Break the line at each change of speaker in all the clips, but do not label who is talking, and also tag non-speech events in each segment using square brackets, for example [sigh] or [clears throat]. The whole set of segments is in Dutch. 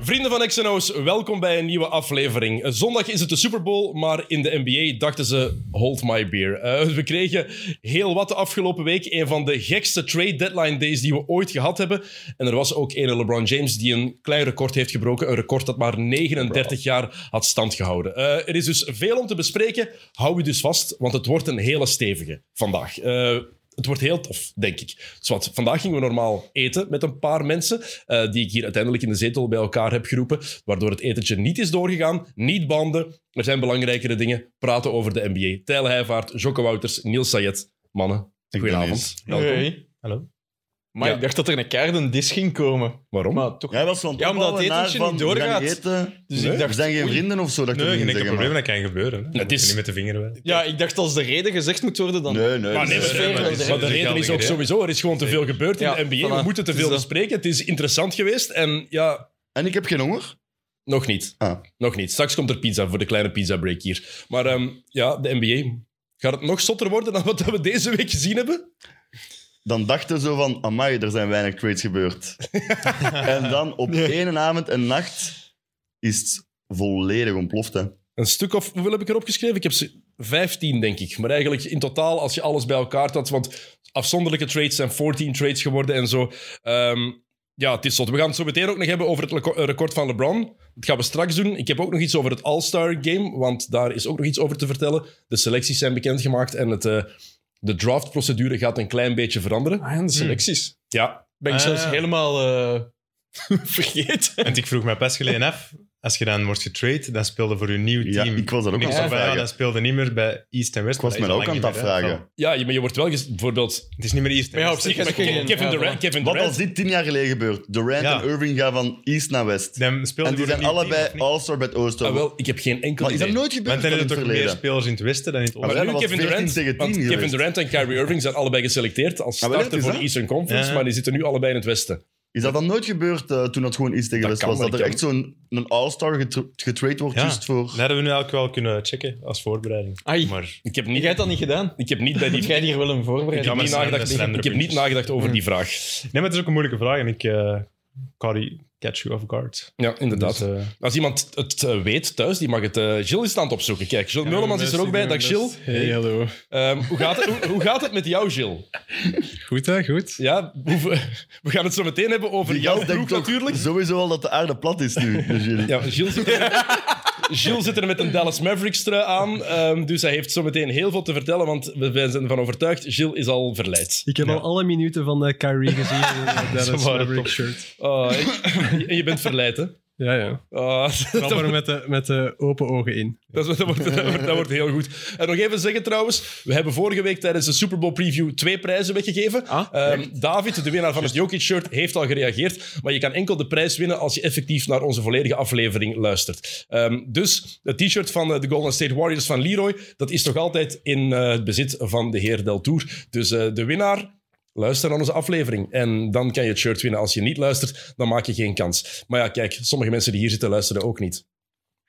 Vrienden van XNO's, welkom bij een nieuwe aflevering. Zondag is het de Super Bowl, maar in de NBA dachten ze: hold my beer. Eh, we kregen heel wat de afgelopen week. Een van de gekste trade deadline days die we ooit gehad hebben. En er was ook een LeBron James die een klein record heeft gebroken. Een record dat maar 39 jaar had standgehouden. Eh, er is dus veel om te bespreken. Hou u dus vast, want het wordt een hele stevige vandaag. Eh, het wordt heel tof, denk ik. Dus wat, vandaag gingen we normaal eten met een paar mensen, eh, die ik hier uiteindelijk in de zetel bij elkaar heb geroepen, waardoor het etentje niet is doorgegaan. Niet banden, er zijn belangrijkere dingen. Praten over de NBA. Tijl Heijvaart, Jocke Wouters, Niels Sayed. Mannen,
Ik
Goedenavond.
eens.
Welkom.
Hallo.
Maar
Ja.
ik dacht dat er een keer een dis ging komen.
waarom?
Maar toch.
Jij was van het
Ja, omdat
opbouwen
het
naar
etentje
van,
niet
we gaan
doorgaat.
eten.
Dus
Nee?
ik
We
dacht,
zijn geen
oei.
vrienden of zo, dat
Nee,
kun je
geen
niet
enkel
zeggen.
probleem,
maar-
dat kan gebeuren. Hè.
Het
Dat
is-
is niet met de vinger wijzen.
Ja, ik dacht als de reden gezegd moet worden, dan... Ah,
Nee, nee.
Maar
dat
nee,
is-
maar,
dat is-
maar-
dat is-
maar de
dat is
reden is ook
geldig, hè?
sowieso, er is gewoon te veel gebeurd in
Ja,
de NBA. We
voilà.
moeten te
Het
veel
is dat.
bespreken. Het is interessant geweest en ja,
En ik heb geen honger.
nog niet.
Ah.
Nog niet. Straks komt er pizza voor de kleine pizza break hier. Maar ehm, ja, de NBA. Gaat het nog zotter worden dan wat we deze week gezien hebben?
Dan dachten zo van, amai, er zijn weinig trades gebeurd. en dan op één avond en nacht is het volledig ontploft. Hè.
Een stuk of hoeveel heb ik erop geschreven? Ik heb ze 15, denk ik. Maar eigenlijk in totaal, als je alles bij elkaar had, want afzonderlijke trades zijn 14 trades geworden en zo. Ehm, ja, het is zot. We gaan het zo meteen ook nog hebben over het leco- eh, record van LeBron. Dat gaan we straks doen. Ik heb ook nog iets over het All-Star Game, want daar is ook nog iets over te vertellen. De selecties zijn bekendgemaakt en het, eh, de draftprocedure gaat een klein beetje veranderen. Hm.
Ah ja, de selecties.
Ja,
Ben ik
Ah.
zelfs helemaal eh, [laughs] vergeten.
Want ik vroeg mij pas geleden af, als je dan wordt getrade, dan speelde voor je nieuw
Ja,
team.
ik was dat ook
En ik
aan
was
het
van,
afvragen.
ja, dan speelde niet meer bij East en West.
Ik was
maar
me
dat
ook
is
aan
al
het
lang niet meer, hè.
afvragen.
ja je- maar je wordt wel gez- bijvoorbeeld
Het is niet meer East en
Maar ja,
West.
op zich
Het is
heb ik
gewoon-
geen-
Kevin
ja,
Durant.
voilà.
Kevin
Wat
Durant.
als dit tien jaar geleden gebeurt? Durant
Ja.
en Irving gaan van east naar west.
Dan speelde
En die
voor
zijn
een nieuw
allebei
team, of niet?
all-star bij het oosten.
Ah, wel, ik heb geen enkel
maar is dat
idee.
nooit gebeurd
Want dan
dan in
hebben
het
er toch meer
verleden?
spelers in het Westen dan in het
Maar
Maar
zijn
oosten.
nu
al
Kevin
14
Durant,
tegen 10
want
geweest.
Kevin Durant en Kyrie Irving zijn allebei geselecteerd als
Ah, wel,
starter
is
voor de
dat?
Eastern Conference,
Ja.
maar die zitten nu allebei in het Westen.
Is dat dan nooit gebeurd eh, toen het gewoon east tegen
Dat
west
kan,
was?
maar
Dat er
ik
echt zo'n een all-star getra- getrade wordt
Ja.
juist voor...
Dat hadden we nu eigenlijk wel kunnen checken als voorbereiding.
Ai,
Maar
Ik heb
jij
niet,
hebt dat niet gedaan.
ik heb niet bij
Ik [laughs]
die...
jij hier wel een
Ik
voorbereiding.
heb
maar
niet
zijn
nagedacht,
de
ik,
slender
heb niet
puntjes.
nagedacht over die vraag.
nee, maar het is ook een moeilijke vraag en ik eh kan die catch you off guard.
Ja,
Dus,
inderdaad.
eh,
Als iemand het eh, weet thuis, die mag het... eh Gilles is het aan het opzoeken. Kijk, Gilles Meulemans is er ook bij. Dag Gilles.
Hey, hallo.
Ehm, hoe, gaat het, hoe, hoe gaat het met jou, Gilles?
Goed, hè? Goed.
Ja, hoe- we gaan het zo meteen hebben over
Die
jouw
gast denkt
broek
toch
natuurlijk.
sowieso al dat de aarde plat is nu. Dus jullie-
[laughs] Ja, Gilles zit er, [laughs] Gilles zit er met een Dallas Mavericks trui aan. ehm, dus hij heeft zometeen heel veel te vertellen, want we wij zijn ervan overtuigd. Gilles is al verleid.
Ik heb
Ja.
al alle minuten van eh, Kyrie gezien. eh, dat
Ze
is
waren
een
top.
Rick shirt.
Oh, ik- en je bent verleid, hè?
Ja, ja.
Oh, [laughs] dat,
Trap er met de, met de open ogen in.
dat, dat wordt, dat, wordt, dat wordt heel goed. En nog even zeggen trouwens, we hebben vorige week tijdens de Super Bowl preview twee prijzen weggegeven.
Ah,
Ehm, David, de winnaar van het Jokic shirt, heeft al gereageerd. Maar je kan enkel de prijs winnen als je effectief naar onze volledige aflevering luistert. Ehm, dus het t-shirt van eh, de Golden State Warriors van Leroy, dat is nog altijd in eh, het bezit van de heer Del Tour. Dus eh, de winnaar, luister naar onze aflevering. En dan kan je het shirt winnen. Als je niet luistert, dan maak je geen kans. Maar ja, kijk, sommige mensen die hier zitten luisteren ook niet. En
Ik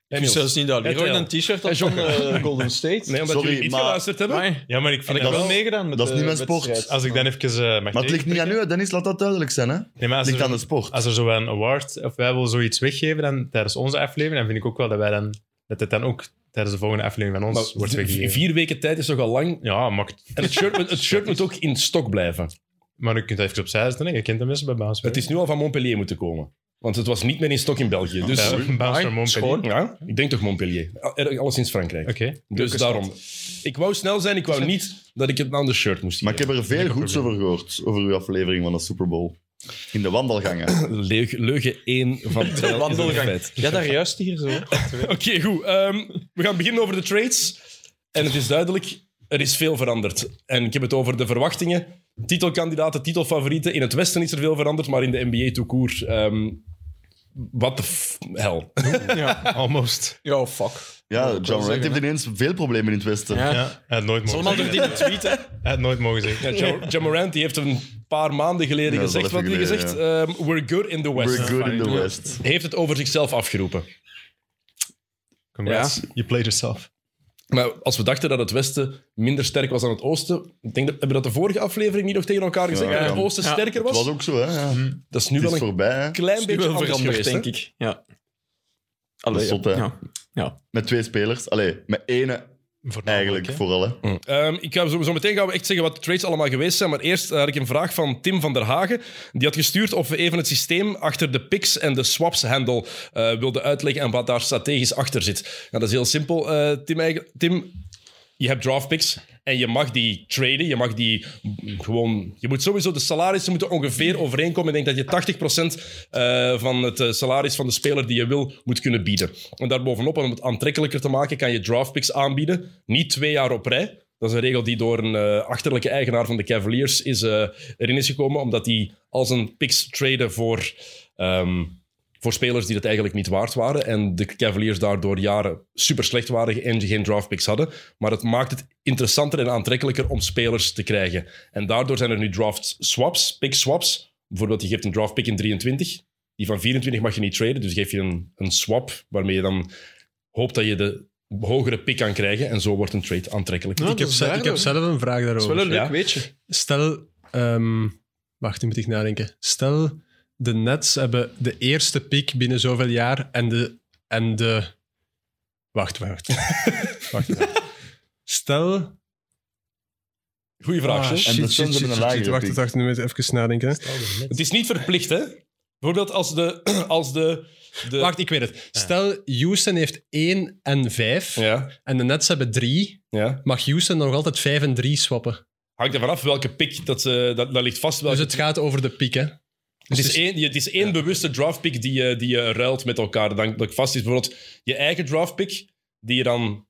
wist
Niels?
zelfs niet dat Leroy
Het wel.
een t-shirt had van eh, Golden State.
Nee, omdat
Sorry,
jullie niet
maar-
geluisterd hebben?
Amai.
Ja, maar ik
Had
vind
ik
dat
wel
wel...
meegedaan met
dat is
de
niet mijn sport.
wedstrijd.
Als ik dan even eh, mag
Maar het ligt niet aan u, hè, Dennis, laat dat duidelijk zijn. Hè? Het
Nee, maar als
ligt
er-
aan de sport.
als er zo een award of wij willen zoiets weggeven dan, tijdens onze aflevering, dan vind ik ook wel dat wij dan dat het dan ook tijdens de volgende aflevering van ons
Maar
wordt
v-
weggegeven.
vier weken tijd is toch al lang.
Ja, maar, ik-
En het shirt, moet- het shirt moet ook in stok blijven.
maar je kunt dat even opzij zetten. hè. Je kent de mensen bij Bounce.
Het is nu al van Montpellier moeten komen. Want het was niet meer in stok in België. Dus
Ja, Bounce naar Montpellier.
Schoon. Ja, ik denk toch Montpellier. Ah, Al- Alleszins Frankrijk.
Oké.
Dus daarom. Ik wou snel zijn, ik wou niet dat ik het aan de shirt moest
Maar ik heb er veel goeds over gehoord, over uw aflevering van de Super Bowl. In de wandelgangen.
Leugen, leugen 1 [laughs] van 12
Wandelgang. Ja, daar juist hier zo.
[laughs] Oké, goed. Ehm, we gaan beginnen over de trades. En het is duidelijk, er is veel veranderd. En ik heb het over de verwachtingen. Titelkandidaten, titelfavorieten. In het Westen is er veel veranderd, maar in de NBA toekoer... ehm wat de f- hel.
Ja,
Almost.
ja fuck.
Ja,
kan
John Rand
zeggen,
heeft ineens veel problemen in het Westen.
Ja.
Ja, hij had nooit mogen
Allemaal door
zeggen.
die tweet, hè.
Hij had nooit mogen zeggen.
Ja, Ja, Ja Morant die heeft een paar maanden geleden
Ja, dat is
gezegd
wel
wat
even
hij
geleden,
gezegd. ehm, we're good in the West.
We're good in the
Ja.
West.
Heeft het over zichzelf afgeroepen.
Congrats. You played yourself.
Maar als we dachten dat het Westen minder sterk was dan het Oosten, ik denk dat, hebben we dat de vorige aflevering niet nog tegen elkaar gezegd,
Ja,
dat het
ja.
Oosten
Ja.
sterker
Het
was?
was ook zo, hè. Ja.
Dat is Hm. nu
Het
wel
is
een
voorbij, hè.
klein beetje
wel
anders
veranderd,
geweest,
denk
hè?
ik. Ja. Allee,
Dat is zot, hè?
ja. ja.
Met twee spelers. Allee, met
Oh,
ene eigenlijk vooral, hè.
Ehm, ik ga zo, zo meteen gaan we echt zeggen wat de trades allemaal geweest zijn. Maar eerst eh, had ik een vraag van Tim van der Hagen. Die had gestuurd of we even het systeem achter de picks en de swaps handle eh, wilden uitleggen en wat daar strategisch achter zit. Nou, dat is heel simpel, eh, Tim, eigenlijk. Tim. Je hebt draft picks en je mag die traden. Je mag die gewoon. Je moet sowieso de salarissen moeten ongeveer overeenkomen. Ik denk dat je 80% eh, van het eh, salaris van de speler die je wil moet kunnen bieden. En daarbovenop, om het aantrekkelijker te maken, kan je draft picks aanbieden. Niet twee jaar op rij. Dat is een regel die door een eh, achterlijke eigenaar van de Cavaliers is, eh, erin is gekomen, omdat die als een picks traden voor, ehm, voor spelers die dat eigenlijk niet waard waren. En de Cavaliers daardoor jaren super slecht waren en geen draft picks hadden. Maar het maakt het interessanter en aantrekkelijker om spelers te krijgen. En daardoor zijn er nu draft swaps, pick swaps. Bijvoorbeeld, je geeft een draft pick in 23. Die van 24 mag je niet traden, dus geef je een, een swap waarmee je dan hoopt dat je de hogere pick kan krijgen. En zo wordt een trade aantrekkelijk.
ik, heb, ze- ik heb zelf een vraag
Dat is
daarover.
Oh,
wel een leuk
Ja.
weetje.
Stel, ehm, wacht, nu moet ik nadenken. Stel, de Nets hebben de eerste pick binnen zoveel jaar en de. En de wacht, wacht. wacht even. Stel.
Goeie vraag,
Ah,
hè?
shit,
de
shit,
Suns hebben
shit,
een
shit,
lagere
shit, Wacht,
pick.
wacht, wacht, nu moet ik even nadenken.
Het is niet verplicht, hè? Bijvoorbeeld als de. [clears throat] Als de, de
Wacht, ik weet het. Stel, Houston heeft 1 en 5
Ja,
en de Nets hebben 3.
ja.
Mag Houston nog altijd 5 en 3 swappen?
Hangt er vanaf welke pick dat, ze dat, dat ligt vast. Welke,
Dus het gaat over de pick, hè?
het, is één, je- het is één bewuste draftpick die je, die je ruilt met elkaar. Dan, dat vast is bijvoorbeeld je eigen draftpick, die je dan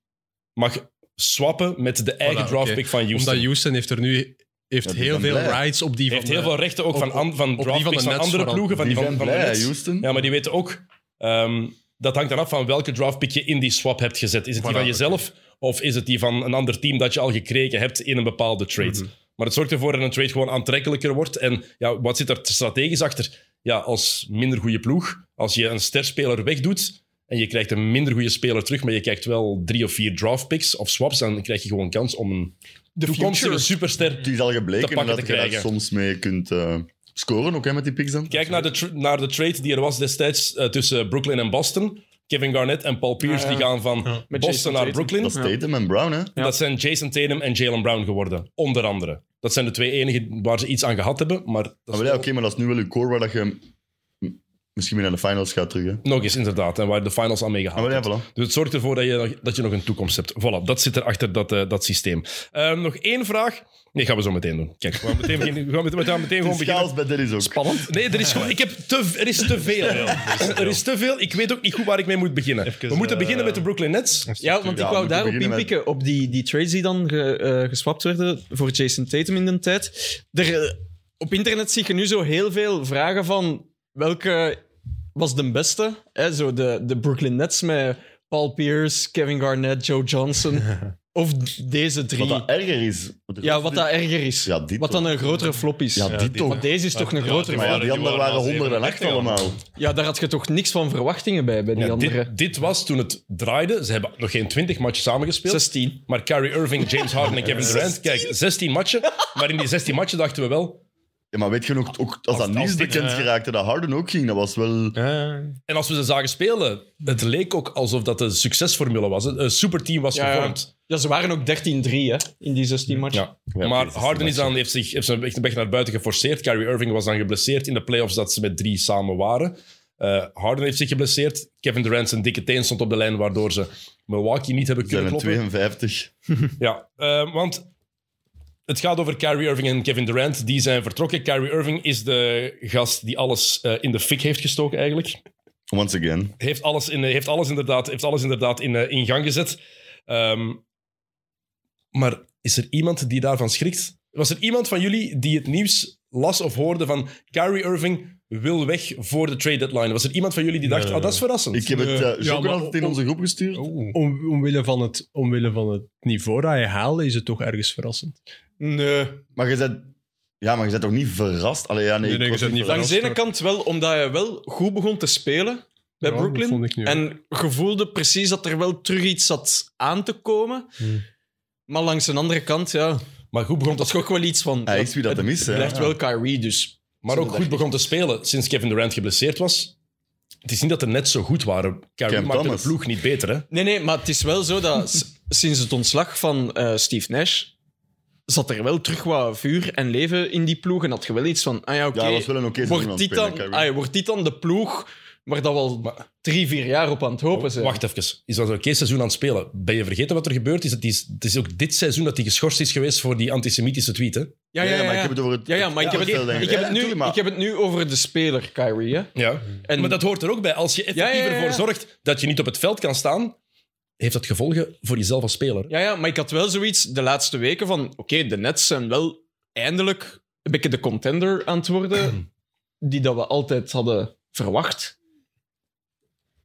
mag swappen met de eigen
Voilà,
draftpick
oké.
van Houston.
Omdat Houston heeft er nu heeft
Ja, die
heel
zijn
veel
blij.
rights op die
heeft
van
heel
de-
veel rechten ook
op-
van, an- van
op die van
draftpicks van,
de Nets
andere
vooral.
ploegen. Van die, van,
zijn
van de
blij, hè,
Nets.
Houston.
Ja, maar die weten ook... ehm, dat hangt eraf van welke draftpick je in die swap hebt gezet. Is het die
Voilà,
van jezelf of is het die van een ander team dat je al gekregen hebt in een bepaalde trade? Maar het zorgt ervoor dat een trade gewoon aantrekkelijker wordt. En ja, wat zit er strategisch achter? Ja, als minder goede ploeg, als je een sterspeler wegdoet en je krijgt een minder goede speler terug, maar je krijgt wel drie of vier draftpicks of swaps, dan krijg je gewoon kans om een toekomstige superster
Het is al
Te
gebleken
pakken
dat
te
je daar
krijgen.
soms mee kunt eh, scoren, ook hè, met die picks dan.
Kijk naar de, tr- naar de trade die er was destijds eh, tussen Brooklyn en Boston. Kevin Garnett en Paul Pierce
Ah, ja.
die gaan van
Met
Boston
Jason
naar
Tatum.
Brooklyn.
Dat is Tatum en Brown, hè. Ah,
Ja.
Dat zijn Jason Tatum en Jalen Brown geworden, onder andere. Dat zijn de twee enigen waar ze iets aan gehad hebben, maar... Dat is
Maar ja,
wel-
oké, maar dat is nu wel uw core waar dat je m- misschien weer naar de finals gaat terug, hè.
Nog eens, inderdaad. En waar de finals aan mee gehaald
Ah, wel, ja,
hebt.
voilà.
Dus het zorgt ervoor dat je, nog- dat je nog een toekomst hebt. Voilà, dat zit erachter, dat, eh, dat systeem. Ehm, nog één vraag. Nee, gaan we zo meteen doen. Kijk, we gaan meteen, beginnen, we gaan meteen, we gaan meteen
Het
gewoon
is
beginnen.
chaos bij Dennis ook. Spannend.
Nee, er is, gewoon, ik heb te, er is te veel. Er is te veel. Ik weet ook niet goed waar ik mee moet beginnen.
Even,
we moeten
eh,
beginnen met de Brooklyn Nets.
Ja, want ik
Ja,
wou
we
daarop
beginnen met-
inpikken, op die, die trades die dan ge- eh, geswapt werden voor Jason Tatum in de tijd. Er, eh, op internet zie je nu zo heel veel vragen van welke was de beste? Hè? Zo de, de Brooklyn Nets met Paul Pierce, Kevin Garnett, Joe
[laughs]
Johnson. of deze
Wat
drie.
dat erger is.
ja, wat dat erger is.
Ja, dit
wat dan een grotere flop is.
Ja, die,
die-
toch.
Want deze is toch een grotere
Maar
flop.
ja, die anderen waren
Die waren
108
al
allemaal.
Ja, daar had je toch niks van verwachtingen bij, bij die
Ja,
andere.
dit, dit was toen het draaide. Ze hebben nog geen 20 matchen samengespeeld.
16.
Maar Kyrie Irving, James Harden en Kevin Durant. Kijk, 16 matchen. Maar in die 16 matchen dachten we wel.
Ja, maar weet je nog, ook als dat nieuws
dit,
bekend
eh,
geraakte, dat Harden ook ging, dat was wel...
En als we ze zagen spelen, het leek ook alsof dat een succesformule was. Een een superteam was
Ja, ja.
gevormd.
Ja, ze waren ook 13-3 hè, in die 16 match.
Ja. maar Harden is dan, heeft, zich, heeft zijn weg- weg naar buiten geforceerd. Kyrie Irving was dan geblesseerd in de playoffs dat ze met drie samen waren. Eh, Harden heeft zich geblesseerd. Kevin Durant zijn dikke teen stond op de lijn, waardoor ze Milwaukee niet hebben
Ze zijn
kunnen
een
kloppen.
52.
Ja, eh, want het gaat over Kyrie Irving en Kevin Durant. Die zijn vertrokken. Kyrie Irving is de gast die alles eh, in de fik heeft gestoken, eigenlijk.
Once again.
Heeft alles, in, eh, heeft alles inderdaad, heeft alles inderdaad in, eh, in gang gezet. Ehm, maar is er iemand die daarvan schrikt? Was er iemand van jullie die het nieuws las of hoorde van Kyrie Irving wil weg voor de trade deadline? Was er iemand van jullie die dacht,
Nee.
oh, dat is verrassend?
Ik heb het
Ja,
uh, Jocke
maar-
had het in onze groep gestuurd.
Om, omwille, van het, omwille van het niveau dat je haalde, is het toch ergens verrassend.
Nee.
Maar je bent... Ja, maar je bent toch niet verrast? Allee, ja, nee,
Nee, nee,
ik
je
was
bent niet
verrast.
Langs de ene kant wel, omdat hij wel goed begon te spelen. bij
Ja, dat
Brooklyn.
vond ik nu ook.
En gevoelde precies dat er wel terug iets zat aan te komen.
Hmm.
Maar langs een andere kant, ja,
Maar goed begon
dat
te,
is toch wel iets van...
Hij is wie dat hem is, hè.
Het blijft wel Kyrie, dus...
maar ook goed begon te spelen sinds Kevin Durant geblesseerd was. Het is niet dat er net zo goed waren. Kyrie
Cam
maakte
Thomas.
de ploeg niet beter, hè?
Nee, nee, maar het is wel zo dat s-
[laughs]
sinds het ontslag van eh, Steve Nash zat er wel terug wat vuur en leven in die ploeg. En had je wel iets van, ah ja, oké,
Ja, dat was wel een oké seizoen aan
wordt,
het
dit
spelen,
dan-
Kyrie.
ah ja, wordt dit dan de ploeg waar dat we al
Maar-
drie, vier jaar op aan het hopen zijn?
Wacht even. Is dat een oké seizoen aan het spelen? Ben je vergeten wat er gebeurd is? Het is, het is ook dit seizoen dat hij geschorst is geweest voor die antisemitische tweet, hè?
ja,
Nee, maar ik heb het over het...
Ja, ja, maar ik heb,
het,
het, ik, heb het nu, ik heb het nu over de speler, Kyrie. Hè?
Ja.
En,
Maar dat hoort er ook bij. Als je effectief
Ja, ja, ja, ja.
ervoor zorgt dat je niet op het veld kan staan, heeft dat gevolgen voor jezelf als speler.
ja, ja, maar ik had wel zoiets de laatste weken van... Oké, de Nets zijn wel eindelijk een beetje de contender aan het worden [clears throat] die dat we altijd hadden verwacht.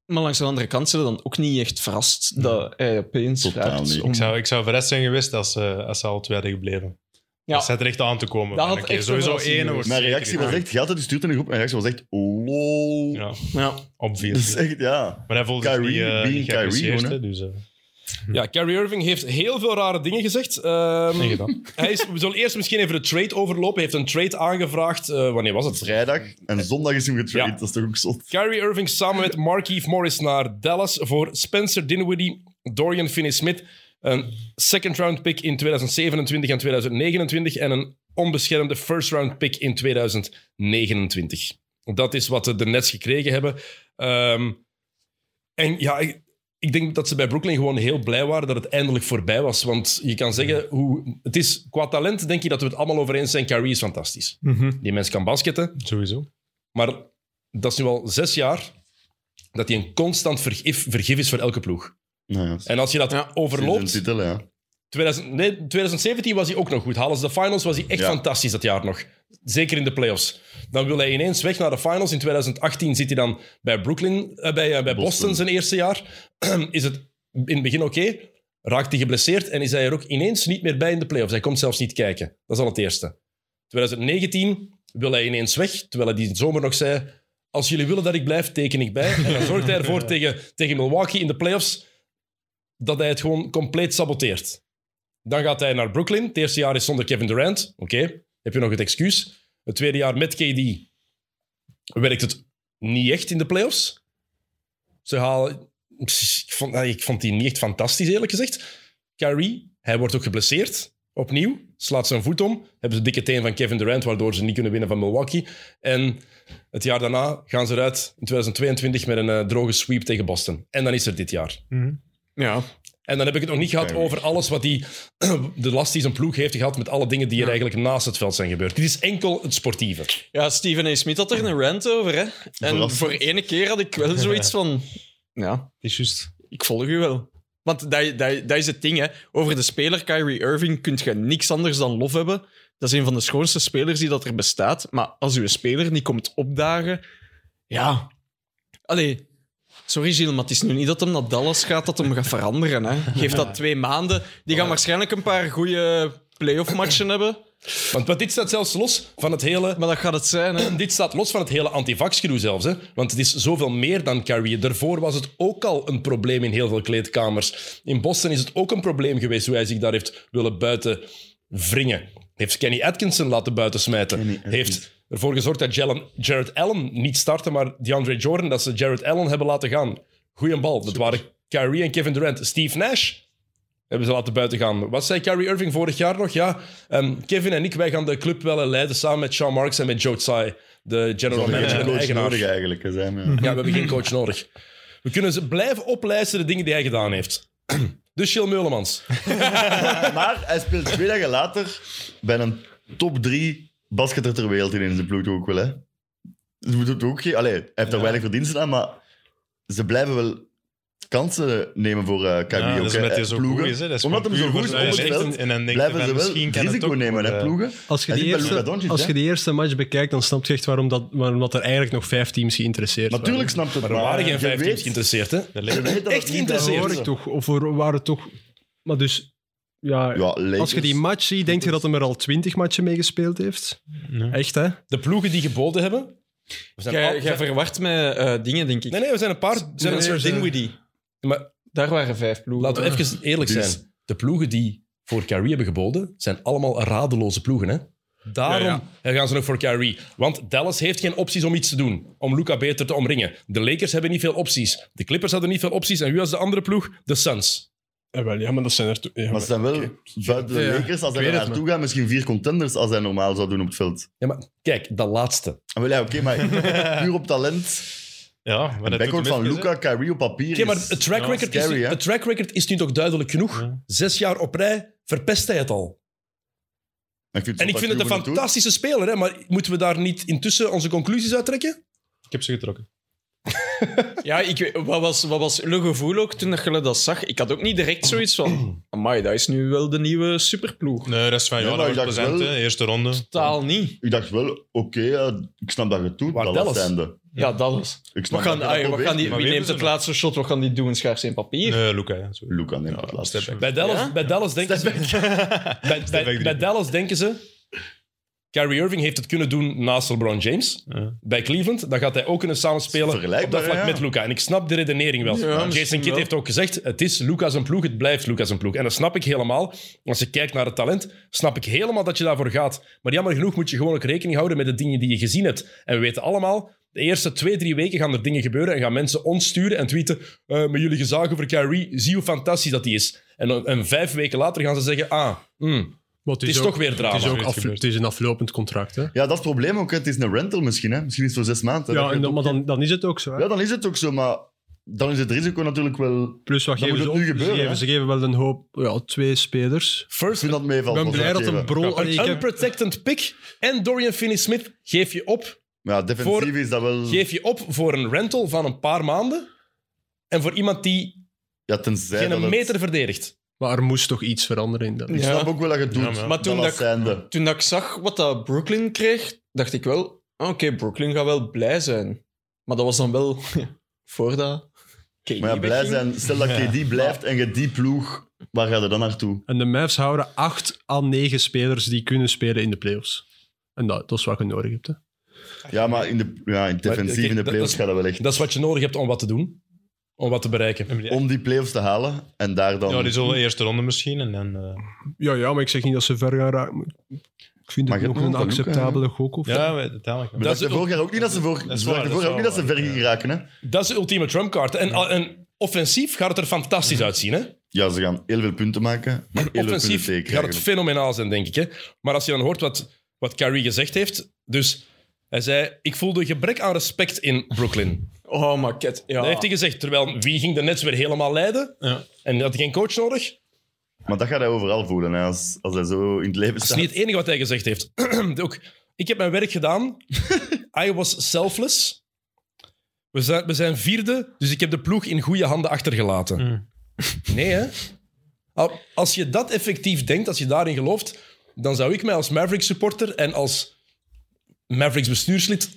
Maar langs de andere kant zijn we dan ook niet echt verrast dat hij opeens
Totaal
vraagt
niet.
om-
Ik zou, ik zou verrast zijn geweest als ze, als ze al tweede gebleven.
Ja.
Ja. Dat zet er echt aan te komen.
Dat
En
had
oké,
echt een
sowieso
verrassing
één
geweest.
wordt
Mijn reactie was echt... Je had het gestuurd in de groep. Mijn reactie was echt... Lol.
Ja,
Ja.
[laughs] Dat is
obvious.
echt... Ja.
Maar hij voelde zich
Kyrie,
niet, eh,
being
niet
Kyrie
geapprecieerd,
gewoon, hè.
hè, dus... eh,
Ja, Kyrie Irving heeft heel veel rare dingen gezegd. Ehm,
nee, gedaan.
hij is, we zullen eerst misschien even de trade overlopen. Hij heeft een trade aangevraagd. Eh, wanneer was het?
Vrijdag. En zondag is hem getraind.
Ja.
Dat is toch ook zot.
Kyrie Irving samen met Markeith Morris naar Dallas voor Spencer Dinwiddie, Dorian Finney-Smith, een second-round pick in 2027 en 2029 en een onbeschermde first-round pick in 2029. Dat is wat de Nets gekregen hebben. Ehm, en ja, ik, ik denk dat ze bij Brooklyn gewoon heel blij waren dat het eindelijk voorbij was. Want je kan zeggen, hoe, het is, qua talent denk je dat we het allemaal over eens zijn. Kyrie is fantastisch. Die mens kan basketten.
Sowieso.
Maar dat is nu al zes jaar dat hij een constant vergif, vergif is voor elke ploeg.
Nou ja.
En als je dat
Een
overloopt...
titel, ja.
2000, nee, 2017 was hij ook nog goed. Halen ze de finals, was hij echt
Ja.
fantastisch dat jaar nog. Zeker in de playoffs. Dan wil hij ineens weg naar de finals. In 2018 zit hij dan bij, Brooklyn, eh, bij, eh, bij Boston.
Boston.
zijn eerste jaar. [clears throat] is het in het begin oké? Raakt hij geblesseerd en is hij er ook ineens niet meer bij in de playoffs. Hij komt zelfs niet kijken. Dat is al het eerste. 2019 wil hij ineens weg, terwijl hij die zomer nog zei... Als jullie willen dat ik blijf, teken ik bij. En dan zorgt hij ervoor tegen, tegen Milwaukee in de playoffs dat hij het gewoon compleet saboteert. Dan gaat hij naar Brooklyn. Het eerste jaar is zonder Kevin Durant. Oké, heb je nog het excuus. Het tweede jaar met KD werkt het niet echt in de playoffs. Ze halen... Ik vond, ik vond die niet echt fantastisch, eerlijk gezegd. Kyrie, hij wordt ook geblesseerd. Opnieuw, slaat zijn voet om. Hebben ze dikke teen van Kevin Durant, waardoor ze niet kunnen winnen van Milwaukee. En het jaar daarna gaan ze eruit in 2022 met een eh, droge sweep tegen Boston. En dan is er dit jaar.
ja.
En dan heb ik het nog niet gehad
Kyrie.
over alles wat die, [clears throat] de last die zijn ploeg heeft gehad met alle dingen die er eigenlijk naast het veld zijn gebeurd. Dit is enkel het sportieve.
Ja, Steven A. Smith had er een rant over. Hè? En
Verrassend.
voor ene keer had ik wel zoiets van... Ja,
Het is juist.
ik volg u wel. Want dat, dat, dat is het ding, hè. Over de speler Kyrie Irving kun je niks anders dan lof hebben. Dat is een van de schoonste spelers die dat er bestaat. Maar als uw speler niet komt opdagen... Ja... Allee... Sorry, Gilles, maar het is nu niet dat hem naar Dallas gaat, dat hem gaat veranderen. Hè. Geef dat twee maanden.
Oh
Die gaan waarschijnlijk een paar goede playoff-matchen hebben.
Want, want dit staat zelfs los van het hele...
Maar dat gaat het zijn, hè.
Dit staat los van het hele antivax-gedoe zelfs. Hè? Want het is zoveel meer dan Kyrie. Daarvoor was het ook al een probleem in heel veel kleedkamers. In Boston is het ook een probleem geweest hoe hij zich daar heeft willen buiten wringen. Heeft Kenny Atkinson laten buitensmijten.
Atkinson.
Heeft ervoor gezorgd dat Jalen, Jared Allen niet startte, maar DeAndre Jordan, dat ze Jared Allen hebben laten gaan. Goeie bal. Dat waren Kyrie en Kevin Durant. Steve Nash hebben ze laten buiten gaan. Wat zei Kyrie Irving vorig jaar nog? Ja, ehm, Kevin en ik, wij gaan de club wel leiden samen met Sean Marks en met Joe Tsai, de general
We hebben
manager
geen
en
coach
eigenaar.
nodig eigenlijk. Hè, zijn we, ja.
Ja, we hebben geen coach nodig. We kunnen ze blijven oplijsten de dingen die hij gedaan heeft. [clears throat] Dus Jill Meulemans.
[laughs] Maar hij speelt twee dagen later bij een top drie basketter ter wereld in zijn ploeg ook wel. Hè. Ze moeten het ook geen... Allee, hij heeft daar weinig verdiensten aan, maar ze blijven wel kansen nemen voor eh Kyrie
Ja,
ook.
dat is
hè.
omdat hij
Eh,
zo
ploegen.
goed is, hè. Dat is
omdat hij
gewoon
zo
puur
goed is
voor
op het
zijn
veld,
talent. En dan denk je
blijven
van,
ze wel
misschien kan het
risico
ook
nemen, hè,
goed, eh.
ploegen.
Als je,
Hij
die
zit bij Luka
eerste,
Doncic,
als
hè?
je die eerste match bekijkt, dan snap je echt waarom dat, waarom dat er eigenlijk nog vijf teams geïnteresseerd zijn.
Natuurlijk snapt het,
Maar
maar,
er waren geen
Eh, je
vijf
weet-
teams geïnteresseerd, hè?
Dat
je
lijkt me-
weet dat het
Echt
niet
geïnteresseerd.
daar
hoor
hoort.
ik toch. Of er waren toch... Maar dus, ja...
Ja, Lakers.
als je die match ziet, denk je dat hij er al twintig matchen mee gespeeld heeft?
Nee.
Echt, hè?
De ploegen die geboden hebben, We zijn al-
Jij
we
jij
zijn-
verwart met eh, dingen, denk ik.
Nee, nee, we zijn een paar... we Zijn
Nee,
een
we
soort
zijn-
Dinwiddie. Maar
Daar waren vijf ploegen.
laten we even eerlijk
Dus-
zijn. De ploegen die voor Kyrie hebben geboden, zijn allemaal radeloze ploegen, hè? Daarom
Ja,
gaan ze nog voor Kyrie. Want Dallas heeft geen opties om iets te doen. Om Luca beter te omringen. De Lakers hebben niet veel opties. De Clippers hadden niet veel opties. En wie was de andere ploeg? De Suns.
Ja, wel, ja, maar dat zijn er... to- Ja,
Maar
maar-
ze zijn wel buiten de
Ja, ja.
Lakers, als
Ik
hij
weet
daar
het,
naartoe gaat, misschien vier contenders als hij normaal zou doen op het veld.
Ja, maar kijk, dat laatste.
Ah, wel, ja, oké, maar puur op talent.
Ja, maar
De
dat
backcourt van
Luca.
Luca, Kyrie op papier
Oké, maar
is- nou
het track,
Ja,
record
scary,
is,
hè?
het track record is nu toch duidelijk genoeg?
Ja.
Zes jaar op rij verpest hij het al.
Maar ik vind
En ik vind het een
Luka goed doen.
fantastische speler, hè? maar moeten we daar niet intussen onze conclusies uit trekken?
Ik heb ze getrokken.
Ja, ik, weet- wat was, wat was uw gevoel ook toen dat je dat zag? Ik had ook niet direct zoiets van... Amai, dat is nu wel de nieuwe superploeg.
Nee, rest van
Ja,
jou
maar
was
ik dacht
plezant,
wel-
hè. Eerste ronde.
Totaal niet.
Ik dacht wel, oké, ja, ik snap dat je het doet,
Waar
dat
Dallas?
zijnde.
Ja, dat is...
Ik
Wat
snap
gaan,
dat je dat
ai, wat
probeert.
gaan die,
Maar
wie
wie
neemt het
hebben ze
laatste shot? Wat gaan die doen? Schaars in papier?
Nee, Luca. ja, sorry.
Luca neemt het
Ja,
laatste.
step back.
Bij Dallas,
Ja?
bij Dallas denken ze... [laughs] Bij, bij-
back drie.
bij Dallas denken ze... Kyrie Irving heeft het kunnen doen naast LeBron James.
Ja.
Bij Cleveland, dan gaat hij ook kunnen samenspelen op
Vergelijkbaar,
dat vlak
ja.
met Luca. En ik snap de redenering wel.
Ja,
Jason
misschien
Kidd
wel.
heeft ook gezegd, het is Luca's een ploeg, het blijft Luca's een ploeg. En dat snap ik helemaal. Als je kijkt naar het talent, snap ik helemaal dat je daarvoor gaat. Maar jammer genoeg moet je gewoon ook rekening houden met de dingen die je gezien hebt. En we weten allemaal, de eerste twee, drie weken gaan er dingen gebeuren en gaan mensen ons sturen en tweeten eh, met jullie gezagen over Kyrie, zie hoe fantastisch dat die is. En, dan- en vijf weken later gaan ze zeggen, ah, mm,
maar het
het is
ook-
toch weer drama.
Het is, ook
Iets
af-
gebeurt.
het is een aflopend contract, hè?
Ja, dat is het probleem ook. hè. Het is een rental misschien. Hè. Misschien is het voor zes maanden. hè.
Ja,
Dat je
en
het
dan, maar
ook-
dan, dan is het ook zo. hè.
ja, dan is het ook zo, maar dan is het risico natuurlijk wel...
Plus, wat
Dan
geven
moet
ze
het nu
op? Ze
gebeuren,
geven,
hè?
ze geven wel een hoop... Ja, twee spelers.
Ik vind dat
Ik
meevalt.
ben
wat ze
blij dat een
geven.
bron... Allee, ik
Een
heb-
unprotected pick en Dorian Finney-Smith geef je op
Ja, defensief
Voor-
is dat wel...
geef je op voor een rental van een paar maanden en voor iemand die
Ja, tenzij
geen
dat
een
het-
meter verdedigt.
Maar er moest toch iets veranderen in dat.
Ik
Ja.
snap ook wel dat je het doet.
Ja, maar-
Maar toen
Dallas
dat-
zijnde.
Toen dat ik zag wat dat Brooklyn kreeg, dacht ik wel... ah, Oké, Brooklyn gaat wel blij zijn. Maar dat was dan wel [laughs] voor dat... KD
Maar ja, blij
wegging.
zijn. Stel dat
Ja.
KD blijft en je die ploeg, waar ga je dan naartoe?
En de Mavs houden acht à negen spelers die kunnen spelen in de playoffs. En dat, dat is wat je nodig hebt. Hè.
Ja, maar in de, ja, in defensief
oké,
in de
dat-
playoffs
dat
gaat dat wel echt.
Dat is wat je nodig hebt om wat te doen, om wat te bereiken.
Om die playoffs te halen en daar dan.
Ja, dus die zullen eerste ronde misschien. En dan, eh,
Ja, ja, maar ik zeg niet dat ze ver gaan raken. maar Ik vind
Maar
het
je
nog
hebt
een
nog wel
acceptabele gok. Of
ja, uiteindelijk wel.
we
Dat
dachten
is-
vorig jaar ook niet dat ze voor,
dat is
we dachten
waar, dat is
vorig jaar ook niet dat ze
wel
ver
waar,
gingen raken. Hè?
Dat is de ultieme trumpkaart. En, en offensief gaat het er fantastisch uitzien. Hè?
Ja, ze gaan heel veel punten maken, maar heel veel punten
Offensief gaat
tegenkrijgen.
het fenomenaal zijn, denk ik. Hè? Maar als je dan hoort wat, wat Kyrie gezegd heeft... Dus hij zei, ik voelde gebrek aan respect in Brooklyn.
Oh, maar ket. Ja.
Dat heeft hij gezegd. Terwijl, wie ging de Nets weer helemaal leiden?
Ja.
En had geen coach nodig?
Maar dat gaat hij overal voelen hè, als, als hij zo in het leven
Dat
staat.
is niet het enige wat hij gezegd heeft. [clears throat] Ook, ik heb mijn werk gedaan. I was selfless. We zijn, we zijn vierde, dus ik heb de ploeg in goede handen achtergelaten.
Mm.
Nee, hè? Al- Als je dat effectief denkt, als je daarin gelooft, dan zou ik mij als Mavericks supporter en als Mavericks bestuurslid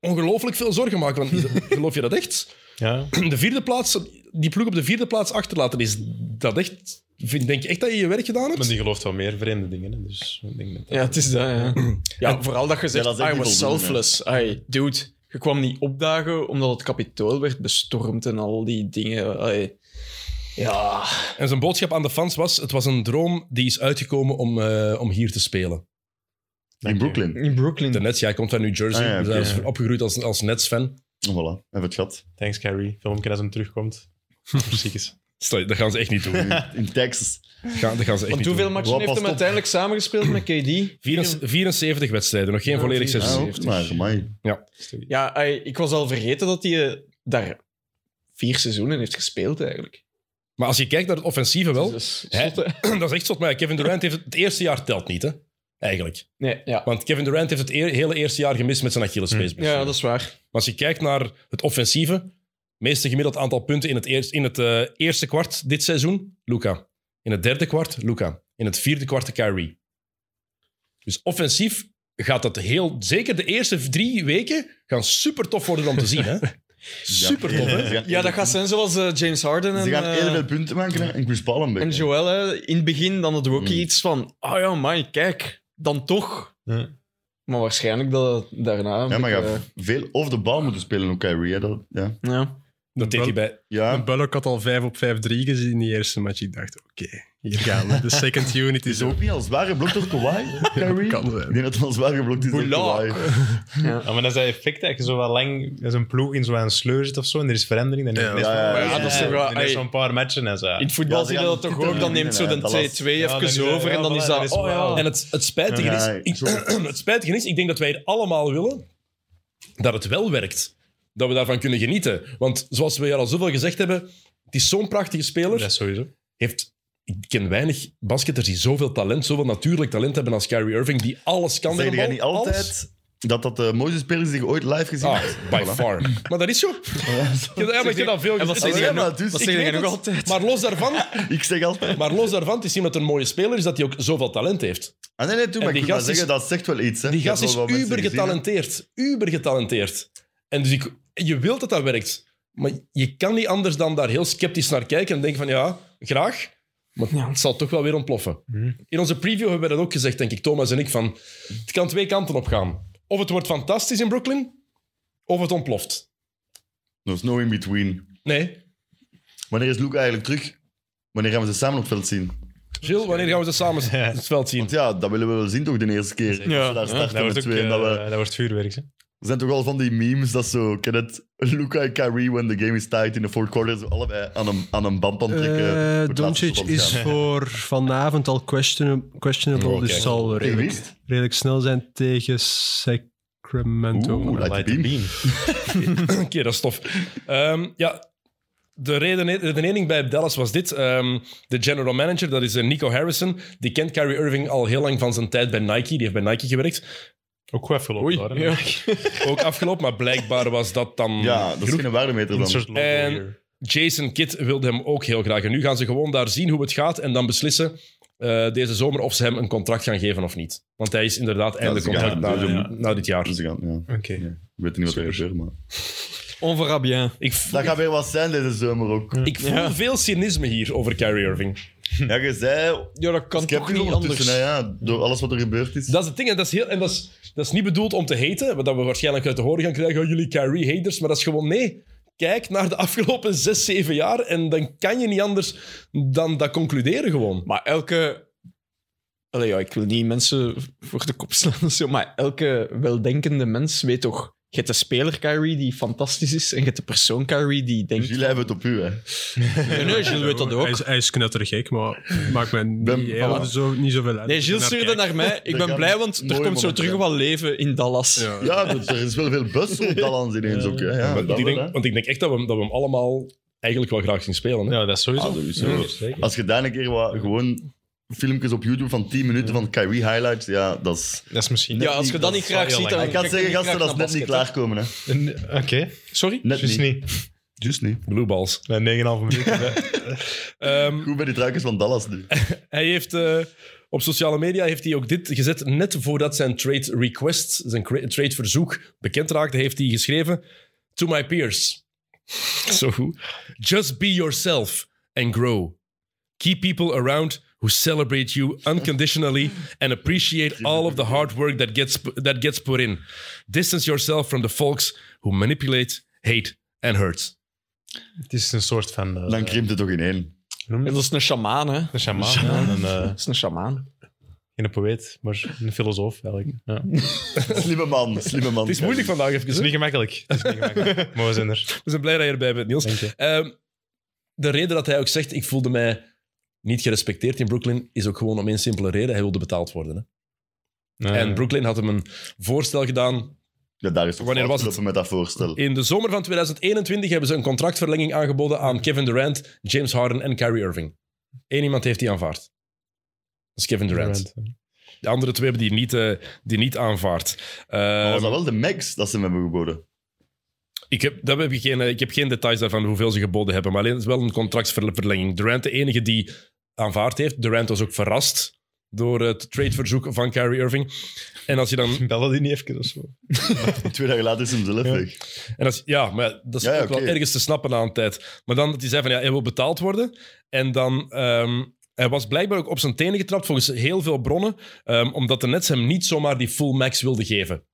ongelooflijk veel zorgen maken. Want geloof je dat echt?
Ja.
De vierde plaats, die ploeg op de vierde plaats achterlaten, is dat echt... vind- Denk je echt dat je je werk gedaan hebt?
Maar die gelooft wel meer vreemde dingen. Hè. Dus ik denk dat...
Ja, het is dat, ja. ja vooral dat je
Ja,
zegt,
dat is echt
I
niet
was
voldoende,
selfless. Ai, dude, je kwam niet opdagen omdat het kapitool werd bestormd en al die dingen. Ai. Ja.
En zijn boodschap aan de fans was: het was een droom die is uitgekomen om, eh, om hier te spelen.
In Brooklyn.
In Brooklyn.
De Nets, ja, hij komt van New Jersey.
Ah, ja,
dus
oké.
hij is opgegroeid als, als Nets-fan.
Oh, voilà, even het gat.
Thanks, Carrie. Filmpje als hem terugkomt. [laughs] Ziek is.
Stel je, Dat gaan ze echt niet
[laughs]
doen. Dat
In, in Texas.
gaan, dat gaan ze echt
Want
niet
hoeveel
doen.
matchen
Wat
heeft
past
hem
op?
uiteindelijk samengespeeld met KD?
74 74 wedstrijden, nog geen volledig
vier-
Ah,
seizoen.
ook maar, amai.
Ja, ai, ik was al vergeten dat hij eh, daar vier seizoenen heeft gespeeld eigenlijk.
Maar als je kijkt naar het offensieve wel,
Dus,
Hè?
zot,
[clears throat]
hè?
dat is echt zot. Maar ja, Kevin Durant heeft het, het eerste jaar telt niet, hè? Eigenlijk.
Nee, ja.
Want Kevin Durant heeft het eer- hele eerste jaar gemist met zijn Achillespees.
Ja, dat is waar.
Maar als je kijkt naar het offensieve, meeste gemiddeld aantal punten in het, eerst, in het eh, eerste kwart dit seizoen, Luca. In het derde kwart, Luca. In het vierde kwart, Kyrie. Dus offensief gaat dat heel... Zeker de eerste drie weken gaan super tof worden om te zien. Hè? Super tof,
Ze
hè?
[laughs] gaan heel
Ja, dat gaat zijn zoals eh, James Harden en...
Ze gaan heel
eh,
veel punten maken hè, Hmm. en Chris Paul een
En
beetje.
Joel, hè, in het begin dan hadden we ook iets van... Ah ja, man, kijk, dan toch.
Ja.
Maar waarschijnlijk dat het daarna. een
Ja, maar je
beetje,
gaat veel over de bal moeten spelen, ook Kyrie. hè, dat- Ja.
eh, ja.
Dat deed hij bij...
ja.
En Bullock had al 5 op 5-3 gezien in die eerste match. Ik dacht, oké, hier gaan we. De second unit is
Is er [laughs]
ook
ook niet al zwaar geblokt door Kawhi, [laughs] Kyrie?
kan zijn.
Ik denk dat het al zwaar geblokt is door
Boulak.
Kawhi.
Ja, maar dat is dat effect dat je zo wel lang als een ploeg in zo'n sleur zit of zo en er is verandering. Dan
Ja,
is
ja, ja,
van,
ja,
ja, dat is toch wel-
dan is
ey.
zo'n paar matchen en zo.
In het voetbal
Ja,
zie je
die
dat
gaan
toch
niet
ook? Dan
zitten,
neemt zo
hè.
de
Dat
2-2
was-
even
Ja, dan is-
over en
ja,
dan is
voilà,
dat...
is
Oh ja,
wel-
En het, het, spijtige
Ja,
is, ik,
sorry.
[clears throat] het spijtige is, ik denk dat wij hier allemaal willen dat het wel werkt. Dat we daarvan kunnen genieten. Want zoals we hier al zoveel gezegd hebben, het is zo'n prachtige speler.
Dat is sowieso.
Heeft, ik ken weinig basketters die zoveel talent, zoveel natuurlijk talent hebben als Kyrie Irving, die alles kan. met
Zeg
een
jij
bal.
niet altijd dat dat eh, de mooiste speler is die je ooit live gezien
Ah,
hebt?
by far. Maar dat is
[laughs]
zo. Ja, maar ik heb dat veel
En wat
gezien.
zeg
Ja,
jij
maar
nog-
dus
wat
ik
zeg jij nog
weet het.
altijd?
Maar los daarvan,
Ik zeg altijd...
maar los daarvan het is iemand een mooie speler is dat hij ook zoveel talent heeft.
Ah, nee, nee, toe,
En
maar
die
ik wil maar
gast is-
zeggen, dat zegt wel iets. Hè.
Die
Ik heb
gast
wel
is
wat mensen
uber
gezien, hè.
getalenteerd. Uber getalenteerd. En dus ik, je wilt dat dat werkt. Maar je kan niet anders dan daar heel sceptisch naar kijken en denken van ja, graag. Maar het zal toch wel weer ontploffen.
Mhm.
In onze preview hebben we dat ook gezegd, denk ik, Thomas en ik, van het kan twee kanten op gaan. Of het wordt fantastisch in Brooklyn, of het ontploft.
There's no in between.
Nee.
Wanneer is Luke eigenlijk terug? Wanneer gaan we ze samen op het veld zien?
Gilles, wanneer gaan we ze
[laughs]
samen het veld zien?
Want ja, dat willen we wel zien toch de eerste keer.
Ja.
Als we daar
Ja,
starten
Dat
met
wordt, ook,
twee. en dat
eh,
we...
dat wordt vuurwerk. Hè.
Er zijn toch al van die memes dat zo... Ken het? Luca en Kyrie when the game is tied in the fourth quarter. Zo allebei aan een, aan een band aan het trekken. Voor het
Eh
laatste
Doncic
verband
is
gaan.
voor vanavond al question- questionable,
Oh, kijk.
dus zal wel
Tegen wie
redelijk,
is het?
redelijk snel zijn tegen Sacramento.
Oeh,
vanavond.
Light
Light
the beam.
beam.
Oké, dat is tof. Ehm, ja, de reden- de redenering bij Dallas was dit. Ehm, de general manager, dat is eh, Nico Harrison, die kent Kyrie Irving al heel lang van zijn tijd bij Nike. Die heeft bij Nike gewerkt.
Ook goed afgelopen.
Oei,
hoor, hè.
ja.
Ook afgelopen, maar blijkbaar was dat dan...
Ja, dat is geen waardemeter
Een
dan.
soort logo
En-
hier.
Jason Kidd wilde hem ook heel graag. En nu gaan ze gewoon daar zien hoe het gaat en dan beslissen eh, deze zomer of ze hem een contract gaan geven of niet. Want hij is inderdaad eindelijk
ze gaan
contract na,
het doen,
na- na dit jaar.
Dus ze gaan, ja.
Oké.
Ik weet niet wat er gebeurt, maar...
On verra bien.
Ik, voel-
Dat gaat weer wat zijn deze zomer ook.
ik voel
Ja.
veel cynisme hier over Kyrie Irving.
Ja, je zei...
Ja, dat kan
Dus Ik heb
toch
hier
niet anders.
ondertussen, hè, ja, door alles wat er gebeurd is.
Dat is het ding, en dat is, heel, en dat is, dat is niet bedoeld om te heten, wat we waarschijnlijk uit te horen gaan krijgen, oh, jullie Kyrie-haters, maar dat is gewoon nee. Kijk naar de afgelopen zes, zeven jaar en dan kan je niet anders dan dat concluderen gewoon.
Maar elke... Allee, ja, ik wil niet mensen voor de kop slaan of zo, maar elke weldenkende mens weet toch... Je hebt de speler Kyrie die fantastisch is en je hebt de persoon Kyrie die denkt...
Jullie hebben het op u, hè.
Nee, nee, Gilles weet dat
Hij
ook.
is, hij is knettergek, maar maakt mij niet,
Ben-
heel-
voilà.
zo, niet zoveel uit.
Nee, Gilles
Naar
stuurde
kijken.
naar mij. Ik
Er
ben
kan
blij, want er
mooi
komt zo
moment
terug
zijn.
wat leven in Dallas.
Ja.
Ja, dus er is wel veel bus op Dallas ineens ook, hè. Ja,
want,
dat
ik
wel,
denk,
hè.
want ik denk echt dat we, hem- dat we hem allemaal eigenlijk wel graag zien spelen. Hè?
Ja, dat is sowieso.
Ah, sowieso.
Ja, zeker.
Als je daar een keer wat, gewoon filmpjes op YouTube van 10 minuten van Kyrie highlights, ja, dat is...
Dat is misschien...
Ja, als je dat niet graag
heel
ziet,
lang.
dan
Ik had
kijk
zeggen,
je niet
gasten, dat
graag
is
naar
net niet
basket, hè.
klaarkomen, hè.
eh, Oké,
Sorry?
Net
dus
niet.
niet.
Just niet.
Blue balls.
Met 9,5
[laughs]
minuten.
Ehm,
Goed bij die truikers van Dallas nu.
Hij heeft eh, op sociale media heeft hij ook dit gezet. Net voordat zijn trade request, zijn cra- trade verzoek bekend raakte, heeft hij geschreven: To my peers. [laughs] Zo goed. Just be yourself and grow. Keep people around who celebrate you unconditionally and appreciate all of the hard work that gets that gets put in. Distance yourself from the folks who manipulate, hate and hurt.
Het is een soort van... eh,
Dan krimpt het toch in één.
hoe noem je
Dat
dat?
is een shamaan, hè.
Een shaman. ja, Een, eh,
Dat is een shamaan.
geen poëet, maar een filosoof eigenlijk. Ja. Het
Slimme man, slimme man.
Het is moeilijk vandaag even. dus
is
hè?
niet gemakkelijk. Het is niet
[laughs]
gemakkelijk. maar we zijn er.
We zijn blij dat je erbij bent, Niels.
Dank je.
Ehm, de reden dat hij ook zegt, ik voelde mij niet gerespecteerd in Brooklyn, is ook gewoon om één simpele reden. Hij wilde betaald worden. Hè? En
Eh,
Brooklyn had hem een voorstel gedaan.
Ja, daar is toch
Wanneer was
afgelopen met dat voorstel.
In de zomer van 2021 hebben ze een contractverlenging aangeboden aan Kevin Durant, James Harden en Kyrie Irving. Eén iemand heeft die aanvaard. Dat is Kevin Durant. De andere twee hebben die niet, eh, die niet aanvaard.
Maar
Ehm,
was dat wel de max dat ze hem hebben geboden?
Ik heb, dat heb ik, geen, eh, ik heb geen details daarvan hoeveel ze geboden hebben, maar alleen het is wel een contractverlenging. Durant de enige die aanvaard heeft. Durant was ook verrast door het tradeverzoek van Kyrie Irving. En als je dan...
Bellen die niet even of zo?
Twee dagen later is hem zelf weg.
En als, ja, maar dat is
Ja, ja,
ook
oké.
wel ergens te snappen aan tijd. Maar dan dat hij zei van, ja, hij wil betaald worden. En dan ehm, Hij was blijkbaar ook op zijn tenen getrapt, volgens heel veel bronnen, ehm, omdat de Nets hem niet zomaar die full max wilden geven.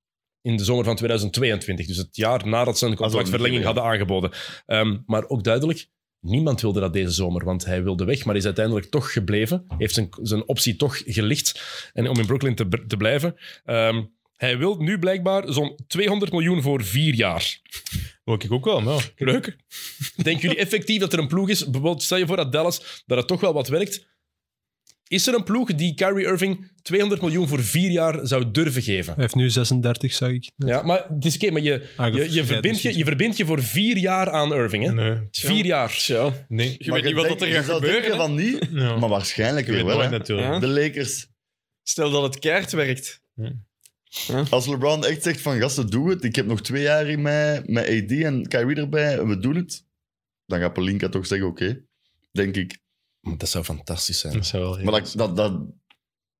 In de zomer van 2022, dus het jaar nadat
Ah,
ze een contractverlenging
niet, ja.
hadden aangeboden. Ehm, maar ook duidelijk, niemand wilde dat deze zomer, want hij wilde weg, maar is uiteindelijk toch gebleven. Heeft zijn, zijn optie toch gelicht en om in Brooklyn te, br- te blijven. Ehm, hij wil nu blijkbaar zo'n 200 miljoen voor vier jaar.
Wil ik ook wel, maar ja.
Leuk. Denken jullie effectief dat er een ploeg is? Bijvoorbeeld, stel je voor dat Dallas, dat het toch wel wat werkt. Is er een ploeg die Kyrie Irving 200 miljoen voor vier jaar zou durven geven?
Hij heeft nu 36, zag ik.
Ja, maar het is oké, maar je,
Ah,
je, je,
ja,
verbindt je,
misschien.
je verbindt je voor vier jaar aan Irving, hè?
Nee.
Vier jaar.
Tja.
eh, Nee.
Je weet niet wat dat er gaat gebeuren. hè.
van niet,
Ja.
maar waarschijnlijk
Je
weer
weet
wel.
nooit
hè.
natuurlijk.
Ja.
De Lakers.
Stel dat het keert werkt.
Als LeBron echt zegt van gasten, doe het. Ik heb nog twee jaar in mij met AD en Kyrie erbij en we doen het. Dan gaat Pelinka toch zeggen oké. Denk ik.
Dat zou fantastisch zijn.
Dat zou wel heel-
Maar dat, dat, dat,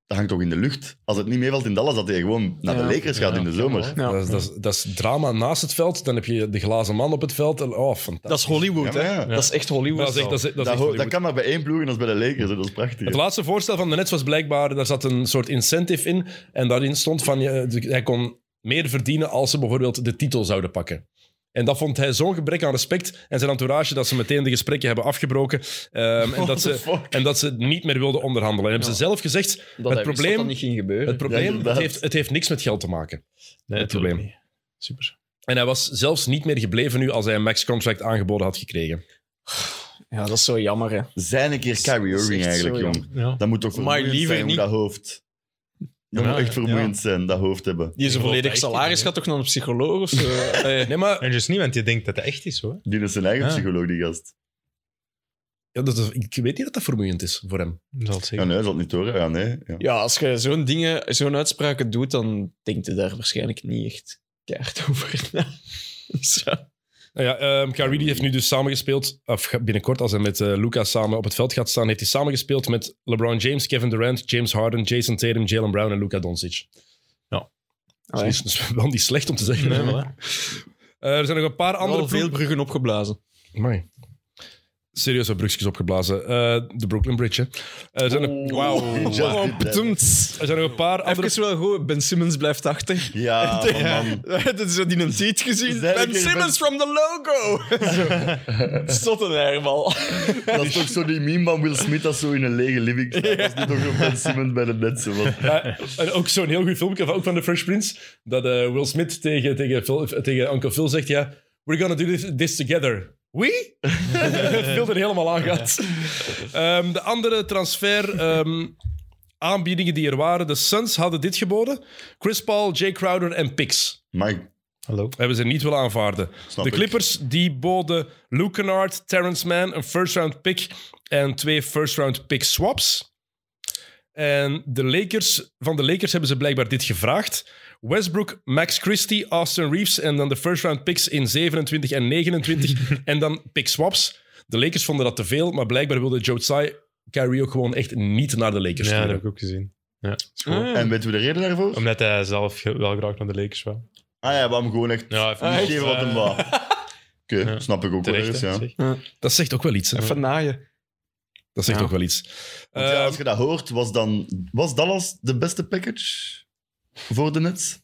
dat hangt toch in de lucht. Als het niet meevalt in Dallas, dat hij gewoon naar
Ja.
de Lakers gaat
Ja,
in de
ja,
zomer.
wel.
Ja.
Dat, is, dat, is, dat is drama naast het veld. Dan heb je de glazen man op het veld. Oh, fantastisch.
Dat is Hollywood,
Ja,
hè?
maar ja.
Dat is echt Hollywood.
Dat is echt- dat is- dat is
Dat,
echt
ho-
Hollywood.
dat kan maar bij één ploeg en dat is bij de Lakers. hè. Dat is prachtig. hè.
Het laatste voorstel van de Nets was blijkbaar, daar zat een soort incentive in. En daarin stond van, je- de- hij kon meer verdienen als ze bijvoorbeeld de titel zouden pakken. En dat vond hij zo'n gebrek aan respect en zijn entourage dat ze meteen de gesprekken hebben afgebroken. ehm, en, dat ze, en dat ze niet meer wilden onderhandelen. En hebben ze zelf gezegd,
Dat
het
hij wist dat dat
probleem,
niet ging gebeuren.
het, probleem het,
inderdaad.
heeft, het heeft niks met geld te maken.
Nee,
het
natuurlijk
probleem.
niet. Super.
En hij was zelfs niet meer gebleven nu als hij een max-contract aangeboden had gekregen.
Ja, dat is zo jammer, hè.
Zijn een keer Kyrie
Dat is
Irving
echt
eigenlijk,
zo,
jong.
Ja.
Dat moet toch
Maar
vermoeiend
liever
zijn, hoe
niet.
dat hoofd. Dat
Ja,
moet echt
ja.
vermoeiend zijn, dat hoofd hebben.
Die zijn
geloof
volledig
dat echt
salaris
niet,
gaat toch naar een psycholoog of
[laughs]
zo? Ah, Allee.
Nee, maar
En dus niet, want je denkt dat het echt is, hoor.
Die is zijn eigen
Ja.
psycholoog, die gast.
ja, dat is- ik weet niet dat dat vermoeiend is voor hem.
Dat zal het
Ja,
zeker.
nee, hij zal het niet horen. Ja, nee. Ja.
Ja, als je zo'n dingen, zo'n uitspraken doet, dan denkt je daar waarschijnlijk niet echt keihard over [laughs] na. Zo.
Nou ja, ehm Kyrie die heeft nu dus samengespeeld, of ga- binnenkort als hij met eh Luca samen op het veld gaat staan, heeft hij samengespeeld met LeBron James, Kevin Durant, James Harden, Jason Tatum, Jalen Brown en Luca Doncic.
Allee.
Dus [laughs] dat is wel niet slecht om te zeggen.
Nee, voilà.
Eh, er zijn nog een paar andere
Al veel
ploegen-
bruggen opgeblazen.
Amai. Serieus wat brugjes opgeblazen. Eh, de Brooklyn Bridge, hè. Eh, er, zijn nog-
[laughs] Wow.
Wow, bedoemd.
er zijn nog een paar andere...
Even wel goed, Ben Simmons blijft achter.
Ja, van man.
[laughs] Dat is zo die een tweet gezien.
Zij-
Ben
ik-
Simmons from the
[laughs]
logo! Stot een herbal.
Dat is toch zo die meme van Will Smith dat zo in een lege living staat. Dat is nu toch zo Ben Simmons bij de Netsen. want-
Ja, en ook zo'n heel goed filmpje, van, ook van de Fresh Prince, dat eh, Will Smith tegen, tegen, Phil- tegen Uncle Phil zegt, ja, we're gonna do this, this together. We? [laughs] Phil er helemaal aan gaat. Ehm, de andere transfer... ehm, aanbiedingen die er waren. De Suns hadden dit geboden. Chris Paul, Jay Crowder en Picks.
Maar
Hallo.
Hebben ze niet willen aanvaarden.
Snap
de
ik.
Clippers die boden Luke Kennard, Terrence Mann, een first-round pick en twee first-round pick swaps. En de Lakers, van de Lakers hebben ze blijkbaar dit gevraagd. Westbrook, Max Christie, Austin Reeves en dan de first-round picks in 27 en 29 en dan pick swaps. De Lakers vonden dat te veel, maar blijkbaar wilde Joe Tsai Kyrie ook gewoon echt niet naar de Lakers
Ja, dat
sturen.
heb ik ook gezien. Ja.
en weten we de reden daarvoor?
Omdat hij zelf ge- wel graag naar de Lakers wou.
Ah ja, waarom gewoon echt
Ja, eh.
niet geven wat hem wou.
[laughs]
Oké,
Ja.
snap ik ook wel
Terecht,
eens, ja.
hè,
Want
zeg.
Dat zegt ook wel iets. hè.
Even naaien.
Dat zegt
Ja.
ook wel iets.
ja,
Ehm.
Eh,
als je dat hoort, was, dan, was Dallas de beste package voor de Nets?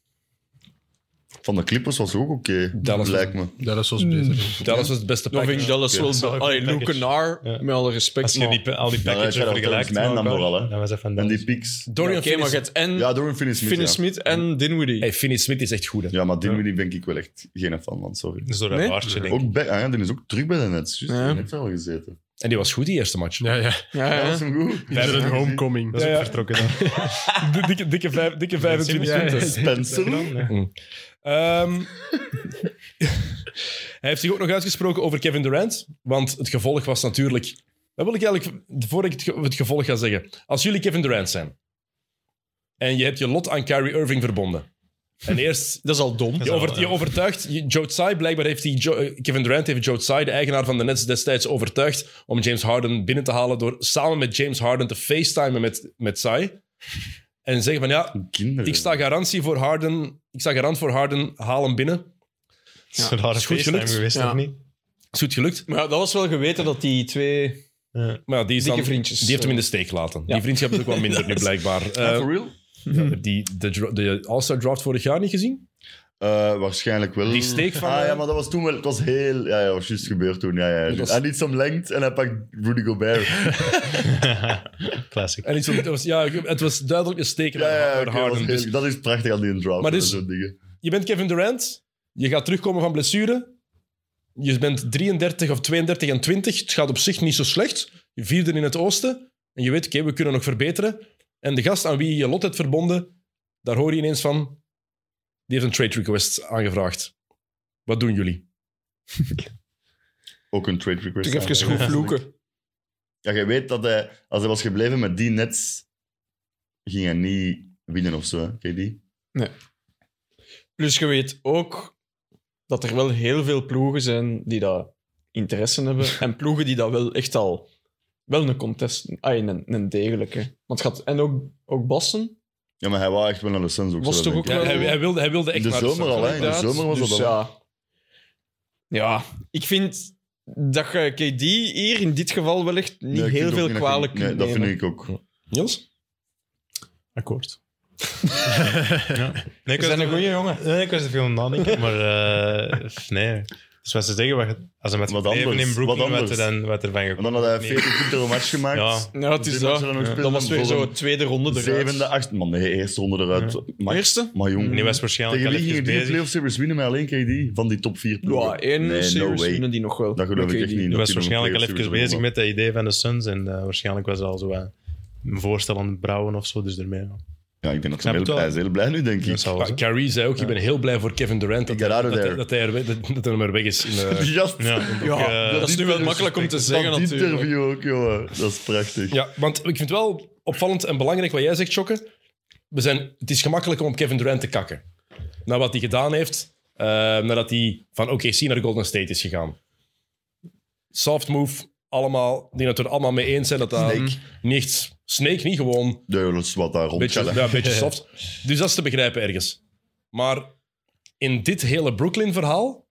Van de Clippers was ook oké,
Dallas was-
lijkt me.
Dat is ons beter.
Dallas was het beste
Dan vind ik
package.
Dallas
Oké.
Dat is wel
wel...
een
Allee,
goed
Luke
package.
Naar,
Ja.
met alle respect.
Als je
maar-
die, al die
Ja, dat
packages
gaat over
vergelijkt,
Terrence Mann dan
elkaar,
vooral, hè.
dan was dat van
En
Dallas.
die picks.
Dorian
Oké, maar je
Finney-Smith.
hebt en
Ja, door een finish
Finney
ja.
Smith en Dinwiddie.
Hey, Finney-Smith is echt goed. hè.
Ja, maar Dinwiddie ben ik wel echt geen fan van, sorry.
Zo dat
Nee?
baardje, denk ik.
Ook bij, ah ja, die is ook terug bij de Nets. Juist,
Ja.
die heeft wel gezeten.
En die was goed, die eerste match.
Ja, ja.
Ja,
Ja,
ja.
was hem goed.
Is
[laughs]
er een homecoming?
Dat is
Ja,
ook
ja.
vertrokken dan.
dikke, dikke, dikke
Ah. [laughs] Ja, ja.
Spencer.
Ehm, [laughs] hij heeft zich ook nog uitgesproken over Kevin Durant. Want het gevolg was natuurlijk. Dat wil ik eigenlijk, voor ik het, ge- het gevolg ga zeggen. Als jullie Kevin Durant zijn. en je hebt je lot aan Kyrie Irving verbonden. en eerst.
[laughs] Dat is al dom.
Je, over- je overtuigt. je- Joe Tsai, blijkbaar heeft die. Jo- eh, Kevin Durant heeft Joe Tsai, de eigenaar van de Nets, destijds overtuigd. om James Harden binnen te halen. door samen met James Harden te facetimen met, met Tsai. En zeggen van ja,
Kinderen.
ik sta garantie voor Harden. Ik sta garant voor Harden. Haal hem binnen.
Dat is een rare
Is goed
feesttime
gelukt.
geweest,
Ja.
of niet? [laughs]
Is goed gelukt.
Maar ja, dat was wel geweten dat die twee
Maar ja, die, is
Dikke
dan-
vriendjes.
die heeft hem in de
eh,
steek gelaten. Die vriendschap is ook wel
[laughs]
minder nu blijkbaar. Eh,
for real?
heb die de, dra- de All-Star Draft vorig jaar niet gezien?
Eh, waarschijnlijk wel.
Die steek van,
Ah
eh,
ja, maar dat was toen wel... Het was heel... Ja, ja, was juist gebeurd toen. Ja, ja.
Dat was-
En iets om lengte en hij pakt Rudy
[laughs]
Gobert.
Classic.
En iets van- het was, ja, het was duidelijk een steek naar,
Ja, ja,
naar
oké, dat was
Harden.
heel-
Dus
dat is prachtig aan die draft.
Maar
Maar
dus-
zo'n dingen.
je bent Kevin Durant, je gaat terugkomen van blessure. Je bent 33 of 32 en 20. Het gaat op zich niet zo slecht. Je vierde in het oosten. En je weet, oké, we kunnen nog verbeteren. En de gast aan wie je je lot hebt verbonden, daar hoor je ineens van, die heeft een trade request aangevraagd. Wat doen jullie?
Ook een trade request.
Terug even
aanleggen.
goed vloeken.
Ja, jij weet dat hij, als hij was gebleven met die nets, ging hij niet winnen of zo, hè, KD.
Plus Dus je weet ook dat er wel heel veel ploegen zijn die daar interesse hebben.
[laughs]
En ploegen die dat wel echt al... Wel een contest. Ah, een, een degelijke. Want het gaat, en ook, ook Boston.
Ja, maar hij wou echt wel naar de Suns ook.
Was
zo,
toch
denk
ook
Ja,
ik.
wel-
hij, hij wilde, hij wilde echt
In
naar
de zomer
Suns.
al, hè? In de
Inderdaad.
zomer was
Dus
dat al.
ja. ja, ik vind dat je KD hier in dit geval wel echt niet
Nee, ik
heel
vind ook
veel
niet dat je-
kwalijk
Nee,
kunt
dat vind
nemen.
ik ook.
Niels?
Akkoord. Nee, ik
We
was
zijn een
er-
goeie jongen.
Nee, ik was er veel aan het nadenken, maar eh, [laughs] nee. Dus wat ze zeggen, wat, je- als ze met
Wat
leven
anders,
in Brooklyn,
wat
wat, er
anders.
dan, wat er van
En
gekomen
dan had hij
Nee.
40 punten een match gemaakt.
Ja.
Ja, het is
Die
dat.
matchen dan ook
Dat
spelen,
was weer
dan
zo'n
volgen.
tweede ronde eruit.
Zevende, achtste. Man, nee, eerste ronde eruit. Maar,
Eerste?
maar jong,
Die was waarschijnlijk
tegen wie
al
gingen die
even
de
bezig.
playoff series winnen met alleen KD van die top 4
Ja, één
nee,
series
no way.
winnen die nog wel.
Dat geloof
Met
ik
KD.
echt niet.
Die was
nog
waarschijnlijk al
een
even
playoff
bezig
series
met dat idee van de Suns en eh, waarschijnlijk was er al zo wat een voorstel aan het brouwen of zo, dus daarmee. ja.
Ja, ik denk dat
snap
hij heel,
het wel.
hij is heel blij nu, denk
Dat
ik.
zal wel
[laughs]
Maar
zijn.
Ah, Carrie zei ook, ik ben heel blij voor Kevin Durant dat,
Get out of
dat,
there.
dat hij er weg- dat, dat hij er maar weg is. In,
[laughs]
eh,
Die gast.
Ja, ik
Ja,
ook, eh,
dat is nu wel makkelijk om te zeggen
dat
natuurlijk.
interview ook, jongen. Dat is prachtig.
Ja, want ik vind het wel opvallend en belangrijk wat jij zegt, Chokke. We zijn, het is gemakkelijk om op Kevin Durant te kakken. Na wat hij gedaan heeft, eh, nadat hij van OKC naar Golden State is gegaan. Soft move, allemaal. Ik denk dat we er allemaal mee eens zijn dat dat
Snake.
niet echt- Snake, niet gewoon. Een
Ja, dat is wat daar
beetje,
rondschellen.
ja, een beetje soft. Dus dat is te begrijpen ergens. Maar in dit hele Brooklyn-verhaal,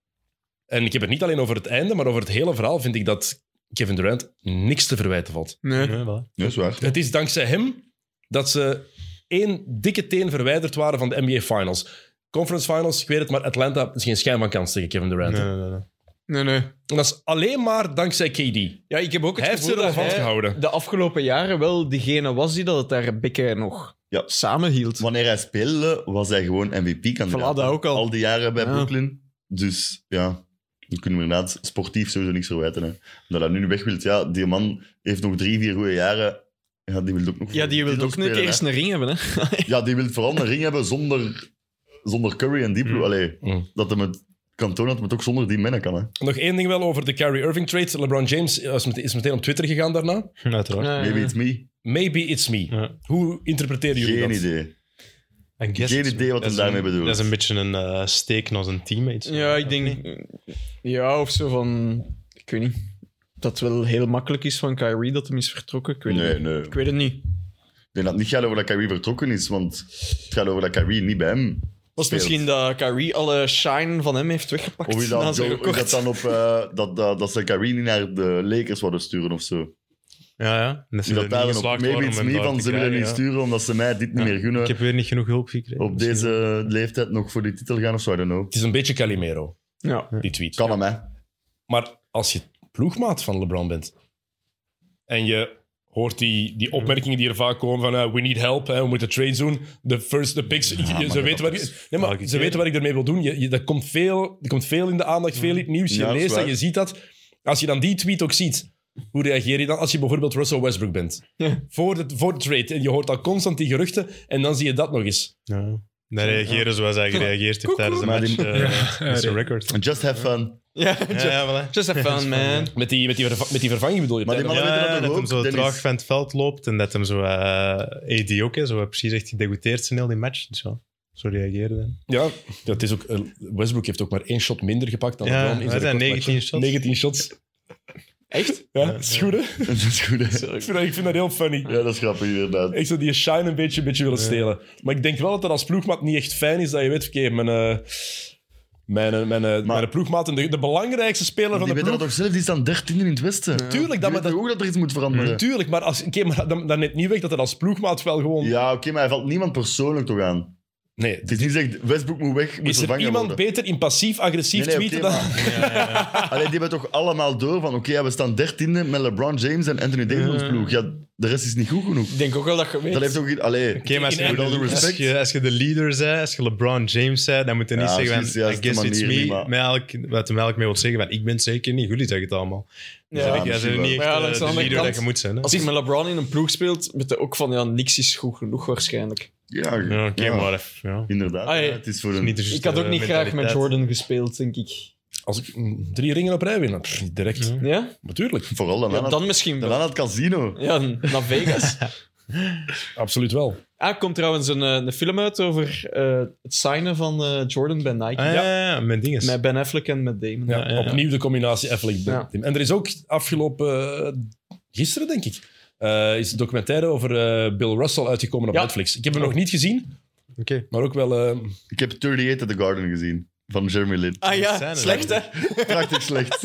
en ik heb het niet alleen over het einde, maar over het hele verhaal, vind ik dat Kevin Durant niks te verwijten valt.
Nee.
nee, voilà.
Ja, is waar.
Het is dankzij hem dat ze één dikke teen verwijderd waren van de NBA Finals. Conference Finals, ik weet het, maar Atlanta is geen schijn van kans tegen Kevin Durant.
Nee, nee, nee, nee.
Nee, nee.
En dat is alleen maar dankzij KD.
Ja, ik heb ook het
Hij heeft ze
gevoel
er al
dat hij
vastgehouden.
de afgelopen jaren wel degene was die dat het daar Bekke nog
Ja.
samenhield.
Wanneer hij speelde, was hij gewoon MVP-kandidaat.
Voilà, dat ook al.
Al die jaren bij
Ja.
Brooklyn. Dus ja, dan kunnen we inderdaad sportief sowieso niks verwijten. Hè. Dat hij nu weg wilt, ja, die man heeft nog drie, vier goede jaren. Ja, die wil ook nog
Ja, die wil
titel
ook een
spelen,
keer een ring hebben. Hè?
hè. Ja, die wil vooral een ring hebben zonder, zonder Curry en Deep Blue. Allee,
Mm.
dat hij het kan tonen dat hij het ook zonder die mannen kan. Hè.
Nog één ding wel over de Kyrie Irving trade. LeBron James eh, is met- is meteen op Twitter gegaan daarna.
Uiteraard.
Maybe it's me.
Maybe it's me.
Ja.
Hoe interpreteren jullie
Geen
dat?
idee.
I guess
Geen
it's-
idee wat
dat
hij
is
daarmee
een-
bedoelt.
Dat is een beetje een eh, steek naar zijn teammates.
Ja, ik denk... Ja, of zo van... Ik weet niet. Dat het wel heel makkelijk is van Kyrie dat hem is vertrokken. Ik weet, het
Nee,
niet.
nee.
Ik weet het niet.
Ik denk dat het niet gaat over dat Kyrie vertrokken is, want het gaat over dat Kyrie niet bij hem
Was het
speelt.
misschien dat Kyrie alle shine van hem heeft weggepakt?
Of
[laughs]
is
na
dat,
zijn
zo- is
record?
dat dan op eh, dat, dat, dat ze Kyrie niet naar de Lakers wilden sturen of zo?
Ja, ja. En Dat
Is
ze
dat
er
daar
niet
dan op?
geslaagd
Maybe
waren
it's
om hem
me,
daar
van
te
ze willen
krijgen,
niet
ja.
sturen omdat ze mij dit niet meer gunnen.
Ik heb weer niet genoeg hulp gekregen.
Op
misschien.
deze leeftijd nog voor die titel gaan of zo, I don't know.
Het is een beetje Calimero,
Ja.
die tweet.
Kan hem, hè?
Maar als je ploegmaat van LeBron bent en je hoort die, die opmerkingen die er vaak komen van eh, we need help, hè, we moeten trades doen, the first, the picks, je-
maar
ze,
dat
weten, waar,
is
ik- nee, maar
elke
ze
keer.
weten wat ik ermee wil doen. Je, je- dat komt veel, er komt veel in de aandacht, veel in het nieuws, je
Ja, dat is
leest dat,
waar.
je ziet dat. Als je dan die tweet ook ziet, hoe reageer je dan als je bijvoorbeeld Russell Westbrook bent?
Ja.
Voor, de, voor de trade, en je hoort al constant die geruchten, en dan zie je dat nog eens.
Ja. Daar reageren zoals hij gereageerd heeft tijdens de
Maar
match.
die-
eh, met zijn record.
Just have fun.
Ja, just,
Ja, voilà.
just have fun, man.
Met die, met die, verva- met die vervanging bedoel je?
Maar die
Tyler-
mannen
Ja,
weten dat
dat,
toch
hem
ook,
zo
Dennis?
traag van het veld loopt en dat hem zo eh AD ook is. Zo precies echt gedegoteerd zijn heel die match. Dus ja, zo reageerde hij.
Ja, dat is ook, eh, Westbrook heeft ook maar één shot minder gepakt dan
Ja,
LeBron. in
maar
zijn
dat zijn
recordmatch.
19
19
shots.
shots.
Echt?
Ja, dat is goed, hè? Ik
[laughs] Dat is goed, hè?
vind dat, ik vind dat heel funny.
Ja, dat is grappig, inderdaad.
Ik zou die shine een beetje, een beetje willen stelen. Maar ik denk wel dat dat als ploegmaat niet echt fijn is dat je weet, oké, mijn, eh, Mijn, mijn, mijn,
Maar-
ploegmaat en de, de belangrijkste speler van
Die
de
weten dat
ploeg.
toch zelf, die staan dertiende in het Westen. Die
Tuurlijk, dat, maar
weten
dat,
ook dat er iets moet veranderen.
tuurlijk, maar, als, oké, maar dan, dan neemt niet weg dat het als ploegmaat wel gewoon...
Mm.
Ja, oké, maar hij valt niemand persoonlijk toch aan.
Nee,
Het is niet gezegd, Westbrook moet weg, moet
is er
vervangen
iemand
worden.
beter in passief-agressief
Nee, nee,
tweeten
oké,
dan...
maar-
[laughs]
Allee, die hebben toch allemaal door van, oké, ja, we staan dertiende met LeBron James en Anthony Davis in ons ploeg. Ja, de rest is niet goed genoeg.
Ik denk ook wel dat je weet.
Dat heeft ook geen... Allee,
Oké, maar als
In
je,
all due
als,
respect.
je, als je de leader bent, als je LeBron James bent, dan moet je niet
Ja,
zeggen,
precies,
van,
ja,
I
dat is de
guess it's
manier
me,
niet, maar-
met elk, wat hem elk mee wil zeggen, van, ik ben het zeker niet, jullie zeggen het allemaal. Dus
Ja,
ja, jij
misschien
bent niet echt
wel. Maar ja,
eh,
langs de
de
andere
leader
kant,
dat je moet zijn. Hè?
Als je met LeBron in een ploeg speelt, weet je ook van ja, niks is goed genoeg waarschijnlijk.
ja,
Ja, Oké,
ja,
maar eh, ja.
Inderdaad,
Allee,
ja, het is voor
is
een...
niet Dus de
ik
juiste
had ook niet graag met
mentaliteit.
Jordan gespeeld, denk ik.
Als ik mm, drie ringen op rij win, dan, pff, direct.
Ja.
Ja?
Natuurlijk,
Vooral dan,
ja
aan,
dan misschien
dan
wel.
aan het casino.
Ja, naar Vegas.
absoluut wel.
ah, er komt trouwens een, eh, een film uit over eh, het signen van eh, Jordan bij Nike.
Ah, ja, ja, ja, met dinges.
Met Ben Affleck en met Damon.
Ja,
Ja, ja, ja.
Opnieuw de combinatie Affleck
Ja.
Team. En er is ook afgelopen eh, gisteren, denk ik, eh, is een documentaire over eh, Bill Russell uitgekomen op
Ja.
Netflix. Ik heb hem nog niet gezien,
Oké.
maar ook wel. eh,
Ik heb 38 at the Garden gezien, van Jeremy Lin.
Ah ja,
Zijn er
slecht hè?
Prachtig
[laughs]
slecht.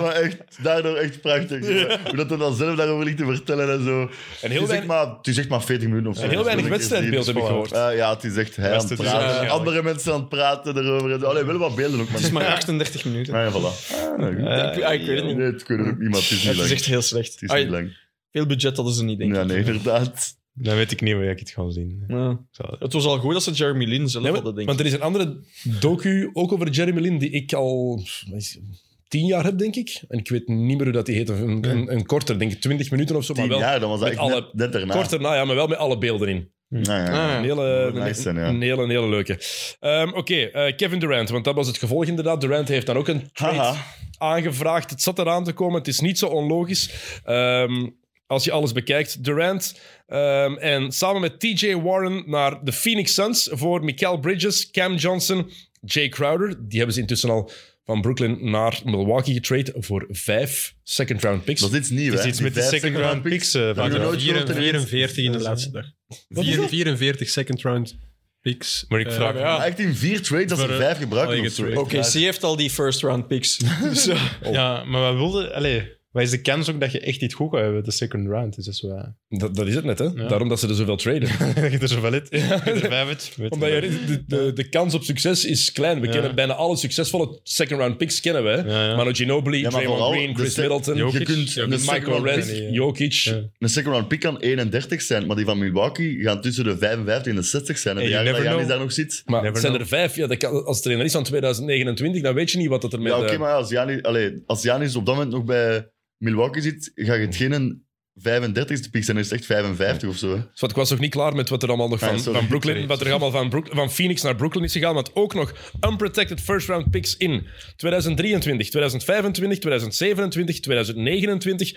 maar echt, daardoor echt prachtig. Hoe dat hij dan zelf daarover ligt te vertellen en zo.
Dus
en heel
Het is, echt
weinig,
maar, het is echt maar 40 minuten of zo.
en heel
Dat is
weinig
moeilijk gezien.
wedstrijdbeeld heb ik gehoord.
Eh, ja, het is echt hij aan
Best
het
het is
praten.
waarschijnlijk.
Andere mensen aan het praten erover. en zo. Allee, wel wat beelden ook, maar...
Het is maar 38 minuten.
Ah, ja, voilà.
Ik- ah, ik weet het niet.
Nee, het kunnen er ook niemand. Het is niet
Het is
lang.
echt heel slecht.
Het is
Ah,
niet lang.
Veel budget hadden ze niet, denk ik.
Ja, nee, inderdaad.
Dan weet ik niet waar ik het ga zien.
Ja.
Zo.
Het was al goed dat ze Jeremy Lin zelf
Nee,
hadden, denk ik.
want er is een andere docu, ook over Jeremy Lin, die ik al wat is het, tien jaar heb, denk ik. En ik weet niet meer hoe dat die heet. Een, een, een korter, denk ik, twintig minuten of zo. Maar
Tien
wel
jaar, dan was dat
met
echt
alle-
net, net daarna.
korter, nou ja, maar wel met alle beelden in.
Nou, ja.
Ah,
Een
ja.
hele,
Nice
een-
zijn, ja.
een hele, een hele leuke. Ehm, Oké, eh, Kevin Durant, want dat was het gevolg inderdaad. Durant heeft dan ook een trade
Haha.
aangevraagd. Het zat eraan te komen, het is niet zo onlogisch. Ehm, als je alles bekijkt. Durant ehm, en samen met TJ Warren naar de Phoenix Suns voor Mikael Bridges, Cam Johnson, Jay Crowder. Die hebben ze intussen al van Brooklyn naar Milwaukee getrade voor vijf second round picks.
Dat is iets nieuws,
Het
hè.
is iets
Die
met de
vijf
second round picks. eh,
heb
van
ik nog
jou.
nooit gehoord, hè.
44 in de laatste dag.
Wat is dat?
44 second round picks.
Maar ik
Eh,
vraag me
Maar echt in vier trades, dat ze
Voor, eh,
vijf gebruiken.
eigen
of zo.
trade.
Oké, ze heeft al die first round picks. Dus, eh,
Ja, maar wat wilde... Allee, wat is de kans ook dat je echt iets goed gaat hebben de second round? Is dat zo... eh,
Dat, dat is het net, hè? Daarom dat ze er zoveel traden.
[laughs] dat je er zoveel uit... dat je er vijf uit- weet
Omdat
je
je,
wel.
de, de, de kans op succes is klein. We
Ja.
kennen bijna alle succesvolle second round picks kennen we. hè.
Ja, ja.
Manu Ginobili,
maar
Draymond
vooral
Green,
de
Chris
sec-
Middleton,
Je
Jokic,
kunt
ja,
een
Michael
Michael
second round
Red,
pick-
Red,
Jokic.
Ja.
Een second round pick kan 31 zijn, maar die van Milwaukee gaan tussen de 55 en de 60 zijn. En
Hey,
de jaren
you
dat
never
Giannis daar
know.
nog zit...
Maar
Never
zijn
know.
er vijf? Ja, dat kan, als trainer is van 2029, dan weet je niet wat dat er met...
Ja, oké,
eh,
maar als Janis, allee, als Giannis op dat moment nog bij Milwaukee zit, ga je het geen 35ste pick zijn, dan is het echt 55 of zo. hè.
Dus wat, ik was nog niet klaar met wat er allemaal nog van,
Ah, sorry.
van Brooklyn... Wat er allemaal van, Brook- van Phoenix naar Brooklyn is gegaan. Want ook nog unprotected first round picks in 2023, 2025, 2027, 2029.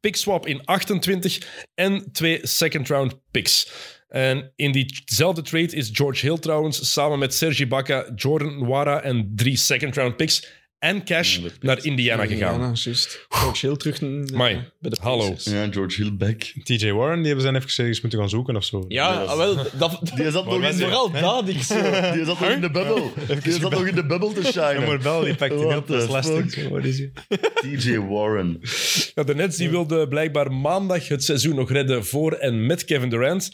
Pick swap in 28 en twee second round picks. En in diezelfde trade is George Hill trouwens samen met Sergi Baca, Jordan Nwara en drie second round picks en cash naar Indiana gegaan.
Ja, nou, juist. George Hill terug n-
Amai.
bij de
Hallo.
Pacers.
Ja, George Hillback.
TJ Warren, die hebben zijn even serieus moeten gaan zoeken of zo.
Ja, ah, wel, [laughs] dat,
Die zat nog in
was
de,
vooral dat. Ik [laughs] zo.
die zat nog in de bubbel. Die zat nog in de bubbel te
Ja, maar
shinen.
wel, die pakt die
What
op, dat is
the
lastig. Wat is die?
TJ Warren.
Ja, de Nets die wilden blijkbaar maandag het seizoen nog redden voor en met Kevin Durant.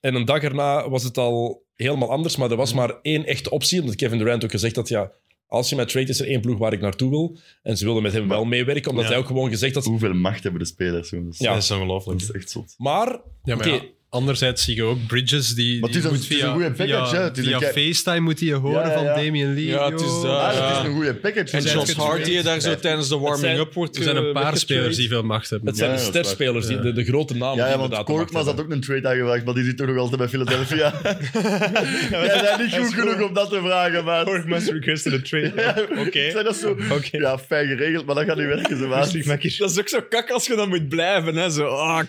En een dag erna was het al helemaal anders, maar er was maar één echte optie. Omdat Kevin Durant ook gezegd had, ja, als je mij trade is er één ploeg waar ik naartoe wil. En ze wilden met hem wel meewerken, omdat
Ja.
hij ook gewoon gezegd had...
Hoeveel macht hebben de spelers, jongens?
Ja.
Dat is ongelooflijk.
Dat is echt zot.
Maar,
Ja, maar
oké,
ja, anderzijds zie je ook Bridges die,
Maar het is
die
een-
moet
het is een
via,
goede package, hè.
via,
Het is een
via
kei-
FaceTime moet hij je horen
Ja, ja, ja.
van Damian Lee.
Ja, het is
joh.
dat.
Ah,
Ja.
eh,
het is een goede package.
En
zijn
Josh
het
Hart die daar zo tijdens de warming-up wordt
Er zijn een
eh,
paar
weggetraind.
spelers die veel macht hebben.
het zijn
Ja,
de
dat is waar.
sterspelers, die,
Ja.
de, de grote namen die
Ja, ja, want
inderdaad de macht
Korkmaz had
hebben.
ook een trade aangevraagd, maar die zit toch nog altijd bij Philadelphia.
[laughs]
Jij bent niet goed genoeg om dat te vragen, maar... [laughs]
Kork must request a trade.
Ik
Oké.
zei dat zo...
Oké.
Ja, fijn geregeld, maar dat gaat niet werken, ze maat.
Rustig, makkie.
Dat is ook zo kak als je dan moet blijven. Hè? Zo, ah,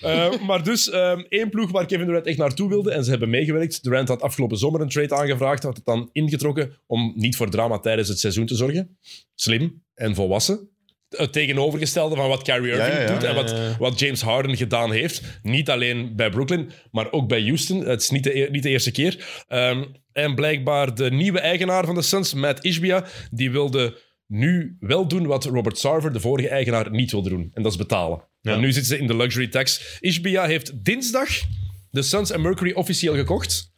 Eh, maar dus ehm, één ploeg waar Kevin Durant echt naartoe wilde en ze hebben meegewerkt. Durant had afgelopen zomer een trade aangevraagd, had het dan ingetrokken om niet voor drama tijdens het seizoen te zorgen. Slim en volwassen. het tegenovergestelde van wat Kyrie Irving
Ja, ja, ja.
doet en wat, wat James Harden gedaan heeft. Niet alleen bij Brooklyn, maar ook bij Houston. Het is niet de, e- niet de eerste keer. Ehm, en blijkbaar de nieuwe eigenaar van de Suns, Matt Ishbia, die wilde nu wel doen wat Robert Sarver, de vorige eigenaar, niet wilde doen. En dat is betalen. Want nu zitten ze in de luxury tax. Ishbia heeft dinsdag de Suns en Mercury officieel gekocht.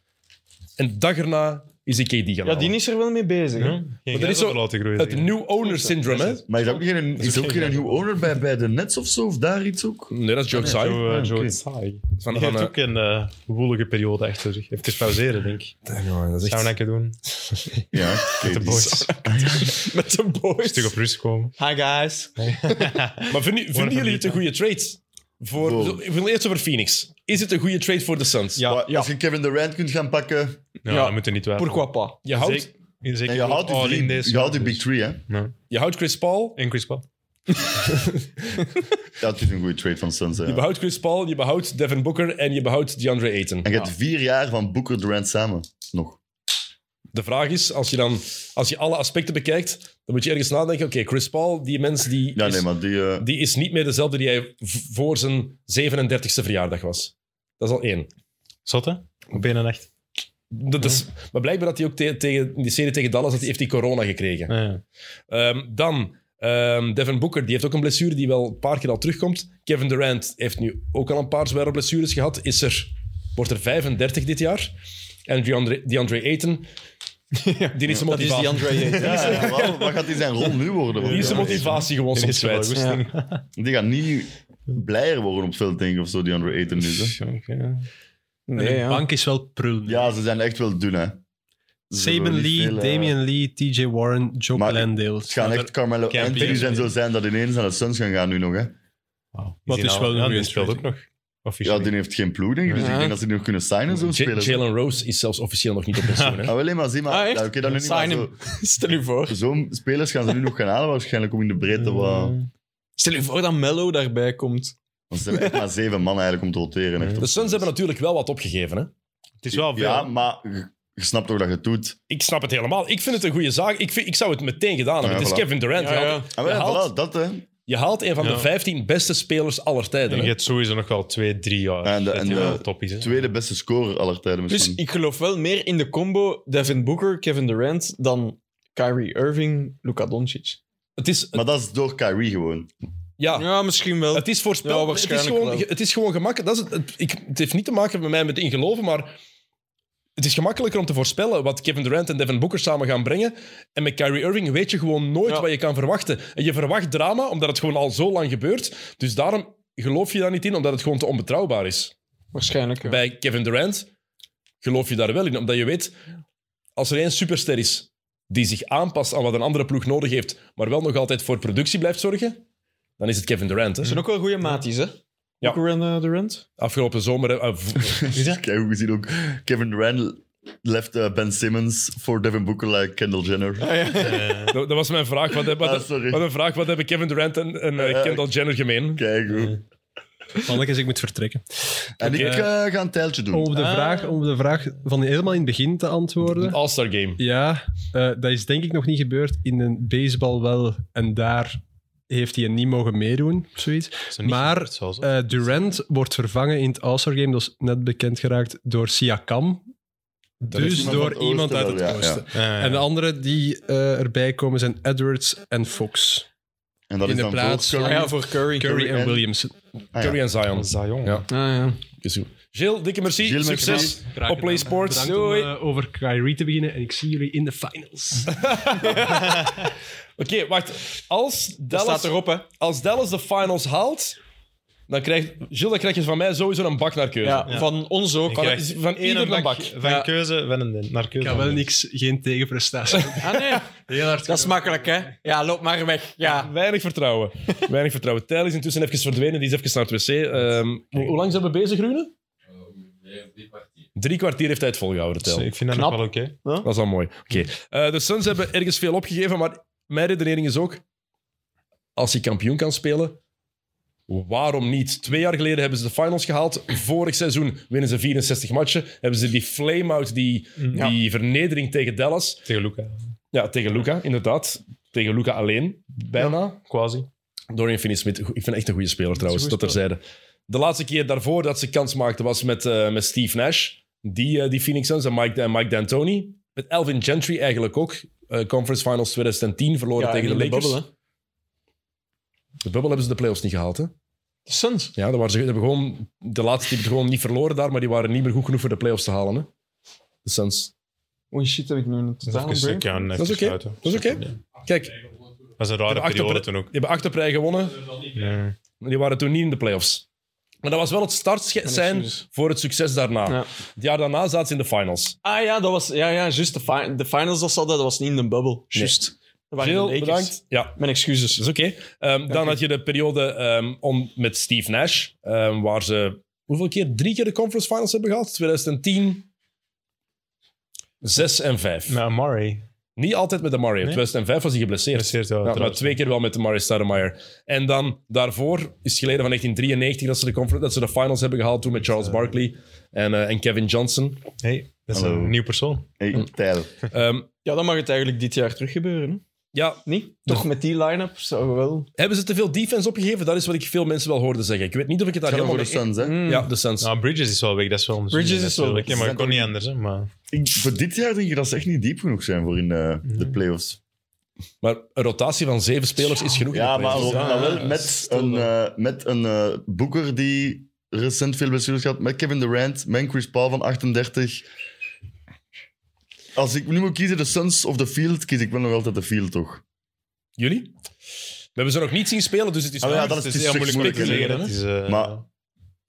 En dag erna is hij KD gaan
Ja,
halen.
die is er wel mee bezig. hè.
Want er is zo het new owner syndrome, hè?
Maar is er ook geen, is er ook geen nieuwe owner bij, bij de Nets of zo? Of daar iets ook?
Nee, dat is Joe Tsai.
Joe,
Ah,
eh, Joe
oké.
Tsai.
Van,
Die
van,
heeft
eh,
ook een eh, woelige periode achter zich. Heeft dus pauzeren, denk ik.
dat is
Gaan we een keer doen.
Ja, oké,
De
die-
boys.
[laughs] met de
Stuk op
boys.
rust komen.
Hi guys.
Maar vinden, vinden jullie het een goede trade? Voor,
Wow.
Ik wil eerst over Phoenix. Is het een goede trade voor de Suns?
Ja,
Maar
ja.
Als je Kevin Durant kunt gaan pakken
Ja,
Ja.
dat moet er niet wel.
Pourquoi pas?
Je houdt,
en je houdt die, drie- je houdt die big three, hè?
je houdt Chris Paul,
En Chris Paul.
Ja, het is een goede trade van Suns. hè,
je
ja.
behoudt Chris Paul, je behoudt Devin Booker en je behoudt DeAndre Ayton.
En je hebt vier jaar van Booker Durant samen. Nog.
De vraag is, als je, dan, als je alle aspecten bekijkt, dan moet je ergens nadenken, oké, Chris Paul, die mens, die,
Ja,
is,
nee, maar die... eh,
die is niet meer dezelfde die hij v- voor zijn 37e verjaardag was. Dat is al één.
Zotte? Op één en echt.
Dat is,
Mhm.
maar blijkbaar dat hij ook te- tegen in die serie tegen Dallas dat hij, heeft hij corona gekregen.
Ja.
Ehm, dan ehm, Devin Booker, die heeft ook een blessure die wel een paar keer al terugkomt. Kevin Durant heeft nu ook al een paar zware blessures gehad. Is er, wordt er 35 dit jaar. En DeAndre, DeAndre
[laughs]
Ayton, die is zijn
Dat is die
motivatie,
Andre Ayton. [laughs]
ja, ja, wat, wat gaat die zijn rol nu worden?
die is zijn
Ja.
motivatie gewoon
Die
soms
is wel
kwijt.
goed.
Die gaat niet blijer worden op het veld, denk ik, of zo, die Andre Ayton is. Hè.
Oké.
de
Nee, ja.
bank is wel prul. nu.
Ja, ze zijn echt wel dun, hè. Ze hebben
Saban
niet
Lee,
veel, eh,
Damian Lee, TJ Warren, Joe
Maar-
Landale.
Het gaan echt Carmelo
Campy
Anthony's
is-
en zo zijn dat ineens naar de Suns gaan gaan nu nog, hè.
Wauw.
Wat
Die
is
zijn
wel
al-
een
ja,
goede
Die speelt
trade.
ook nog.
Ja,
Officieel.
die heeft geen ploeg, denk ik. Dus
Ja.
ik denk dat ze die nog kunnen signen, zo'n
Ja-
spelers.
Jalen Rose is zelfs officieel nog niet op
[laughs]
pensioen. hè.
Ah, wel, hè, maar zie maar.
Ah,
ja,
echt?
oké, dan nu niet, maar
Sign
zo-
Stel u voor.
Zo'n spelers gaan ze nu nog gaan halen, waarschijnlijk om in de breedte wat...
Stel u voor dat Mello daarbij komt.
Want ze hebben echt maar zeven mannen eigenlijk om te roteren. Echt.
De Suns hebben natuurlijk wel wat opgegeven. Hè?
Het is wel
Ja,
veel.
maar je, je snapt toch dat je het doet.
Ik snap het helemaal. Ik vind het een goede zaak. Ik, vind- ik zou het meteen gedaan hebben.
Ja,
het is
voilà.
Kevin Durant.
Ja,
Je
ja.
haalt-
Ah,
je
wel,
haalt-
voilà, dat, hè.
Je haalt een van
Ja.
de 15 beste spelers aller tijden.
En
hè.
je hebt sowieso nog wel twee, drie jaar.
En de-
dat
en
die
de
wel top is. hè.
Tweede beste scorer aller tijden
Plus,
misschien.
Dus ik geloof wel meer in de combo Devin Booker, Kevin Durant dan Kyrie Irving, Luka Doncic.
Het is,
Maar dat is door Kyrie gewoon.
ja,
Ah. Ja, misschien wel.
het is
Ja,
voorspelbaar. het, is
waarschijnlijk
gewoon,
wel.
ge- het is gewoon gemakkelijk. Dat is het, het- ik, het heeft niet te maken met mij met in geloven, maar het is gemakkelijker om te voorspellen wat Kevin Durant en Devin Booker samen gaan brengen. En met Kyrie Irving weet je gewoon nooit
Ja.
wat je kan verwachten. En je verwacht drama, omdat het gewoon al zo lang gebeurt. Dus daarom geloof je daar niet in, omdat het gewoon te onbetrouwbaar is.
Waarschijnlijk. ja.
Bij Kevin Durant geloof je daar wel in, omdat je weet, als er één superster is die zich aanpast aan wat een andere ploeg nodig heeft, maar wel nog altijd voor productie blijft zorgen, dan is het Kevin Durant. Hè?
Dat zijn ook wel goede maties, hè?
Ja.
Booker en eh, Durant.
Afgelopen zomer, hè, eh, v-
[laughs] Ik heb ook gezien ook Kevin Durant left eh, Ben Simmons voor Devin Booker like Kendall Jenner.
[laughs] dat, dat was mijn vraag. Wat, hebben-
Ah,
wat,
sorry.
wat een vraag, wat hebben Kevin Durant en, en eh,
Eh,
Kendall Jenner gemeen?
Kijk hoe.
Mannetjes, ik moet vertrekken.
En ik eh, ga een tijltje doen.
Om op, de vraag, om op de vraag van helemaal in het begin te
Een
antwoorden.
All-Star Game.
Ja, eh, dat is denk ik nog niet gebeurd. In een baseball wel. En daar heeft hij niet mogen meedoen, of zoiets.
Zo niet
Maar,
gebeurd, zoals-
Eh, Durant wordt vervangen in het All-Star Game. Dat is net bekend geraakt door Siakam.
is
Dus
iemand
door
van het
iemand
oosten
uit het
wel, ja,
oosten.
Ja, ja.
En de anderen die eh, erbij komen zijn Edwards en Fox.
En dat
in
is
de
Dus dan
plaats
voor
Ah
Curry.
ja, voor Curry.
Curry en
en-
Williams.
Ah, ja.
Curry en Zion.
Zion.
Ja.
Ah, ja.
Is goed. Gilles, dikke merci.
Gilles, merci.
Succes op Play Sports.
Bedankt om eh, over Kyrie te beginnen. En ik zie jullie in de finals.
Oké, wacht. Als
Dat
Dallas
staat erop, hè?
als Dallas de finals haalt, dan krijgt Gilles, dan krijg je van mij sowieso een bak naar keuze.
Ja, van ons ook.
Van,
krijg
van ieder een bak.
Van
Ja.
keuze van een, naar
Ik
keuze.
ga wel niks,
[laughs]
geen tegenprestatie.
Ah, nee.
Heel hard.
Dat is makkelijk, hè? Ja, loop maar weg. Ja.
Weinig vertrouwen. Weinig vertrouwen. Tijl is intussen even verdwenen, die is even naar het wc. Ehm, hoe, hoe lang zijn we bezig, Rune? Drie kwartier heeft hij het volgehouden,
Dus
Tijl.
Ik vind dat
Knap.
nog wel oké.
Dat is al mooi. Oké. Eh, de Suns hebben ergens veel opgegeven, maar mijn redenering is ook: als je kampioen kan spelen, waarom niet? Twee jaar geleden hebben ze de finals gehaald. Vorig seizoen winnen ze 64 matchen. Hebben ze die flame-out, die,
Ja.
die vernedering tegen Dallas.
Tegen Luca.
Ja, tegen Luca, inderdaad. Tegen Luca alleen, bijna.
Quasi.
Dorian Finney-Smith, ik vind hem echt een goede speler trouwens, dat, terzijde. De laatste keer daarvoor dat ze kans maakten was met, eh, met Steve Nash, die, eh, die Phoenix Suns, en Mike, en Mike D'Antoni. Met Elvin Gentry eigenlijk ook. Eh, Conference Finals 2010 verloren
Ja,
tegen de
in
Lakers.
bubbel, hè.
de bubbel hebben ze de playoffs niet gehaald, hè?
De Suns.
Ja, daar waren ze, die hebben gewoon, de laatste die hebben gewoon niet verloren daar, maar die waren niet meer goed genoeg voor de playoffs te halen. Hè? De Suns.
Oh shit, heb ik nu een totale
Even,
break.
ik kan even
Dat is oké.
sluiten.
Dat is oké. Kijk, die
Dat was een rare
hebben, acht op,
periode
rij-
toen
die
ook.
hebben acht op rij gewonnen,
Ja.
maar die waren toen niet in de playoffs. Maar dat was wel het startsein
excuses.
voor het succes daarna.
Ja.
Het jaar daarna zaten ze in de finals.
Ah ja, dat was... Ja, ja, juist. De, fi- de finals dat ze hadden, dat was niet in de bubbel. Juist. Dat waren de
Heel
Lakers.
bedankt. Ja,
Mijn excuses.
dat is oké. Ehm, dan had je de periode ehm, om, met Steve Nash, ehm, waar ze hoeveel keer? Drie keer de conference finals hebben gehad? 2010, 6 en 5.
Maar Amari,
Niet altijd met de Mario.
Nee.
2005 was hij geblesseerd.
interesseert wel.
Ja, maar
trouwens.
twee keer wel met de Mario Stoudemire. En dan daarvoor is het geleden van 1993 dat ze de, confer- dat ze de finals hebben gehaald. Toen met Charles Barkley en, eh, en Kevin [laughs] Johnson.
Hey, dat is
Hallo.
een nieuw persoon.
Hey, Tijl.
Ehm,
Ja, dan mag het eigenlijk dit jaar terug gebeuren. Hè?
ja,
Niet? Toch met die line-up zou wel...
hebben ze te veel defense opgegeven? Dat is wat ik veel mensen wel hoorde zeggen. Ik weet niet of ik het daar
Tijl
helemaal
voor de
mee-
Suns, hè.
Mm.
Ja, de Suns.
Nou, Bridges is wel weg, dat is wel
Bridges is wel
weg.
weg.
maar
Ze
ik kon
zijn
niet
toch-
anders. Hè, maar...
Ik- voor dit jaar denk je dat ze echt niet diep genoeg zijn voor in eh, de playoffs.
Maar een rotatie van zeven spelers is genoeg. in de
Ja, maar,
playoffs.
maar
ja,
wel met
stil
een, eh, met een eh, boeker die recent veel blessures gehad. Met Kevin Durant, met Chris Paul van 38. Als ik nu moet kiezen de Suns of de Field, kies ik wel nog altijd de Field, toch?
Jullie? We hebben ze nog niet zien spelen, dus het is
Ah, ja,
moeilijk.
dat
Het
is- het is
heel
moeilijk
moeilijk
te
speculeren.
Het is, eh,
Maar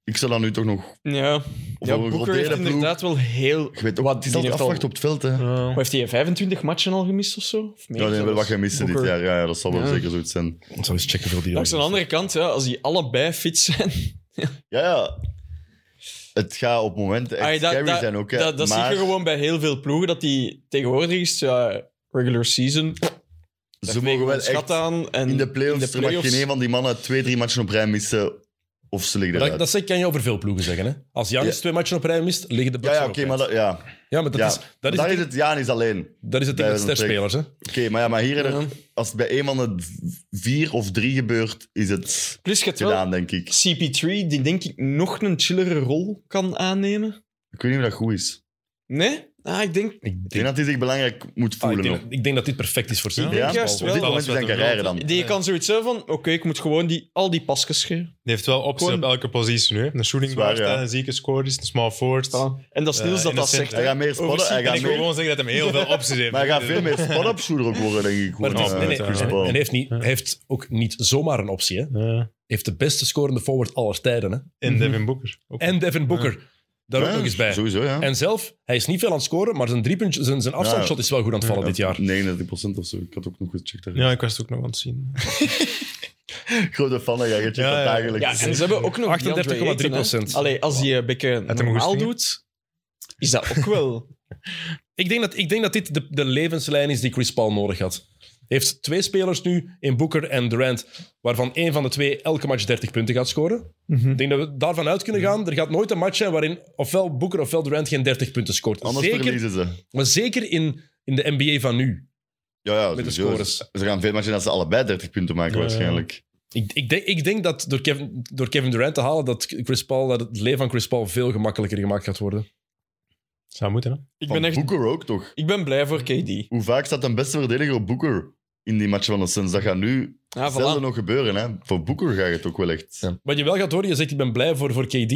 ik zal dan nu toch nog
Ja,
voor
ja
een
Booker
geroteerde
heeft
ploeg-
inderdaad wel heel...
Ik weet ook,
Wat,
het is
die heeft
altijd
al-
afwacht op het veld, hè. Ja,
Hoe heeft hij 25 matchen al gemist of zo? Of meer
die hebben wel wat
zelfs?
gemist dit
Booker.
jaar. Ja, ja, dat zal wel
Ja.
zeker zoiets zijn.
Ik zal eens checken hoeveel die
Langs de
er-
andere kant, ja, als die allebei fit zijn...
Ja, ja. Het gaat op momenten echt
Ai, dat-
scary
dat-
zijn ook, hè.
Dat, dat
maar
zie je gewoon bij heel veel ploegen, dat die tegenwoordig is... Ja, regular season,
ze mogen wel
schat
echt...
aan. En
In de playoffs,
in de
er mag geen een van die mannen twee, drie matchen op rij missen of ze liggen eruit.
Dat, dat zeg- kan je over veel ploegen zeggen. Hè? Als Janis
Ja.
twee matchen op rij mist, liggen de
ja,
Bucks
ja,
er
oké,
ook uit.
maar dat, ja.
Ja, maar dat
ja.
is, dat is,
Daar
het,
is
ding-
het Janis alleen. Oké,
dat is het ding
daar
met
is een
sterspelers. Hè?
maar, ja, maar hier, er-
Ja.
als het bij een van de v- vier of drie gebeurt, is het
Plus, je hebt wel
gedaan, denk ik.
CP3, die denk ik nog een chillere rol kan aannemen.
Ik weet niet of dat goed is.
Nee? Ah, ik denk...
Ik denk dat hij zich belangrijk moet
Ah, ik,
voelen.
denk,
nog.
ik denk dat dit perfect is voor ze.
Ja?
ja,
juist
op
wel.
dit moment is zijn carrière dan.
Die kan zoiets zijn van, oké, ik moet gewoon die, al die pasjes geven.
Die heeft wel opties
Gewoon-
op elke positie nu. hè. Een shooting
Zwaar,
guard,
ja.
hè, een zieke score is, een small forward.
En dat is
Eh,
Niels dat
en
dat
dat
zegt.
zijn-
Hij gaat meer spotten, hij
En
gaat
ik wil
meer,
gewoon zeggen dat hij heel veel
[laughs]
opties heeft.
maar hij gaat veel meer spot-up shooter ook worden, denk ik.
Maar het is-
gewoon,
nee,
eh,
nee,
Chris
en-
Paul.
En heeft, niet, heeft ook niet zomaar een optie. Hè?
Ja.
Heeft de beste scorende forward aller tijden. Hè?
Mhm.
En Devin Booker. Ook.
En Devin Booker. Daar ook
Ja,
nog eens bij.
Sowieso, ja.
En zelf, hij is niet veel aan het scoren, maar zijn, driepunt, zijn, zijn afstandsshot is wel goed aan het vallen dit jaar.
39% of zo. Ik had ook nog gecheckt. daar.
Ja, ik was het ook nog aan het zien.
Grote fan, jij gecheckt dat
Ja, ja.
Ja, en
dagelijks.
ze hebben ook nog die Andre
38,3%.
Ayton, hè. Allee, als die eh, een beetje
hem
normaal
goestingen.
doet, is dat ook
[laughs]
wel...
Ik denk dat, ik denk dat dit de, de levenslijn is die Chris Paul nodig had. Hij heeft twee spelers nu in Booker en Durant, waarvan één van de twee elke match 30 punten gaat scoren. Ik denk dat we daarvan uit kunnen gaan. Er gaat nooit een match zijn waarin ofwel Booker ofwel Durant geen 30 punten scoort.
Anders
Zeker,
verliezen ze.
maar zeker in, in de NBA van nu.
Ja, ja,
Met de
sowieso.
scores.
Ze gaan veel matchen dat ze allebei 30 punten maken,
Ja, ja.
waarschijnlijk.
Ik, ik, denk, ik denk dat door Kevin, door Kevin Durant te halen, dat, Chris Paul, dat het leven van Chris Paul veel gemakkelijker gemaakt gaat worden.
Zou moeten, hè?
Ik
Van
ben, echt,
Booker ook, toch?
ik ben blij voor KD.
Hoe vaak staat een beste verdediger op Booker in die matchen van de Suns? Dat gaat nu
Ja,
zelden
Ah, voilà.
nog gebeuren. Hè? Voor Booker gaat het ook wel echt.
Wat je wel gaat horen, je zegt ik ben blij voor, voor KD.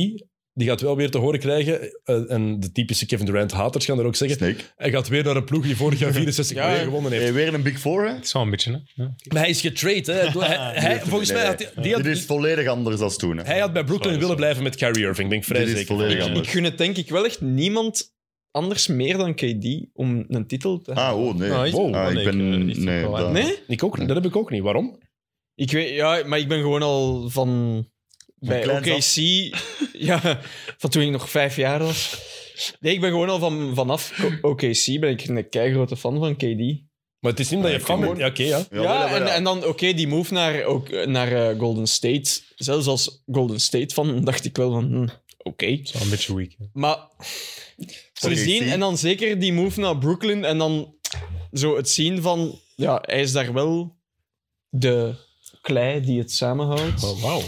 Die gaat wel weer te horen krijgen. eh, en de typische Kevin Durant-haters gaan er ook zeggen.
Snake.
Hij gaat weer naar een ploeg die vorig jaar 64
Ja,
miljoen
ja.
gewonnen heeft.
Hey, weer een Big Four, hè?
Het is wel een beetje, hè? Ja.
Maar hij is getrade, hè. Hij- hij-
heeft
volgens
een-
mij had hij... Die
Dit is
had,
volledig anders dan toen. Hè?
hij had bij Brooklyn
Sorry,
willen blijven
sorry.
met Kyrie Irving, ben ik vrij
Dit is
zeker.
volledig
Ik-
anders.
Ik gun het denk ik wel echt niemand anders meer dan KD om een titel te
Ah, oh nee.
Nou,
Ah, is-
Wow.
ah,
Ah, ik
nee,
ben.
ik, eh, is-
Nee,
wel-
dat-
Nee?
Ik ook, dat heb ik ook niet. Waarom?
Ik weet, ja, maar ik ben gewoon al van bij
kleins af.
OKC, [laughs] ja, van toen ik nog vijf jaar was. Nee, ik ben gewoon al van, vanaf Ko- OKC ben ik een keigrote fan van KD.
Maar het is niet dat je fan bent. Ja, oké, ja.
Ja,
wel, wel,
en, en dan oké, die move naar, ook, eh, naar eh, Golden State. Zelfs als Golden State fan dacht ik wel van, hm, oké.
Het is wel een beetje weak. hè.
Maar sindsdien,
OKC.
en dan zeker die move naar Brooklyn en dan zo het zien van, ja, hij is daar wel de klei die het samenhoudt.
Oh, wauw.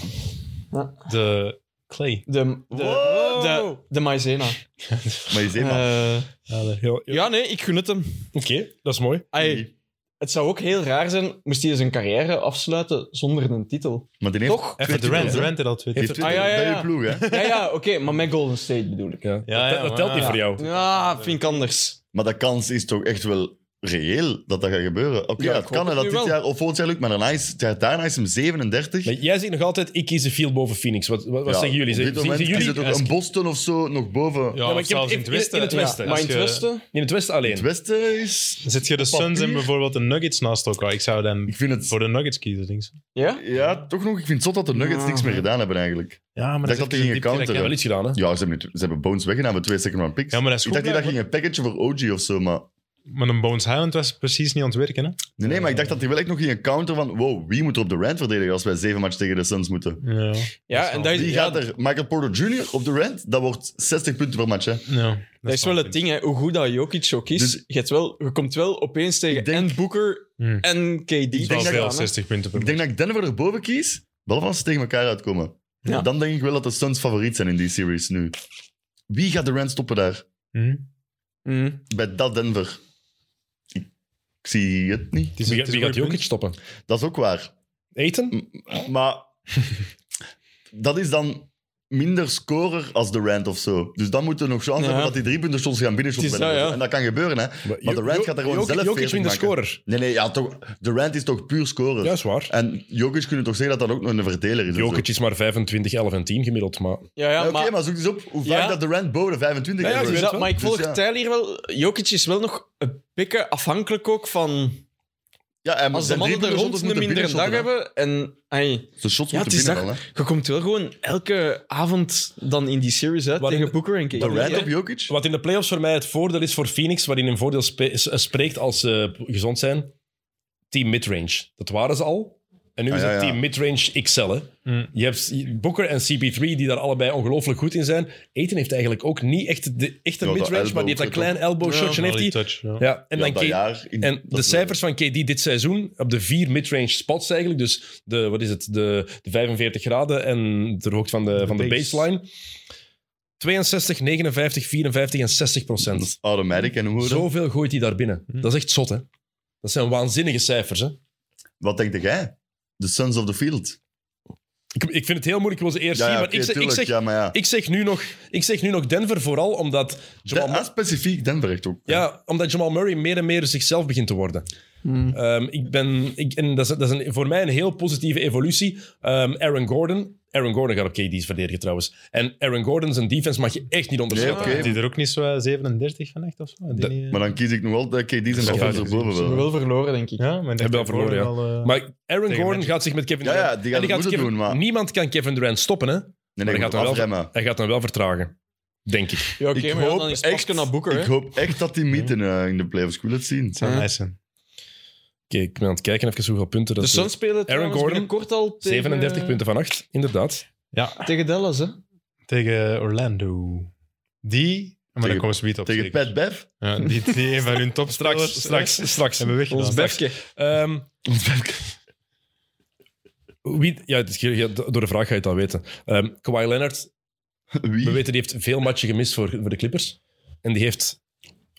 Ja.
De clay.
De, de,
Wow.
de, de maïzena.
Maar je zegt, maar,
Eh,
Heel- ja.
ja, nee, ik gun het hem.
Oké, dat is mooi.
Ai, het zou ook heel raar zijn moest hij zijn carrière afsluiten zonder een titel.
maar die heeft...
Toch?
Even de
Durant,
rent, de
hè?
rent al twee.
Die heeft
Ah, ja, ja,
bij
ja.
je ploeg, hè.
Ja, ja oké, maar met Golden State bedoel ik.
Ja.
Ja,
dat,
ja,
dat telt
maar-
niet voor jou.
Ja, vind ik anders.
Maar de kans is toch echt wel reëel dat dat gaat gebeuren. Oké,
Ja,
ja,
ik
het
hoop
kan hè,
het
dat
nu
dit
wel.
jaar of volgend jaar lukt, maar daarna is, het jaar daarna is hem 37.
Maar jij zegt nog altijd, ik kies de field boven Phoenix. Wat, wat, wat
Ja,
zeggen jullie?
Op dit
Zeggen-
moment
zeggen
is
jullie
het ook een Boston of zo nog boven.
Ja,
maar
of
ik heb
zelfs in
het
het
in-
westen.
in het
Ja,
westen.
maar
als
in het
je-
westen?
in het Westen alleen?
Het Westen is...
Zet je de Suns en
Papier.
bijvoorbeeld de Nuggets naast elkaar? Ik zou dan
Ik vind het...
voor de Nuggets kiezen, denk ik.
Ja?
Ja, toch nog. Ik vind het zot dat de Nuggets
Ja.
niks meer gedaan hebben eigenlijk.
Ja, maar
dat had hij geen counter,
Wel iets gedaan, hè?
Ja, ze hebben, niet- ze hebben Bones weggedaan voor twee second round picks.
Ja, maar dat is
ik
goed
dacht dat ging een package voor OG of zo, maar...
Maar een Bones Highland was precies niet aan het werken, hè?
Nee, nee, maar ik dacht dat hij wel echt nog ging een counter van... Wow, wie moet er op de rand verdedigen als wij zeven match tegen de Suns moeten?
Ja.
Ja, en dat is,
Wie
ja,
gaat er? Michael Porter Jr. op de rand? Dat wordt 60 punten per match, hè.
ja
dat is wel het ding, hè. hoe goed dat Jokic ook is.
Dus-
je, hebt wel, je komt wel opeens tegen
Ik denk-
en Booker
Hmm.
en KD.
Ik
denk dat-
veel, 60 punten per
Ik denk dat ik Denver erboven kies, behalve als ze tegen elkaar uitkomen.
Ja.
Dan denk ik wel dat de Suns favoriet zijn in die series nu. Wie gaat de Rand stoppen daar?
match. Hm?
Hmm.
Bij dat Denver. Ik, ik zie het niet.
Het is-
Wie,
het is
wie
een
gaat
goed
Jokic stoppen?
Dat is ook waar.
Eten?
Maar dat is dan minder scorer als de Rand of zo. Dus dan moeten we nog chance
Ja.
hebben dat die drie punten soms gaan binnenshotten.
Het is
bij
dat,
Denver.
ja.
En dat kan gebeuren, hè. Maar de
Jo-
Rand gaat er gewoon
Jokic-
zelf
Jokic wint
40
de
maken.
scorer.
Nee, nee, ja, toch, de Rand is toch puur scorer.
Ja, is waar.
En Jokic kunnen toch zeggen dat dat ook nog een verdeler is. of zo.
Jokic is maar 25, 11 en 10 gemiddeld, maar...
Ja, ja,
Ja, Oké,
maar,
maar zoek eens op hoe vaak
Ja.
dat de Rand boven de 25
Ja, ja,
is.
ik
dus
weet
dat-
wel.
maar ik
Dus
volg
ja.
Tijl hier wel. Jokic is wel nog een pikken afhankelijk ook van...
Ja, en
Als de
zijn
mannen er
driepunten
rond
moeten
een mindere dag
binnenshotten, hè.
hebben en... ai,
De shots
Ja, het is
moeten binnen
dat.
wel, hè.
Je komt wel gewoon elke avond dan in die series uit
Waarin-
tegen Booker en KD.
De Rand
hè.
op Jokic?
Wat in de playoffs voor mij het voordeel is voor Phoenix, waarin een voordeel spe- s- eh, spreekt als ze gezond zijn, team midrange. Dat waren ze al. En nu
Ah,
is
ja,
het
ja.
team midrange XL. Hè.
Mm.
Je hebt Booker en CP3 die daar allebei ongelooflijk goed in zijn. Eten heeft eigenlijk ook niet echt de echte
Ja, dat
midrange, maar die heeft dat
elbow
klein elbow shotje.
Wel
heeft die.
die touch, ja.
Ja, en
Ja,
dan
dat
K-
jaar in-
En de
dat-
cijfers van KD dit seizoen op de vier midrange spots eigenlijk, dus de, wat is het, de, de 45 graden en de hoogte van de, van de
base.
baseline. 62, 59, 54 en 60
Dat
procent.
is Hm. automatic en hoe dan?
Zoveel gooit hij daar binnen. Dat is echt zot, hè? Dat zijn waanzinnige cijfers, hè?
Wat denk jij? De Sons of the Field.
Ik, ik vind het heel moeilijk, ik wil ze eerst
Ja,
zien,
ja,
maar
oké,
ik, zeg, ik,
tuurlijk,
zeg,
ja, maar ja.
ik, zeg nu nog, ik zeg nu nog Denver vooral omdat Jamal,
Den- ah, specifiek Denver echt ook.
ja, omdat Jamal Murray meer en meer zichzelf begint te worden.
Hmm.
Ehm, ik ben, ik, en dat is, dat is een, voor mij een heel positieve evolutie. Ehm, Aaron Gordon. Aaron Gordon gaat op KD's verdedigen trouwens. En Aaron Gordon, zijn defense mag je echt niet
Nee,
onderschatten.
oké.
Had die er ook niet zo eh, 37 van echt of zo? Had die
Dat-
niet, eh?
Maar dan kies ik nog altijd KD zijn
Ja,
offense
ja,
erboven
We hebben
wel.
wel verloren, denk ik.
ja, maar ik
Hebben
denk
we al
dat
verloren,
Gordon
ja.
al, eh,
Maar Aaron
Tegen
Gordon
Magic.
gaat zich met Kevin
Ja,
Durant...
ja, die gaat
en
het moeten
Kevin-
doen, maar-
Niemand kan Kevin Durant stoppen, hè.
Nee,
Maar
nee,
dan gaat
gaat
hij wel-
afremmen.
Hij gaat hem wel vertragen, denk ik.
Ja, oké,
Ik
maar ja,
hoop
dan is
echt-
Paske naar Booker,
Ik
hè.
hoop echt dat die meeten eh, in de playoffs. Ik wil het zien.
het zou
Ja.
nice zijn.
Oké, ik ben aan het kijken even hoeveel punten dat
De Suns spelen trouwens
Gordon,
binnenkort al tegen... eh,
37 punten van 8, inderdaad.
Ja,
Tegen Dallas, hè.
tegen Orlando. Die... Maar
Tegen-
dan komen ze weer op.
Tegen
zeker.
Pat Bev. [laughs]
Ja, die, die een van hun topspelers.
Straks, straks, straks.
Hebben we weggedaan.
Ons
Straks.
Befke. Ehm,
Ons Befke.
wie, ja, het is- ja, door de vraag ga je het al weten. Ehm Kawhi Leonard, We
Wie?
weten, die heeft veel matchen gemist voor, voor de Clippers. En die heeft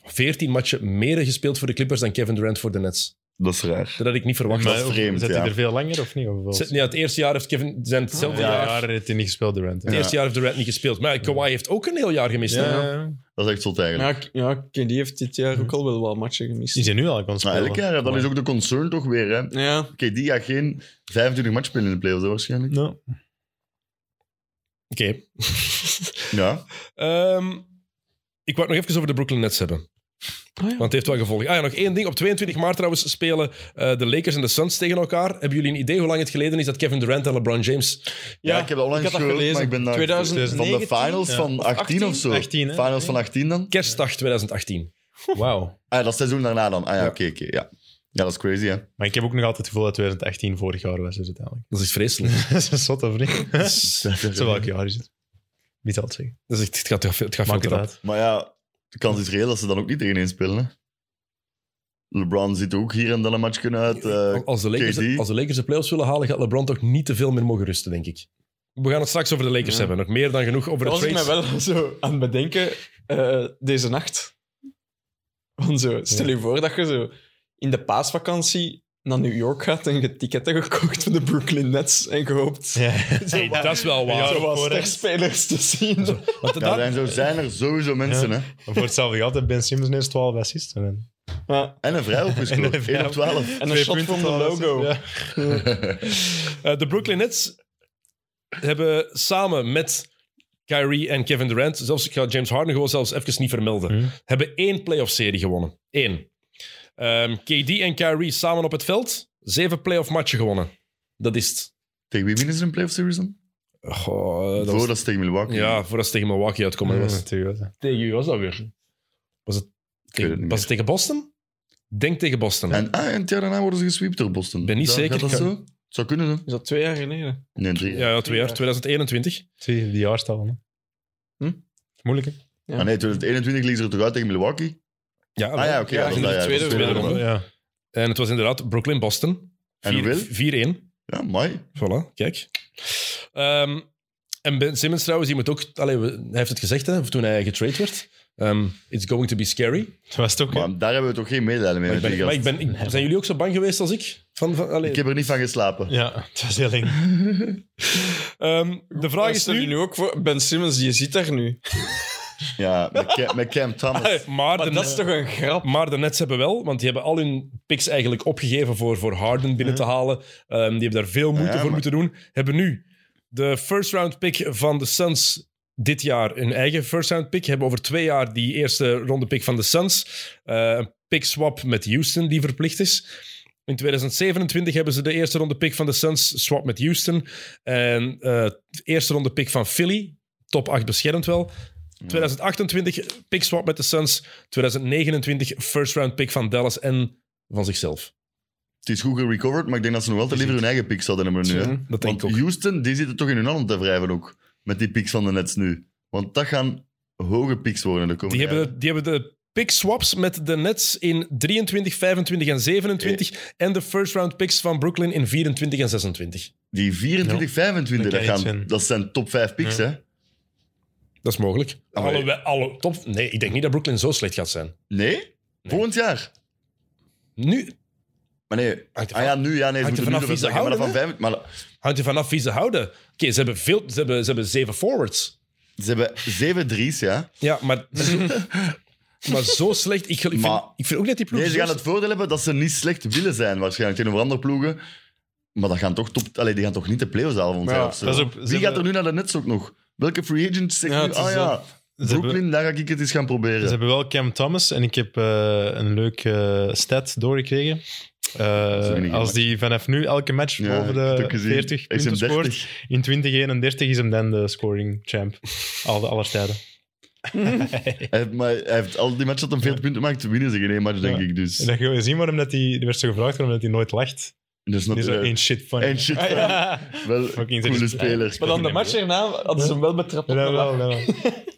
14 matchen meer gespeeld voor de Clippers dan Kevin Durant voor de Nets.
Dat is raar.
Dat had ik niet verwacht.
Maar-
Ze-
is vreemd,
Zet
ja.
hij er veel langer of niet? Of wel?
ja, het eerste jaar heeft Kevin zijn hetzelfde
Ah. ja,
jaar.
ja, heeft hij niet gespeeld, Durant.
Het
Ja.
eerste jaar heeft Durant niet gespeeld. Maar ja, Kawhi heeft ook een heel jaar gemist. hè.
Ja. ja.
Dat is echt zot
Ja,
eigenlijk.
K- ja, KD heeft dit jaar ook al wel wat matchen
Die
gemist.
zijn nu al aan het
Maar
spelen.
elk jaar, dat is ook de concern toch weer. hè. Oké,
Ja.
die gaat geen 25 match spelen in de playoffs hè, waarschijnlijk.
Ja.
Oké.
Ja.
Ehm, ik wou het nog even over de Brooklyn Nets hebben.
Ah, ja.
Want het heeft wel gevolgen. Ah ja, nog één ding. Op 22 maart trouwens spelen eh, de Lakers en de Suns tegen elkaar. Hebben jullie een idee hoe lang het geleden is dat Kevin Durant en LeBron James...
Ja, ik heb dat onlangs
ik had dat
gehoord,
gelezen.
maar ik ben daar...
2019,
van de finals
ja.
van 18, of zo.
18, hè?
finals van 18 dan?
Kerstdag 2018.
Wauw.
Ah, dat seizoen daarna dan. Ah ja, oké, oké. ja. ja, dat is crazy, hè?
Maar ik heb ook nog altijd het gevoel dat 2018 vorig jaar was, dus uiteindelijk. [laughs]
Dat is echt vreselijk.
dat is een zotte vriend. Zo welk
ja.
jaar is het? Niet altijd zeggen.
Dat is echt, het gaat, het gaat veel
[laughs]
Maakt
te
het
rap.
uit.
Maar ja, de kans is reëel dat ze dan ook niet tegenin spelen, hè? LeBron zit ook hier en dan een match kunnen uit. eh,
Als de, Lakers,
KD.
als de Lakers de playoffs willen halen, gaat LeBron toch niet te veel meer mogen rusten, denk ik. We gaan het straks over de Lakers hebben. Nog meer dan genoeg over de
Dat was ik mij
trades.
wel zo aan het bedenken eh, deze nacht. Want zo, stel je voor dat je zo in de paasvakantie naar New York gaat en je ticketten gekocht voor de Brooklyn Nets en gehoopt
Hey, dat is wel waar.
Ja,
zo wat
voor-
sterspelers te zien.
Want
Ja,
daar-
zijn, zo zijn er sowieso mensen, hè.
En voor hetzelfde geld heeft Ben Simmons ineens 12 assists. En
Ja,
En een vrij opgescoord.
En een
1 op 12.
en een shot van de logo.
Ja.
Eh, de Brooklyn Nets hebben samen met Kyrie en Kevin Durant, zelfs ik ga James Harden gewoon zelfs even niet vermelden,
Hmm.
hebben één playoff-serie gewonnen. Eén. Ehm, KD en Kyrie samen op het veld, zeven playoff-matchen gewonnen. Dat is het.
[laughs] Tegen wie winnen ze een playoff series dan?
Goh, eh, dat was-
Voordat ze tegen Milwaukee.
Ja, voordat ze tegen Milwaukee uitkomen.
Maar dat
was
is natuurlijk. wel zo.
Tegen wie was dat weer? Was het,
weet het niet
was het tegen Boston? Denk tegen Boston.
En, ah, en het jaar daarna worden ze gesweept door Boston.
Ben niet
Is dat-
zeker.
Gaat dat zo? Het zou kunnen, hè?
Is dat twee jaar geleden?
Nee, drie.
ja, ja, twee jaar, 2021.
Zie je, die jaarstalen. hè.
Hm?
Moeilijk, hè?
ja.
Ah, nee, 2021 liezen ze er toch uit tegen Milwaukee?
Ja,
Ah ja, oké. ja,
in de
dat was dat jaar.
tweede
Dat was de
ronde.
ronde.
Oh, Ja.
En het was inderdaad Brooklyn-Boston.
En hoeveel?
4-1.
Ja, mooi.
Voilà, kijk. Ehm, en Ben Simmons trouwens, die moet ook... Allee, we- hij heeft het gezegd, hè, toen hij getrade werd. Ehm, It's going to be scary.
Dat was toch...
Maar daar hebben we toch geen medelijden mee
Maar ik
met die
ben,
gast.
maar ik ben, ik- zijn jullie ook zo bang geweest als ik? Van, van, allee.
Ik heb er niet van geslapen.
Ja, het was heel eng.
Ehm, de vraag is
Stel je
nu...
nu ook voor, Ben Simmons, je zit daar nu.
Ja, met,
[laughs]
Cam, met Cam Thomas.
Eh, Maar,
Maar
de,
dat is toch een grap?
maar de Nets hebben wel, want die hebben al hun picks eigenlijk opgegeven voor, voor Harden binnen te halen. Ehm, die hebben daar veel moeite
Mhm. Ja,
voor
maar-
moeten doen. Hebben nu de first round pick van de Suns dit jaar hun eigen first round pick. Hebben over twee jaar die eerste ronde pick van de Suns. Eh, een pick swap met Houston die verplicht is. In 2027 hebben ze de eerste ronde pick van de Suns, swap met Houston. En eh, de eerste ronde pick van Philly, top 8 beschermd wel. 2028 pick swap met de Suns. 2029 first round pick van Dallas en van zichzelf.
Het is goed gerecoverd, maar ik denk dat ze nog wel te liever hun eigen picks hadden hebben nu. Hè?
Ja,
dat denk
Want
ik ook.
Houston, die zitten toch in hun handen te wrijven ook. Met die picks van de Nets nu. Want dat gaan hoge picks worden de
Die
komende
hebben, die hebben de pick swaps met de Nets in 23, 25 en 27. En de first round picks van Brooklyn in 24 en 26.
Die 24, 25, dat,
Dan kan je iets
gaan,
winnen.
dat zijn top 5 picks, hè?
Dat is mogelijk.
Allee.
Alle, alle top. Nee, ik denk niet dat Brooklyn zo slecht gaat zijn.
Nee? Volgend jaar?
Nu
Maar nee. Ah
Hangt er van-
ja, nu. Ja, nee,
hangt er
ze moeten nu
vanaf
nog
wie
eens
ze
zeggen, maar dat van
houden,
vijf... Maar
hangt je vanaf wie ze houden. Oké, ze, hebben veel- ze, hebben, ze hebben zeven forwards.
ze hebben zeven drie's, ja.
Ja, maar, [laughs] maar zo slecht. Ik, ik,
Maar-
vind, ik vind ook dat die ploeg.
Nee, ze
zo
gaan het voordeel hebben dat ze niet slecht willen zijn, waarschijnlijk, tegenover andere ploegen. Maar dat gaan toch top... Allee, die gaan toch niet de play-offs halen volgend
Ja,
jaar of zo.
dat is ook- ze
Wie gaat er
hebben-
nu naar de Nets ook nog? Welke free agent zegt
Ja,
nu,
het is
ah ja,
Ze
Brooklyn,
hebben,
daar ga ik het eens gaan
ze
proberen.
hebben wel Cam Thomas en ik heb eh, een leuke eh, stat doorgekregen. Eh,
is weinig,
als die vanaf nu elke match
Ja,
boven
ik heb het
de
ook gezien.
40
Hij is
punten
hem
scoort,
30.
in 2031 is hem dan de scoring champ. Al de aller tijden.
[laughs] Hij heeft, maar hij heeft al die matchen dat hem 40 punten maakt, winnen ze geen één match, denk
Ja.
ik. Dus
En dan ga je zien waarom dat die, die werd zo gevraagd waarom dat hij nooit lacht.
Dus dat is
Die
[laughs]
is zo
natuurlijk...
één shit funny.
En shit,
Ah, ja.
wel
Fucking
coole
interessant.
speler.
Maar dan de match erna hadden ze hem wel betrapt. op
Ja,
de lach.
wel, wel.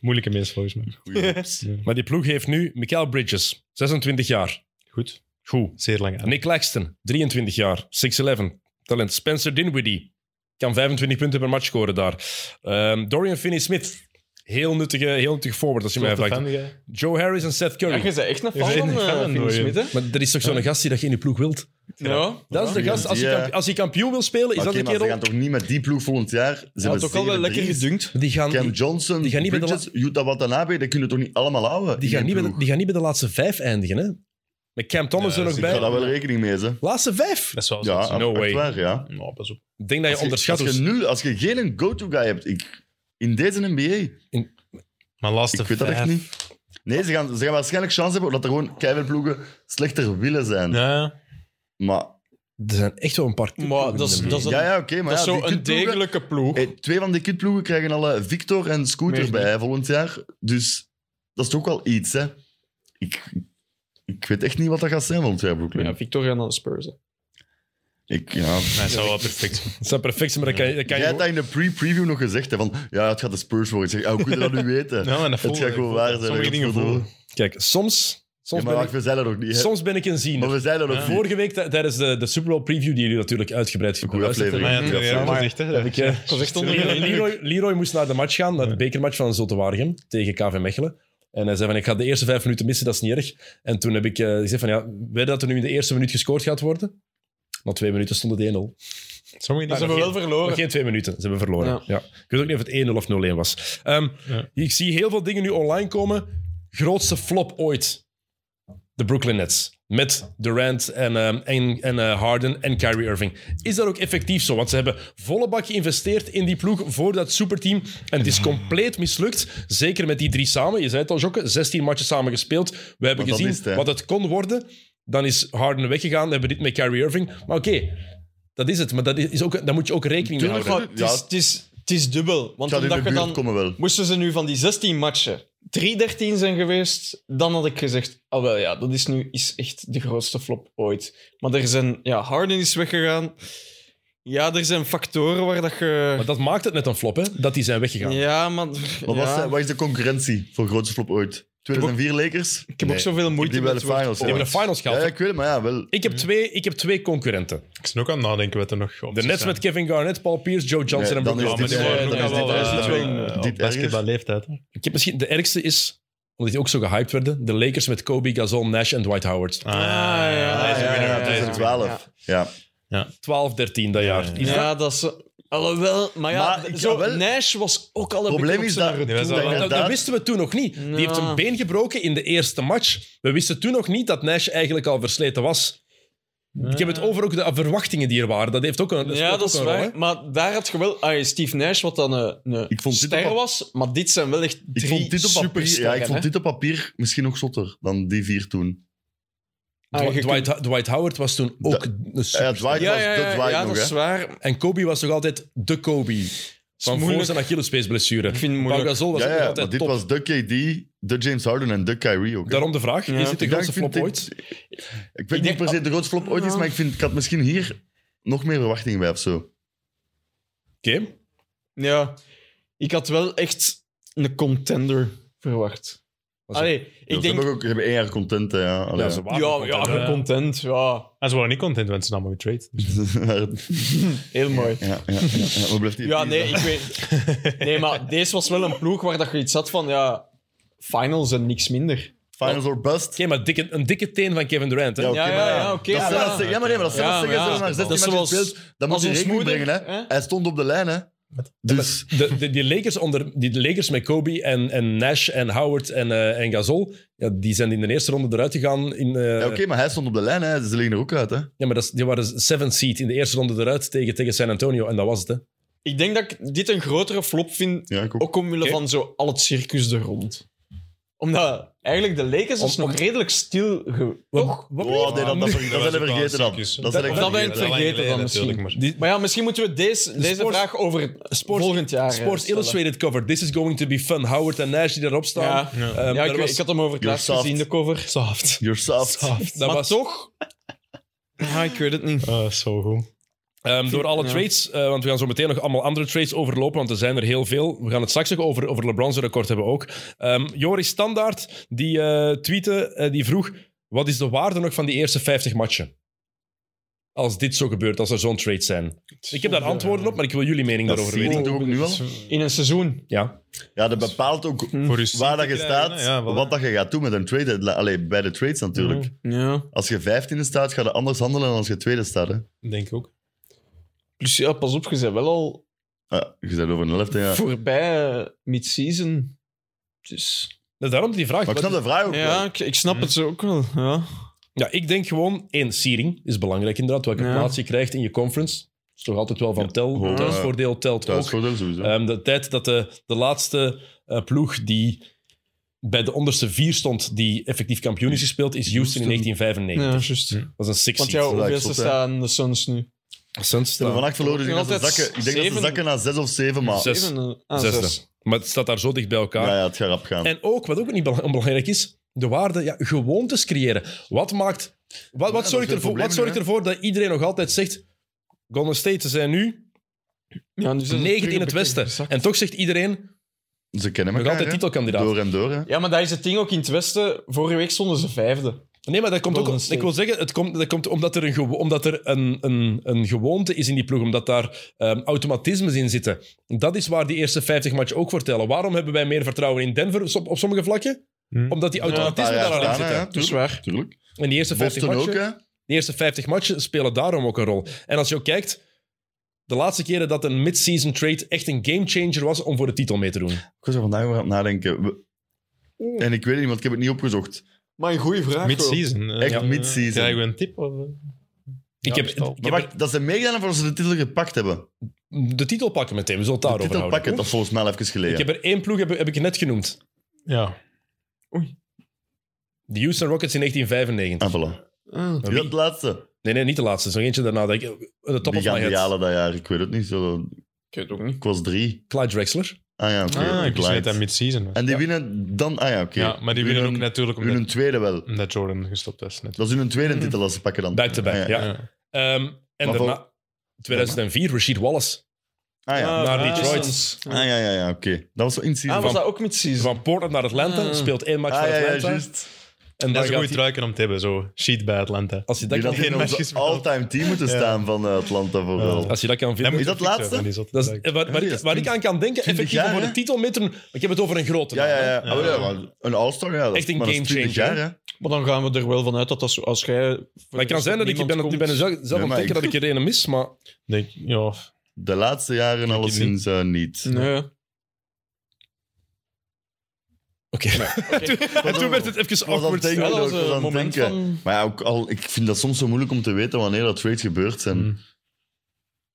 Moeilijke mens volgens mij.
Goeie.
Maar die ploeg heeft nu Michael Bridges, 26 jaar.
Goed.
Goed.
Zeer lang aan.
Nick Laxton, 23 jaar, 6'11, talent. Spencer Dinwiddie, kan 25 punten per match scoren daar. Ehm, Dorian Finney-Smith, heel nuttige, heel nuttige forward als je mij
Grote fan,
vraagt.
die guy.
Joe Harris en Seth
Ja,
Curry.
je bent echt een fan
bent
van
een fan
eh,
van
Phil
Dorian.
Smith, hè?
maar er is toch zo'n gast die dat je in je ploeg wilt?
Ja.
Dat is de gast. Als je,
Die, eh,
kamp- als je kampioen wil spelen, is
Oké,
dat de
maar ze gaan
kerel.
toch niet met die ploeg volgend jaar... Ze
Ze
hebben
had ook al wel
zeven
lekker
drie's.
gedunkt.
Die gaan,
Cam
die,
Johnson,
die gaan niet met de
Bridges, Utah Watanabe, dat kunnen we toch niet allemaal houden?
die gaan niet bij de,
ploeg?
die gaan niet bij de laatste vijf eindigen, hè? Met Cam Thomas
Ja,
er nog
dat
Ik ga daar
bij.
wel rekening mee, ze.
Laatste vijf.
Dat is wel zo.
Ja,
no
echt
way.
waar, ja.
Nou, pas op.
Ik denk dat je
Als je-
onderschat
Als
hoe-
je, nu, als je geen go-to-guy hebt, ik, in deze NBA,
Maar laatste
ik weet dat echt
vijf.
niet. Nee, ze gaan, ze gaan waarschijnlijk chance hebben omdat er gewoon keiveel ploegen slechter willen zijn.
Ja,
Maar
Er zijn echt wel een paar...
Maar dat is, dat is, een-
ja, ja oké, maar
dat is
ja,
zo
die
een
kutploegen-
degelijke ploeg.
Hey, twee van die kutploegen krijgen al eh, Victor en Scooter
Meer
bij hè, volgend jaar. Dus dat is toch wel iets, hè. Ik, ik weet echt niet wat dat gaat zijn volgend jaar, Brooklyn.
Ja, Victor gaat naar de Spurs. hè.
Ik, ja.
dat zou wel perfect zijn.
Dat zijn perfect, maar dat kan, dat kan
Jij
je...
hebt dat in de pre-preview nog gezegd, hè, van ja, het gaat de Spurs worden. Ik zeg, ah, hoe kun je dat nu weten?
Ja, maar dat
het
voelde
gaat
ik.
gewoon waar zijn.
Sommige
hè,
dingen
dat voelde-
voelen.
Kijk, soms
Ja,
Soms,
maar wacht,
ben
we zijn er ook niet.
ik,
hè.
soms ben ik een
Maar
ziener.
we zijn er ook niet.
Vorige week t- tijdens de, de Super Bowl preview, die jullie natuurlijk uitgebreid
Goeie
gebeluisterd hebben.
aflevering.
Maar ja,
Goeie
ja,
aflevering.
maar echt, hè.
Heb ik, eh,
was echt
Leroy, Leroy, Leroy moest naar de match gaan, naar de bekermatch van Zulte Waregem tegen KV Mechelen. En hij zei van, ik ga de eerste vijf minuten missen, dat is niet erg. En toen heb ik eh, gezegd van, ja, weet je dat er nu in de eerste minuut gescoord gaat worden? Na twee minuten stond het 1-0.
Sommigen
Ze
die
hebben wel
Maar
verloren.
geen twee minuten, ze hebben verloren. Ja.
Ja.
Ik weet ook niet of het 1-0 of 0-1 was. Ehm,
Ja.
Ik zie heel veel dingen nu online komen. Grootste flop ooit. De Brooklyn Nets. Met Durant en, ehm, en, en eh, Harden en Kyrie Irving. Is dat ook effectief zo? Want ze hebben volle bak geïnvesteerd in die ploeg voor dat superteam. En het is compleet mislukt. Zeker met die drie samen. Je zei het al, Jokke. 16 matches samen gespeeld. We hebben
Wat dat
gezien
is het, hè?
wat het kon worden. Dan is Harden weggegaan. Dan hebben we dit met Kyrie Irving. Maar oké, dat is het. Maar dat is ook, daar moet je ook rekening mee
Tuurlijk,
houden.
maar het is, het is, het is dubbel.
Het
Want
gaat in de
omdat je
buurt
dan...
komen wel.
Moesten ze nu van die 16 matchen 3-13 zijn geweest, dan had ik gezegd: ah wel ja, dat is nu is echt de grootste flop ooit. Maar er zijn, ja, Harden is weggegaan. Ja, er zijn factoren waar dat je.
Maar dat maakt het net een flop, hè? Dat die zijn weggegaan.
Ja, maar.
Wat, was,
ja.
zijn- wat is de concurrentie voor grootste flop ooit? 2004 Lakers?
Ik heb ook
Nee.
zoveel moeite
Die bij
met
de
het woord
finals.
Die
ja.
hebben de finals
Ja,
gehaald.
ja, ik weet het, maar ja, wel.
ik, heb twee, ik heb twee concurrenten.
Ik ben ook aan het nadenken wat er nog op
De Nets met Kevin Garnett, Paul Pierce, Joe Johnson en
Nee, dan
Brook
is
Lopez.
dit-
die worden
Ja,
ook
dat is-
al wel
dat is
eh,
iets wel-
op
dit erger.
basketballeeftijd. hè.
Ik heb misschien... De ergste is, omdat die ook zo gehyped werden, de Lakers met Kobe, Gasol, Nash en Dwight Howard.
Ah,
ja, ja,
Ah,
deze
ja,
winnaar,
ja,
deze
2012. Ja.
12, 13 dat jaar. Is dat-
Ja, dat is. eh, Alhoewel, maar ja,
Maar ik-
zo,
wel-
Nash was ook al een
Probleem
beetje op
is
zijn
dat-
retour.
Dat,
Nee, wij zouden-
dat- dat
inderdaad.
wisten we toen nog niet. Die heeft
Nou.
een been gebroken in de eerste match. We wisten toen nog niet dat Nash eigenlijk al versleten was. Ik heb het over ook de verwachtingen die er waren. Dat heeft ook een, speelt
Ja,
ook
dat is
een rol,
waar.
hè.
Maar daar had je wel... Ah, Steve Nash, wat dan een, een
Ik vond dit
ster
op-
was, maar dit zijn wel echt
Ik
drie
vond, dit op papier, ja,
supersterren,
ik vond
hè.
dit op papier misschien nog zotter dan die vier toen.
Ah, je
Dwight, Dwight- Dwight Howard was toen ook een super-
Ja, Dwight
Ja,
was,
ja,
dat
ja,
Dwight
ja,
nog,
dat is
hè.
waar.
En Kobe was nog altijd de Kobe. Van voor
moeilijk.
zijn Achillespeesblessure.
Ik vind het
Pau
moeilijk.
Gasol was
Ja,
ook
ja,
nog
maar
altijd
dit
top.
was de KD, de James Harden en de Kyrie ook. hè.
Daarom de vraag,
Ja.
is dit de
Ik
grootste
denk-
flop
ik vind
ooit?
dit- Ik weet niet per se de grootste flop ooit is, maar ik, vind, ik had misschien hier nog meer verwachtingen bij of zo.
Oké.
Ja. Ik had wel echt een contender verwacht.
Was
Allee,
Ja,
ik
Ze
denk...
hebben ook ze hebben één jaar content, hè, ja. Allee,
Ja,
ja.
ze waren
Ja,
content,
ja,
hè.
een content, ja.
En ze waren niet content, want ze namen getrade.
Heel mooi.
[laughs] ja, ja, ja, ja. Wat blijft die?
Ja, nee, ik weet... Nee, maar deze was wel een ploeg waar dat je iets had van, ja... Finals en niks minder.
Finals or bust.
Oké, maar dikke, een dikke teen van Kevin Durant. Hè?
Ja, oké,
Ja,
maar
ja, ja, oké.
dat
ja,
zijn
ja.
als ze- ja, maar nee, maar dat zijn
Ja,
als ze
maar ja.
zeggen, ze hebben
Dat is
maar 16
zoals-
matches gespeeld. Dan
als
moet
ons
je rekening
moeder,
brengen, hè.
hè?
Hij stond op de lijn, hè. Dus...
De, de- die, Lakers onder, die Lakers met Kobe en, en Nash en Howard en, eh, en Gasol, ja, die zijn in de eerste ronde eruit gegaan. In, eh,
Ja, oké, maar hij stond op de lijn, hè. Ze liggen er ook uit, hè.
ja, maar dat, is- die waren seven seed in de eerste ronde eruit tegen, tegen San Antonio en dat was het. Hè?
Ik denk dat ik dit een grotere flop vind
Ja, ik ook.
Ook omwille
Oké.
van zo al het circus er rond. Omdat eigenlijk de Lakers is
Om-
nog redelijk stil. ge- Toch?
Wat-
Oh, nee, dat, dat, dat,
was
zijn we
ook wel
vergeten dan.
circus.
Dat zijn we
Dat- dat
vergeten.
ben ik vergeten dan misschien.
Die-
Maar ja, misschien moeten we deze, deze
Sports-
vraag over
Sports-
volgend jaar. eh,
Sports
stellen.
Illustrated cover. This is going to be fun. Howard en Nash die daarop staan.
Ja,
Ja.
Ehm,
ja
daar
ik,
was-
ik had hem over het
You're
laatst
soft.
gezien, de cover. Soft.
You're soft.
dat
maar
was-
toch... Ja, ik weet het niet.
Ah, Zo goed.
Ehm, door alle
Ja.
trades, eh, want we gaan zo meteen nog allemaal andere trades overlopen, want er zijn er heel veel. We gaan het straks nog over, over LeBron's record hebben ook. Ehm, Joris Standaard, die eh tweette, eh, die vroeg, wat is de waarde nog van die eerste 50 matchen? Als dit zo gebeurt, als er zo'n trades zijn. Ik heb daar antwoorden op, maar ik wil jullie mening
Dat
daarover
zie ik
weten.
toch ook nu al?
In een seizoen.
Ja.
Ja, dat bepaalt ook
Voor je
waar dat je
Ja,
staat,
ja, voilà.
wat dat je gaat doen met een trade. Allee, bij de trades natuurlijk.
Ja.
Als je vijftiende staat, ga je anders handelen dan als je tweede staat. Hè.
Denk ik ook.
Plus Dus ja, pas op, je bent wel al
Ah, je bent over een helfte, ja.
voorbij eh, mid-season. Dus... Hm.
Dus daarom die vraag.
Maar ik
wat
snap de vraag ook
Ja,
wel.
ik, ik snap het zo ook wel. Ja.
Ja, ik denk gewoon, één, seeding is belangrijk inderdaad. Welke
Ja.
plaats je krijgt in je conference. is toch altijd wel van tel.
hoor.
Thuisvoordeel telt
Dat is
ook.
voordeel sowieso.
Ehm, de tijd dat de, de laatste eh, ploeg die bij de onderste vier stond, die effectief kampioen is gespeeld, is Houston in
Ja,
1995.
juist.
Dat is een six
Want
seed.
jouw
dat is
hoeveelste
zot, hè.
staan de Suns nu?
Suns
Ze
staan
hebben vannacht verloren. dus Ik denk,
Nog
dat ze
altijd
zakken, ik denk dat ze
zeven.
zakken naar zes of zeven, maar...
Zes.
Zeven, eh, ah, zes.
zesde. Maar het staat daar zo dicht bij elkaar.
Ja, ja, het gaat rap gaan.
En ook, wat ook niet bela- onbelangrijk is, de waarde, ja, gewoontes creëren. Wat maakt... Wat,
dat
wat,
is
zorgt,
het
ervoor,
probleem
wat zorgt
nu,
ervoor dat iedereen nog altijd zegt... Golden State, ze zijn nu
Ja, dus nu zijn ze
negende in
terug
het
op de
westen.
zak.
En toch zegt iedereen...
Ze kennen
Nog
elkaar,
altijd
hè?
titelkandidaat.
Door en door, hè.
Ja, maar dat is het ding ook in het Westen. Vorige week stonden ze vijfde.
Nee, maar dat komt ook...
Golden State.
Ik wil zeggen, het komt, dat komt omdat er, een, gewo- omdat er een, een, een gewoonte is in die ploeg, omdat daar ehm, automatismes in zitten. Dat is waar die eerste 50 match ook voor tellen. Waarom hebben wij meer vertrouwen in Denver op, op sommige vlakken?
Hm.
Omdat die automatismen
Een paar
daar al in
jaar
zitten.
daarna, hè,
Dat is
tuurlijk.
Dus waar.
tuurlijk.
En die eerste 50
Boston ook,
matchen-
hè.
De eerste 50 matchen spelen daarom ook een rol. En als je ook kijkt, de laatste keren dat een mid-season trade echt een gamechanger was om voor de titel mee te doen.
Ik was er vandaag over aan het nadenken. We-
Oeh.
En ik weet het niet, want ik heb het niet opgezocht.
Maar een goede vraag.
Mid-season. eh,
Echt
eh,
mid-season.
Krijgen we een tip? Of? eh?
Ik
Ja,
heb,
bestel.
ik
Maar
heb
wacht, dat ze meegedaan hebben voordat ze de titel gepakt hebben.
de titel pakken meteen, we zullen het
De
daarover
titel
houden.
pakken, dat is volgens mij al even geleden.
Ik heb er één ploeg, heb, heb ik net genoemd.
Ja.
De Houston Rockets in 1995.
Ah, voilà.
hoor.
Wie had het laatste?
Nee, nee, niet de laatste. Zo eentje daarna. dat ik- De top
Die
of my
gaan
head.
die halen dat jaar, ik weet het niet. Zo,
Ik weet het ook niet.
ik was drie.
Clyde Drexler.
Ah ja, oké.
Ah, ik wist
Light.
niet dat dat mid-season was.
En die winnen dan... Ah ja, oké.
Ja, maar die winnen ook natuurlijk
Hun
omdat, Hmm.
tweede wel.
omdat Jordan gestopt was. Net.
Dat is hun tweede titel als ze pakken dan.
Back-to-back,
Ah,
ja. Ehm, en
Maar vol-
daarna, 2004, Rashid Wallace.
Ah ja,
naar
ah,
Detroit.
sinds-
ah, ja, ja, ja oké. Dat was zo in season.
Ah, was
Van-
dat ook mid-season?
Van Portland naar Atlanta.
Ah.
Speelt één match
Ah,
voor
ja, ja,
Atlanta.
juist.
en
Dat
dan
is een
gaat
goede
hij...
truiken om te hebben, zo. Sheet bij Atlanta.
Als je dat
Die
kan,
dat in
geen match
onze
gespeeld.
all-time team moeten staan van eh, Atlanta vooral.
als je dat kan vinden...
moet
Is
je
dat
fixen
laatste?
van die zotte
Dat is,
truik.
eh, waar, waar,
Ja,
ik, waar ik aan kan denken, effectief
jaar,
om voor
hè?
de titel mee te doen. want Ik heb het over een grote.
Ja,
naam,
ja,
hè.
ja. Oh, ja, maar een all-star, ja. dat is-
Echt een
maar dat is
gamechanger,
20 jaar, hè.
Maar dan gaan we er wel vanuit dat, dat zo- als jij...
Maar het kan zijn dat ik, ik ben, ik ben er zelf, zelf
Nee,
aan het
maar
denken
ik-
dat ik er een mis, maar
Denk, ja,
De laatste jaren alleszins eh, niet.
Nee.
oké. en toen werd het even
Ik was aan het
awkward.
denken,
Ja, dat was
ik was
een
aan het
moment
denken.
van-
Maar ja, ook al, ik vind dat soms zo moeilijk om te weten wanneer dat trades gebeurt zijn.
Mm.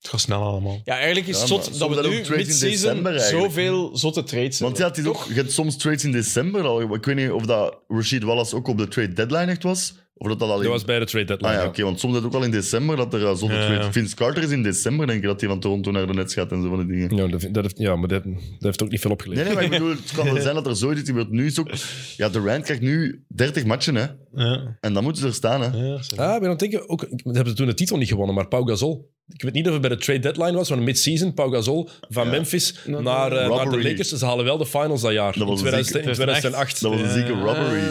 het gaat snel allemaal.
Ja, eigenlijk is
Ja,
het
maar
zot dat
soms
we
ook
nu
trades in
mid-season
december eigenlijk.
zoveel zotte trades
Want ja,
hebben.
het is ook, je hebt soms trades in december al. Ik weet niet of dat Rashid Wallace ook op de trade deadline echt was. Of dat dat al in...
Dat was bij de trade
Ah
deadline.
ja, oké,
ja.
want soms is het ook al in december dat er eh, zonder
Ja,
trade...
ja.
Vince Carter is in december, denk ik, dat hij van Toronto naar de Nets gaat en zo van die dingen.
Ja, dat, dat heeft, ja, maar dat, dat heeft ook niet veel
Nee,
opgeleverd.
nee, maar ik bedoel, het kan wel zijn dat er zoiets gebeurt. Nu is ook... Ja, Durant krijgt nu 30 matchen, hè.
Ja,
En dan moeten ze er staan, hè.
ja, zo.
Ah, ik ben aan het denken, ook, ik- we hebben toen de titel niet gewonnen, maar Pau Gasol. Ik weet niet of het bij de trade deadline was, maar mid-season, Pau Gasol van Memphis
Nou,
naar, eh, naar de
robbery.
Lakers. Ze halen wel de finals dat jaar,
Dat was
in 2000 in
een zieke-
2008.
Dat was een zieke
Ja.
robbery.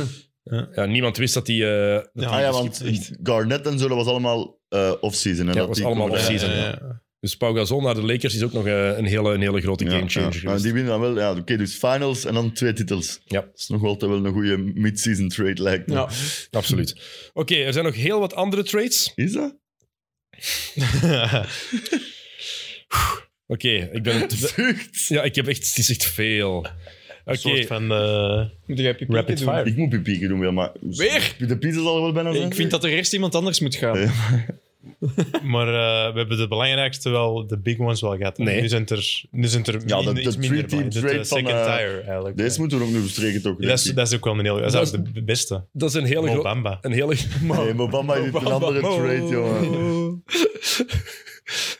Ja, niemand wist dat die... eh, dat die
Ja,
Ah ja,
geschikt-
want Garnett en zo, dat was allemaal eh off-season. hè,
Ja,
dat
was
die
allemaal
contract-
off-season,
Ja,
ja.
ja.
Dus Pau Gasol naar de Lakers is ook nog eh, een hele, een hele grote
Ja,
gamechanger
ja. Maar
geweest.
die winnen dan wel, ja, oké, dus finals en dan twee titels.
Ja.
Dat is nog altijd wel een goede mid-season trade, lijkt me.
Ja.
Absoluut. Oké, er zijn nog heel wat andere trades.
Is dat?
Oké, ik
[laughs]
ben...
Zucht.
Ja, ik heb echt... Het is echt veel. Oké.
Een soort van... eh, [laughs]
Moet jij pipi
Rapid
doen?
fire.
Ik moet pipieken doen weer, maar...
Weer?
De pizza zal er wel bijna zijn.
Ik vind dat er eerst iemand anders moet gaan.
Ja.
maar eh, we hebben de belangrijkste wel, de big ones wel gehad.
Nee.
Nu zijn er, nu zijn er
Ja,
min-
de- de
iets minder
three-team
bij. Dit, eh,
trade van,
second
eh,
tire eigenlijk.
Deze moeten we ook nu verstreken, toch?
Ja, dat, is,
denk ik.
dat is ook wel een heel... Dat is
Dat
ook de beste.
Dat is een hele
Mo
grote...
Bamba.
Een hele...
Nee, Mobamba is een andere trade, jongen.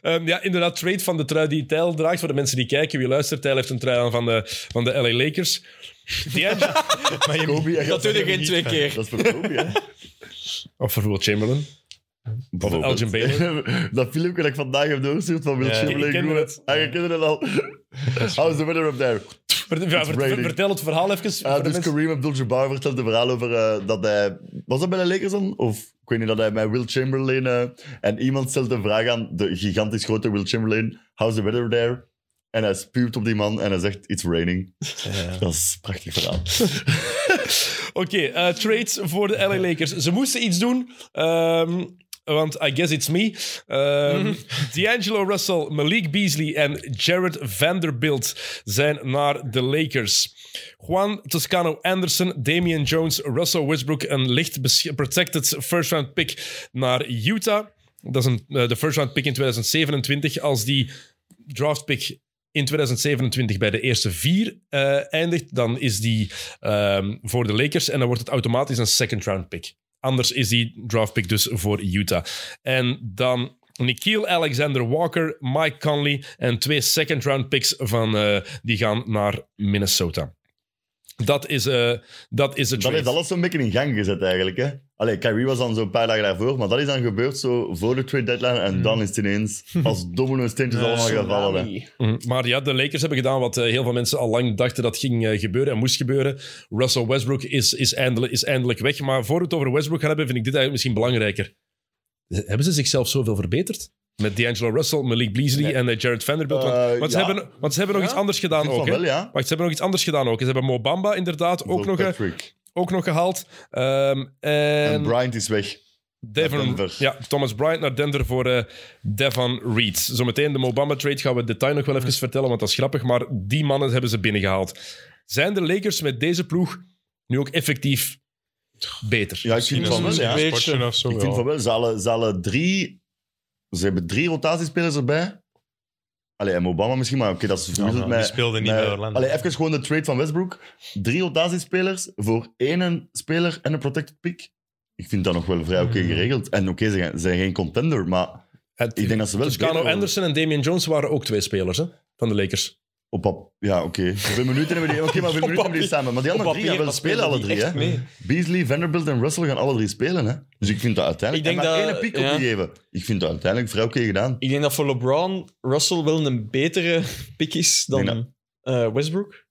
Ehm, ja, inderdaad, trade van de trui die Tijl draagt. Voor de mensen die kijken, wie luistert, Tijl heeft een trui aan van de, van de LA Lakers. [laughs] D'Angelo-
Maar je-
Kobe, hij
Dat
gaat-
doe je geen twee keer.
Dat is voor Kobe,
[laughs]
hè?
of bijvoorbeeld Chamberlain.
Bijvoorbeeld.
Elgin Baylor.
[laughs] dat filmpje dat ik vandaag heb doorgestuurd van Will
Ja.
Ik
Chamberlain.
ken
Groen.
het.
Ah, je kent het al. How's the weather up there?
Ver- ja, ver-
raining.
vertel het verhaal even. voor
Ah,
de
dus
mensen.
Kareem Abdul-Jabbar vertelt een verhaal over eh, dat hij... Was dat bij de Lakers dan? Of ik weet niet, dat hij bij Will Chamberlain... eh, en iemand stelt een vraag aan de gigantisch grote Will Chamberlain. How's the weather there? En hij spuwt op die man en hij zegt, it's raining. Dat is een prachtig
[laughs]
verhaal.
Oké, eh, trades voor de LA Lakers. Ze moesten iets doen. ehm, want I guess it's me. Ehm, [laughs] D'Angelo Russell, Malik Beasley en Jared Vanderbilt zijn naar de Lakers. Juan Toscano Anderson, Damian Jones, Russell Westbrook, een licht besch- protected first round pick naar Utah. Dat is een, eh, de first round pick in 2027. Als die draft pick in 2027 bij de eerste vier eh, eindigt, dan is die ehm, voor de Lakers en dan wordt het automatisch een second round pick. Anders is die draft pick dus voor Utah. En dan Nikhil Alexander Walker, Mike Conley en twee second round picks van, eh, die gaan naar Minnesota. Dat is, eh dat is het
Dat heeft alles zo'n beetje in gang gezet eigenlijk. Hè? Allee, Kyrie was dan zo'n paar dagen daarvoor, maar dat is dan gebeurd zo voor de trade deadline. En
Hmm.
dan is het ineens als domino steentjes allemaal gaan vallen. hè.
Mhm. Maar ja, de Lakers hebben gedaan wat eh, heel veel mensen al lang dachten dat ging eh, gebeuren en moest gebeuren. Russell Westbrook is, is, eindelijk, is eindelijk weg. Maar voor we het over Westbrook gaan hebben, vind ik dit eigenlijk misschien belangrijker. Eh, Hebben ze zichzelf zoveel verbeterd? Met D'Angelo Russell, Malik Beasley en eh, Jared Vanderbilt. Want,
Eh,
want ze,
ja.
hebben, want ze hebben nog
Ja,
iets anders gedaan
Ik vind
ook.
van
Hè?
wel, ja.
Wacht, ze hebben nog iets anders gedaan ook. Ze hebben Mobamba inderdaad ook
Voor
nog, eh,
Patrick.
ook nog gehaald. Ehm, en
En Bryant is weg.
Devon,
naar Denver.
Ja, Thomas Bryant naar Denver voor eh, Devon Reed. Zometeen de Mobamba-trade gaan we het detail nog wel even vertellen, want dat is grappig. Maar die mannen hebben ze binnengehaald. Zijn de Lakers met deze ploeg nu ook effectief beter?
Ja, ik vind van wel, ja.
Beetje.
Sportje of zo.
Ik vind
ja.
van wel, ze hadden, ze hadden drie... Ze hebben drie rotatiespelers erbij. Allee, en Obama misschien, maar oké, dat is verwisseld
maar
met...
die speelde niet
met-
bij Orlando.
Allee, even gewoon de trade van Westbrook. Drie rotatiespelers voor één speler en een protected pick. Ik vind dat nog wel vrij oké
Hmm.
geregeld. En oké, ze zijn- ze zijn geen contender, maar
Het-
ik denk dat ze wel
Toscano
beter worden.
Dus Anderson en Damian Jones waren ook twee spelers hè, van de Lakers.
Op pap- ja, oké. Hoeveel minuten hebben die? Oké, maar hoeveel minuten hebben die samen? Maar die andere drie gaan wel spelen, alle drie. Hè? Beasley, Vanderbilt en Russell gaan alle drie spelen. Hè? Dus ik vind dat uiteindelijk...
Ik denk
en maar
dat-
één pick
ja.
opgegeven. Ik vind dat uiteindelijk vrij oké gedaan.
Ik denk dat voor LeBron Russell wel een betere pick is dan
Ik denk
eh, Westbrook.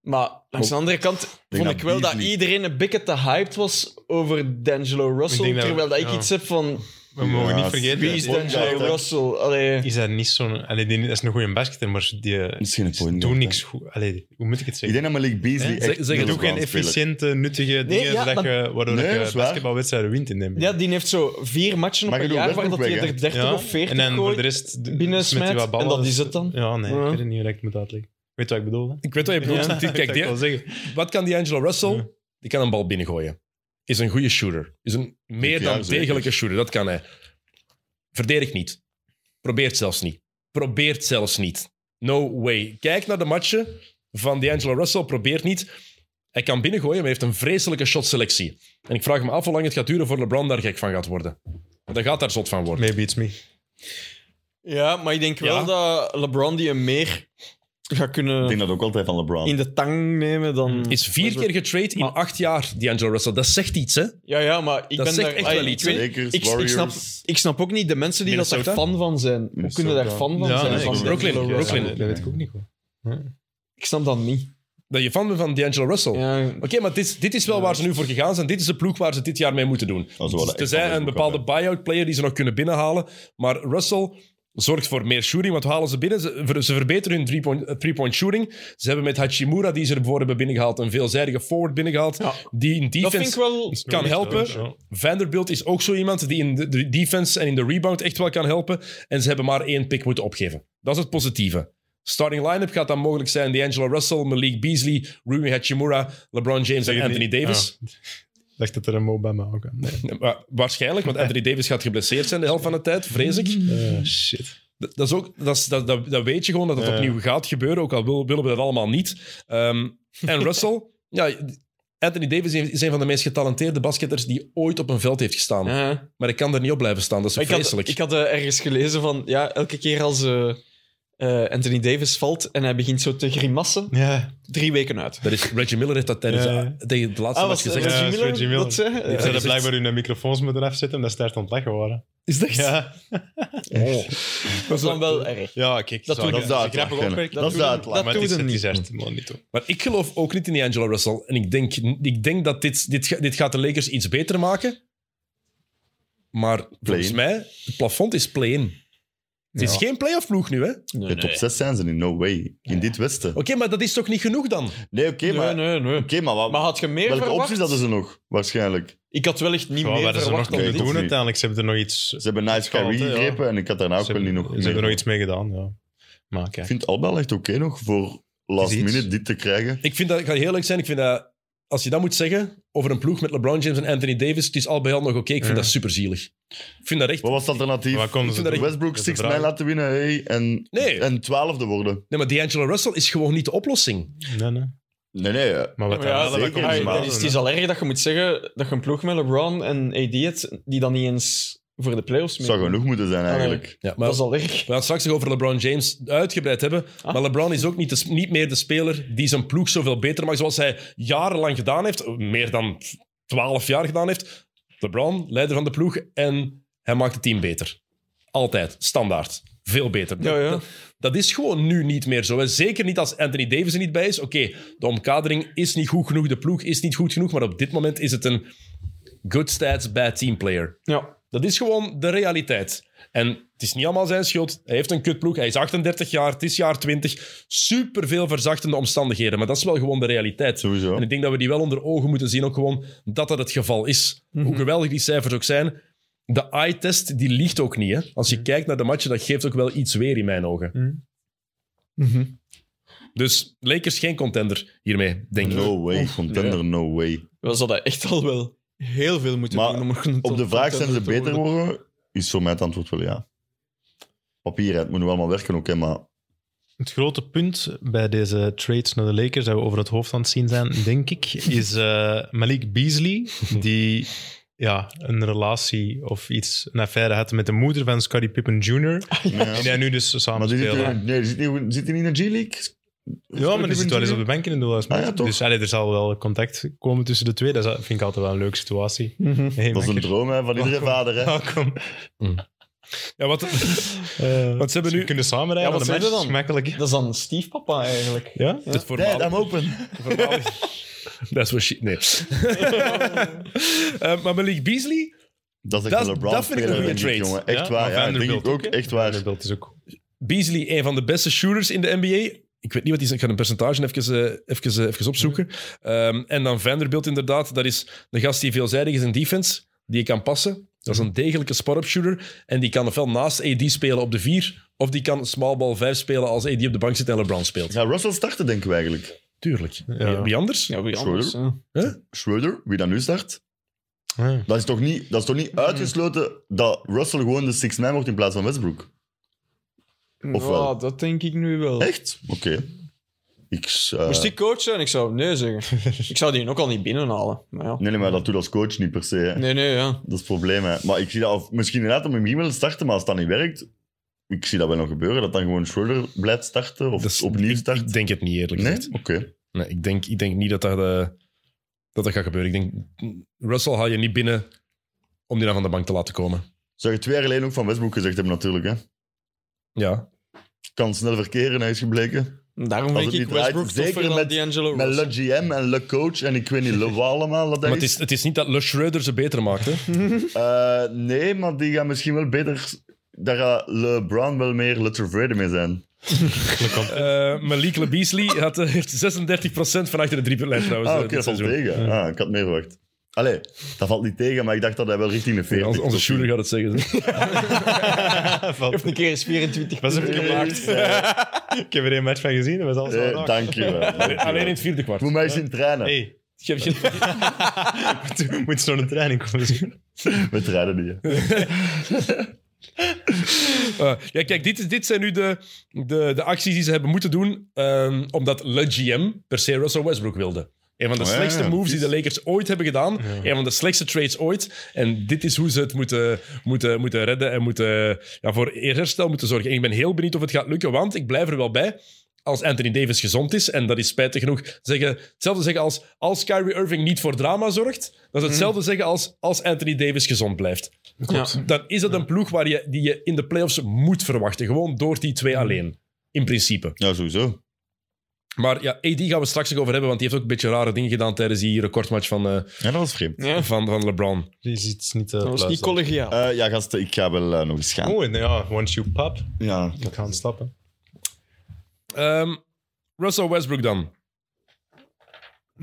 Maar aan de andere kant
denk
vond
dat
ik wel dat
Beasley-
iedereen een beetje te hyped was over D'Angelo Russell.
denk dat-
terwijl dat ik
ja.
iets heb van,
We mogen
Ja,
niet
wie is
dat-
vergeten.
D'Angelo
dat-
Russell? Allee,
Is dat niet zo'n. Allee, die dat is een goede basketer, maar die eh,
Misschien een point
doet
guard,
niks goed. Allee, hoe moet ik het
Ik
zeggen?
denk dat Malik Beasley
Hè?
echt...
Zeg- zeg het
een
Doe geen
Nederlandse speler-
efficiënte, nuttige dingen
ja,
zodat
maar-
je, waardoor
Nee, dat
je
is waar.
basketbalwedstrijden wint in NBA.
ja, die heeft zo vier matchen
Maar
op
je
een
doet
jaar waar dat
Westbrook
hij
weg,
er 30
Ja,
of 40
En dan voor
gooit.
de rest d-
binnen
smet hij
smijt,
wat ballen. dus
en dat is het dan.
Ja, nee,
Ja.
ik weet niet hoe ik het moet uitleggen. Weet je wat ik bedoel? Hè?
Ik weet wat je bedoelt.
Ja.
Kijk,
Dat
die-
kan [laughs] ik wel zeggen.
wat kan die Angelo Russell?
Ja.
Die kan een bal binnengooien. Is een goede shooter. Is een meer
Ja,
dan
zeker.
degelijke shooter. Dat kan hij. Verdedigt niet. Probeert zelfs niet. Probeert zelfs niet. No way. Kijk naar de matchen van die Angelo Russell. Probeert niet. Hij kan binnengooien, maar hij heeft een vreselijke shotselectie. En ik vraag me af hoe lang het gaat duren voor LeBron daar gek van gaat worden. Want hij gaat daar zot van worden.
Maybe it's me.
Ja, maar ik denk
Ja.
wel dat LeBron die hem meer gaat
Ik
kunnen
denk dat ook altijd van LeBron.
in de tang nemen dan...
Is vier keer getrade in acht jaar, die Angelo Russell. Dat zegt iets, hè?
Ja, ja, maar ik
Dat
ben
zegt
daar...
echt
Ai,
wel
ik
iets,
weet-
Lakers,
ik, ik,
Warriors.
snap, ik snap ook niet de mensen die dat daar
Minnesota?
fan van zijn. Hoe kunnen daar fan van
Ja,
zijn?
nee,
van
ik-
Brooklyn,
D'Angelo Russell?
Brooklyn.
Dat weet ik ook niet. hoor.
Ik snap dat niet.
Dat je fan bent van D'Angelo Russell.
Ja,
Oké, maar dit, is- dit is wel waar ze nu voor gegaan zijn. Dit is de ploeg waar ze dit jaar mee moeten doen.
Dat is wel echt
Tenzij
wel
een
goed,
bepaalde
hè.
buy-out player die ze nog kunnen binnenhalen. Maar Russell zorgt voor meer shooting, want we halen ze binnen. Ze, ver- ze verbeteren hun three-point eh, three-point shooting. Ze hebben met Hachimura, die ze ervoor hebben binnengehaald, een veelzijdige forward binnengehaald. Die in
dat vind ik
defense
wel...
kan helpen.
Ja.
Vanderbilt is ook zo iemand die in de- de defense en in de rebound echt wel kan helpen. En ze hebben maar één pick moeten opgeven. Dat is het positieve. Starting line-up gaat dan mogelijk zijn D'Angelo Russell, Malik Beasley, Rui Hachimura, LeBron James
Zeg
en
het
Anthony
niet.
Davis.
Ah. Ik dacht dat er een Obama ook aan. Nee.
Wa- Waarschijnlijk, want Anthony Davis gaat geblesseerd zijn de helft van de tijd, vrees ik.
Eh, shit.
Dat, dat is ook, dat, is- dat, dat, dat weet je gewoon dat het
Ja.
opnieuw gaat gebeuren, ook al wil- willen we dat allemaal niet. Ehm, en Russell, [laughs] ja, Anthony Davis is een van de meest getalenteerde basketters die ooit op een veld heeft gestaan.
Ja.
Maar ik kan er niet op blijven staan, dat is
Maar ik had,
vreselijk.
ik had eh, ergens gelezen van... Ja, elke keer als eh, eh, Anthony Davis valt en hij begint zo te grimassen,
Ja.
drie weken uit.
Dat is, Reggie Miller heeft dat tijdens
Ja, ja.
de- tegen de
Ah,
laatste match gezegd.
Reggie
Reggie
Miller Reggie Miller. dat
Dat
zei? Ze hadden
zit-
blijkbaar hun microfoons moeten afzetten en dat is daar te ontleggen worden.
Is dat echt?
Ja.
Oh.
is dan wel erg.
Ja, kijk.
Dat
zo,
doe ik-
dat is de
een grappig
uitleg,
opmerking.
hè. Dat is de
doe ik-
uitleg.
Maar
Dat
het is
doe
het
ik
is echt, man, niet hoor.
Maar ik geloof ook niet in die Angela Russell. En ik denk, ik denk dat dit, dit, ga- dit gaat de Lakers iets beter maken. Maar volgens
Play-in.
mij, het plafond is play-in. Het is geen playoff ploeg nu, hè? Oké,
De top 6 zijn ze in no way. In dit westen.
maar dat is toch niet genoeg dan?
Nee, oké, maar,
Nee, nee, nee.
oké, maar, wat,
Maar had je meer
welke
verwacht?
opties hadden ze nog? Waarschijnlijk.
Ik had wel echt niet
Wat
meer
waren ze nog
verwacht dan
oké.
kunnen
dit.
Of
doen
niet?
uiteindelijk? Ze hebben er nog iets...
Ze hebben Nice
Gehad,
Kyrie
hè, ja.
gegrepen en ik had daarna ook wel niet nog...
Ze hebben er
meer-
nog iets mee gedaan, ja. Maar kijk.
Ik vind Alba echt oké nog voor last
Is iets.
minute dit te krijgen.
Ik, vind dat, ik ga heel eerlijk zijn, ik vind dat... Als je dat moet zeggen over een ploeg met LeBron James en Anthony Davis, het is al bij al nog oké. Ik vind
Ja.
dat superzielig. Ik vind dat echt...
Wat was het alternatief?
Wat konden ze
vind dat
doen?
echt-
Westbrook
Dat is de
6
vraag.
man laten winnen hey, en,
Nee.
en 12 te worden.
Nee, maar D'Angelo Russell is gewoon niet de oplossing.
Nee, nee.
Nee, nee. eh,
Maar wat
Maar ja,
daar
zeker
wel, wat konden ze
niet,
Ah,
wel
maar-
dan is
doen,
het
hè?
is al erg dat je moet zeggen dat je een ploeg met LeBron en AD hebt die dan niet eens voor de playoffs mee.
zou genoeg moeten zijn eigenlijk.
Ja, maar
Dat is al erg.
we gaan het straks nog over LeBron James uitgebreid hebben.
Ah.
Maar LeBron is ook niet, de sp- niet meer de speler die zijn ploeg zoveel beter maakt. Zoals hij jarenlang gedaan heeft, meer dan 12 jaar gedaan heeft. LeBron, leider van de ploeg, en hij maakt het team beter. Altijd, standaard. Veel beter.
Ja, ja.
Dat, dat is gewoon nu niet meer zo. hè. Zeker niet als Anthony Davis er niet bij is. Oké, de omkadering is niet goed genoeg, de ploeg is niet goed genoeg, maar op dit moment is het een good stats, bad team player.
Ja.
Dat is gewoon de realiteit. En het is niet allemaal zijn schuld. Hij heeft een kutploeg. Hij is 38 jaar. Het is jaar 20. Superveel verzachtende omstandigheden. Maar dat is wel gewoon de realiteit.
Sowieso.
En ik denk dat we die wel onder ogen moeten zien. Ook gewoon dat dat het geval is. Hoe geweldig die cijfers ook zijn. De eye-test die liegt ook niet. Hè? Als je kijkt naar de matchen, dat geeft ook wel iets weer in mijn ogen. Mhm. Dus Lakers geen contender hiermee, denk ik.
No way. Contender, no way.
We zouden echt al wel heel veel moeten
Maar
doen om er een
Op de
top
vraag zijn ze
contender te
beter
worden.
worden, is voor mij het antwoord wel ja. Papier, het moet nu allemaal werken ook, hè, maar
Het grote punt bij deze trades naar de Lakers, dat we over het hoofd aan het zien zijn, denk ik, is eh, Malik Beasley, die ja, een relatie of iets, een affaire had met de moeder van Scottie Pippen Jr.
[laughs] Ja.
En die nu dus samen
Maar die zit,
spelen.
hier- nee, die zit, niet- zit die niet in de G-League?
Ja, maar die zit wel eens op de bank in de doelhuis.
Ah, ja, toch?
dus allee, er zal wel contact komen tussen de twee. Dat is- vind ik altijd wel een leuke situatie.
Mhm.
Hey,
Dat is een [laughs]
makker.
droom hè, van iedere
Welkom.
vader. Hè.
Welkom.
Ja, wat, wat ze hebben
We
nu...
kunnen samen rijden.
Ja, wat
naar de
zijn
match.
we
Gemakkelijk.
Dat is dan stiefpapa eigenlijk.
Ja?
Het
Dad,
voormalig-
I'm open.
voormalig... Dat is wel shit. Nee. Eh, maar Malik Beasley...
Dat is
Dat-
echt een LeBron
dat vind ik een goede
speler, denk ik,
trade.
jongen. Echt waar,
Ja, maar
ja, ik denk
Vanderbilt
ik ook.
ook,
Echt waar.
Vanderbilt is ook...
Beasley, een van de beste shooters in de NBA. Ik weet niet wat hij is. Ik ga een percentage even, eh, even, eh, even opzoeken. Ehm, en dan Vanderbilt inderdaad. Dat is de gast die veelzijdig is in defense. Die je kan passen. Dat is een degelijke spot-up shooter. En die kan ofwel naast AD spelen op de 4. Of die kan small ball 5 spelen als AD op de bank zit en LeBron speelt.
Gaat Russell starten, denken we eigenlijk?
Tuurlijk.
Ja.
Wie anders?
Ja, wie
Schroeder.
anders? ja.
Schroeder, wie dan nu start?
Ah.
Dat is toch niet, dat is toch niet uitgesloten dat Russell gewoon de 6 man wordt in plaats van Westbrook? Of wel?
Ja, dat denk ik nu wel.
Echt? Oké. Ik... eh,
Moest die coach zijn? Ik zou nee
[laughs]
zeggen. ik zou die ook al niet binnenhalen. Maar ja.
Nee, nee, maar dat doet als coach niet per se. hè.
Nee, nee, ja.
Dat is het probleem. Hè. Maar ik zie dat, of misschien inderdaad om hem hier wel te starten, maar als dat niet werkt, ik zie dat wel nog gebeuren, dat dan gewoon Schroeder blijft starten of
Dat is-
opnieuw
ik,
start.
ik denk het niet eerlijk
Nee?
gezegd.
Oké.
Nee, ik, denk, ik denk niet dat dat, eh, dat dat gaat gebeuren. Ik denk, Russell haal je niet binnen om die dan van de bank te laten komen.
Zou je twee jaar geleden ook van Westbrook gezegd hebben, natuurlijk. Hè.
Ja.
Kan snel verkeren, hij is gebleken.
Daarom
Als
denk
het
ik
niet draait,
Westbrook
zeker
toffer dan
met-
D'Angelo
Met
Russell.
Le GM en Le Coach en ik weet niet, Le wat allemaal. Dat hij
Maar het
is.
is, het is niet dat Le Schroeder ze beter maakt.
[laughs]
Hè?
Eh, nee, maar die gaan misschien wel beter. Daar gaat LeBron wel meer le tevreden mee zijn.
Eh, Malik Le Beasley had, eh, heeft 36% van achter de driepuntlijn trouwens.
Ah,
eh,
oké,
dit
dat valt
seizoen.
tegen. Ah, ik had meer verwacht. Allee, dat valt niet tegen, maar ik dacht dat hij wel richting de 40
Onze, onze
zat.
shooter gaat het zeggen.
[laughs]
zeg.
Valt-
Heeft een keer eens 24
Was heb ik gemaakt? ik heb er een match van gezien. Dat was alles al
Eh,
raak.
Dank je wel. dank je wel.
Alleen in het vierde kwart.
Moet mij eens in trainen.
Hey,
Je hebt geen-
[laughs] moet- moet je zo'n training komen zien?
We trainen niet. hè.
Eh, ja, kijk, dit, is- dit zijn nu de, de, de acties die ze hebben moeten doen. ehm, omdat Le GM per se Russell Westbrook wilde. Een van de
Oh ja,
slechtste
ja,
moves die de
precies.
Lakers ooit hebben gedaan. Een van de slechtste trades ooit. En dit is hoe ze het moeten, moeten, moeten redden en moeten, ja, voor herstel moeten zorgen. En ik ben heel benieuwd of het gaat lukken, want ik blijf er wel bij. Als Anthony Davis gezond is, en dat is spijtig genoeg, zeggen, hetzelfde zeggen als als Kyrie Irving niet voor drama zorgt, dat is hetzelfde
Hmm.
zeggen als als Anthony Davis gezond blijft dan is dat een ploeg waar je, die je in de playoffs moet verwachten. Gewoon door die
Mm.
twee alleen. In principe.
Ja, sowieso.
Maar ja, AD gaan we straks nog over hebben, want die heeft ook een beetje rare dingen gedaan tijdens die recordmatch van, eh,
Ja, dat was vreemd.
Ja,
van, van LeBron.
Die is iets niet...
dat was niet collegiaal.
Eh, ja, gasten, ik ga wel eh, nog eens gaan.
Oh, en ja, once you pop,
Ja,
ik ga stappen.
Ehm, Russell Westbrook dan.
Nou,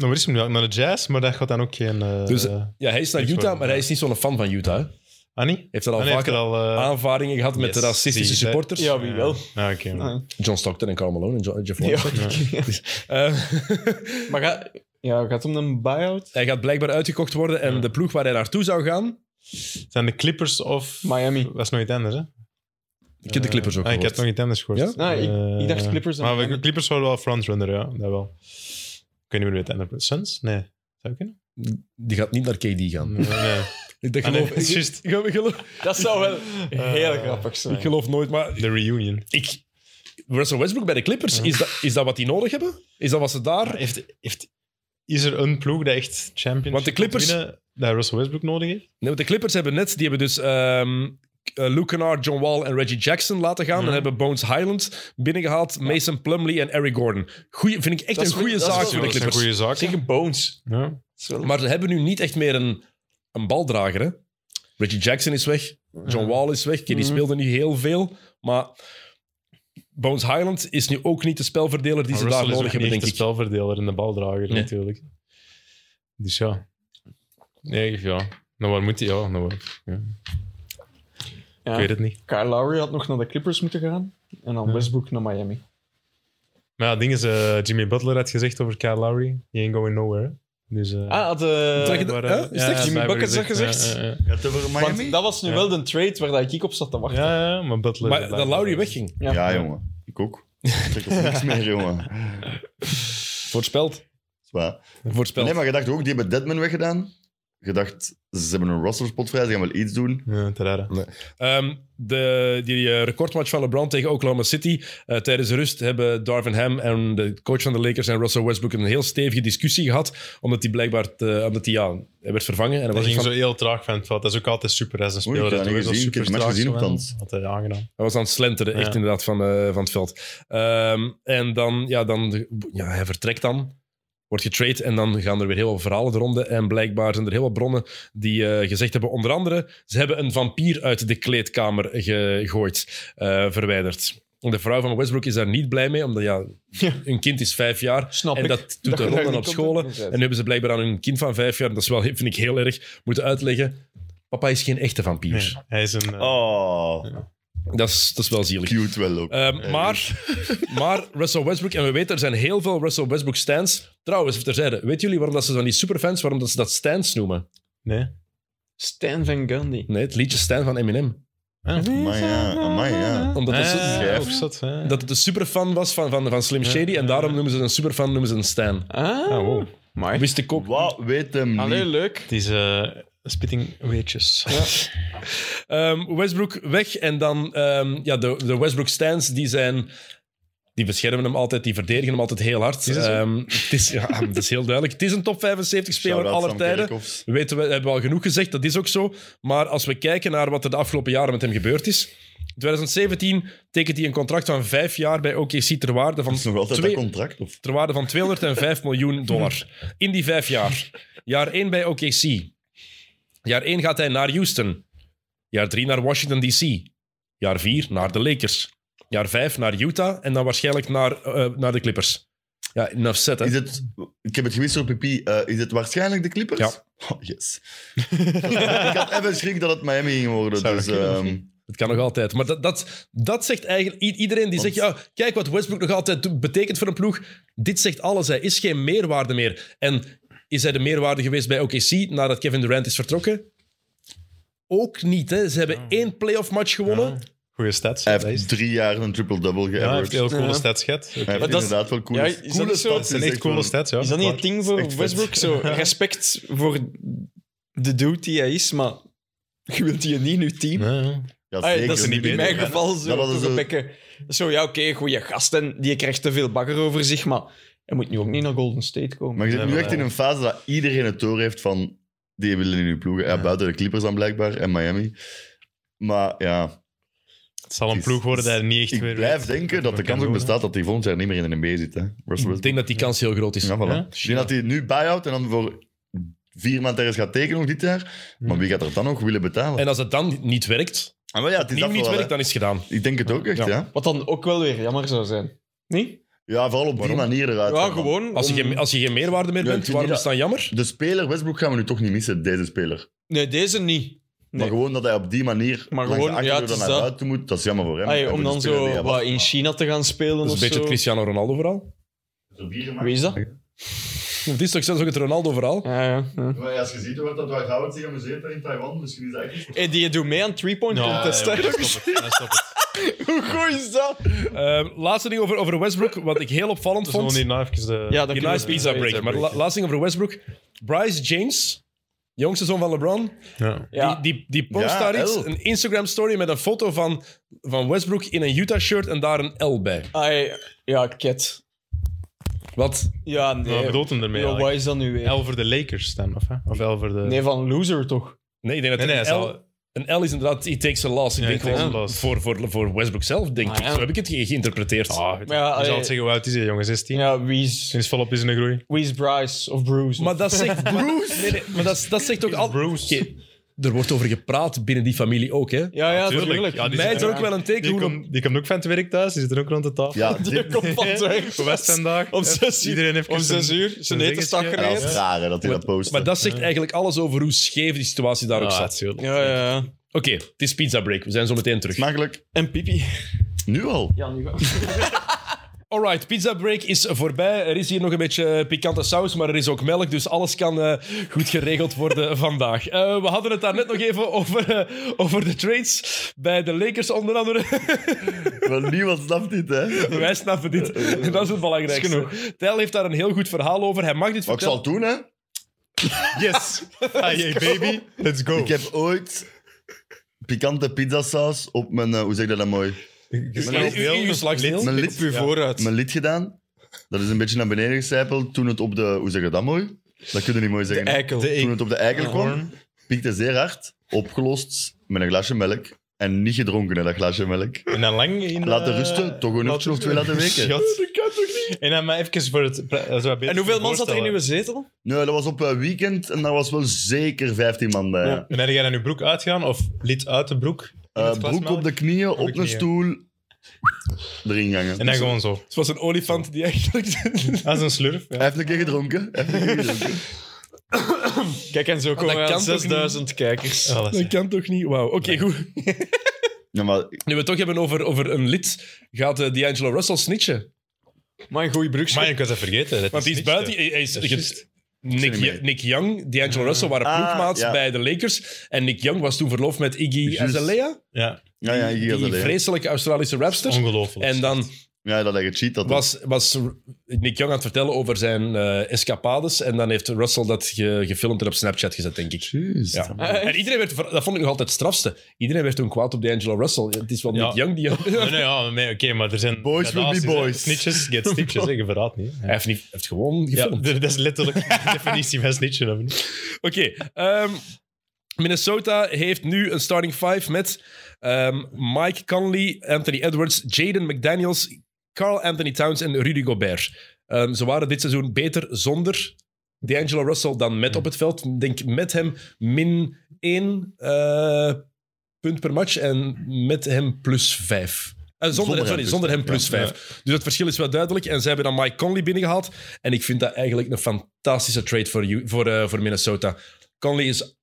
waar is hem nu? Naar de jazz, maar daar gaat dan ook geen... eh
Dus-
eh,
Ja, hij is naar
Ik
Utah,
word-
maar hij is niet zo'n fan van Utah. hè.
Annie?
Heeft er al
Annie heeft
vaker
er al... eh,
aanvaringen gehad met de
yes,
racistische
zie je,
supporters.
Ah, Ja, wie wel.
Ah, oké. maar-
Ah,
John Stockton en Karl Malone en Jo- Jeff
Ja.
Walker.
[laughs]
Eh,
Ehm, Maar ga, ja, gaat het om een buyout?
hij gaat blijkbaar uitgekocht worden en de ploeg waar hij naartoe zou gaan...
Zijn de Clippers of...
Miami.
Dat is nog iets anders, hè?
Ik heb de Clippers ook
Ah, ik
gehoord.
heb nog iets anders gehoord.
Ja? Nee, ik-
Eh,
ik dacht Clippers en
Maar we-
Miami.
Clippers waren wel frontrunner, ja. Dat wel. Ik weet niet meer wie het andere... Suns? Nee. Zou kunnen?
Die gaat niet naar KD gaan.
Nee. nee.
Ik, dat
Mm. Ah, nee, [laughs]
geloof,
het is
ik-
juist.
ik, ik geloof,
Dat zou wel heel grappig zijn.
ik geloof nooit, maar
De reunion.
ik, Russell Westbrook bij de Clippers, is dat, is dat wat die nodig hebben? Is dat wat ze daar...
Heeft, heeft, is er een ploeg dat echt champion
Want de Clippers-
winnen, dat Russell Westbrook nodig heeft?
Nee, want de Clippers hebben net, die hebben dus ehm eh, Luke Kennard, John Wall en Reggie Jackson laten gaan. Dan hebben Bones Highland binnengehaald, Mason Plumlee en Eric Gordon. Goeie, vind ik echt
Dat is
een goede
goed- dat is
zaak
wel-
voor de
dat is een
Clippers.
goede zaak.
Tegen Bones.
Ja.
Dat is wel-
Maar ze hebben nu niet echt meer een, een baldrager. Hè? Reggie Jackson is weg. John Wall is weg. Die
Mhm.
speelde niet heel veel. Maar Bones Highland is nu ook niet de spelverdeler die
Maar
ze
Russell
daar
is
nodig
ook
hebben,
niet
denk
echt
ik.
de spelverdeler en de baldrager
Nee.
natuurlijk. Dus ja. Nee, ja. Nou, waar moet hij? Ja, nou, waar- ja.
Ja.
Ik weet het niet.
Kyle Lowry had nog naar de Clippers moeten gaan. En dan Westbrook naar Miami.
Maar ja, het ding is, eh, Jimmy Butler had gezegd over Kyle Lowry, he ain't going nowhere. hè. Dus, eh,
Ah, had, eh,
Zeg je dat-
waar,
hè?
eh,
Is dat
Jimmy
zij hebben
Buckets dat gezegd?
Ja, ja, ja.
Gaat het over Miami?
want dat was nu
Ja.
wel de trade waar dat ik op zat te wachten.
eh. Ja, ja, maar Butler...
Maar dat Lowry wegging.
ja.
Ja, jongen. Ik ook. Ik trek op niks meer, jongen.
Voorspeld.
Zwaar.
Voorspeld.
Nee, maar je dacht ook, die hebben Deadman weggedaan. Je dacht, ze hebben een rosterspot vrij, ze gaan wel iets doen.
Ja, te raar.
Ehm, de, die eh, recordmatch van LeBron tegen Oklahoma City. eh, tijdens de rust hebben Darvin Ham en de coach van de Lakers en Russell Westbrook een heel stevige discussie gehad. Omdat hij blijkbaar, te- omdat hij ja, hij werd vervangen. En dat
Dat
was
ging
iets
zo heel traag van het veld. Dat is ook altijd super. Als een
Oei, ik
speler
heb dat
dat doet,
niet
is
gezien. Ik
dat
heb
super
het match
traag
gezien
zo,
opthans.
hè. Altijd aangenaam.
Hij was aan het slenteren, echt
Ja.
inderdaad, van, eh, van het veld. Ehm, en dan, ja, dan, ja, hij vertrekt dan, wordt getrade en dan gaan er weer heel wat verhalen ronden. En blijkbaar zijn er heel wat bronnen die eh, gezegd hebben, onder andere, ze hebben een vampier uit de kleedkamer gegooid, eh, verwijderd. De vrouw van Westbrook is daar niet blij mee, omdat ja, een kind is vijf jaar.
Snap
en
ik. [laughs]
dat doet
Dat
de
je daar
ronden op
niet
scholen.
content mee
En
bent.
nu hebben ze blijkbaar aan hun kind van vijf jaar, en dat is wel, [laughs] vind ik heel erg, moeten uitleggen. Papa is geen echte vampier.
Nee, hij is een... eh,
Oh,
Dat, is, dat is wel zielig.
cute wel ook.
Ehm, maar, [laughs] maar Russell Westbrook, en we weten, er zijn heel veel Russell Westbrook stands. Trouwens, even terzijde, weten jullie waarom dat ze van die superfans, waarom dat ze dat stands noemen?
Nee.
Stan Van Gundy.
Nee, het liedje Stan van Eminem.
Amai, ja. Amai, ja.
Omdat het,
Ah,
zo-
ja.
of zat, hè.
dat het een superfan was van, van, van Slim Shady, en daarom noemen ze het een superfan, noemen ze een Stan.
Ah,
Ah, wow.
Amai.
Wist ik ook.
Wat weet hem niet.
Allee, leuk.
Het is eh, spitting weetjes.
Ehm, Westbrook weg en dan ehm, ja, de, de Westbrook stands, die zijn... Die beschermen hem altijd, die verdedigen hem altijd heel hard. Ehm, het is, ja, dat is heel duidelijk. Het is een top 75 speler
Shout-out
aller
Sam
tijden.
Kerkhoffs.
We weten, we hebben al genoeg gezegd, dat is ook zo. Maar als we kijken naar wat er de afgelopen jaren met hem gebeurd is. In 2017 tekent hij een contract van vijf jaar bij OKC ter waarde van,
Dat is nog altijd
twee-
dat contract, of?
ter waarde van 205 miljoen dollar. In die vijf jaar. Jaar één bij OKC. Jaar één gaat hij naar Houston. Jaar drie naar Washington DC. Jaar vier naar de Lakers. Jaar vijf naar Utah en dan waarschijnlijk naar, eh, naar de Clippers. Ja, enough set, hè.
Is het, ik heb het gewist door Pipi. eh, is het waarschijnlijk de Clippers?
Ja.
[laughs] Oh, yes. ik had even schrik dat het Miami ging worden.
Zou dat
dus,
kunnen, of
ehm,
niet?
Het kan nog altijd. Maar dat, dat, dat zegt eigenlijk i- iedereen die
Want-
zegt: ja, kijk wat Westbrook nog altijd do- betekent voor een ploeg. Dit zegt alles. Hij is geen meerwaarde meer. En is hij de meerwaarde geweest bij OKC nadat Kevin Durant is vertrokken? Ook niet. Hè. Ze hebben één playoff match gewonnen.
Goeie stats.
hij
dat is
heeft
het.
drie jaar een triple-double
Ja, hij heeft
geaveraged.
heel coole
Ja.
stats gehad. Oké.
Hij heeft
Maar dat is-
inderdaad wel coole,
ja, is dat
coole
niet zo?
stats.
Het zijn echt coole
wel-
stats, ja.
Is dat niet het
Klaar.
ding
Echt
voor
vet.
Westbrook?
[laughs]
Zo, respect voor de dude die hij is, maar je wilt die niet in je team.
Ja, ja.
Ja,
Ah,
zeker.
dat is
niet
in
beter,
mijn
hè.
geval
Dat
zo.
was
Zo,
zo-
bekken. zo ja, oké, goede gast. En die krijgt te veel bagger over zich, maar hij moet nu ook niet naar Golden State komen.
Maar je zit
Ja,
nu
maar
echt
ja.
in een fase dat iedereen het door heeft van... Die willen in uw ploegen. Ja, buiten de Clippers dan blijkbaar en Miami. Maar ja,
Het zal een
Het is-
ploeg worden dat hij niet echt
ik
weer
blijf
weet.
denken dat de
kan
kans ook
doen, hè.
bestaat dat hij volgend jaar niet meer in de NBA zit. Hè. Russell
Ik
Westbrook.
denk dat die kans heel groot is.
Ja, voilà. Dus
Ja?
Ik denk dat hij nu buy-out en dan voor vier maanden ergens gaat tekenen nog dit jaar. Maar wie gaat er dan nog willen betalen?
En als het dan niet werkt,
Ah, maar ja, het is
opnieuw
dat
niet
wel, hè.
werkt, dan is het gedaan.
Ik denk het ook echt,
Ja.
ja. Ja,
Wat dan ook wel weer jammer zou zijn. Nee?
vooral op die manier eruit.
Ja,
gaan.
gewoon.
Als je,
om-
geen- als je geen meerwaarde meer
Mm. Ja, ik
bent,
vind
waarom is
niet
het dan jammer?
De speler Westbrook gaan we nu toch niet missen, deze speler.
Nee, deze niet.
Maar
Nee.
gewoon dat hij op die manier
Maar
langs
gewoon,
de achterdeur
ja, het is
naar
dat.
buiten moet, dat is jammer voor hem.
Ai,
Hij
om
moet
dan
een speler die
zo
hij
wat
was.
in China te gaan spelen
Dat is
of
een beetje
zo.
het
eh,
Cristiano Ronaldo verhaal.
Wie is dat?
Het is toch zelfs ook het Ronaldo verhaal?
Ja, ja. ja.
Maar als je ziet hoe dat Dwight Howard zich amuseert in Taiwan, misschien is dat echt...
Hey, die doet mee aan three-point
Ja,
contest.
ja,
hè? [laughs]
ja, stop het. Ja, stop het. Dat
Hoe goed is dat?
Ehm, laatste ding over, over Westbrook, wat ik heel opvallend
is
vond.
gewoon hier nou even de...
Ja, dan
Je
kunnen
nice
we-
pizza break. Maar la- laatste ding over Westbrook. Bryce James jongste zoon van LeBron,
Ja.
Ja.
die, die, die post
Ja,
daar iets,
L.
een Instagram-story met een foto van, van Westbrook in een Utah-shirt en daar een L bij.
Ai, ja, ket.
Wat?
Ja, nee.
Wat bedoelt hem ermee
Ja, wat
eigenlijk?
is dat nu weer?
L voor de Lakers dan, of, hè? of L voor de...
Nee, van loser toch?
Nee, ik denk dat
Nee, nee,
een,
hij
L,
zal-
een L is inderdaad, he takes a loss. Ik
Ja,
denk
he takes
gewoon
a loss.
Voor, voor, voor Westbrook zelf, denk
Ah,
ik.
ja.
Zo heb ik het ge- geïnterpreteerd.
Ah,
Maar ja, eh,
je zal
allee.
het zeggen, hoe oud is hij, jongen? 16?
Ja, wie is,
Sinds volop is in de groei.
wie is Bryce of Bruce?
Maar dat zegt... Bruce! Nee, nee, maar dat, dat zegt ook al...
Bruce.
Oké, er wordt over gepraat binnen die familie ook, hè.
ja, ja,
Tuurlijk.
natuurlijk.
Ja, die
Mij is
zitten
er ook wel een teken
Die
hoe...
komt, die komt ook van het werk thuis, die zit er ook rond de tafel.
[laughs]
Ja, dit
komt van het werk.
Voor Westenddag.
Om zes uur.
Iedereen heeft
Om
even
zes
zijn-
uur. Zijn
zijn
eten stak
dingetje.
ja, dat
gereed.
is raar hè, dat hij dat post.
Maar dat zegt eigenlijk alles over hoe scheef die situatie daar ook
Ah,
zat.
tuurlijk.
Ja, ja, ja.
Oké, het is pizza break. We zijn zo meteen terug.
Makkelijk.
En Pipi.
Nu al.
Ja, nu wel.
Alright, pizza break is voorbij. Er is hier nog een beetje eh, pikante saus, maar er is ook melk, dus alles kan eh, goed geregeld
[laughs]
worden vandaag. Eh, we hadden het daar net nog even over, eh, over de trades bij de Lakers onder andere. [laughs]
Want niemand snapt dit, hè.
[laughs]
Wij snappen
[laughs]
dit. Dat is het belangrijkste. Tel heeft daar een heel goed verhaal over. Hij mag dit
Wat Oh, ik
vertellen.
zal doen, hè.
[laughs] Yes! Hey, baby, let's go.
Ik heb ooit pikante pizzasaus op mijn... eh, hoe zeg je dat mooi?
Uw- uw- uw geslachtsdeel.
Mijn
Op uw
lid,
vooruit.
mijn lid gedaan. Dat is een beetje naar beneden gecijpeld toen het op de... Hoe zeg je dat mooi? Dat kun je niet mooi zeggen. hè.
Eikel.
De-
Toen het op de eikel kwam,
Hoorn.
piekte zeer hard. Opgelost met een glasje melk. En niet gedronken, hè, dat glasje melk.
En dan lang in...
Laten
eh,
rusten, toch een
laten
uurtje of twee
[laughs] rusten.
laten weken.
Shot. En dan maar even voor het... pra- eh, zo wat beter
En hoeveel man zat er
voorstellen.
in uw zetel?
Nee, dat was op eh, weekend en daar was wel zeker 15 man bij.
En dan jij dan uw broek uitgaan, of lid uit de broek. in
Eh,
het glas
broek op
melk.
de knieën, op,
de
een
knieën.
stoel, erin gangen.
En dan gewoon zo.
Het was een olifant die eigenlijk...
Dat is een slurf.
Hij heeft een keer gedronken. Hij heeft een keer gedronken.
Kijk, en zo
dat
komen we aan
kan toch niet?
6000
[laughs]
kijkers.
Dat kan toch niet? Wauw, oké, goed.
[laughs] Ja, maar
Nu we het toch hebben over, over een lid, gaat eh, D'Angelo Russell snitchen.
Maar een goeie broek.
Maar ik was dat vergeten. dat
Want die is
niet,
buiten.
eh.
Hij hij is,
Dat is
je-
juist.
Nick,
Zit niet mee.
Nick Young, D'Angelo Russell waren
Ah,
ploegmaats
ja.
bij de Lakers. En Nick Young was toen verloofd met Iggy
Juist.
Azalea,
Ja,
ja, ja, hier gaat
die
dat hè.
vreselijke Australische rapster.
ongelooflijk.
Dus- En dan
ja, dat hij gecheat had.
was, was Nick Young aan het vertellen over zijn eh, escapades. En dan heeft Russell dat ge- gefilmd en op Snapchat gezet, denk ik.
Juist.
Ja.
Ah, echt?
En iedereen werd, ver- dat vond ik nog altijd het strafste. Iedereen werd toen kwaad op D'Angelo Russell. Het is wel
Ja.
Nick Young die.
Nee, nee, ja, nee, oké, maar er zijn...
Boys will be
gradaties, hè.
boys.
Snitches get stitches, hè, je verraadt niet. hè.
Hij heeft, niet, hij heeft gewoon
Ja,
gefilmd.
[laughs] dat is letterlijk de definitie van snitchen. of niet?
Oké, ehm, Minnesota heeft nu een starting five met ehm, Mike Conley, Anthony Edwards, Jaden McDaniels, Carl Anthony Towns en Rudy Gobert. Ehm, ze waren dit seizoen beter zonder D'Angelo Russell dan met op het veld. Ik denk met hem min 1 punt per match en met hem plus 5. zonder,
Zonder
hem,
hem
sorry,
plus
zonder hem
vijf,
plus
ja.
5. Dus dat verschil is wel duidelijk. En ze hebben dan Mike Conley binnengehaald. En ik vind dat eigenlijk een fantastische trade voor, you- voor, eh, voor Minnesota. Conley is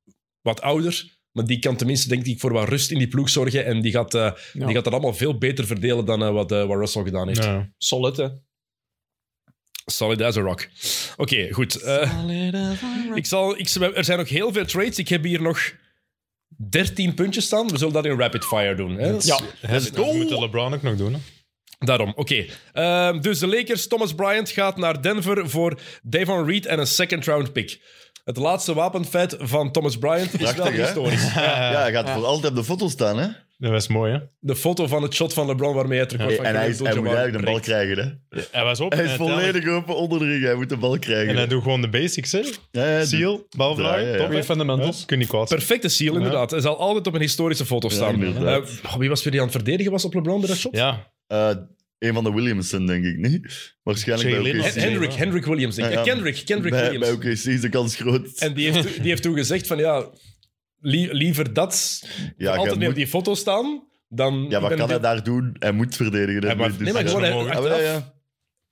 wat ouder, maar die kan tenminste, denk ik, voor wat rust in die ploeg zorgen. En die gaat, eh, die gaat dat allemaal veel beter verdelen dan eh, wat, eh, wat Russell gedaan heeft.
Ja.
Solid, hè?
Solid as a rock. Oké, goed. eh, ik zal, ik, er zijn nog heel veel trades. Ik heb hier nog 13 puntjes staan. We zullen dat in rapid fire doen. Hè?
Ja.
Let's go! Dat moet de LeBron ook nog doen. Hè.
Daarom, oké. Ehm, dus de Lakers, Thomas Bryant gaat naar Denver voor Devon Reed en een second round pick. Het laatste wapenfeit van Thomas Bryant is
Prachtig,
wel
hè?
historisch.
[laughs] Ja, hij gaat voor altijd op de foto staan, hè.
Dat was mooi, hè?
De foto van het shot van LeBron waarmee hij terug
Hey, en hij, is- hij moet eigenlijk de bal krijgen, hè.
Hij was op.
Hij
en
is
uiteindelijk-
volledig open onder de ring. Hij moet de bal krijgen.
En hij doet gewoon de basics, hè?
Ja, ja,
Seal,
Draaien, ja.
balvlaai, top.
Goeie
hè?
fundamentals.
Ja, Kun je niet kwaad zijn.
Perfecte seal, inderdaad. Hij zal altijd op een historische foto staan.
inderdaad.
Eh, goh, wie was weer die aan het verdedigen was op LeBron bij dat shot?
Ja,
Eh, een van de Williamson, denk ik, niet? Waarschijnlijk
Jay
bij
Leno.
OKC.
Hen- Hendrick, Hendrick Williams. Denk ik.
Ja, ja.
Kendrick, Kendrick
Bij, bij
Williams.
OKC is de kans groot.
En die heeft, die heeft toen gezegd van ja, li- liever dat,
Ja, jij
altijd mee op
moet-
die foto staan, dan...
Ja,
ik
wat
ben
kan hij
dit-
daar doen? Hij moet verdedigen. dat
Hij mag-
moet-
nee, maar
ja.
gewoon, hij-
Ja,
achteraf-
Ah, ja, ja.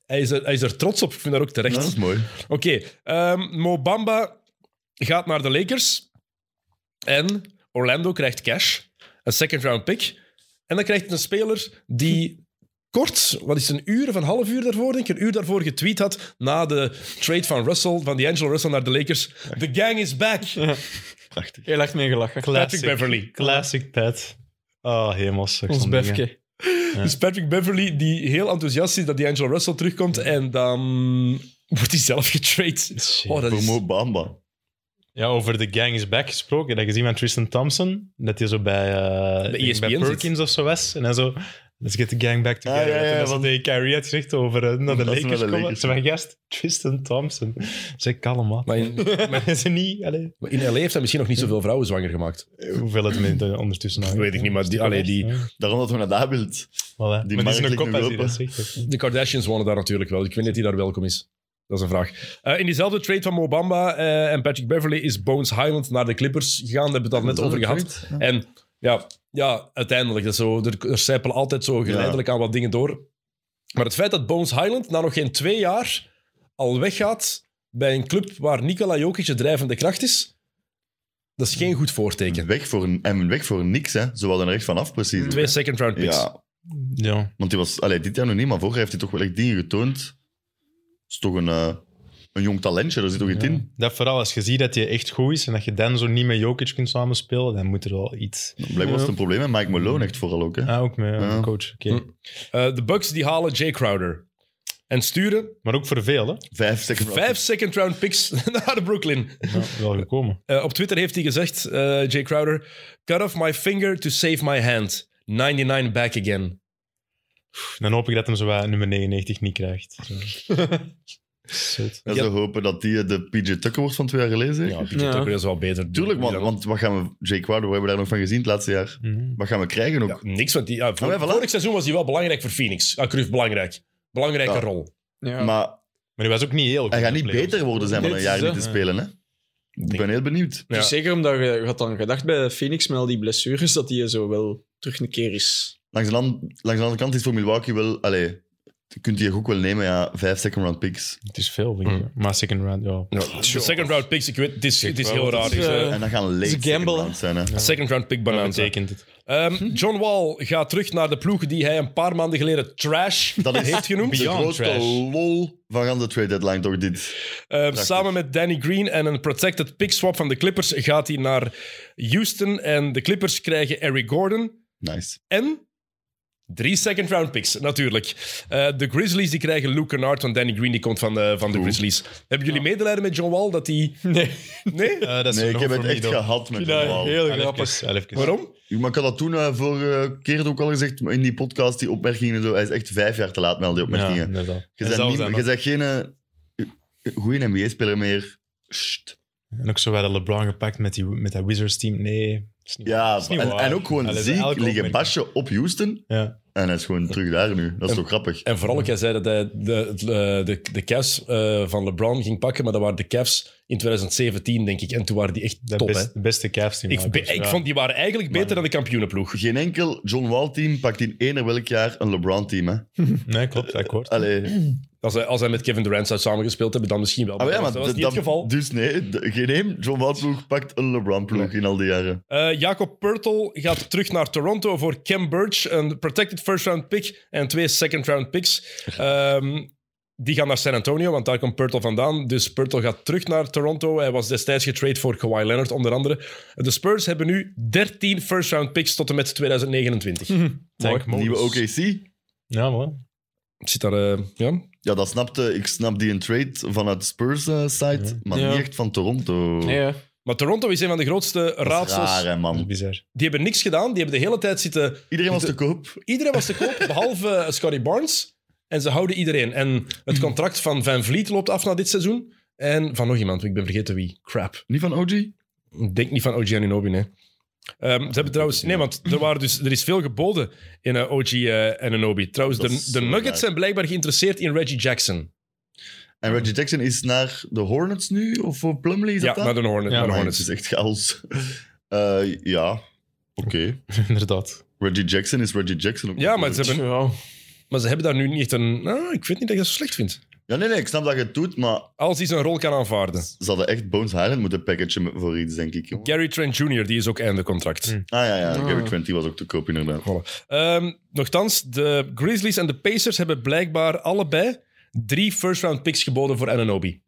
Hij is, er, hij is er trots op. Ik vind dat ook terecht.
Ja, dat is mooi.
Oké, ehm Mobamba gaat naar de Lakers. En Orlando krijgt cash. Een second round pick. En dan krijgt het een speler die kort, wat is het, een uur of een half uur daarvoor, denk ik, een uur daarvoor getweet had na de trade van Russell, van D'Angelo Russell naar de Lakers. The gang is back.
Prachtig.
Heel erg mee gelachen.
classic.
Beverley.
Classic Pat. Oh, helemaal seks.
Ons
van dingen.
Befke.
Dus Patrick Beverly, die heel enthousiast is dat D'Angelo Russell terugkomt en dan wordt hij zelf getrade.
Shit.
Oh, dat
Voor
is...
Mo Bamba.
Ja, over de gang is back gesproken. Dat je gezien van Tristan Thompson, dat hij zo bij, eh,
Bij E
ik denk bij
ESPN zit.
Perkins of zo was. En dan zo, let's get the gang back together.
Ah, ja, ja,
en dan
want-
zo Kyrie had gezegd over eh, naar de
Dat ze naar de
Lakers komen.
Lakers
Ze mijn gast, Tristan Thompson. Zeg, kalm man.
Maar in,
[laughs] Maar ze niet, allee.
maar in LA heeft hij misschien nog niet zoveel vrouwen zwanger gemaakt.
Hoeveel het met eh, ondertussen nou?
Weet ik niet, maar die- allee, die-
Ja,
Daarom dat we naar daar wilt.
voilà.
Die
maar die
markt
is een
ligt
kop
nu
als
open.
die dat zegt.
De Kardashians wonen daar natuurlijk wel. Ik weet niet of die daar welkom is. Dat is een vraag. Eh, in diezelfde trade van Mobamba eh, en Patrick Beverly is Bones Highland naar de Clippers gegaan. Daar hebben we het al net over gehad. En ja, ja uiteindelijk. Dat is zo, er, er sijpelen altijd zo geleidelijk aan wat dingen door. Maar het feit dat Bones Highland na nog geen twee jaar al weggaat bij een club waar Nikola Jokic de drijvende kracht is, dat is geen goed voorteken.
Weg voor, een- en weg voor niks, hè. Ze hadden er echt vanaf, precies.
Twee second round picks.
Ja,
Ja.
want die was... Allee, dit jaar nog niet, maar vorig jaar heeft hij toch wel echt dingen getoond. is toch een, eh, een jong talentje, daar zit toch iets in.
Dat vooral als je ziet dat je echt goed is en dat je dan zo niet met Jokic kunt samenspelen, dan moet er wel iets.
Blijkbaar was het een probleem met Mike Malone echt vooral ook, hè.
Ah, ook met eh,
Ja.
een coach. Oké.
Hm. Eh, de Bucks die halen Jay Crowder. En sturen
Maar ook voor veel, hè?
Vijf second round.
vijf second round picks [laughs] naar Brooklyn.
Ja, wel gekomen.
Eh, op Twitter heeft hij gezegd, eh, Jay Crowder, cut off my finger to save my hand. 99 back again.
Dan hoop ik dat hem zo wat nummer 99 niet krijgt. Zo. Zot.
En ze hopen dat die eh, de PJ Tucker wordt van twee jaar geleden, zeg.
Ja, Pieter
Ja.
Tucker is wel beter.
Tuurlijk, want,
Ja.
want wat gaan we... Jake Crowder, we hebben daar nog van gezien het laatste jaar.
Mhm.
Wat gaan we krijgen ook?
Ja, niks, want die, ja, vor-
Ah, wel, voilà.
vorig seizoen was hij wel belangrijk voor Phoenix. Ah, Cruyff, belangrijk. Belangrijke
Ja.
rol.
Ja.
Maar
Maar hij was ook niet heel goed.
hij gaat
in de
niet
playoffs.
beter worden zijn van
Dit
een
is
jaar niet
het,
te spelen, hè. Ik ben heel benieuwd.
Ja.
Dus zeker omdat je, je had dan gedacht bij Phoenix met al die blessures dat die zo wel terug een keer is.
Langs de, an- langs de andere kant is voor Milwaukee wel... Allee, je kunt die ook wel nemen, ja. Vijf second round picks.
Het is veel, denk ik. Mm. Maar second round, ja.
De second round picks, ik weet, het is, het is
wel,
heel
dat
raar.
is,
Dus, eh,
eh,
En dat gaan late
is een
second
gamble,
rounds zijn, hè.
second round pick
Dat
bonanza.
betekent het.
Ehm, John Wall gaat terug naar de ploeg die hij een paar maanden geleden trash
Dat is
heeft genoemd.
De
Beyond
grootste
trash.
lol van aan de trade deadline toch dit.
Ehm, samen met Danny Green en een protected pick swap van de Clippers gaat hij naar Houston. En de Clippers krijgen Eric Gordon
Nice.
en drie second round picks, natuurlijk. Eh, de Grizzlies die krijgen Luke Kennard, want Danny Green die komt van de, van de Grizzlies. Hebben jullie medelijden met John Wall dat hij...
Nee.
[laughs] Nee?
Eh, dat is
Nee,
nog
ik heb het
voor
echt
mij, toch?
gehad met
Ja,
Wall.
heel
Al even,
grappig.
al even.
Waarom?
Maar ik had dat toen eh, vorige keer ook al gezegd in die podcast, die opmerkingen en zo. Hij is echt vijf jaar te laat met al die
Ja,
opmerkingen.
inderdaad.
je
En
bent,
zelfs
niet,
dan
je
nog.
bent geen eh, goede NBA-speler meer. Sst.
En ook zo werden LeBron gepakt met, die, met dat Wizards-team. Nee, is niet waar.
Ja,
Is niet
en,
waar.
en ook gewoon
Allee, dat is
ziek
elke
liggen
opmerking.
Basje op Houston.
Ja.
En hij is gewoon terug daar nu. Dat is toch grappig.
En vooral ook, jij zei dat hij de, de, de, de Cavs eh, van LeBron ging pakken, maar dat waren de Cavs in 2017, denk ik. En toen waren die echt
De
top,
best-
hè?
de beste Cavs-team.
Ik, be- ik vond die waren eigenlijk beter dan de kampioenenploeg.
Geen enkel John Wall-team pakt in eender welk jaar een LeBron-team. hè.
Nee, klopt, akkoord.
[clears throat]
Allee.
Als hij, als hij met Kevin Durant zou samengespeeld hebben, dan misschien wel.
Ah, maar Ah, ja,
dat
maar
was, dat was
d-
niet het
dat-
geval.
Dus nee, d- geen één John Wall-ploeg pakt een LeBron-ploeg in al die jaren.
Eh, Jacob Pertl gaat terug naar Toronto voor Cam Birch. Een protected first round pick en twee second round
[laughs]
picks. Ehm, die gaan naar San Antonio, want daar komt Pertl vandaan. Dus Pertl gaat terug naar Toronto. Hij was destijds getrade voor Kawhi Leonard, onder andere. De Spurs hebben nu 13 first round picks tot en met 2029.
Mhm.
Tank Morris.
Nieuwe OKC.
Ja, man.
Ik Zit daar, eh, ja?
Ja, dat snapte. Ik snap die een trade vanuit Spurs-site, maar
Ja.
niet echt van Toronto.
Nee, hè.
Maar Toronto is een van de grootste
dat is
raadsels.
raar, hè,
Dat is
man.
bizar.
Die hebben niks gedaan. Die hebben de hele tijd zitten
Iedereen was te koop.
Iedereen was te koop, behalve eh, Scotty Barnes. En ze houden iedereen. En het contract van Van Vliet loopt af na dit seizoen. En van nog iemand, ik ben vergeten wie. Crap.
Niet van OG?
Ik denk niet van OG Anunobi, nee. Ehm, ze hebben trouwens... Nee, want er, waren dus, er is veel geboden in eh, OG en Anunobi. Trouwens,
Dat is
de, de
zo
Nuggets
raar.
zijn blijkbaar geïnteresseerd in Reggie Jackson.
En Reggie Jackson is naar de Hornets nu? Of voor Plumlee? Is
Ja,
dat dat?
naar de Hornet-
Ja,
naar de
Maar
Hornets.
Het is echt chaos. [laughs] Eh, ja, oké.
[laughs] inderdaad.
Reggie Jackson is Reggie Jackson. ook
Ja, maar
natuurlijk.
ze, hebben,
Ja.
maar ze hebben daar nu niet echt een... Nou, ik weet niet dat ik dat zo slecht vind.
Ja, nee, nee, ik snap dat je het doet, maar
Als hij zijn rol kan aanvaarden.
ze hadden echt Bones Highland moeten packagen voor iets, denk ik. jongen.
Gary Trent Jr., die is ook einde contract.
Hm.
Ah ja, ja,
Ah.
Gary Trent die was ook te koop, inderdaad.
Ehm nochtans, de Grizzlies en de Pacers hebben blijkbaar allebei drie first-round picks geboden voor Ananobi.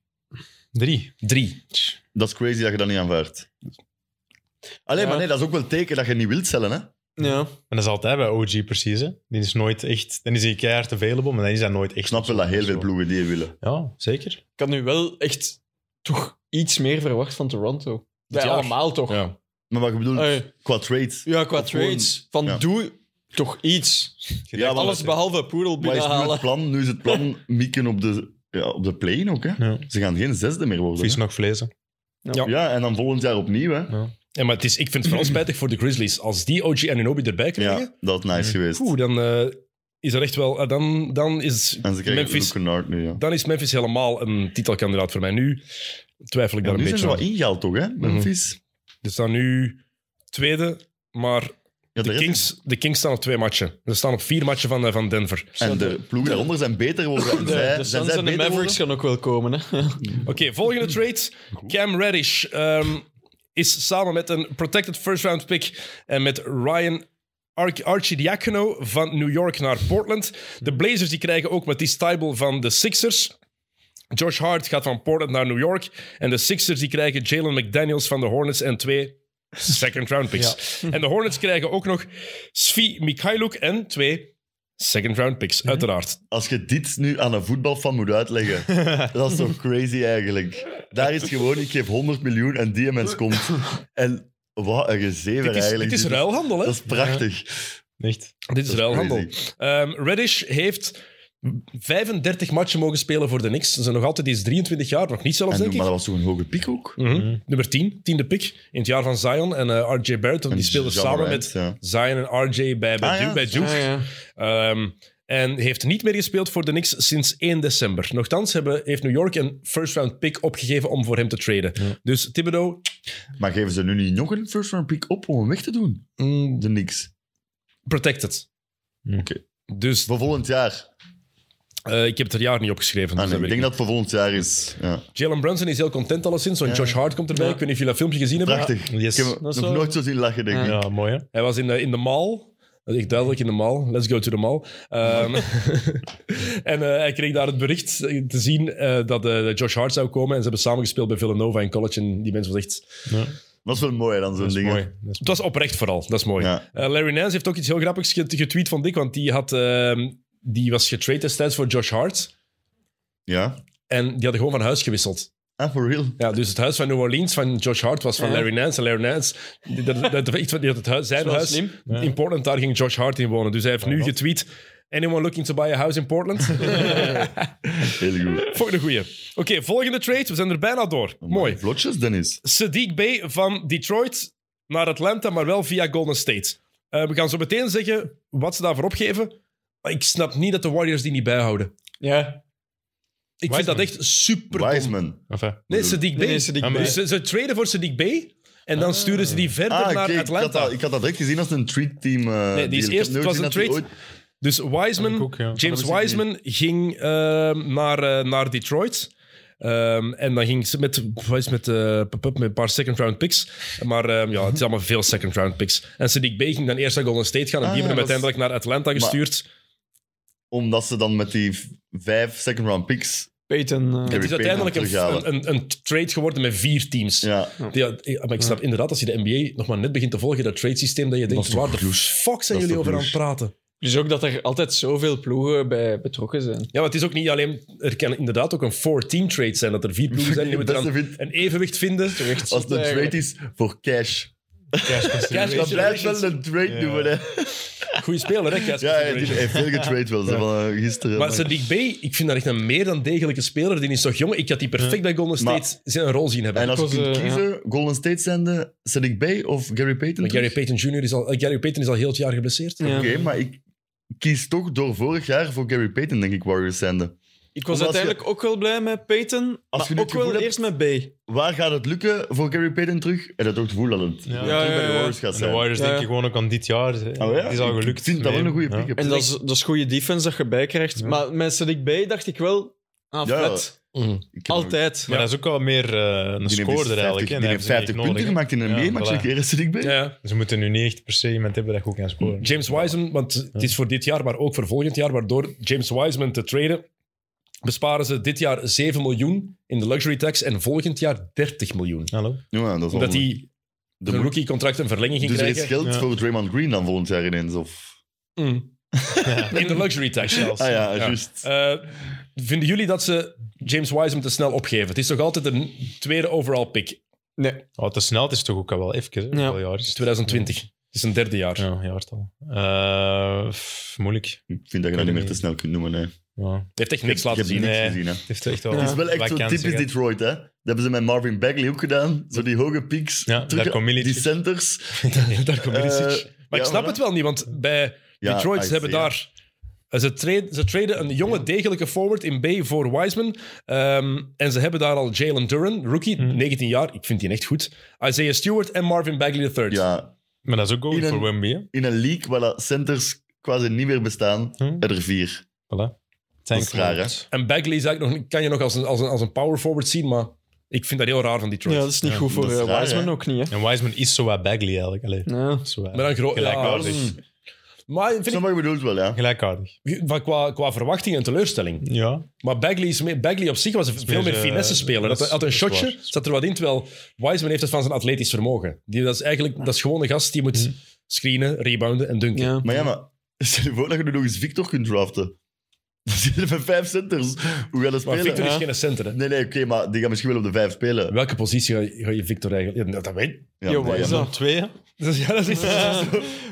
Drie.
Drie.
Dat is crazy dat je dat niet aanvaardt. Alleen,
Ja.
maar nee, dat is ook wel een teken dat je niet wilt cellen, hè?
Ja.
En dat is altijd bij OG precies, hè. Die is nooit echt... Dan is hij keihard available, maar dan is hij nooit echt...
Ik snap wel dat heel veel ploegen die willen.
Ja, zeker.
Ik had nu wel echt toch iets meer verwacht van Toronto. Bij
jaar.
allemaal toch? Ja,
Ja.
Maar wat ik bedoel,
Hey.
qua trades.
qua
Of gewoon-
trades. Van
ja.
doe toch iets.
Ja, maar
Alles behalve Poedel
wat is nu het
binnenhalen.
plan? Nu is het plan mieken op de, ja, op de play ook. Hè?
Ja.
Ze gaan geen zesde meer worden.
Vies
hè.
nog vlezen.
Ja, en dan volgend jaar opnieuw. Hè?
Ja, maar het is, ik vind het vooral
[clears throat]
spijtig voor de Grizzlies. Als die OG en Anobi erbij krijgen,
Ja, dat is nice geweest.
poeh, dan eh, is er echt wel... eh, dan, dan, is
En ze krijgen
Memphis,
Luke Kennard nu, ja.
dan is Memphis helemaal een titelkandidaat voor mij. Nu twijfel ik
Ja,
daar
nu
een
zijn ze
beetje
wel
aan.
ingehaald, toch, hè? Memphis.
Ze staan nu tweede, maar
Ja, de
de
rest-
Kings, de Kings staan op twee matchen. Ze staan op vier matchen van, eh, van Denver.
En de ploegen daaronder zijn beter geworden. En
De,
zij,
de
zijn
Suns
zij
en de
beter
Mavericks
geworden?
gaan ook wel komen.
[laughs]
Hè?
Oké, volgende trade. Cam Reddish ehm, is samen met een protected first round pick en met Ryan Arch Archidiakono van New York naar Portland. De Blazers die krijgen ook Matisse Tybel van de Sixers. Josh Hart gaat van Portland naar New York. En de Sixers die krijgen Jalen McDaniels van de Hornets en twee second round picks. [laughs] En de Hornets krijgen ook nog Svi Mikhailuk en twee second round picks,
Mhm.
uiteraard.
Als je dit nu aan een voetbalfan moet uitleggen, dat is toch crazy eigenlijk. Daar is gewoon, ik geef 100 miljoen en die mens komt. En wat een gezever
Dit is,
eigenlijk.
dit is
Dit
ruilhandel, hè?
Dat is prachtig.
Echt.
Dit is
Dat is
ruilhandel. Ehm, Reddish heeft 35 matchen mogen spelen voor de Knicks. Ze zijn nog altijd eens 23 jaar, nog niet zelfs,
En,
denk
maar
ik.
dat was toch een hoge piek ook?
Mhm. Nummer 10, tiende pick in het jaar van Zion en eh, RJ Barrett. want
En
die speelden
Ja
samen
Morant,
met
ja.
Zion en RJ bij, bij
Ah,
Duke.
ja.
bij Duke.
Ja, ja.
Ehm, en heeft niet meer gespeeld voor de Knicks sinds 1 december. Nochtans hebben, heeft New York een first-round pick opgegeven om voor hem te traden. Dus Thibodeau,
Maar geven ze nu niet nog een first round pick op om hem weg te doen?
mm,
De niks.
protected.
Oké.
Dus
Voor volgend jaar.
eh, ik heb het er jaar niet opgeschreven.
Ah,
dus
nee,
dat
ik
weet
denk dat het voor volgend jaar is. Ja.
Jalen Brunson is heel content alleszins. Zo'n
Ja.
Josh Hart komt erbij.
Ja.
Ik weet niet of jullie dat filmpje gezien hebben.
Prachtig.
Yes.
Ik heb hem nog
is wel-
nooit zo zien lachen, denk ik.
Ja, mooi hè?
Hij was in de, in de mall. Dat is echt duidelijk in de mall. Let's go to the mall. Ehm, en eh, hij kreeg daar het bericht te zien eh, dat eh, Josh Hart zou komen. En ze hebben samengespeeld bij Villanova in college. En die mensen was echt...
Dat is wel mooi dan, zo'n
Dat is
dingen.
mooi. Dat is
Het was oprecht vooral. Dat is mooi.
Ja.
Eh, Larry Nance heeft ook iets heel grappigs get- getweet van Dick. Want die, had, ehm, die was getraind destijds voor Josh Hart.
Ja.
En die hadden gewoon van huis gewisseld.
Ah, for real.
Ja, dus het huis van New Orleans van Josh Hart was van
Ja.
Larry Nance. En Larry Nance, die, dat, dat, die had het huis, zijn
Wel
huis
slim.
Ja.
in Portland, daar ging Josh Hart in wonen. Dus hij heeft nu getweet, anyone looking to buy a house in Portland?
[laughs]
Heel goed.
volgende goeie. Oké, volgende trade, we zijn er bijna door.
Oh
Mooi.
Vlotjes, Dennis.
Sadiq Bey van Detroit naar Atlanta, maar wel via Golden State. Eh, we gaan zo meteen zeggen wat ze daarvoor opgeven. Maar ik snap niet dat de Warriors die niet bijhouden.
Ja.
Ik vind dat echt super dom.
Wiseman.
Enfin,
Nee, Sadiq Bey.
Nee, Sadiq
Ah, maar-
Dus ze, ze traden voor Sadiq Bey en dan sturen ze die verder
Ah,
naar
oké. Ik, had
Atlanta.
dat- ik had dat direct gezien als een treat team. eh,
Nee, die is
deal.
eerst-
Ik heb
het was
nooit
een treat.
gezien dat die ooit-
Dus
Ja,
Wiseman,
ik ook, ja.
James
Dat wist ik
Wiseman ging ehm, naar, eh, naar Detroit. Ehm, en dan ging ze met, wat is het met, eh, pup, pup, met een paar second round picks. Maar ehm, ja, het is allemaal veel second round picks. En Sadiq Bey ging dan eerst naar Golden State gaan. En
Ah,
die
ja,
hebben hem
dat is-
uiteindelijk naar Atlanta gestuurd.
Omdat ze dan met die v- vijf second round picks.
Peyton. eh,
het is
Gary Payton
uiteindelijk
terughalen.
een, een, een trade geworden met vier teams. Ja. [laughs]
Ja,
ik- maar ik snap inderdaad, als je de NBA nog maar net begint te volgen, dat trade systeem, dat je denkt,
is toch
waar de
douche?
fuck zijn
is
jullie
toch
over aan het praten?
Dus ook dat er altijd zoveel ploegen bij betrokken zijn.
Ja, want het is ook niet alleen... Er kan inderdaad ook een four-team trade zijn, dat er vier ploegen
[laughs]
zijn die
Dat
moeten
is
dan
een-
een evenwicht vinden.
als het een trade is voor cash.
Cash
Dat blijft
considerations.
wel een trade
Ja.
doen, hè.
Goeie speler, hè, Cash
Ja, ja, die
considerations.
heeft veel getrade wel, ze, van eh, gisteren.
Maar Sadiq B, ik vind dat echt een meer dan degelijke speler. Die is toch jong? Ik had die perfect bij Golden
Maar-
State zijn rol zien hebben.
En als je
Ik was,
kunt
eh,
kiezen, Golden State zende Sadiq Bey of Gary Payton?
Maar Gary
terug?
Payton Jr. is al, eh, Gary Payton is al heel het jaar geblesseerd.
Ja.
Oké, maar ik kies toch door vorig jaar voor Gary Payton, denk ik, Warriors zenden.
Ik was
Omdat je-
uiteindelijk ook wel blij met Peyton,
je
maar
nu
ook
het
wel
gevoel hebt-
eerst met B.
Waar gaat het lukken voor Gary Payton terug? En dat is ook het gevoel dat het
Ja.
terug
Ja,
ja,
bij de
ja.
Warriors gaat
En de
zijn.
Warriors
Ja.
denk ik gewoon ook aan dit jaar.
Oh ja?
Het is al gelukt.
Ik vind dat wel een goede pick-up.
En Dus dat is, dat is goede defense dat je bij krijgt. Maar met Sadiq B dacht ik wel, ah,
Ja,
vet.
Ik heb nog-
Altijd.
Maar dat is ook al meer eh, een
die heeft
scoorder
50
eigenlijk.
Die
hè. En hij
heeft
ze niet
50 punten
nodig, hè.
gemaakt in een
Ja,
NBA-match.
voilà.
Ja, Sadiq Bey.
Ja.
Ze moeten nu niet echt per se iemand hebben dat goed kan scoren.
James Wiseman, want het is voor dit jaar, maar ook voor volgend jaar. Waardoor James Wiseman te traden, besparen ze dit jaar 7 miljoen in de luxury tax en volgend jaar 30 miljoen.
Hallo?
Ja, dat is
Omdat
allemaal-
hij
De
een
mo-
rookie contract een verlenging ging
Dus er is
krijgen.
geld
Ja.
voor Draymond Green dan volgend jaar ineens? Of...
Mm. In de luxury tax zelfs.
Ah ja, juist.
Eh, vinden jullie dat ze James Wiseman te snel opgeven? Het is toch altijd een tweede overall pick,
Nee.
Oh, te snel het is toch ook al wel even, hè?
Ja.
Hoeveel jaar is het?
2020. Het is een derde jaar.
Ja, jaartal. Eh, pff, moeilijk.
Ik vind dat je dat niet meer te snel kunt noemen. Hè. Je
Ja.
Hij heeft echt
hebt-
niks
je
laten
hebt
zien.
niet-
hè.
niks
Nee.
gezien, hè.
Het heeft echt wel...
Het is wel echt zo'n
vakantie
typisch
gehad.
Detroit, hè. Dat hebben ze met Marvin Bagley ook gedaan. Zo die hoge pieks.
Ja,
terug-
Darko Milicic.
Die centers.
[laughs] Daar komt Milicic.
Eh,
Maar ik
ja,
snap
voilà.
het wel niet, want bij
Ja,
Detroit,
I
ze hebben
see,
daar... eh, Ze, trade, ze traden een jonge, degelijke forward in B voor Wiseman. Ehm, en ze hebben daar al Jalen Duran, rookie,
Mm.
19 jaar. Ik vind die echt goed. Isaiah Stewart en Marvin Bagley III.
Ja,
Maar dat is ook goed
In een-
voor Wemby, hè?
in een league waar dat centers quasi niet meer bestaan,
Hm.
hebben er vier.
Voilà. Het
Dat
zijn
is raar, hè.
klopt.
En Bagley is eigenlijk nog, kan je nog als een, als, een, als een power forward zien, maar ik vind dat heel raar van Detroit.
Ja, dat is niet goed voor
dat is
eh,
raar,
Wiseman
hè?
ook niet, hè.
En Wiseman is zo wat Bagley, eigenlijk. Allee,
Ja.
zo wat
Maar dan gro- ja,
gelijkaardig.
mm.
dus-
maar vind ik,
Sommigen bedoelt wel, ja.
Gelijkaardig.
van qua, qua verwachting en teleurstelling.
Ja.
Maar Bagley, is meer- Bagley op zich was veel meer
eh,
finesse speler.
dat
Had,
is-
had een
dat is
shotje,
waar.
zat er wat in. Terwijl Wiseman heeft het van zijn atletisch vermogen. Die, dat, is eigenlijk, dat is gewoon een gast die
Mhm.
moet screenen, rebounden en dunken.
Ja.
Maar ja, maar stel je voor dat je nu nog eens Victor kunt draften. [laughs] Dan zitten er met vijf centers. Hoe gaat dat
Maar
spelen?
Victor is
Ja.
geen center. Hè?
Nee, nee, oké, maar die gaan misschien wel op de vijf spelen.
Welke positie ga je, ga je Victor eigenlijk... Ja, dat- dat weet
Ja,
Yo,
nee,
wat is
ja.
dat?
Twee, hè?
Dus ja, dat is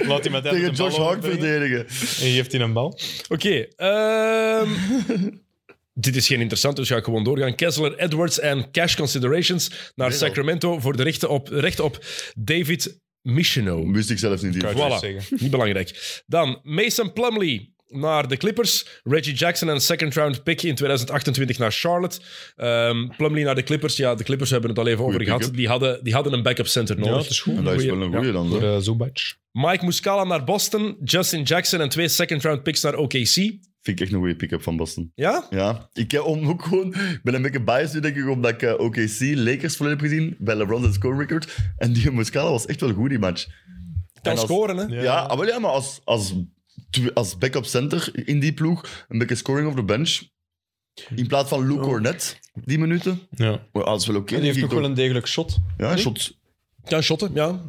Laat die met hem
Tegen
de bal
Josh Hart
overbrengen.
verdedigen.
En je geeft hij een bal.
Oké, ehm, [laughs] dit is geen interessant, dus ga ik gewoon doorgaan. Kessler, Edwards en cash considerations naar
Nee, wel.
Sacramento voor de rechten op, recht op David Michino.
Wist ik zelfs niet.
Kijk.
hier.
wou
Voilà,
het zeggen.
niet belangrijk. Dan Mason Plumlee naar de Clippers. Reggie Jackson en second round pick in 2028 naar Charlotte. Ehm Plumlee naar de Clippers. Ja, de Clippers hebben het al even over
Goeie
gehad.
pick-up.
Die hadden, die hadden een backup center nodig.
Ja, dat is goed.
En dat is wel
Goeie-
een goeie dan,
Voor
hoor.
eh, Zubac.
Mike Muscala naar Boston. Justin Jackson en twee second round picks naar OKC.
Vind ik echt een goede pick-up van Boston.
Ja?
Ja, ik heb om ook gewoon, ik ben een beetje biased nu, denk ik, omdat ik eh, OKC Lakers volledig heb gezien bij LeBron's score record. En die Muscala was echt wel goed die match.
Kan
En als-
scoren, hè?
Ja, ah, wel ja maar als, als, tw- als backup center in die ploeg, een beetje scoring op de bench. In plaats van Luke Cornet, die minuten.
Ja.
Maar dat is wel oké.
En die heeft
denk
ook
ik
wel een degelijk shot.
toch. Ja, shot.
Kan shotten, ja.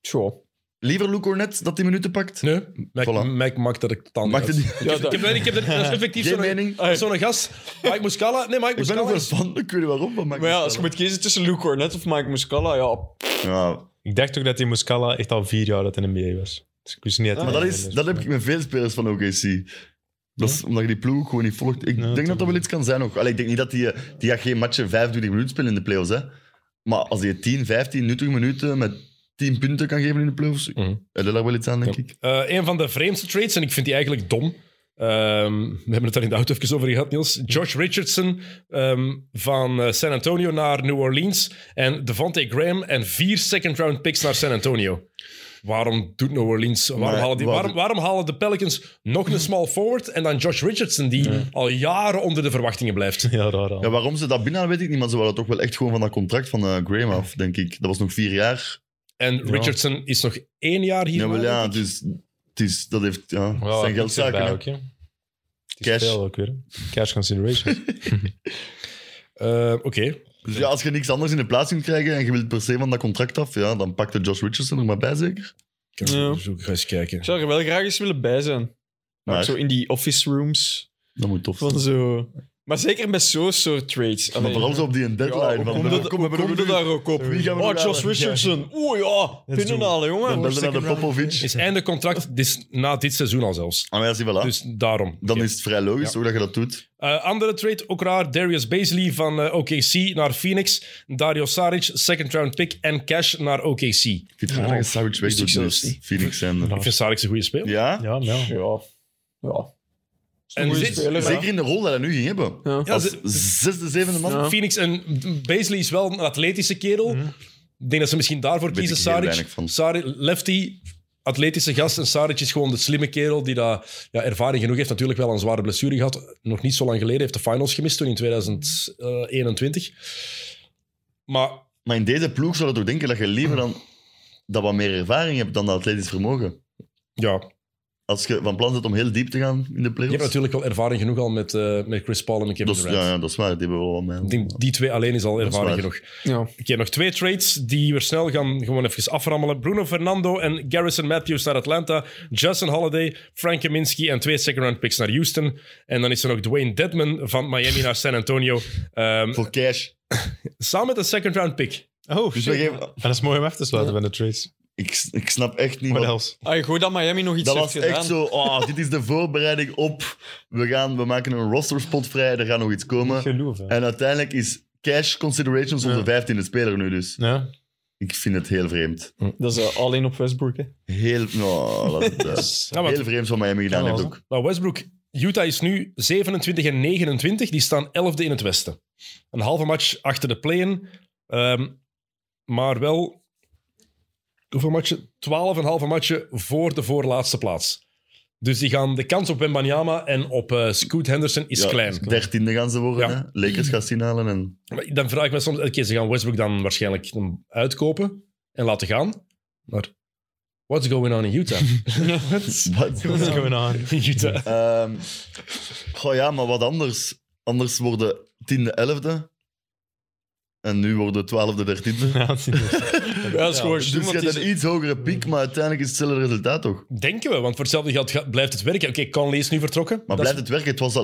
Tjoh.
Liever Luke Cornet dat die minuten pakt.
Nee, Mike,
Voilà.
Mike maakt dat ik het
Maakt
uit.
het niet.
Ja,
Ik heb,
dat-
ik heb er dat is effectief
Geen
zo'n
mening?
dat is zo'n gast. Mike Muscala. Nee, Mike
[laughs] Ik ben
Muscala.
ook wel
is-
van, ik weet niet waarom. Maar,
Maar ja, als je moet kiezen tussen Luke Cornet of Mike Muscala, ja...
ja,
Ik dacht ook dat die Muscala echt al vier jaar uit de NBA was. Dus ik wist niet dat
Ah, Maar
hij-
dat, is, dat heb ik met veel spelers van OKC. Dat is omdat je die ploeg gewoon niet volgt. Ik denk dat dat wel iets kan zijn ook. Allee, ik denk niet dat die, die gaat geen matchen 25 minuten spelen in de playoffs. Hè. Maar als je 10, 15, 20 minuten met 10 punten kan geven in de playoffs,
Mhm.
heb je daar wel iets aan, denk ik.
Eh, een van de vreemdste trades, en ik vind die eigenlijk dom. Ehm, we hebben het daar in de auto even over gehad, Niels. George Richardson ehm, van eh, San Antonio naar New Orleans. En Devontae Graham en vier second-round picks naar San Antonio. Waarom doet New Orleans... Waarom,
Maar
halen, die,
wat-
waarom, waarom halen de Pelicans nog een small forward en dan Josh Richardson, die al jaren onder de verwachtingen blijft?
Ja, raar al.
Ja, waarom ze dat binnen weet ik niet, maar ze waren toch wel echt gewoon van dat contract van eh, Graham af, denk ik. Dat was nog vier jaar.
En Richardson is nog één jaar hier.
Ja, wel
maar,
ja,
denk ik.
dus het is, dat heeft, ja, het
Wel,
zijn
iets
geldzaken.
erbij
hè.
ook, hè. Het is
Cash.
veel ook weer. hè. Cash [laughs] consideration.
Eh, Oké.
Dus ja, als je niks anders in de plaats kunt krijgen en je wilt per se van dat contract af, ja, dan pakt de Josh Richardson er maar bij, zeker.
Ik
Ja.
dus ook ga eens kijken.
Ik zou er wel graag eens willen bij zijn. Maar
Maar-
Zo in die office rooms.
Dat moet tof zijn.
Van zo... Maar zeker bij zo'n soort trades.
Maar
Allee.
vooral zo op die
Ja,
deadline.
we
van,
komen
eh,
er- we komen er daar ook op.
Wie gaan we
Oh,
nog
Josh
halen?
Richardson. Oeh ja, binnenhalen,
Dan
jongen.
belde naar de Popovic.
Is einde contract dus na dit seizoen al zelfs.
Ah, maar ja, zie, voilà.
Dus daarom.
Dan
Oké.
is het vrij logisch ook dat je dat doet.
Eh, andere trade, ook raar. Darius Bazley van eh, OKC naar Phoenix. Dario Saric, second round pick. En Cash naar OKC.
Ik vind het raar dat je Savage weg doet. dus Phoenix en...
Ik vind Saric een goede speler.
Ja?
ja, maar ja.
Ja. Ja.
En
Goeie
dit-
speler, hè.
Zeker in de rol dat hij nu ging hebben.
Ja.
Ja,
Als
ze-
zesde, zevende man.
Ja.
Phoenix en Bazley is wel een atletische kerel. Ik denk dat ze misschien daarvoor
Weet
kiezen.
ik heel
Saric,
weinig van.
Saric, lefty, atletische gast. En Saric is gewoon de slimme kerel die daar ja, ervaring genoeg heeft. Natuurlijk wel een zware blessure gehad. Nog niet zo lang geleden heeft de finals gemist toen in 2021. Maar
Maar in deze ploeg zou je toch denken dat je liever dan dat wat meer ervaring hebt dan dat atletisch vermogen.
ja,
als je van plan bent om heel diep te gaan in de
Je
playoffs.
hebt natuurlijk wel ervaring genoeg al met, eh, met Chris Paul en met Kevin
dat is,
Durant.
Dus, ja, ja, dat is waar. Die hebben we wel aan
Ik denk, die twee alleen is al
is
ervaring
waar.
genoeg.
Ja.
Ik heb nog twee trades die we snel gaan gewoon even aframmelen. Bruno Fernando en Garrison Matthews naar Atlanta. Justin Holiday, Frank Kaminsky en twee second-round picks naar Houston. En dan is er nog Dwayne Dedman van Miami naar San Antonio. Ehm,
Voor cash.
samen met een second-round pick.
Oh,
Dus
shit.
we geven...
En dat is mooi om af te sluiten bij de trades.
ik, ik snap echt niet
What
wat-
else?
Ah, goed dat Miami nog iets
Dat
heeft
was
gedaan.
echt zo, oh, dit is de voorbereiding op. We, gaan, we maken een rosterspot vrij, er gaat nog iets komen.
Geloof, hè.
En uiteindelijk is cash considerations onze
Ja.
vijftiende speler nu dus.
Ja.
Ik vind het heel vreemd.
Dat is eh, alleen op Westbrook. Hè.
Heel, nou, dat het,
[laughs]
eh,
Nou, wat-
heel vreemd wat Miami gedaan
Ja,
heeft
wel.
ook.
Maar Westbrook, Utah is nu 27 en 29. Die staan 11e in het Westen. Een halve match achter de play-in. Ehm, maar wel hoeveel matchen? 12,5 matchen voor de voorlaatste plaats. Dus die gaan de kans op Wembanyama en op eh, Scoot Henderson is
Ja,
klein.
Dertiende gaan ze worden,
Ja.
hè? Lakers gaan ze inhalen. En...
Maar Dan vraag ik me soms, oké, ze gaan Westbrook dan waarschijnlijk dan uitkopen en laten gaan. Maar what's going on in Utah?
Wat?
What's going
[laughs]
on?
In Utah.
Ehm, goh, ja, maar wat anders. Anders worden tiende, elfde. En nu worden twaalfde, dertiende.
Ja, dat is niet goed.
Ja, dat is gewoon
Dus
stom,
je
want
hebt een
die-
iets hogere piek, maar uiteindelijk is hetzelfde resultaat toch?
Denken we, want voor hetzelfde geld ga- blijft het werken. Oké, Conley is nu vertrokken.
Maar
Dat is-
blijft het werken? Het was, al,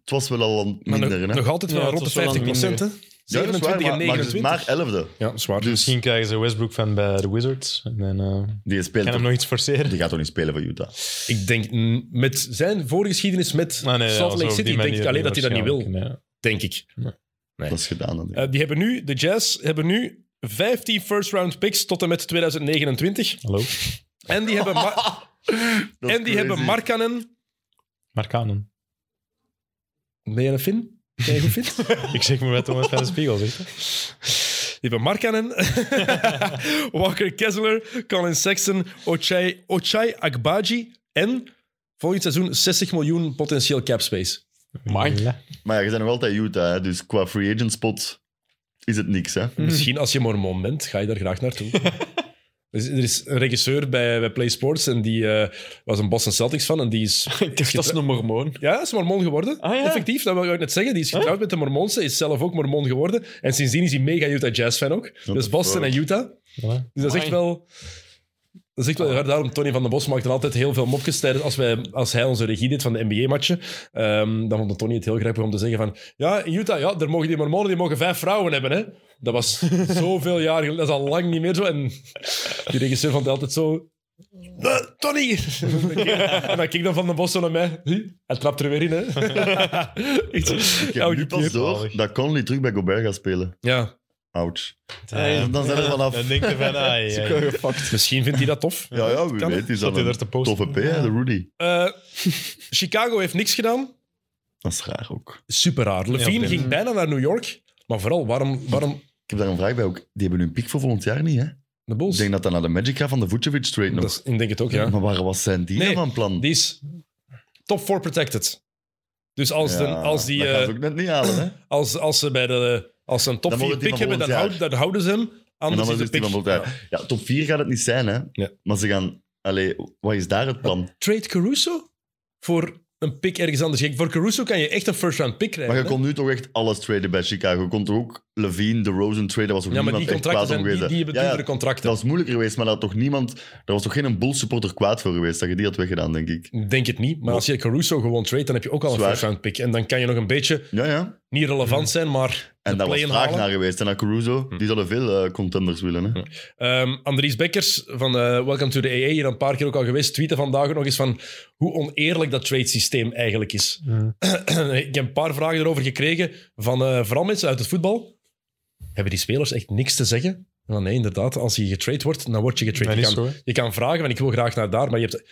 het was wel al aan
Maar
minder,
nog,
hè?
nog altijd wel
Ja,
rond de
het was wel
50
aan het
procent, hè?
Ja, dat is
27
waar,
en
maar- dus- maar het
29.
is maar elfde.
Ja, zwaar.
Dus
Misschien krijgen ze een Westbrook-fan bij de Wizards. En dan eh,
die speelt
kan hem
toch-
nog iets forceren.
die gaat toch niet spelen voor Utah?
Ik denk mm, met zijn voorgeschiedenis met
Maar Ah, nee,
Salt
ja,
Lake
zo op
City,
die
denk ik
manier
alleen dat hij dat niet wil,
waarschijnlijk, ja.
denk ik. Nee.
Dat is gedaan. Dan.
Eh, die hebben nu, de Jazz hebben nu 15 first-round picks tot en met 2029.
Hallo?
En die hebben, Ma-
[laughs] Dat is
en die hebben
crazy.
Markkanen.
Markanen.
Ben je een Fin? Ben je goed Fin?
Ik zeg maar met Thomas van de Spiegel, zeg je?
[laughs] Die hebben
[laughs]
Markkanen, Walker Kessler, Colin Sexton, Ochai, Ochai Akbaji en volgend seizoen 60 miljoen potentieel cap space.
[laughs] Mike.
Ja.
Maar ja, je bent nog altijd Utah, hè? dus qua free agent spot is het
[laughs]
niks. Hè?
Misschien als je mormon bent, ga je daar graag
[laughs]
naartoe. Dus Er is een regisseur bij, bij Play Sports en die eh, was een Boston Celtics fan en die is...
[laughs] Ik dacht, dat is een mormoon.
Ja, is mormon geworden.
Ah, ja.
Effectief, dat wil ik net zeggen. Die is getrouwd met de mormonse, is zelf ook mormon geworden. En sindsdien is hij mega Utah Jazz fan ook. Dus
the
Boston
fuck?
en Utah.
Voilà.
Dus dat is echt
Amai.
wel... Dat is echt wel raar. Daarom, Tony van den Bos maakt er altijd heel veel mopjes tijdens... Als, wij, als hij onze regie deed van de NBA-matchen, ehm, dan vond Tony het heel grappig om te zeggen van... Ja, in Utah, ja, daar mogen die mormonen die mogen vijf vrouwen hebben, hè. Dat was [laughs] zoveel jaar geleden. Dat is al lang niet meer zo. En [laughs] die regisseur vond het altijd zo...
[laughs]
"Eh, Tony! en dan keek dan Van den Bos zo naar mij. Huh? Hij trapt er weer
[laughs]
in, hè. Echt zo,
Ik heb
elke
nu pas
keer.
door dat Conley terug bij Gobert gaat spelen.
Ja,
Ouch.
Ja,
dan zijn we er vanaf.
Dan denk je van, ah, ja, ja.
Gefucked.
misschien vindt hij dat tof.
Ja, ja, wie
Kan.
weet. Is
Zat
dat
hij
een
daar te posten?
toffe P, hè, de Rudy.
Eh, Chicago heeft niks gedaan.
Dat is raar ook.
super raar. Levine
oké.
ging bijna naar New York, maar vooral waarom, waarom
Ik heb daar een vraag bij ook. Die hebben hun piek voor volgend jaar niet, hè?
de
Ik
Bulls?
denk dat dat naar de Magic gaat van de Vucevic trade nog.
Dat is- ik denk het ook, ja.
Maar waar was zijn die
Nee,
dan van plan?
Die is top 4 protected. Dus als,
Ja,
de, als, die,
dat
eh,
gaan ze ook net niet halen, hè?
als, als ze bij de als ze een top
Dan
4
mogen die
pick
van
hebben, dan,
volgend
houden dan houden ze hem.
En
Anders,
anders is
de
die van
pick.
volgend jaar. Ja, top 4 gaat het niet zijn, hè?
Ja.
Maar ze gaan... Allee, wat is daar het plan?
Trade Caruso voor een pick ergens anders. Kijk, voor Caruso kan je echt een first round pick krijgen.
Maar je
hè?
kon nu toch echt alles traden bij Chicago. Je kon toch ook Levine, de Rosen traden. was ook
ja, maar
niemand
die
echt
contracten
kwaad
zijn,
om
die,
geweest.
die hebben
Ja, ja,
duurdere contracten.
dat was moeilijker geweest, maar daar had toch niemand... Daar was toch geen Bulls supporter kwaad voor geweest dat je die had weggedaan, denk ik.
Ik Denk het niet, maar als je Caruso gewoon trade, dan heb je ook al een
Zwaar. Hmm.
first round pick. En dan kan je nog een beetje,
Ja, ja.
niet relevant zijn, maar
En
de
daar was
play-in
vraag
halen. Hm.
naar geweest. En naar Caruso, die zouden veel eh, contenders willen, hè?
Ehm, Andries Bekkers van eh, Welcome to the AA, hier een paar keer ook al geweest, tweette vandaag ook nog eens van hoe oneerlijk dat trade-systeem eigenlijk is. [clears throat] Ik heb een paar vragen erover gekregen van eh, vooral mensen uit het voetbal. Hebben die spelers echt niks te zeggen? Van nee, inderdaad, als je getrade wordt, dan word je getrade.
Dat
je,
is
kan,
zo, hè.
je kan vragen, van ik wil graag naar daar, maar je hebt...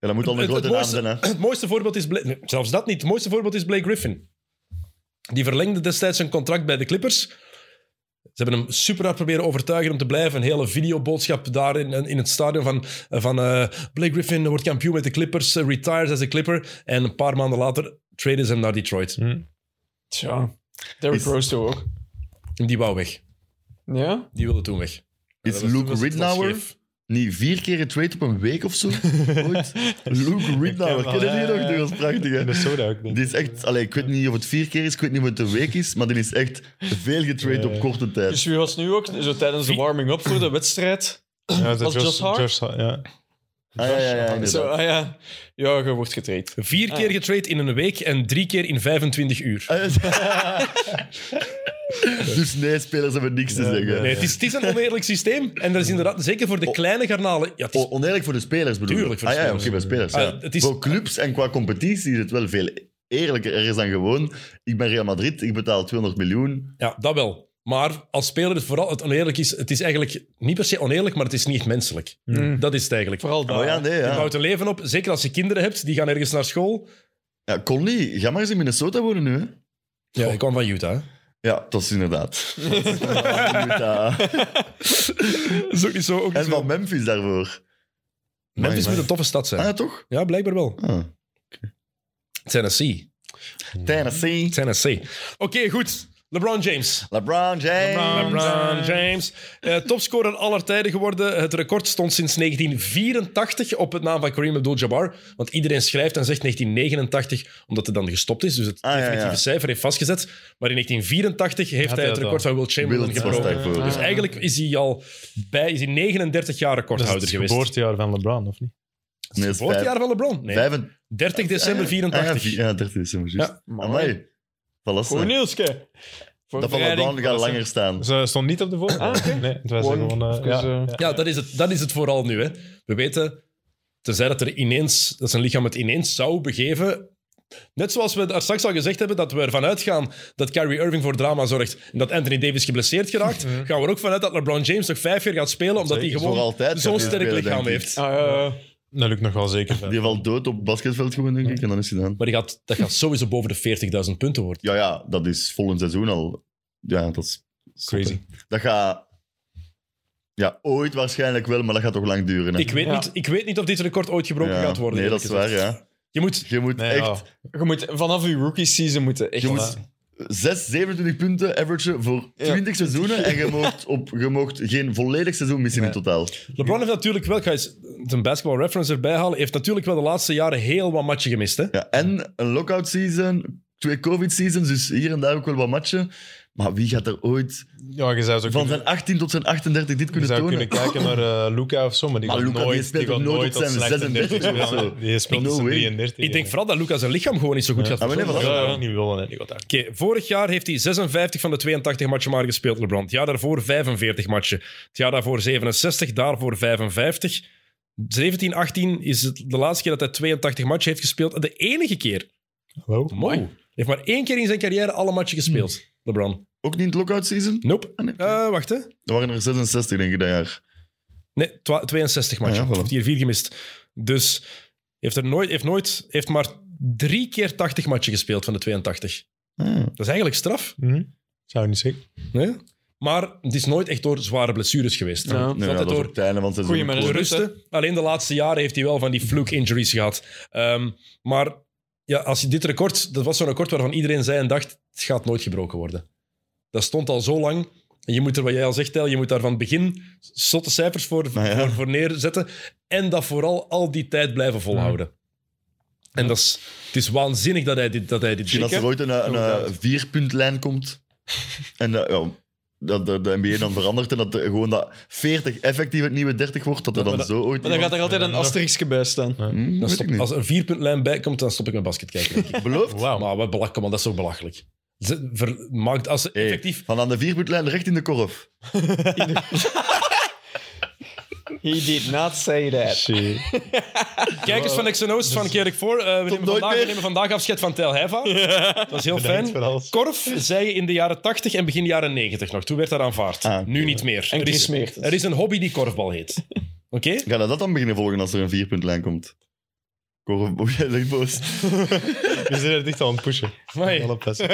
Ja, dat moet al een
Het- het
grote naam
mooiste-
zijn, hè?
Het mooiste voorbeeld is... Bla- nee, zelfs dat niet. Het mooiste voorbeeld is Blake Griffin. Die verlengde destijds zijn contract bij de Clippers. Ze hebben hem super hard proberen overtuigen om te blijven. Een hele videoboodschap daar in, in het stadion van... van eh, Blake Griffin wordt kampioen met de Clippers, eh, retires als een Clipper. En een paar maanden later traden ze hem naar Detroit.
Tja. Derrick
Is-
Rose toch ook.
Die wou weg.
Ja?
Die wilde toen weg.
Is
Dat was-
Luke
was- was
Ridnour
scheef.
niet vier keer getrade op een week of zo? Ooit? Luke Ridnour,
Ja,
kennen die
ja,
nog?
ja.
Die was prachtig, hè?
In de soda ook, denk
Die is echt, allee, ik weet niet of het vier keer is, ik weet niet of het een week is, maar die is echt veel getrade op korte tijd.
Dus wie was nu ook, zo tijdens de warming-up voor de wedstrijd?
Ja, dat
Was Josh Hart?
ja.
Ah, ja, ja, ja,
Zo,
inderdaad.
ah ja. Ja, je wordt getraind.
Vier keer getrade in een week en drie keer in 25 uur.
Ah, ja. dus nee, spelers hebben niks te zeggen.
Nee, het is, het is een oneerlijk systeem. En dat is inderdaad, zeker
Oh.
voor de kleine garnalen. Ja, het is-
O- oneerlijk voor de spelers bedoel ik.
Tuurlijk voor de
ah, ja, oké,
spelers.
bij spelers.
Ah,
ja.
het is-
Voor clubs en qua competitie is het wel veel eerlijker ergens dan gewoon. Ik ben Real Madrid, ik betaal 200 miljoen.
ja, dat wel. Maar als speler, het vooral het oneerlijk is, het is eigenlijk niet per se oneerlijk, maar het is niet menselijk. Dat is het eigenlijk.
Vooral daar.
Oh ja, nee,
Je
ja.
bouwt een leven op, zeker als je kinderen hebt, die gaan ergens naar school.
ja Conley, ga maar eens in Minnesota wonen nu, hè.
Ja, ik kwam van Utah. hè.
Ja, dat is inderdaad. Ja.
Dat [laughs] is ook niet zo. Ook niet
en
zo.
van Memphis daarvoor.
Memphis
Amai,
moet een toffe stad zijn.
Ah, ja, toch?
Ja, blijkbaar wel.
Ah.
Tennessee.
Tennessee,
Tennessee. Oké, goed. LeBron James.
LeBron James.
LeBron James. Eh, topscorer aller tijden geworden. Het record stond sinds 1984 op het naam van Kareem Abdul-Jabbar. Want iedereen schrijft en zegt 1989, omdat hij dan gestopt is. Dus het
Ah, ja,
definitieve
ja.
cijfer heeft vastgezet. Maar in 1984 heeft
Had
hij
hij
het
dat
record
al?
van Will Chamberlain
Wild was
gebroken.
daarvoor.
Dus eigenlijk is hij al bij, is hij 39 jaar
Dat is
recordhouder
het
geweest.
geboortejaar van LeBron, of niet?
Nee,
Het geboortejaar van LeBron? Nee. 30 december 84.
Ah, Ja, 30 december, juist.
Ja.
Amai. Van lastig.
Voor Nielske. Voor
Dat van LeBron gaat langer staan.
Ze stond niet op de voorkant.
Ah, oké.
Nee, het was
Gewoon
gewoon... eh,
even,
ja,
eh,
Ja, dat is, het, dat is het vooral nu. Hè. We weten, tenzij dat, er ineens, dat zijn lichaam het ineens zou begeven. Net zoals we daar straks al gezegd hebben, dat we ervan uitgaan dat Kyrie Irving voor drama zorgt en dat Anthony Davis geblesseerd geraakt,
Mhm.
gaan we er ook vanuit dat LeBron James nog vijf jaar gaat spelen, omdat hij
Zeker,
voor
gewoon
altijd gaat
zo'n
hij
sterk
spelen,
lichaam
denk ik.
heeft.
Ah, ja, ja.
Dat lukt nog wel zeker.
Die valt dood op het basketveld gewoon, denk ik, en dan is hij gedaan.
Maar die gaat, dat gaat sowieso boven de 40.000 punten worden.
Ja, ja, dat is volgend seizoen al. Ja, dat is
Crazy.
Dat gaat... Ja, ooit waarschijnlijk wel, maar dat gaat toch lang duren. Hè?
Ik weet,
Ja.
niet, ik weet niet of dit record ooit gebroken
Ja,
gaat worden.
Nee, dat
eerlijk
is waar,
gezegd.
ja.
Je moet...
Je moet
Nee,
echt
ja.
Je moet vanaf je rookie season moeten echt...
Je moet 6, 27 punten averagen voor 20 seizoenen en je moogt, op, je moogt geen volledig seizoen missen in totaal.
LeBron heeft natuurlijk wel, ik ga eens een basketball reference erbij halen, heeft natuurlijk wel de laatste jaren heel wat matchen gemist. Hè?
Ja, en een lockout season, twee covid seasons, dus hier en daar ook wel wat matchen. Maar wie gaat er ooit
Ja, je zou zo
van
kunnen,
zijn 18 tot zijn 38 dit
je
kunnen
zou
tonen?
kunnen kijken naar eh, Luca of zo, maar die
Maar
gaat
Luka, die
nooit,
speelt
gaat
ook nooit
nooit
op zijn
36
36 of
Ja,
zo.
Die speelt
No
tot zijn
way.
33.
Ik denk vooral dat Lucas zijn lichaam gewoon niet zo goed gaat
Ah, maar nee,
verzorgen.
voilà.
Ja, ja, niet willen, hè. Die gaat daar.
Oké, vorig jaar heeft hij 56 van de 82 matchen maar gespeeld, LeBron. Het jaar daarvoor 45 matchen. Het jaar daarvoor 67, daarvoor 55. 17, 18 is het de laatste keer dat hij 82 matchen heeft gespeeld. De enige keer.
Hallo?
Mooi. Hij heeft maar één keer in zijn carrière alle matchen gespeeld, LeBron.
Ook niet in het lockout season?
Nope.
Ah, nee.
Eh, wacht, hè.
Er waren er 66 denk ik dat jaar.
Nee, twa- 62 matchen.
Ah, ja, voilà.
heeft hier vier gemist. Dus heeft, er nooit, heeft, nooit, heeft maar drie keer 80 matchen gespeeld van de 82.
Ah,
Dat is eigenlijk straf.
Hm? Zou niet zeggen.
Nee? Maar het is nooit echt door zware blessures geweest.
Ja.
Het is
nee,
altijd
ja, dat is op
door
het einde van het seizoen.
Goeie
door
manager.
Gewoon-
rusten. Alleen de laatste jaren heeft hij wel van die fluke injuries gehad. Ehm, maar ja, als je dit record, dat was zo'n record waarvan iedereen zei en dacht, het gaat nooit gebroken worden. Dat stond al zo lang. En je moet er, wat jij al zegt, Tel, je moet daar van het begin zotte cijfers voor,
Nou ja.
voor, voor neerzetten. En dat vooral al die tijd blijven volhouden. En dat is, het is waanzinnig dat hij dit, dat hij dit
Misschien
deed.
als er ooit een, een, een vierpuntlijn komt. En dat, ja, dat de, de NBA dan verandert en dat de- gewoon dat 40 effectief het nieuwe 30 wordt, dat er dan zo ooit...
Maar dan gaat er altijd een asteriskje bij staan.
Hmm,
Dan
weet
stop-
ik niet.
als er een vierpuntlijn bij komt, dan stop ik met basket kijken. denk ik.
[laughs] Beloofd?
Wauw.
Maar wat belachelijk, man, dat is toch belachelijk. Ze- ver- maakt als ze
Hey,
effectief.
Van aan de vierpuntlijn recht in de korf.
He did not say that.
Shit.
Kijkers van XNO's van Kerk voor. eh, we, nemen
nooit
vandaag, we
meer.
nemen vandaag afscheid van Tel Haifa. Dat is heel
Bedankt
fijn.
voor alles.
Korf zei je in de jaren 80 en begin jaren 90 nog. Toen werd dat aanvaard.
Ah,
nu niet meer.
En
er,
Chris
is,
Meertens.
er is een hobby die korfbal heet. Oké? [laughs]
Ga je dat dan beginnen volgen als er een vierpuntlijn komt? Korf, oh, jij zegt boos.
We zijn er dicht aan het pushen.
Amai.
Alle pest.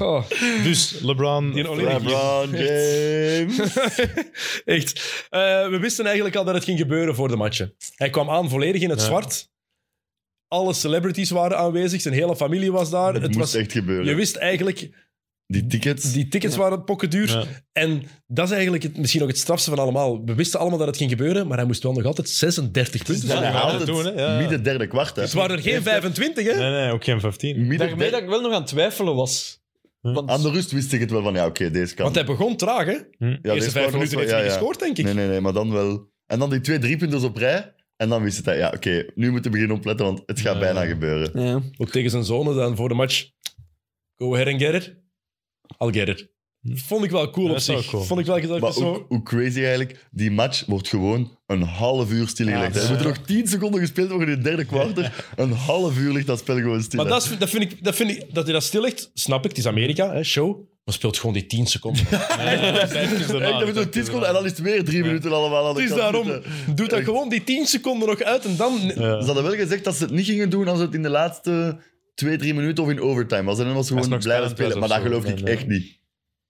Oh,
Dus LeBron...
die Olympic.
LeBron James.
Echt. Eh, we wisten eigenlijk al dat het ging gebeuren voor de matchen. Hij kwam aan volledig in het
Ja.
zwart. Alle celebrities waren aanwezig. Zijn hele familie was daar.
Het
het
moest
was,
echt gebeuren.
je wist eigenlijk...
Die tickets.
Die tickets waren pokkenduur.
Ja.
En dat is eigenlijk het, misschien nog het strafste van allemaal. We wisten allemaal dat het ging gebeuren, maar hij moest wel nog altijd 36 punten
zijn
scoren.
ja.
altijd
doen, hè? Ja.
midden derde kwart. Hè.
Het waren er geen 25, hè?
Nee, nee, ook geen 15.
Midden
Daarmee
derde-
dat ik wel nog aan het twijfelen was. Want
Aan de rust wist ik het wel van, ja, oké, deze kan.
Want hij begon traag, hè? De
ja,
eerste
deze
vijf
kan
minuten
wel-
heeft
ja,
hij niet
ja.
gescoord, denk ik.
Nee, nee, nee, maar dan wel. En dan die twee driepunters op rij. En dan wist het hij, ja, oké, nu moeten we beginnen opletten, want het gaat
Ja.
bijna gebeuren.
ja.
Ook tegen zijn zonen dan voor de match. Go ahead and get it. I'll get it. Vond ik wel cool
Hm. Ja,
op
dat is wel
zich.
cool.
Vond ik wel dat ik
Maar
zo...
ook, hoe crazy eigenlijk, die match wordt gewoon een half uur stilgelegd.
Ja,
hè. er
ja.
moeten nog 10 seconden gespeeld worden in het derde kwartier. Een half uur ligt dat spel gewoon stil.
Maar
hè.
dat, is, dat, vind ik, dat vind ik... Dat hij dat stillegt, snap ik. Het is Amerika, hè, show. Maar speelt gewoon die 10 seconden.
Echt, dat moet nog 10 seconden en dan is het weer 3 minuten allemaal aan de
Het is
kant
daarom.
zitten.
Doe dat gewoon die 10 seconden nog uit en dan...
Ja.
Ze hadden wel gezegd dat ze het niet gingen doen als het in de laatste 2, 3 minuten of in overtime was. En dan was ze
Als
gewoon
het nog
blijven
spannend
spelen.
was
Maar dat
of
geloof ik
zo. Nee,
echt niet.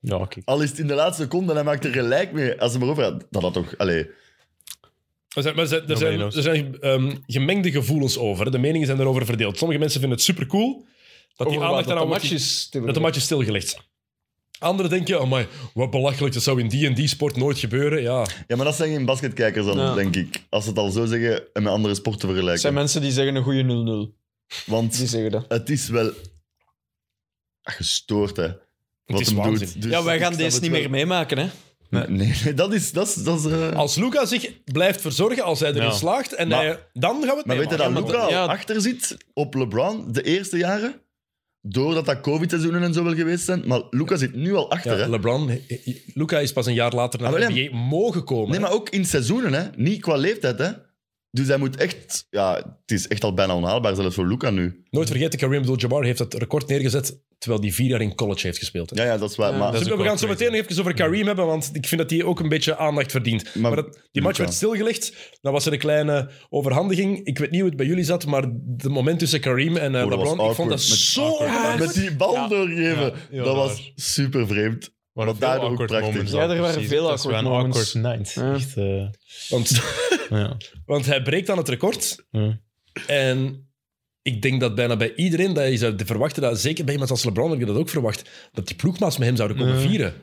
Ja, oké.
Al is het in de laatste seconde en hij maakt er gelijk mee. Als ze maar over had, dat had toch... Allee,
Er zijn, maar er zijn, er
No
zijn,
menos.
er zijn, ehm, gemengde gevoelens over. hè. De meningen zijn daarover verdeeld. Sommige mensen vinden het supercool dat die
Over
aandacht
wat, dat
aan
de matches...
dat de match is stilgelegd. Anderen denken, oh wat belachelijk, dat zou in die en die sport nooit gebeuren. Ja,
Ja, maar dat zijn geen basketkijkers dan,
Ja.
denk ik. Als ze het al zo zeggen en met andere sporten
Er
vergelijken.
zijn mensen die zeggen een goede 0-0. Die
Want
zeggen dat.
het is wel gestoord, hè. Wat
is
hem
waanzin.
doet. Dus
ja, wij
ik
gaan
snap
deze
het
niet
wel.
meer meemaken, hè.
Nee, nee, nee, dat is... Dat is, dat is eh,
als Luca zich blijft verzorgen, als hij erin
Ja.
slaagt, en
Maar-
hij- dan gaan we het
Maar weet je dat
meemaken.
Luca
ja.
achter zit op LeBron de eerste jaren? Doordat dat covid-seizoenen en zo wel geweest zijn. Maar Luca zit nu al achter,
Ja,
hè.
LeBron, eh, eh, Luca is pas een jaar later naar
Ah,
de
wel, ja.
NBA mogen komen.
Nee,
hè.
maar ook in seizoenen, hè. Niet qua leeftijd, hè. Dus hij moet echt... Ja, het is echt al bijna onhaalbaar, zelfs voor Luca nu.
Nooit vergeten, Kareem Abdul-Jabbar heeft dat record neergezet terwijl hij vier jaar in college heeft gespeeld. hè.
Ja, ja, dat is waar.
Ja.
maar
Dat is
Dus
ook
we gaan
wel
het zo
crazy.
meteen nog even over Kareem hebben, want ik vind dat hij ook een beetje aandacht verdient. Maar,
Maar-
dat, die match
Luka.
werd stilgelegd, dan was er een kleine overhandiging. Ik weet niet hoe het bij jullie zat, maar het moment tussen Kareem en eh,
Oh, dat was
LeBron, ik vond
awkward.
dat
Met-
zo
awkward.
ongelooflijk.
Met die bal
Ja.
doorgeven.
Ja, heel
dat
raar.
was super vreemd.
Maar
Want daardoor ook prachtig.
Ja, er waren veel
Dat is wel
awkward
een
moments.
awkward night.
Ja.
Echt, eh,
Want,
ja.
[laughs] want hij breekt dan het record.
Ja.
En ik denk dat bijna bij iedereen dat je zou verwachten, dat, zeker bij iemand als LeBron heb je dat ook verwacht, dat die ploegmaats met hem zouden komen
Nee.
vieren.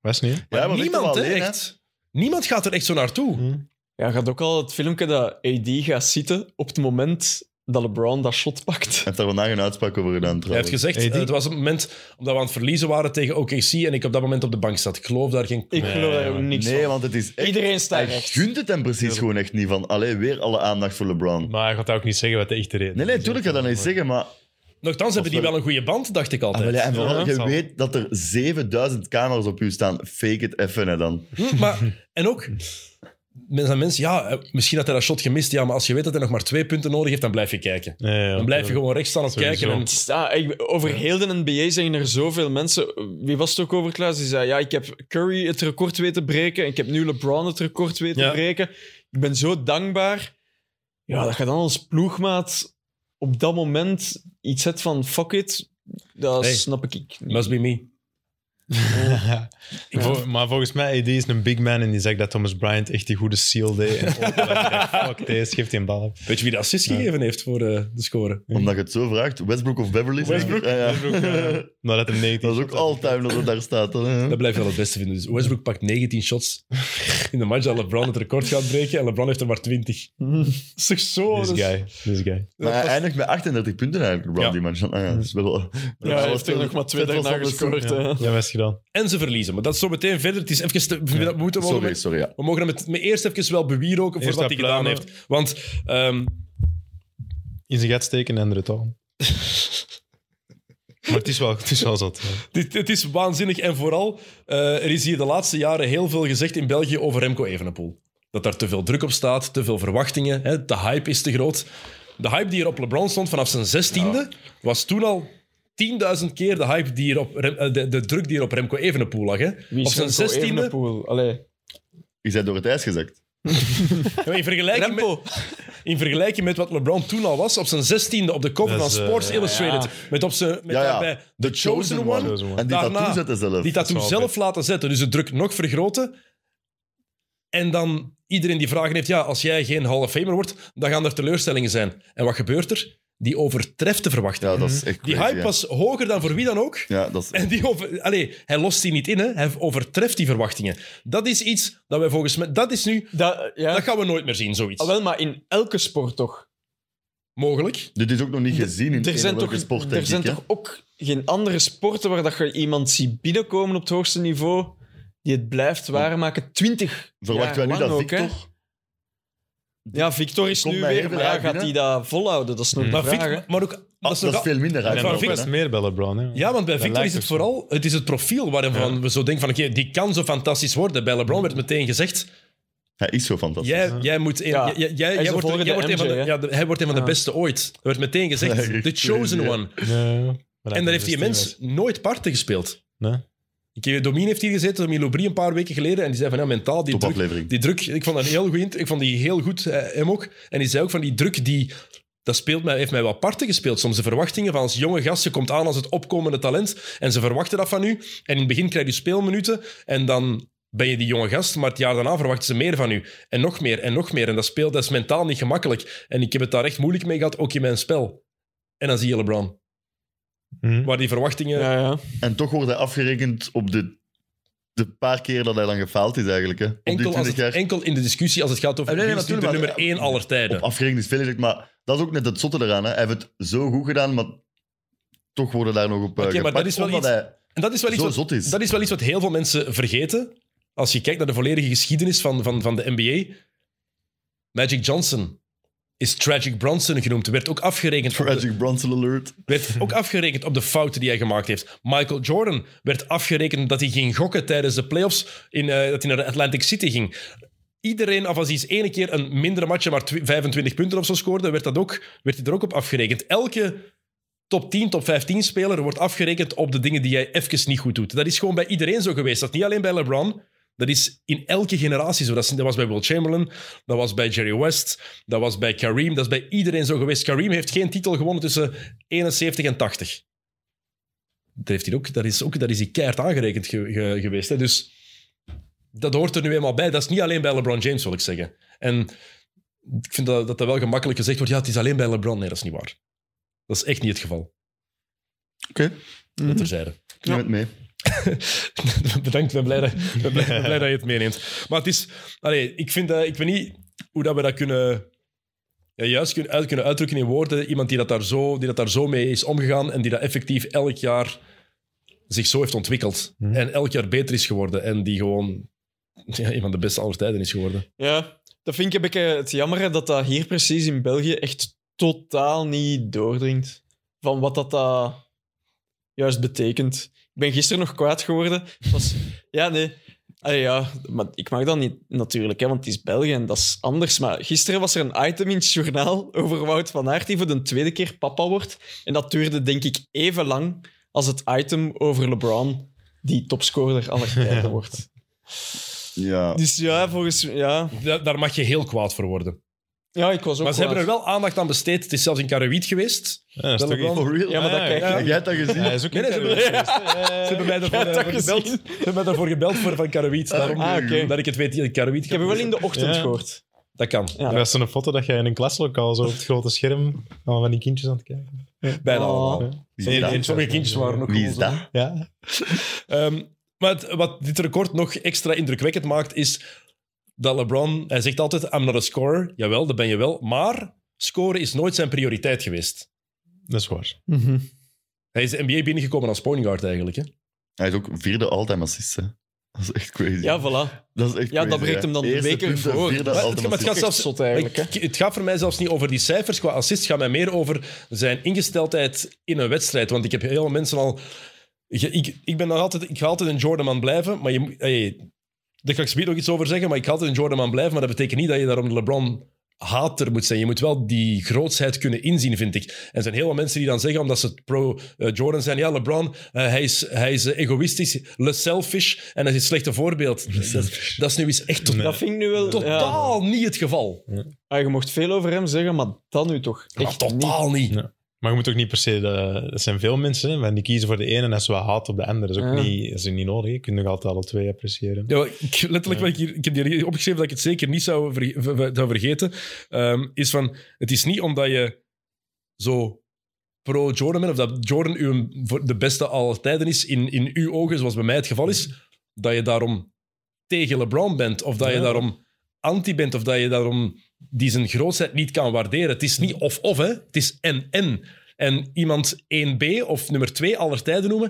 Was niet?
Maar
Ja, maar
niemand,
Victor
hè,
alleen, hè?
echt. Niemand gaat er echt zo naartoe.
Ja, gaat ook al het filmpje dat AD gaat zitten op het moment dat LeBron dat shot pakt.
Hij heeft daar vandaag een uitspraak over gedaan,
Hij heeft
trouwens.
gezegd,
Hey,
eh,
die-
het was het moment omdat we aan het verliezen waren tegen OKC en ik op dat moment op de bank zat. Ik geloof daar geen...
Ik
Nee,
geloof daar ook
maar-
niks
Nee,
van.
want het is echt...
Iedereen staat
Hij
recht.
gunt het hem precies
Tuurlijk.
gewoon echt niet van... Allee, weer alle aandacht voor LeBron.
Maar hij gaat ook niet zeggen wat de echte reden
Nee, nee, tuurlijk gaat dat niet zeggen, maar...
Nogthans hebben die wel een goede band, dacht ik
Ah, wel,
altijd.
ja, en vooral,
Ja,
je
zal.
weet dat er 7000 camera's op u staan. Fake it even, hè, dan.
Hm, [laughs] maar, en ook, mensen aan mensen, ja, eh, misschien had hij dat shot gemist, ja, maar als je weet dat hij nog maar twee punten nodig heeft, dan blijf je kijken.
Ja, ja,
Dan blijf je
tuurlijk.
gewoon recht staan op
Sowieso.
kijken. En,
Het is- ah, ik- over heel de NBA zijn er zoveel mensen. Wie was het ook over, Klaas? Die zei, ja, ik heb Curry het record weten breken. en Ik heb nu LeBron het record weten
Ja.
breken. Ik ben zo dankbaar. Ja, dat je dan als ploegmaat op dat moment iets hebt van fuck it. Dat
Hey.
snap ik niet.
must be me.
[laughs] Vol- maar volgens mij, AD is een big man en die zegt dat Thomas Bryant echt die goede seal deed. En ook dat hij [laughs] zei, fuck deze, geeft die een bal. af.
Weet je wie de assist gegeven heeft voor eh, de score?
Omdat je het zo vraagt. Westbrook of Beverly?
Westbrook.
Ja, ja.
Westbrook,
[laughs]
ja. Maar dat hem 19
Dat is ook
shot had.
all-time dat het daar staat. hè.
Dat blijf je wel het beste vinden. Dus Westbrook pakt 19 shots in de match dat LeBron het record gaat breken en LeBron heeft er maar
[laughs]
20. Dat is toch zo... dus.
This
dat is-
guy, this guy.
Maar hij eindigt met 38 punten eigenlijk, LeBron,
Ja.
die man. Ah, ja, dat is wel...
Ja, hij heeft er nog maar twee
dat was
daarna
wel de
gescoord. hè.
Ja, ja best gedaan.
En ze verliezen. Maar dat is zo meteen verder. Het is even te- we moeten mogen
Sorry, sorry, ja.
We mogen hem het- maar eerst even wel bewieroken voor
Eerst
wat hij gedaan
applaus.
heeft. Want ehm,
In zijn gat steken en onder het al. Maar het is wel, het is wel zot. ja.
dit, dit is waanzinnig. En vooral, eh, er is hier de laatste jaren heel veel gezegd in België over Remco Evenepoel. Dat daar te veel druk op staat, te veel verwachtingen. Hè, de hype is te groot. De hype die er op LeBron stond vanaf zijn zestiende, was toen al 10.000 keer de, hype die er op Rem- eh, de, de druk die er op Remco Evenepoel lag. Hè. op
Wie is
zijn
Remco
zestiende.
Evenepoel? Allee.
Je bent door het ijs gezakt.
Ja, In vergelijking, met, in vergelijking met wat LeBron toen al was, op zijn zestiende op de cover
Dat
van
is, eh,
Sports
ja,
Illustrated.
ja.
Met op zijn met
Ja, ja.
daarbij The Chosen One.
Chosen One.
En die
Daarna-
tattoo zetten zelf.
Die
Dat
tattoo
is
zelf
wel
laten zetten, dus de druk nog vergroten. En dan iedereen die vragen heeft, ja, als jij geen Hall of Famer wordt, dan gaan er teleurstellingen zijn. En wat gebeurt er? die overtreft de verwachtingen.
Ja, dat is echt
die
crazy,
hype
hè.
was hoger dan voor wie dan ook.
Ja, dat is...
En die over, allee, hij lost die niet in, hè. hij overtreft die verwachtingen. Dat is iets dat wij volgens mij... Dat is nu...
Dat, ja.
Dat gaan we nooit meer zien, zoiets.
Ah, wel, maar in elke sport toch?
Mogelijk.
Dit is ook nog niet gezien in
Er zijn,
welke
toch,
sport, denk
er zijn
ik. hè.
toch ook geen andere sporten waar dat je iemand ziet binnenkomen op het hoogste niveau die het blijft waarmaken. Twintig jaar
Verwachten wij nu
lang
dat
ook, hè?
Victor...
Ja, Victor is
Komt
nu
mij
weer,
even
maar ja,
uit
gaat
binnen.
hij dat volhouden? Dat is nog
Mm.
de
Maar,
vraag.
Victor-
hè.
maar ook...
Ah,
is nog
dat is
al-
veel minder
En
Ja,
uit.
maar
nog
Vic-
best meer bij LeBron. Hè.
Ja, want bij
Dat
Victor is
lijkt
het
ook zo.
vooral... Het is het profiel waarvan
Ja.
we zo denken van... Oké, die kan zo fantastisch worden. Bij LeBron werd meteen gezegd...
Hij is zo fantastisch.
Jij, jij moet een,
Ja.
jij- jij, jij
is de
wordt,
volgende
jij wordt een van de,
MJ, hè?
ja, de- hij wordt een van de
Ja.
beste ooit. Dat werd meteen
Ah. Ja,
gezegd.
echt
The chosen
crazy, ja.
one.
Nee, maar
En daar heeft die
hij dus
mens nooit parten gespeeld.
Nee.
Ik, heb- Domien heeft hier gezeten, Domien Lobrie, een paar weken geleden. En die zei van, ja, mentaal, die druk,
Topaflevering.
die druk... Ik vond dat een heel goed. int- Ik vond die heel goed, eh, hem ook. En die zei ook van, die druk, die... Dat speelt mij, heeft mij wel parten gespeeld. Soms de verwachtingen van als jonge gast, je komt aan als het opkomende talent. En ze verwachten dat van u. En in het begin krijg je speelminuten. En dan ben je die jonge gast. Maar het jaar daarna verwachten ze meer van u. En nog meer, en nog meer. En dat speelt, dat is mentaal niet gemakkelijk. En ik heb het daar echt moeilijk mee gehad, ook in mijn spel. En dan zie je LeBron.
Hm?
Waar die verwachtingen...
Ja, ja.
En toch wordt hij afgerekend op de, de paar keer dat hij dan gefaald is, eigenlijk. Hè. Op die
Enkel, als
20
het-
jaar.
enkel in de discussie als het gaat over
Ah, nee, nee,
wie is nu de
natuurlijk,
nummer
maar-
1 aller tijden.
Op afgerekend is veel gezegd, maar dat is ook net het zotte eraan. Hè. Hij heeft het zo goed gedaan, maar toch worden daar nog op eh,
Oké, maar
gepakt,
dat is wel
omdat
iets-
hij
En dat is, wel iets
zo
wat,
zot is.
dat is wel iets wat heel veel mensen vergeten. Als je kijkt naar de volledige geschiedenis van, van, van de NBA. Magic Johnson is Tragic Bronson genoemd. Werd ook, afgerekend op de,
Tragic Bronson alert.
werd ook afgerekend op de fouten die hij gemaakt heeft. Michael Jordan werd afgerekend dat hij ging gokken tijdens de playoffs. In, eh, dat hij naar de Atlantic City ging. Iedereen, of als hij eens ene keer een mindere match, maar tw- 25 punten of zo scoorde, werd, dat ook, werd hij er ook op afgerekend. Elke top 10, top 15 speler wordt afgerekend op de dingen die jij even niet goed doet. Dat is gewoon bij iedereen zo geweest. Dat is niet alleen bij LeBron. Dat is in elke generatie zo. Dat, is- dat was bij Will Chamberlain, dat was bij Jerry West, dat was bij Kareem. Dat is bij iedereen zo geweest. Kareem heeft geen titel gewonnen tussen 71 en 80. Dat, heeft hij ook, dat, is, ook, dat is die keihard aangerekend ge- ge- geweest. Hè? Dus dat hoort er nu eenmaal bij. Dat is niet alleen bij LeBron James, wil ik zeggen. En ik vind dat dat, dat wel gemakkelijk gezegd wordt. Ja, het is alleen bij LeBron. Nee, dat is niet waar. Dat is echt niet het geval.
Oké,
Dat terzijde.
ik neem het mee.
[laughs] Bedankt, ik ben blij, dat, ik ben blij, ik ben blij dat je het meeneemt. Maar het is... Allee, ik, vind dat, ik weet niet hoe dat we dat kunnen... ja, juist kunnen, uit, kunnen uitdrukken in woorden. Iemand die dat, daar zo, die dat daar zo mee is omgegaan en die dat effectief elk jaar zich zo heeft ontwikkeld.
Mhm.
En elk jaar beter is geworden. En die gewoon ja, een van de beste aller tijden is geworden.
Ja, dat vind ik een beetje het jammer dat dat hier precies in België echt totaal niet doordringt. Van wat dat, dat juist betekent. Ik ben gisteren nog kwaad geworden. Het Was, ja, nee. Allee, ja, maar ik mag dat niet natuurlijk, hè, want het is België en dat is anders. Maar gisteren was er een item in het journaal over Wout van Aert die voor de tweede keer papa wordt. En dat duurde denk ik even lang als het item over LeBron, die topscorer aller tijden wordt.
Ja.
Dus ja, volgens... Ja,
Da- daar mag je heel kwaad voor worden.
ja ik was ook
Maar ze hebben
kwaad.
er wel aandacht aan besteed. Het is zelfs in Karawiet geweest.
Ja,
Wel LeBron.
For real?
Ja, maar dat
Ah,
kijk
ja.
je.
Jij hebt dat gezien?
Hij is ook
Nee,
in
nee, ze
Caribbean
hebben-
geweest, hè. Ja, ja,
Ze [laughs]
[laughs]
ja.
hebben mij daarvoor,
Ja, dat
daarvoor gebeld, ze
gezien.
hebben mij daarvoor gebeld voor van Karawiet. Daarom
Ah, oké.
dat ik het weet. ja, Karawiet
Ik heb u wel in de ochtend
Ja.
gehoord.
Dat kan.
Ja.
Er was zo'n foto dat jij in een klaslokaal zo op het grote scherm allemaal van die kindjes aan het kijken.
Bijna
Oh.
allemaal.
Wie is
Sommige,
dat?
sommige kindjes waren ook
Wie is
gewoon zo.
dat?
Ja.
Ehm, maar het- wat dit record nog extra indrukwekkend maakt, is dat LeBron... Hij zegt altijd, I'm not a scorer. Jawel, dat ben je wel. Maar scoren is nooit zijn prioriteit geweest.
Dat is waar.
Mhm.
Hij is de NBA binnengekomen als point guard eigenlijk. Hè?
Hij is ook vierde all-time assist, hè. Dat is echt crazy.
Ja, voilà.
dat is echt
Ja, dat
crazy,
breekt
hè.
hem dan de
Eerste
weken
punten,
voor.
Vierde
Maar het-
all-time
maar het gaat
assist.
zelfs-
Zot
Maar
eigenlijk, hè.
ik- het gaat voor mij zelfs niet over die cijfers qua assist. Het gaat mij meer over zijn ingesteldheid in een wedstrijd. Want ik heb heel veel mensen al... ge- Ik, ik, ben nog altijd, ik ga altijd een Jordan-man blijven, maar je, moet- hey, daar ga ik zo nog iets over zeggen, maar ik ga altijd een Jordan-man blijven, maar dat betekent niet dat je daarom LeBron hater moet zijn. Je moet wel die grootsheid kunnen inzien, vind ik. En er zijn heel veel mensen die dan zeggen, omdat ze het pro-Jordan zijn, ja, LeBron, eh, hij is, hij is eh, egoïstisch, le selfish, en dat is een slechte voorbeeld. Dat, dat is nu eens echt tot-
Nee.
Dat vind ik nu wel... Ja.
totaal niet het geval.
Ah, je mocht veel over hem zeggen, maar dan nu toch
Ja,
echt niet.
totaal niet.
Nee. Maar je moet ook niet per se... De, er zijn veel mensen hè, van die kiezen voor de ene en als ze wat haat op de andere. Dat is ook
Ja.
niet, dat is ook niet nodig. Je kunt nog altijd alle twee appreciëren.
Ja, ik, letterlijk, wat ik, hier, ik heb hier opgeschreven dat ik het zeker niet zou, verge- ver- ver- zou vergeten. ehm, is van, het is niet omdat je zo pro-Jordan bent, of dat Jordan uw, voor de beste aller tijden is, in, in uw ogen, zoals bij mij het geval is, dat je daarom tegen LeBron bent, of dat je
Ja.
daarom anti bent, of dat je daarom die zijn grootheid niet kan waarderen. Het is niet of-of, hè. Het is en-en. En iemand 1B of nummer 2 aller tijden noemen,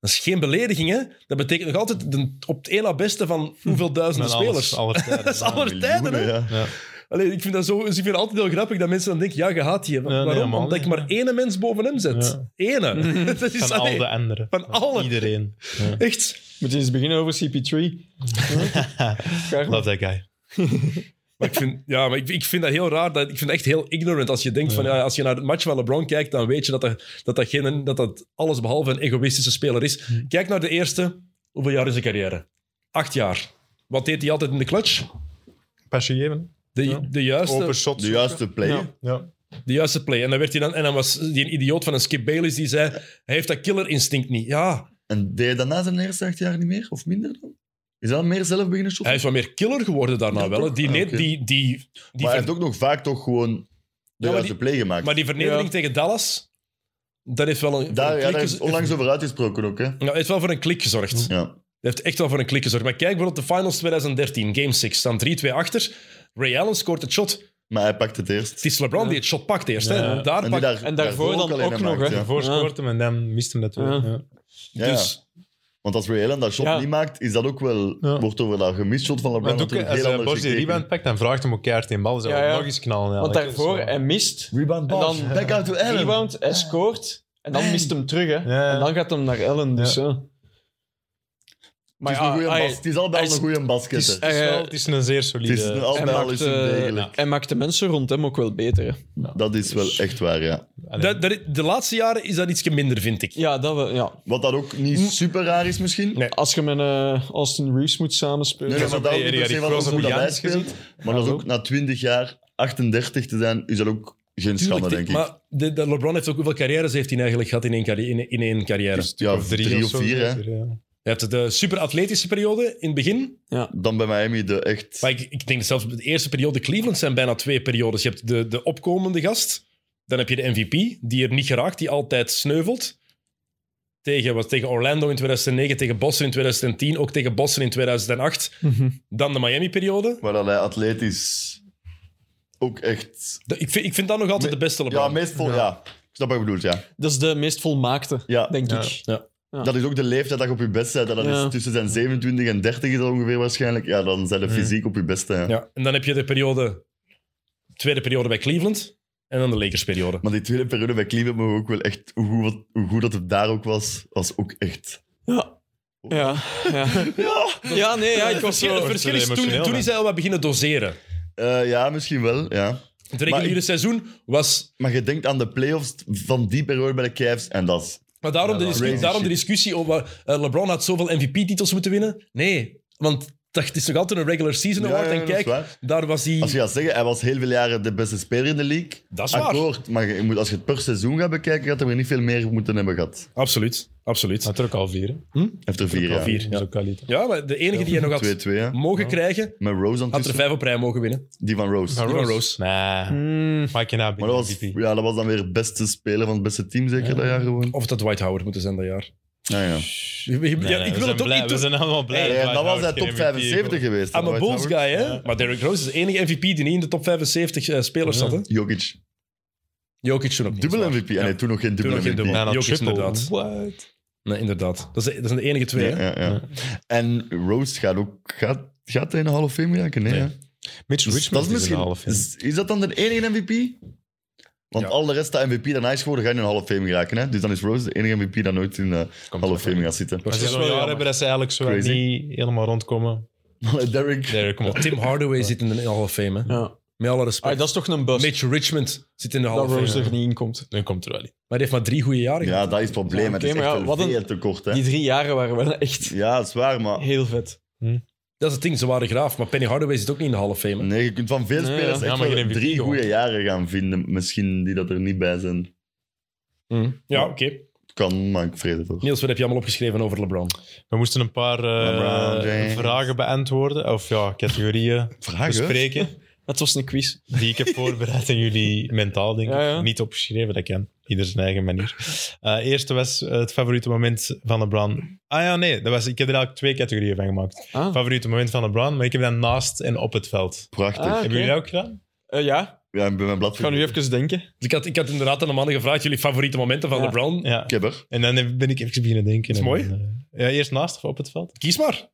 dat is geen belediging, hè. Dat betekent nog altijd de, op het één na beste van
Hm.
hoeveel duizenden spelers. dat is [laughs] aller tijden, hè.
Ja.
Ja.
Allee, ik vind dat zo, dus ik vind het altijd heel grappig dat mensen dan denken, ja, je haat je.
nee,
Waarom?
helemaal
Omdat ik maar ene mens boven hem zet.
[laughs]
Ene. [laughs] dat is
Van
allee,
al de anderen.
van alle.
Iedereen. Ja.
Echt.
Moet je eens beginnen over CP3? Graag.
Love that guy.
Maar ik vind, ja, maar ik, ik vind dat heel raar. Dat, ik vind dat echt heel ignorant als je denkt van, ja, als je naar het match van LeBron kijkt, dan weet je dat dat, dat, dat, geen, dat, dat alles behalve een egoïstische speler is.
Hm.
Kijk naar de eerste. Hoeveel jaar is zijn carrière? Acht jaar. Wat deed hij altijd in de clutch?
Pasje geven.
De,
Ja.
de juiste...
Open shot.
De juiste play.
Ja. Ja.
De juiste play. En dan, werd hij dan, en dan was die een idioot van een Skip Bayless die zei: Hij heeft dat killer instinct niet. Ja,
En deed je daarna zijn eerste acht jaar niet meer? Of minder dan? Is dat meer zelf beginnen shotten?
hij is wat meer killer geworden daarna
Ja,
wel. hè.
toch?
Die,
Ah,
ne-
oké.
die, die, die
maar hij
ver-
heeft ook nog vaak toch gewoon de
Ja, maar
juiste
die-
play gemaakt.
maar die vernedering
Ja. tegen
tegen Dallas, dat heeft wel, een,
daar,
voor
ja,
een
daar
klik
is
gez-
onlangs over uitgesproken ook, hè?
ja, heeft wel voor een klik gezorgd.
Ja.
Dat heeft echt wel voor een klik gezorgd. Maar kijk bijvoorbeeld de finals 2013, game 6, staan 3-2 achter. Ray Allen scoort het shot.
Maar hij pakt het eerst.
Het is LeBron die het shot pakt eerst.
Ja.
Hè. Daar
die
pakt,
daar-
En daarvoor dan
alleen
ook
hem
nog,
maakt,
hè.
ja.
Daarvoor
Ja.
scoort hem en dan mist hem dat wel.
Ja.
Ja.
Ja, ja.
dus,
Want als Ray Allen dat shot
Ja.
niet maakt, is dat ook wel,
Ja.
wordt over dat gemist shot van LeBron
Maar doe ik-
natuurlijk
als
heel
hij
anders
Bosch die
gekeken.
rebound pakt, dan vraagt hem elkaar tegen bal. Zou
Ja,
hij
ja.
nog eens knallen. ja.
Want
Dat is
daarvoor,
zo.
hij mist,
Rebound
Bosch.
dan Back out to Allen.
rebound, hij scoort, en dan mist hem terug. Hè.
Ja.
En dan gaat hem naar Ellen, dus
Ja.
ja.
Het
Maar
is, een goeie
hij-
bas- het is allemaal
hij
een
is-
goede
Het is,
basket. hè.
het is wel-
Eh,
het is een zeer solide...
Het is een
hij
allemaal
maakt,
is
eh,
een degelijk.
hij maakt de mensen rond hem ook wel beter. hè.
Dat is
Dus-
wel echt waar, ja.
Allee,
dat, dat- de laatste jaren is dat iets minder, vind ik.
Ja, dat wel, ja.
Wat dat ook niet super raar is misschien.
Nee.
Als je met eh, Austin Reeves moet samenspelen...
Nee, nee,
maar
maar dat
hey,
ook niet
Erik,
per se
ik
van
was
ons
op
hoe dat
Jans
hij speelt. Maar dat is ook na 20 jaar 38 te zijn, is dat ook geen schande, denk
Tuurlijk,
ik.
Maar de, de LeBron heeft ook hoeveel carrières heeft hij eigenlijk gehad in één, carri- in, in één carrière?
Ja,
of drie, of
of
zo,
vier, hè.
zeker, ja.
Je hebt de superatletische periode in het begin.
Dan bij Miami de echt...
Maar ik, ik denk dat zelfs de eerste periode Cleveland zijn bijna twee periodes. Je hebt de, de opkomende gast. Dan heb je de MVP, die er niet geraakt, die altijd sneuvelt. Tegen, was tegen Orlando in 2009, tegen Boston in 2010, ook tegen Boston in 2008.
Mhm.
Dan de Miami-periode.
Waar dat hij atletisch ook echt...
De- Ik vind, ik vind dat nog altijd de beste LeBron.
Ja, meestal, ja. Ik snap wat je bedoelt, ja.
Dat is de meest volmaakte,
Ja.
denk
Ja.
ik. Ja.
Dat is ook de leeftijd dat je op je best bent. hè. Dat
Ja.
is tussen zijn 27 en 30 is dat ongeveer waarschijnlijk. Ja, dan zijn de fysiek op je beste. hè.
Ja. En dan heb je de periode, tweede periode bij Cleveland. En dan de Lakers-periode.
Maar die tweede periode bij Cleveland mogen we ook wel echt... Hoe goed, wat- hoe goed dat het daar ook was, was ook echt...
Ja. Ja, ja. ja nee, ja, ik was
Het
zo...
verschil is, toen,
emotioneel,
toen
hè?
is hij al wat beginnen doseren.
Eh, ja, misschien wel, ja.
Het reguliere
ik-
seizoen was
Maar je denkt aan de playoffs van die periode bij de Cavs en dat is...
Maar daarom, de,
dat-
discussie,
Crazy
daarom de
shit.
discussie over eh, LeBron had zoveel MVP-titels moeten winnen. Nee, want dat het is nog altijd een regular season
Ja,
award.
ja,
en
dat is
kijk,
waar.
daar was hij...
Als je gaat zeggen, hij was heel veel jaren de beste speler in de league.
Dat is waar.
Akkoord, maar je moet, als je het per seizoen gaat bekijken, gaat hij er niet veel meer moeten hebben gehad.
Absoluut, absoluut.
Maar het is ook al vier, hè.
Efter vier
Ja,
jaar.
vier.
Dat is ook al iets.
Ja, maar de enige die hij nog had
2-2, hè.
mogen krijgen,
Met Rose aan
had er
tussen.
vijf op rij mogen winnen.
Die van Rose.
Die van Rose.
Nee.
Mm,
Maak je nou na
Maar dat was,
MVP.
ja, dat was dan weer beste speler van het beste team, zeker dat jaar gewoon.
Of het had Dwight Howard moeten zijn dat jaar.
Ja, ja.
Ja,
Nee,
ik
we
wil
zijn
het ook
blij-
niet
We
doen.
zijn allemaal blij.
Ja, dan Eh, was hij
Howard geen
top
MVP
75
geworden.
geweest.
I'm a
Dwight
Bulls
Howard.
guy, hè. Maar Derrick Rose is de enige MVP die niet in de top 75 eh, spelers zat, hè.
Jokic.
Jokic toen ook niet.
Dubbel
zwaar.
MVP. En
Ja.
nee, toen nog geen
Toen
dubbel
nog geen
MVP.
dubbel.
Ja, dat
Jokic,
triple.
inderdaad.
What?
Nee, inderdaad. Dat, is, dat zijn de enige twee,
Ja,
hè.
ja, ja. En Rose gaat ook... Gaat, gaat hij in de Hall of Fame raken? Nee,
Nee.
hè?
Mitch
Dus
Richmond is misschien... half.
is, is dat dan de enige MVP? Want
Ja.
al de rest dat MVP daarna is geworden, ga je in de Hall of Fame geraken. Hè? Dus dan is Rose de enige MVP dat nooit in de Hall of Fame gaat
[laughs]
zitten.
Als ze
Dat is
zo'n
wel
jaar
jammer.
hebben dat ze eigenlijk zo
Crazy.
niet helemaal rondkomen.
Derek,
Nee, kom op.
Tim Hardaway zit in de Hall of Fame, hè.
ja.
Met alle respect.
Ah, dat is toch een bus,
Mitch Richmond zit in de Hall
dat
of Fame.
Rose er niet in komt.
Dan komt er wel iets.
Maar die heeft maar drie goede jaren gehad.
ja, dat is het probleem.
Ja,
het is
oké,
echt
maar ja,
wel
wat een-
veel te kort. Hè?
Die drie jaren waren wel echt
Ja, dat is waar, maar...
heel vet.
Dat is het ding, ze waren graaf. Maar Penny Hardaway zit ook niet in de Hall of Fame. hè.
Nee, je kunt van veel
Nee,
spelers
ja.
echt
Ja, maar
wel
geen MVP
drie
gewoon.
goede jaren gaan vinden, misschien, die dat er niet bij zijn.
Ja, oké.
Kan, maar ik vrees het toch.
Niels, wat heb je allemaal opgeschreven over LeBron?
We moesten een paar eh,
LeBron James.
vragen beantwoorden. Of ja, categorieën
Vragen?
bespreken.
Het was een quiz.
die ik heb voorbereid en jullie mentaal, denk ik.
Ja, ja.
Niet opgeschreven, dat kan. Ieder zijn eigen manier. Eh eerste was eh, het favoriete moment van LeBron. Ah ja, nee. Dat was, ik heb er eigenlijk twee categorieën van gemaakt.
Ah,
Favoriete moment van LeBron, maar ik heb dat naast en op het veld.
Prachtig.
Ah.
Hebben jullie dat ook gedaan?
eh, ja,
Ja, ik ben mijn blad
ik ga nu even denken.
Ik had, ik had inderdaad aan de mannen gevraagd, jullie favoriete momenten van
Ja.
LeBron.
Ja.
Ik heb er.
En dan heb- ben ik even beginnen denken.
Is
En,
mooi.
eh, ja, eerst naast of op het veld?
Kies maar.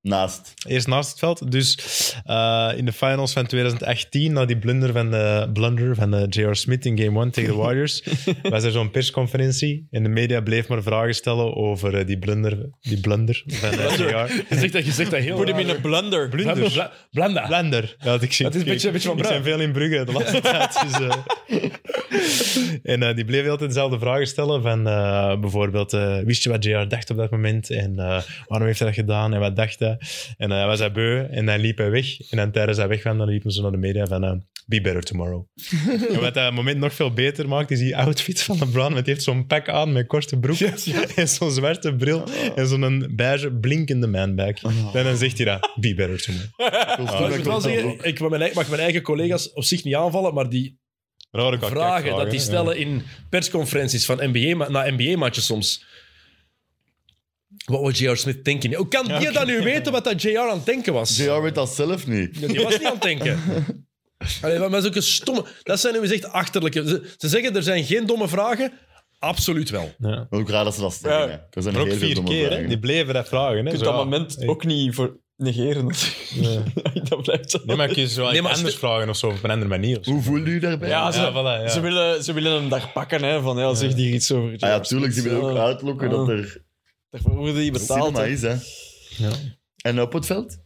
Naast.
Eerst naast het veld. Dus eh, in de finals van 2018, na die blunder van, de, blunder van de J.R. Smith in game 1 tegen de Warriors, was er zo'n persconferentie. En de media bleef maar vragen stellen over eh, die blunder, die blunder van eh, J.R.
Je zegt dat, je zegt dat heel
Put him in
raar.
a blunder.
Blanda. Bla- Blanda.
Blender. Ja, dat ik zie-
Het is een beetje- een beetje van
Ik ben veel in Brugge de
[laughs]
laatste tijd. Dus, eh. En eh, die bleef altijd dezelfde vragen stellen. Van eh, bijvoorbeeld, eh, wist je wat JR dacht op dat moment? En eh, waarom heeft hij dat gedaan? En wat dacht hij? En eh, was hij beu? En dan liep hij weg. En dan tijdens hij weg was, dan liepen ze naar de media van... eh, Be better
[laughs]
tomorrow. en wat dat moment nog veel beter maakt, is die outfit van LeBron. Want die heeft zo'n pak aan met korte broek en zo'n zwarte bril
Oh.
en zo'n beige blinkende manbag. En dan zegt hij dat, be better tomorrow.
Maar ik moet wel zeggen, ik mag mijn, eigen- mag mijn eigen collega's op zich niet aanvallen, maar die
Rare
vragen,
kakvragen,
dat die
ja.
stellen in persconferenties van NBA, ma- na NBA-matches soms. Wat was J.R. Smith denken? Hoe kan je dan nu weten wat dat J.R. aan het denken was?
JR weet dat zelf niet.
Die was niet aan het denken. Allee, maar dat is ook een stomme... Dat zijn nu eens echt achterlijke... Ze, ze zeggen, er zijn geen domme vragen. Absoluut wel.
Ja.
Ook raar dat ze dat zeggen. hè. Er zijn
Maar ook
heel veel
vier
domme
keer, hè.
vragen.
Die bleven dat vragen, hè.
Je kunt
Zo,
dat
ja.
moment
Hey.
ook niet voor negeren. [laughs] dat blijft zo.
Nee, maar kun je zo
Nee, maar als
anders
de-
vragen of zo, op een andere manier. of zo.
Hoe voelde u daarbij?
Ja,
Ja, voilà, ja.
Ze, willen, ze willen hem daar pakken, hè, van ja, zeg hier iets over.
Ah ja, tuurlijk. Ze willen ook
Ja,
uitlokken dat
Ah.
er
Daarvoor worden die betaald.
cinema
hè.
is, hè.
Ja.
En op het veld?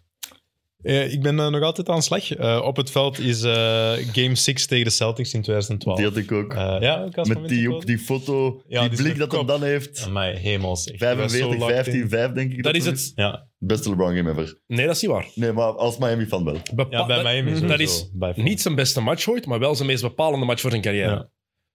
Eh, ik ben eh, nog altijd aan de slag. Eh, op het veld is eh, Game 6 tegen de Celtics in 2012.
Die had ik ook.
Eh, ja, ook als
Met
moment
die,
gekozen.
op die foto,
Ja, die
die
is
blik
met
dat hij
kop.
dan heeft.
Amai, hemels. echt. Die was zo
45,
locked in.
15, 5 denk ik.
Dat is
ze-
het...
Ja,
Beste LeBron-game ever.
Nee, dat is niet waar.
Nee, maar als Miami-fan wel.
Bepa-
ja bij
dat-
mij is
Dat is niet zijn beste match ooit, maar wel zijn meest bepalende match voor zijn carrière.
Ja.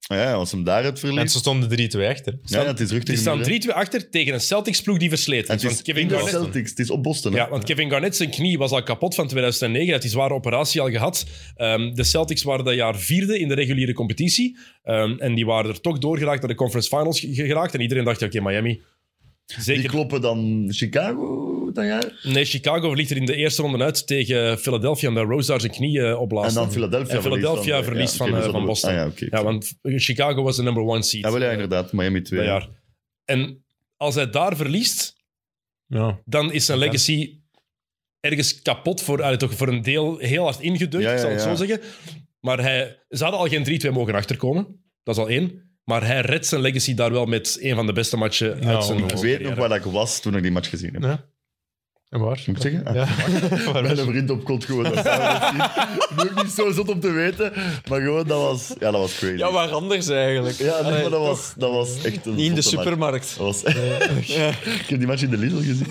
Ah Ja, als hem daar het
En
verliest.
ze stonden 3-2 achter.
Ja, ja, het is rug
Die
tegen
staan
muur,
3-2
hè.
achter tegen een Celtics-ploeg die versleten
En
is.
het is
Want
in
Kevin
de
Garnett...
Celtics. Het is op Boston. hè.
Ja, want Kevin Garnett zijn knie was al kapot van 2009. Hij had die zware operatie al gehad. Ehm, de Celtics waren dat jaar vierde in de reguliere competitie. Ehm, en die waren er toch doorgeraakt naar de conference finals ge- geraakt. En iedereen dacht, oké, Miami...
Die
Zeker.
kloppen dan Chicago dat jaar.
Nee, Chicago vliegt er in de eerste ronde uit tegen Philadelphia. En daar Rose daar zijn knie eh,
En
opblaast.
dan Philadelphia
En Philadelphia verliest
ja,
van,
oké,
eh,
dus dat
van
wordt-
Boston.
Ah, ja, oké.
Ja, want Chicago was de number one seed
Ja, wel, ja, inderdaad. Miami 2.
dat jaar. En als hij daar verliest,
Ja.
dan is zijn legacy ergens kapot voor, allee, toch voor een deel heel hard ingedrukt,
Ja, ja,
ik zal het
ja.
zo zeggen. Maar hij, ze hadden al geen 3-2 mogen achterkomen. Dat is al één. Maar hij redt zijn legacy daar wel met een van de beste matchen
Ja,
uit zijn
Ik
zijn
weet nog
carrière.
waar ik was toen ik die match gezien heb.
ja. En waar?
Moet ik zeggen? Ah.
Ja.
[laughs]
Waar
Bij
was
een
je?
vriend op kot gewoon. Dat ik ben ook niet zo zot om te weten. Maar gewoon, dat was, ja, dat was crazy.
Ja, waar anders eigenlijk.
Ja, nee,
Allee,
maar dat was, dat was echt een
Niet in de
zotte match.
supermarkt.
Dat was, [laughs] ik heb die match in de Lidl gezien.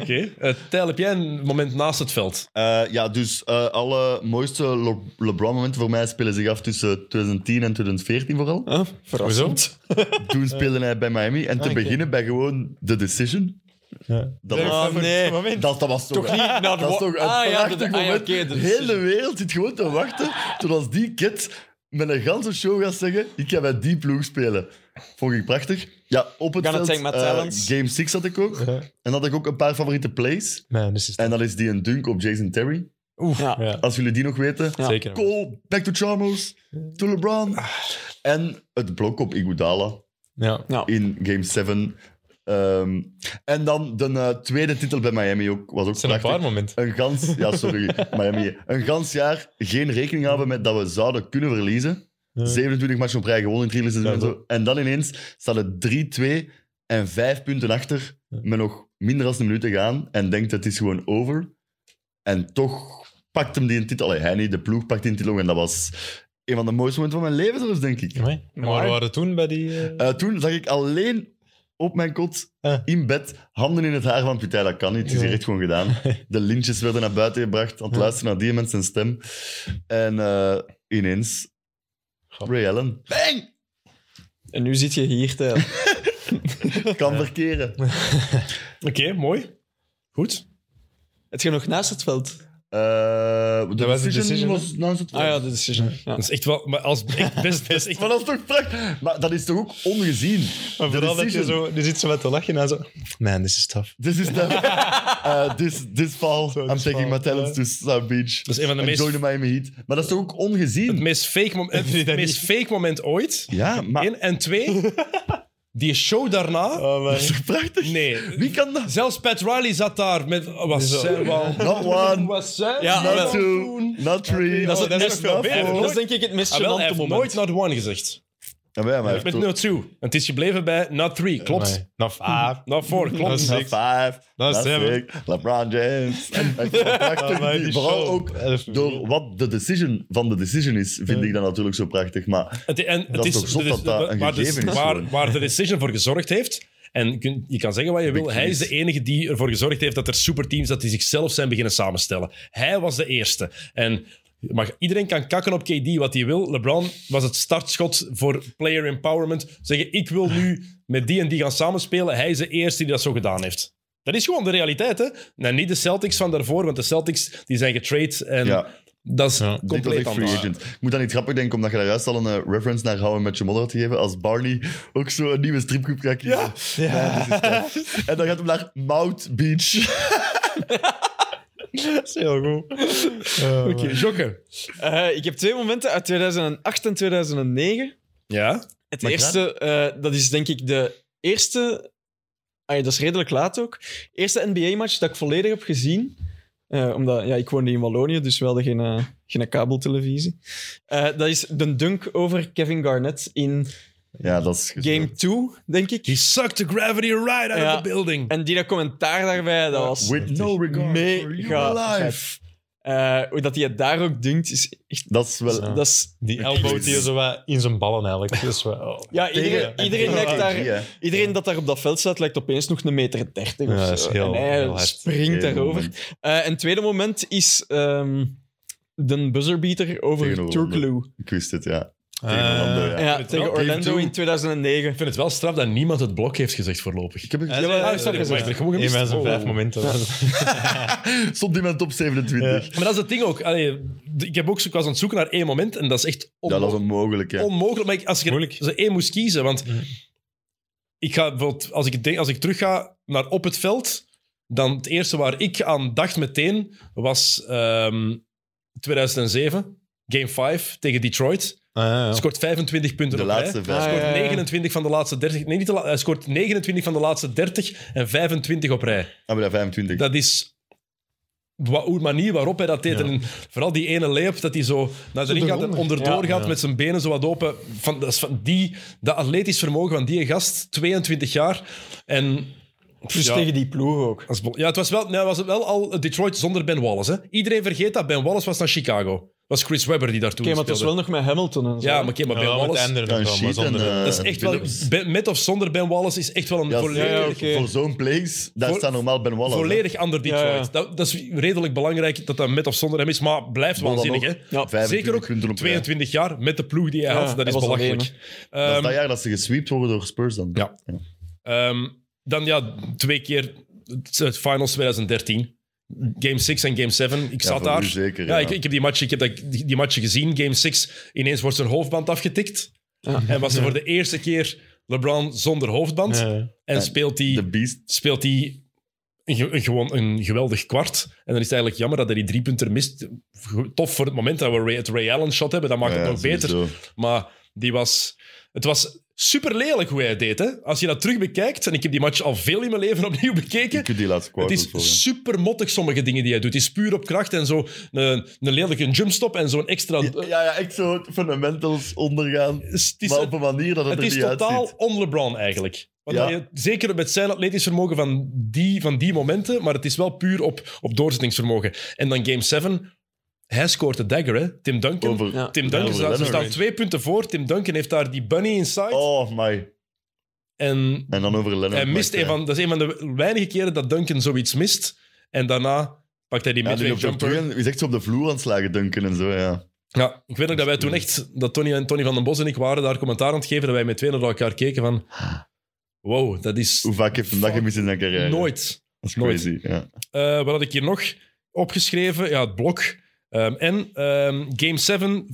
Oké. Eh, Tijl, heb jij een moment naast het veld?
Eh, ja, dus eh, alle mooiste Le- LeBron-momenten voor mij spelen zich af tussen 2010 en 2014 vooral.
Huh?
Hoezo?
Verrassend.
Toen speelde hij bij Miami. En te
Ah, oké.
beginnen bij gewoon de decision.
Ja.
Dat
Ah,
was,
nee.
Moment.
dat, dat was toch,
Toch niet naar de
dat is
wa-
toch een
Ah, ja,
prachtig
de- ah, ja,
moment.
oké, de
de hele
decision.
wereld zit gewoon te wachten tot als die kid met een ganse show gaat zeggen ik ga bij die ploeg spelen. Vond ik prachtig. Ja, op het
Kan het
veld,
zijn met
eh,
talents?
Game 6 had ik ook.
Ja.
En had ik ook een paar favoriete plays.
Eh, Nee, dus is
En dat is die een dunk op Jason Terry.
Ja.
Ja,
Als jullie die nog weten.
Ja. Ah.
zeker.
Cole, back to Chalmers, to LeBron. En het blok op Iguodala
Ja.
in Game 7. Ehm, en dan de eh, tweede titel bij Miami ook, was ook
Het zijn een
prachtig.
paar momenten.
Een gans, ja, sorry, Miami. Een gans jaar geen rekening houden met dat we zouden kunnen verliezen.
Ja.
27 matchen op rij gewonnen in het reguliere seizoen en zo. En dan ineens staat het 3-2 en 5 punten achter. Met nog minder dan een minuut te gaan. En denkt het is gewoon over. En toch pakt hem die een titel. Allee, hij niet, de ploeg pakt die een titel. En dat was een van de mooiste momenten van mijn leven zelfs, denk ik.
Amai. Maar
Maar-
we waren toen bij die... eh,
Eh, toen zag ik alleen op mijn kot,
Eh.
in bed, handen in het haar van Putij. Dat kan niet, het is hier echt gewoon gedaan. De lintjes werden naar buiten gebracht, aan het luisteren naar die mensen stem. En eh, ineens, Ray Allen, bang,
En nu zit je hier, Tijl. [laughs]
kan verkeren. Eh,
Oké, mooi. Goed.
Het je nog naast het veld?
Eh, de
was de
decision,
decision,
was nou non-stop.
Ah ja, de decision. Ja.
Dat is echt wel... Maar als, echt
[laughs]
best, dat is echt
Maar dat is toch prachtig? Maar dat is toch ook ongezien?
Maar
De
vooral dat je
decision.
zo... Je zit zo met te lachen en zo... Man, this is tough.
This is the,
[laughs]
uh, this, this fall, I'm
this
taking
fall,
my talents to South Beach.
Dat is een van de
And
meest-
join the Miami Heat. Maar dat is toch ook
het
ongezien?
meest fake, mom- het
Ah. [laughs] Nee, dat
meest fake moment ooit.
Ja, maar
Eén. En twee, die show daarna...
Oh, man.
dat is toch prachtig?
Nee.
Wie kan dat?
Zelfs Pat Riley zat daar met... oh, Was zij [laughs] wel...
Not one,
Was zij
Ja,
wel
not
wel.
two,
toen?
not three.
Dat is-
Oh,
dat is
not
nog wel
four.
beter.
Dat is denk ik het meest
Ah, wel, hij
gênante
heeft
moment.
nooit not one gezegd.
Ja, maar ja, maar
Met
toch-
not two. En het is gebleven bij not three. Klopt.
Nee. Nou, ah,
Not four.
Dat
Klopt.
is
Top
Six.
five.
Dat is
That's
hem, hè.
it. LeBron
[laughs]
James. En ik vond het prachtig.
Ja, maar die
Vooral
show.
ook
Elf
door wat de decision van de decision is, vind ik dat natuurlijk zo prachtig. Maar
Het, en het
Dat is toch zot
de-
dat dat een
waar de-
gegeven is
dus waar,
gewoon.
waar de decision voor gezorgd heeft. En je kunt- je kan zeggen wat je wil. Hij is de enige die ervoor gezorgd heeft dat er superteams dat die zichzelf zijn beginnen samenstellen. Hij was de eerste. En maar iedereen kan kakken op KD wat hij wil. LeBron was het startschot voor player empowerment. Zeggen, ik wil nu met die en die gaan samenspelen. Hij is de eerste die dat zo gedaan heeft. Dat is gewoon de realiteit, hè? Nou, niet de Celtics van daarvoor, want de Celtics die zijn getrade en
ja,
dat is
Ja.
dit was
compleet
echt free
anders.
agent. Ik moet dan niet grappig denken, omdat je daar juist al een eh, reference naar How I Met Your Mother had gegeven, als Barney ook zo een nieuwe stripgroep gaat kiezen. Nee, dit is tof. en dan gaat hem naar Mount Beach.
dat is heel goed. Eh,
Oké, Jokke.
Eh, ik heb twee momenten uit 2008 en 2009.
Ja?
Het
Maar
eerste, eh, dat is denk ik de eerste. Ah, ja, dat is redelijk laat ook. Eerste NBA-match dat ik volledig heb gezien. Eh, omdat ja, ik woonde in Wallonië, dus we hadden geen, eh, geen kabeltelevisie. Eh, dat is de dunk over Kevin Garnett in
Ja, dat is...
Game 2, denk ik.
He sucked the gravity right out
Ja.
of the building.
En die dat commentaar daarbij, dat was.
With no regard for
mega
your life.
eh, hoe dat hij het daar ook dunkt, is echt.
Dat is wel...
Ja.
Dat is,
Die elbowt hier zo wat in zijn ballen eigenlijk. Dus wel, oh.
ja, iedereen,
Tegen-
iedereen lijkt
Ja,
daar.
ja.
Iedereen dat daar op dat veld staat, lijkt opeens nog een meter dertig
Ja,
of
dat is
zo.
heel-
en hij
heel hard.
springt
Heel
daarover.
moment.
Eh, en het tweede moment is ehm, de buzzerbeater over
Tegen
Turklu.
Ik wist het, ja.
Eh,
Tegen Orlando, ja.
Ja,
het
tegen
wel.
Orlando
Game
in 2009.
Ik vind het wel straf dat niemand het blok heeft gezegd voorlopig.
Ik heb het
hij
gezien.
zei-
ah, sorry,
eh,
sorry.
maar-
Gewoon gemist.
een van zijn
Oh.
vijf momenten. Ah,
Stond die met top 27.
Maar dat is het ding ook. Allee, d- ik, heb ook, zo- ik was aan het zoeken naar één moment en dat is echt
Ja,
onmogelijk.
dat is onmogelijk, hè.
onmogelijk. Maar ik, als ik er
Moeilijk. Mhm.
zo één moest kiezen, want
Ja.
ik ga bijvoorbeeld, als ik, denk, als ik terug ga naar op het veld, dan het eerste waar ik aan dacht meteen was ehm, 2007, Game 5 tegen Detroit.
Ah, ja, ja.
Scoort 25 punten
De
op rij.
laatste vijf.
Ah, ja.
scoort 29 van de laatste 30. Nee, niet de la- hij scoort 29 van de laatste 30 en 25 op rij.
Ah, maar dat 25.
Dat is wa- hoe de manier waarop hij dat deed.
Ja.
En vooral die ene layup dat hij zo naar de ring gaat en
eronder.
onderdoor
Ja.
gaat
Ja.
met zijn benen zo wat open. Van, dat, is van die, dat atletisch vermogen van die gast, 22 jaar. En
Plus
ja.
tegen die ploeg ook.
als bol- ja, het was wel, nou, was het wel al Detroit zonder Ben Wallace. Hè? Iedereen vergeet dat Ben Wallace was naar Chicago. Het was Chris Webber die daartoe
Oké, maar het was
speelde.
wel nog met Hamilton en zo.
Ja, maar, oké, maar Ben
Ja, met
Wallace...
Ender
Ja,
nog wel, maar
shit, en,
zonder...
eh,
Dat is echt wel,
Phillips.
Ben- met of zonder Ben Wallace is echt wel een
Ja,
volledig
ja,
voor-
oké.
Voor zo'n place, daar
Voor-
staat normaal Ben Wallace. hè.
Volledig ander Detroit.
Ja, ja.
Dat, dat is redelijk belangrijk dat dat met of zonder hem is, maar blijft
Maar dan
waanzinnig.
nog
Hè?
Ja,
25
Zeker ook
punten op rij.
22 jaar met de ploeg die hij
Ja,
had. Dat
hij
is
was
belachelijk.
Dat is
Ehm,
dat jaar dat ze gesweept worden door Spurs dan.
Ja. ehm, dan ja, twee keer het het finals 2013. Game 6 en Game 7. Ik
Ja,
zat
voor
daar.
u zeker,
ja,
ja.
Ik, ik heb die match, ik heb dat, die, die match gezien. Game 6. Ineens wordt zijn hoofdband afgetikt.
Ja.
En was er voor de eerste keer LeBron zonder hoofdband.
Ja, ja.
En speelt hij
De Beast.
speelt hij een ge- een gewoon een geweldig kwart. En dan is het eigenlijk jammer dat hij die drie punten mist. Tof voor het moment dat we Ray, het Ray Allen shot hebben. Dat maakt
Ja,
het
ja,
nog beter.
sowieso.
Maar die was, het was super lelijk hoe hij het deed. Hè? Als je dat terug bekijkt, en ik heb die match al veel in mijn leven opnieuw bekeken.
Ik heb die laatste
Het
kwart
is
voor. hè.
super mottig, sommige dingen die hij doet. Het is puur op kracht en zo een, een lelijke jumpstop en zo'n extra.
Ja, ja, echt zo fundamentals ondergaan.
Het is-
Maar op een manier dat het,
het
er
is
niet
totaal
uitziet.
on-LeBron eigenlijk. Want
Ja.
hij- zeker met zijn atletisch vermogen van die, van die momenten, maar het is wel puur op, op doorzettingsvermogen. En dan Game 7, hij scoort de dagger, hè? Tim Duncan.
Over...
Ja.
Tim Duncan
over
staat, ze
Leonard.
staan twee punten voor. Tim Duncan heeft daar die bunny inside.
Oh my.
En
En dan over Leonard.
hij mist
maakt
een van, dat is een van de weinige keren dat Duncan zoiets mist. En daarna pakt hij die
Ja, die
midway
loopt
jumper.
er terug en is echt zo op de vloer aan het slagen, dunken en zo, ja.
Ja, ik weet nog dat wij toen echt, dat Tony en Tony van den Bos en ik waren daar commentaar aan het geven, dat wij met twee naar elkaar keken van, wow, dat is
Ah. Hoe vaak heeft hem dat gemist in zijn carrière?
nooit.
Dat is
nooit.
crazy, ja.
Eh, wat had ik hier nog opgeschreven? Ja, het blok Ehm, en ehm, Game 7,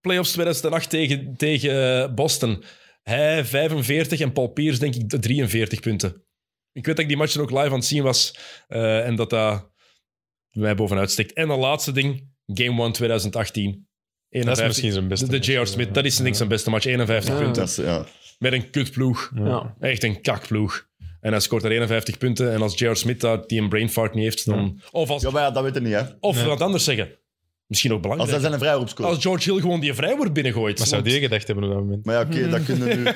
playoffs 2008 tegen, tegen eh, Boston. Hij 45 en Paul Pierce, denk ik, 43 punten. Ik weet dat ik die matchen ook live aan het zien was eh, en dat dat mij bovenuit steekt. En dat laatste ding, Game 1 2018. 51,
Dat is misschien zijn beste. eh,
De, de J.R. Smith, dat is niks zijn beste match. 51
Ja.
punten.
Dat is, ja.
Met een kutploeg.
Ja.
Echt een kakploeg. En hij scoort er 51 punten. En als J.R. Smith daar die een brain fart niet heeft, dan... Of, als,
ja, maar ja, dat weet je niet, hè.
of wat anders zeggen. Misschien ook
Als
belangrijk.
dat
Als,
zijn een vrijroep scoort.
George Hill gewoon die vrijwoord binnengooit.
Wat zou
Want-
die gedacht hebben op dat moment?
Maar ja, oké, dat kunnen
[laughs]
nu...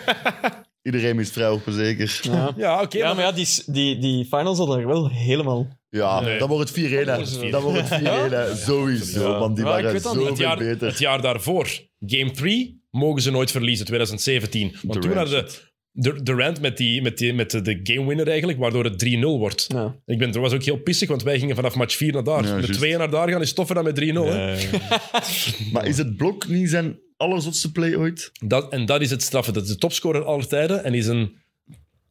Iedereen is vrijroepen, zeker. Ja,
Ja, oké.
Ja,
maar-
maar ja, die, s- die, die finals hadden er wel helemaal...
Nee.
dan wordt het 4-1, hè. Dan wordt het 4-1, hè. Sowieso,
Ja.
want die
Maar ik
waren
weet dat niet.
zoveel
het, jaar,
beter.
het jaar daarvoor, game 3, mogen ze nooit verliezen, 2017. Want toen
Durant.
hadden de... De, Durant met, die, met, die, met de, de game winner eigenlijk, waardoor het 3-0 wordt.
Ja.
Ik ben, dat was ook heel pissig, want wij gingen vanaf match 4 naar daar.
Ja,
met
juist.
2 naar daar gaan is toffer dan met 3-0. hè.
Maar is het blok niet zijn allerzotste play ooit?
Dat, en dat is het straffe. Dat is de topscorer aller tijden en is een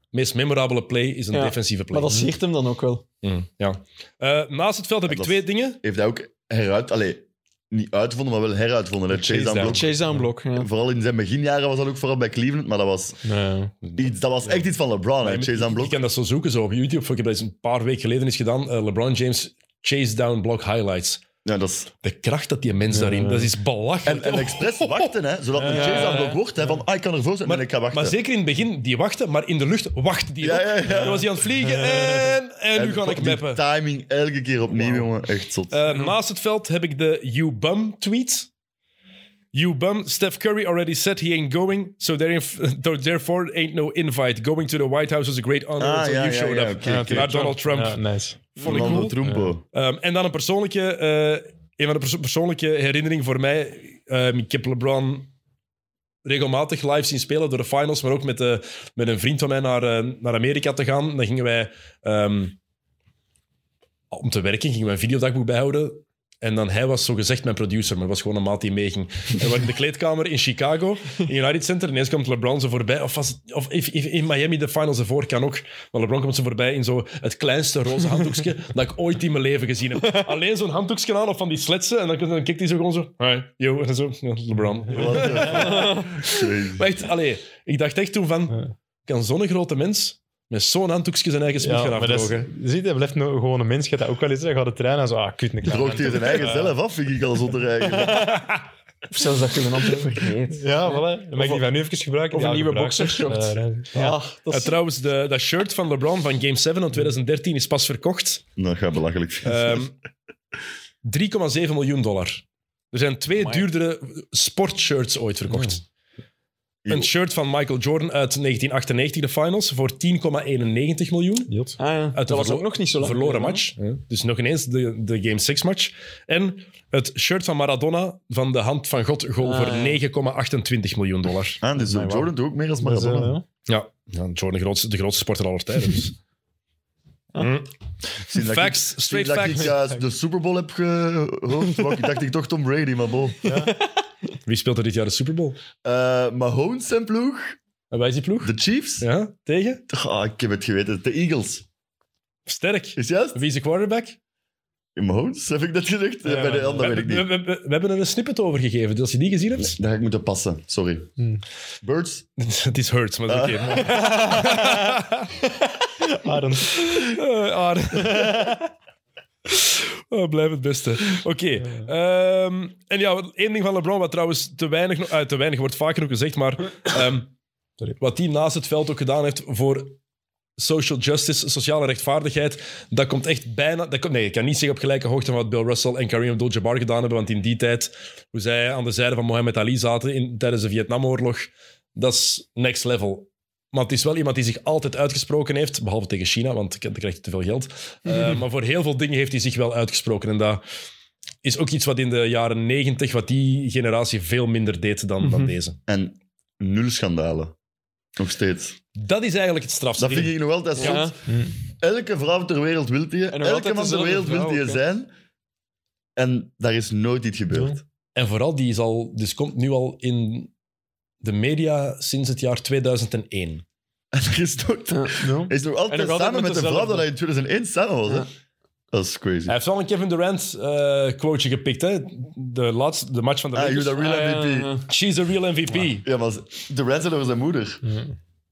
meest memorabele play, is een
Ja,
defensieve play.
Maar dat siert hem dan ook wel.
Mm, ja. Eh, naast het veld heb
Ja,
ik
dat-
twee dingen.
Heeft hij ook heruit... Allee, niet uitgevonden, maar wel heruitgevonden, hè. Chase down blok.
Chase down blok, ja.
Vooral in zijn beginjaren was dat ook vooral bij Cleveland, maar dat was,
Nee.
iets, dat was echt iets van LeBron, hè. Chase down
Ik
blok.
kan dat zo zoeken zo op YouTube. Ik heb dat eens een paar weken geleden eens gedaan. Eh, LeBron James chase down block highlights.
Ja, dat is...
De kracht dat die mens daarin, dat is belachelijk.
En, en expres wachten, hè. Zodat een Chase down blok wordt, hè. Van, ah, ik kan ervoor zijn,
Oh. Maar-
en ik ga wachten.
Maar zeker in het begin, die wachten, maar in de lucht wacht die.
Ja,
ook.
ja, ja.
Dan was hij aan het vliegen en, en nu ga ik
die
meppen.
timing elke keer opnieuw, jongen. Echt zot.
Uh, naast het veld heb ik de You Bum tweet. You Bum, Steph Curry already said he ain't going, so [laughs] there- therefore ain't no invite. Going to the White House was a great honor
Ah,
until
ja,
you
ja,
showed
ja,
up.
oké, oké.
Naar Donald Trump.
Ja, nice.
Vond ik
Ronaldo
cool.
Trumpo.
Um, en dan een persoonlijke, eh, een van de perso- persoonlijke herinnering voor mij. Um, ik heb LeBron regelmatig live zien spelen door de finals, maar ook met, eh, met een vriend van mij naar, eh, naar Amerika te gaan. Dan gingen wij, ehm, om te werken, gingen wij een videodagboek bijhouden. En dan hij was zogezegd mijn producer, maar was gewoon een maat die meeging. En we waren in de kleedkamer in Chicago, in United Center. Ineens komt LeBron zo voorbij. Of, was het- of if- if- in Miami de finals ervoor kan ook. Maar LeBron komt zo voorbij in zo het kleinste roze handdoekje [laughs] dat ik ooit in mijn leven gezien heb. Alleen zo'n handdoekje aan of van die sletsen. En dan, dan kijkt hij zo gewoon zo. Hi, yo. En zo. ja, LeBron. [laughs]
Crazy.
Maar echt, allee, ik dacht echt toen van, kan zo'n grote mens met zo'n handdoekje zijn eigen smoes
Ja,
gaan
maar dat is,
afdrogen?
zie je, dat blijft nou gewoon een mens. Je hebt dat ook wel eens. Hij gaat de trein en zo. Ah, kut, een kleine
Droogt hij
hand.
zijn
eh,
eigen zelf af, vind ik al zotter
[laughs]
eigen.
Of zelfs dat je een andere vergeet.
Ja, voilà. Dan mag ik die van nu even gebruiken.
Of een
Ja,
nieuwe
gebruik.
boxershort.
Eh,
Ja, dat
Eh,
is...
trouwens, de, dat shirt van LeBron van Game 7 van 2013 is pas verkocht.
Dat gaat Nou, belachelijk zijn.
Ehm, [laughs] 3,7 miljoen dollar. Er zijn twee duurdere sportshirts ooit verkocht. Een shirt van Michael Jordan uit 1998, de finals, voor 10,91 miljoen.
Jot.
Ah, ja.
Uit de
Dat was
verlo-
ook nog niet zo lang.
verloren
geleden,
match. Dus nog ineens de, de Game 6 match. En het shirt van Maradona van de hand van God goal
Ah,
voor
ja.
9,28 miljoen dollar.
Ah, dus Jordan doet ook meer als
Dat is, eh,
Maradona.
ja.
Ja, ja Jordan de grootste, de grootste sporter aller tijden.
[laughs]
Dus. Mm.
Sinds dat ik-
Facts, straight
sinds dat
facts.
ik eh, de Super Bowl heb gehoord, wou ik- dacht ik toch Tom Brady, maar bol.
Wie speelt er dit jaar de Super Bowl?
Eh Mahomes zijn ploeg,
En wij is die ploeg?
de Chiefs.
Ja, tegen?
Ah, ik heb het geweten, de Eagles.
Sterk.
Is juist?
Wie is de quarterback?
Mahomes, heb ik dat gezegd?
Ja,
Bij de
ja.
ander weet ik
we,
niet.
we- we- we hebben er een snippet over gegeven, dus als je die gezien hebt.
Daar ga ik moeten passen, sorry.
Hmm.
Birds,
[laughs] Het is Hurts, maar dat is oké.
Aaron.
Eh, Aar. [laughs] Oh, blijf het beste. Oké. ehm, en ja, wat- één ding van LeBron, wat trouwens te weinig, nog- eh, te weinig wordt vaker ook gezegd, maar ehm,
Sorry.
wat hij naast het veld ook gedaan heeft voor social justice, sociale rechtvaardigheid, dat komt echt bijna... Dat komt, nee, ik kan niet zeggen op gelijke hoogte van wat Bill Russell en Kareem Abdul-Jabbar gedaan hebben, want in die tijd, hoe zij aan de zijde van Mohammed Ali zaten in, tijdens de Vietnamoorlog, dat is next level. Maar het is wel iemand die zich altijd uitgesproken heeft, behalve tegen China, want dan krijg je te veel geld. Eh, maar voor heel veel dingen heeft hij zich wel uitgesproken. En dat is ook iets wat in de jaren negentig, wat die generatie veel minder deed dan, dan deze.
En nul schandalen. Nog steeds.
Dat is eigenlijk het strafste.
Dat vind ik nog wel altijd
hè? Ja.
zot. Elke vrouw ter wereld wil die.
En nog
Elke
altijd
man ter
dezelfde
wereld wil
vrouw
die
ook, hè?
zijn. En daar is nooit iets gebeurd.
En vooral, die is al, dus komt nu al in de media sinds het jaar 2001.
[laughs] En er is nooit...
Ja.
Hij is nog
En
altijd
nog altijd
samen
met
met de
dezelfde.
vrouw dat hij in 2001 samen was. hè.
Ja.
Dat is crazy.
Hij heeft wel een Kevin Durant eh quoteje gepikt, hè? De, laatste, de match van de
Ah,
Lakers.
you're the real MVP.
She's the real MVP.
Ja, maar de Rand zijn over zijn moeder.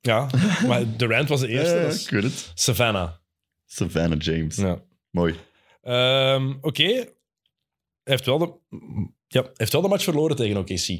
Ja, maar Durant was de eerste.
[laughs] Ja,
dat
ik
is
weet het.
Savannah.
Savannah James.
Ja.
Mooi.
Ehm, Oké. Hij heeft wel de... Ja, hij heeft wel de match verloren tegen OKC. [laughs]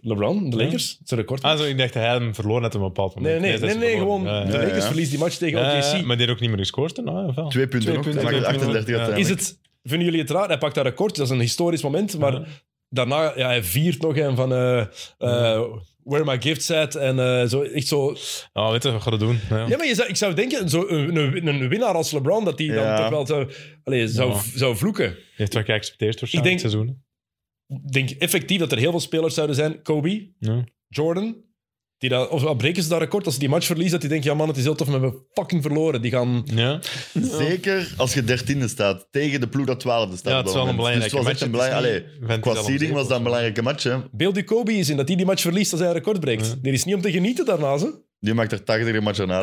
LeBron, de Lakers, zijn record.
Ah, zo, ik dacht dat hij hem verloren had op een bepaald moment.
nee, nee, nee,
dat
nee,
is
gewoon
verloren.
de
Ja, ja.
Lakers
ja.
verliest die match tegen
Ja,
OKC.
maar die heeft ook niet meer gescoord toen. Ah, wel.
Twee punten
Twee
nog.
punten,
Hij maakt
twee
38
punten.
Is
Ja.
uiteindelijk.
het, vinden jullie het raar? Hij pakt dat record, dat is een historisch moment, maar daarna, ja, hij viert nog een van eh, eh, Where My Gifts At en eh, zo, echt zo...
Ah, weet je, we gaan het doen. Ja.
Ja, maar je zou, ik zou denken, zo, een, een- een winnaar als LeBron, dat die dan
Ja.
toch wel zou, allez, zou,
Ja.
zou vloeken.
Die heeft wel geaccepteerd waarschijnlijk
Ik
het seizoen.
Ik denk effectief dat er heel veel spelers zouden zijn, Kobe,
Ja.
Jordan, die dat, of al breken ze daar record als ze die match verliezen, dat die denken, ja man, het is heel tof, maar we hebben fucking verloren. Die gaan...
Ja.
Zeker als je dertiende staat tegen de ploeg dat twaalfde staat.
Ja,
op
het is
dat
wel een
moment. Dus
belangrijke
het was echt een
match. Het is
belangrijk... Allee,
niet- Vent
qua
is al
seeding
om
was
zeep.
dat een belangrijke match, hè.
Beeld die Kobe is in, dat die die match verliest als hij een record breekt. Die is niet om te genieten daarna, ze.
Die maakt er 80 de match
[laughs]
aan na.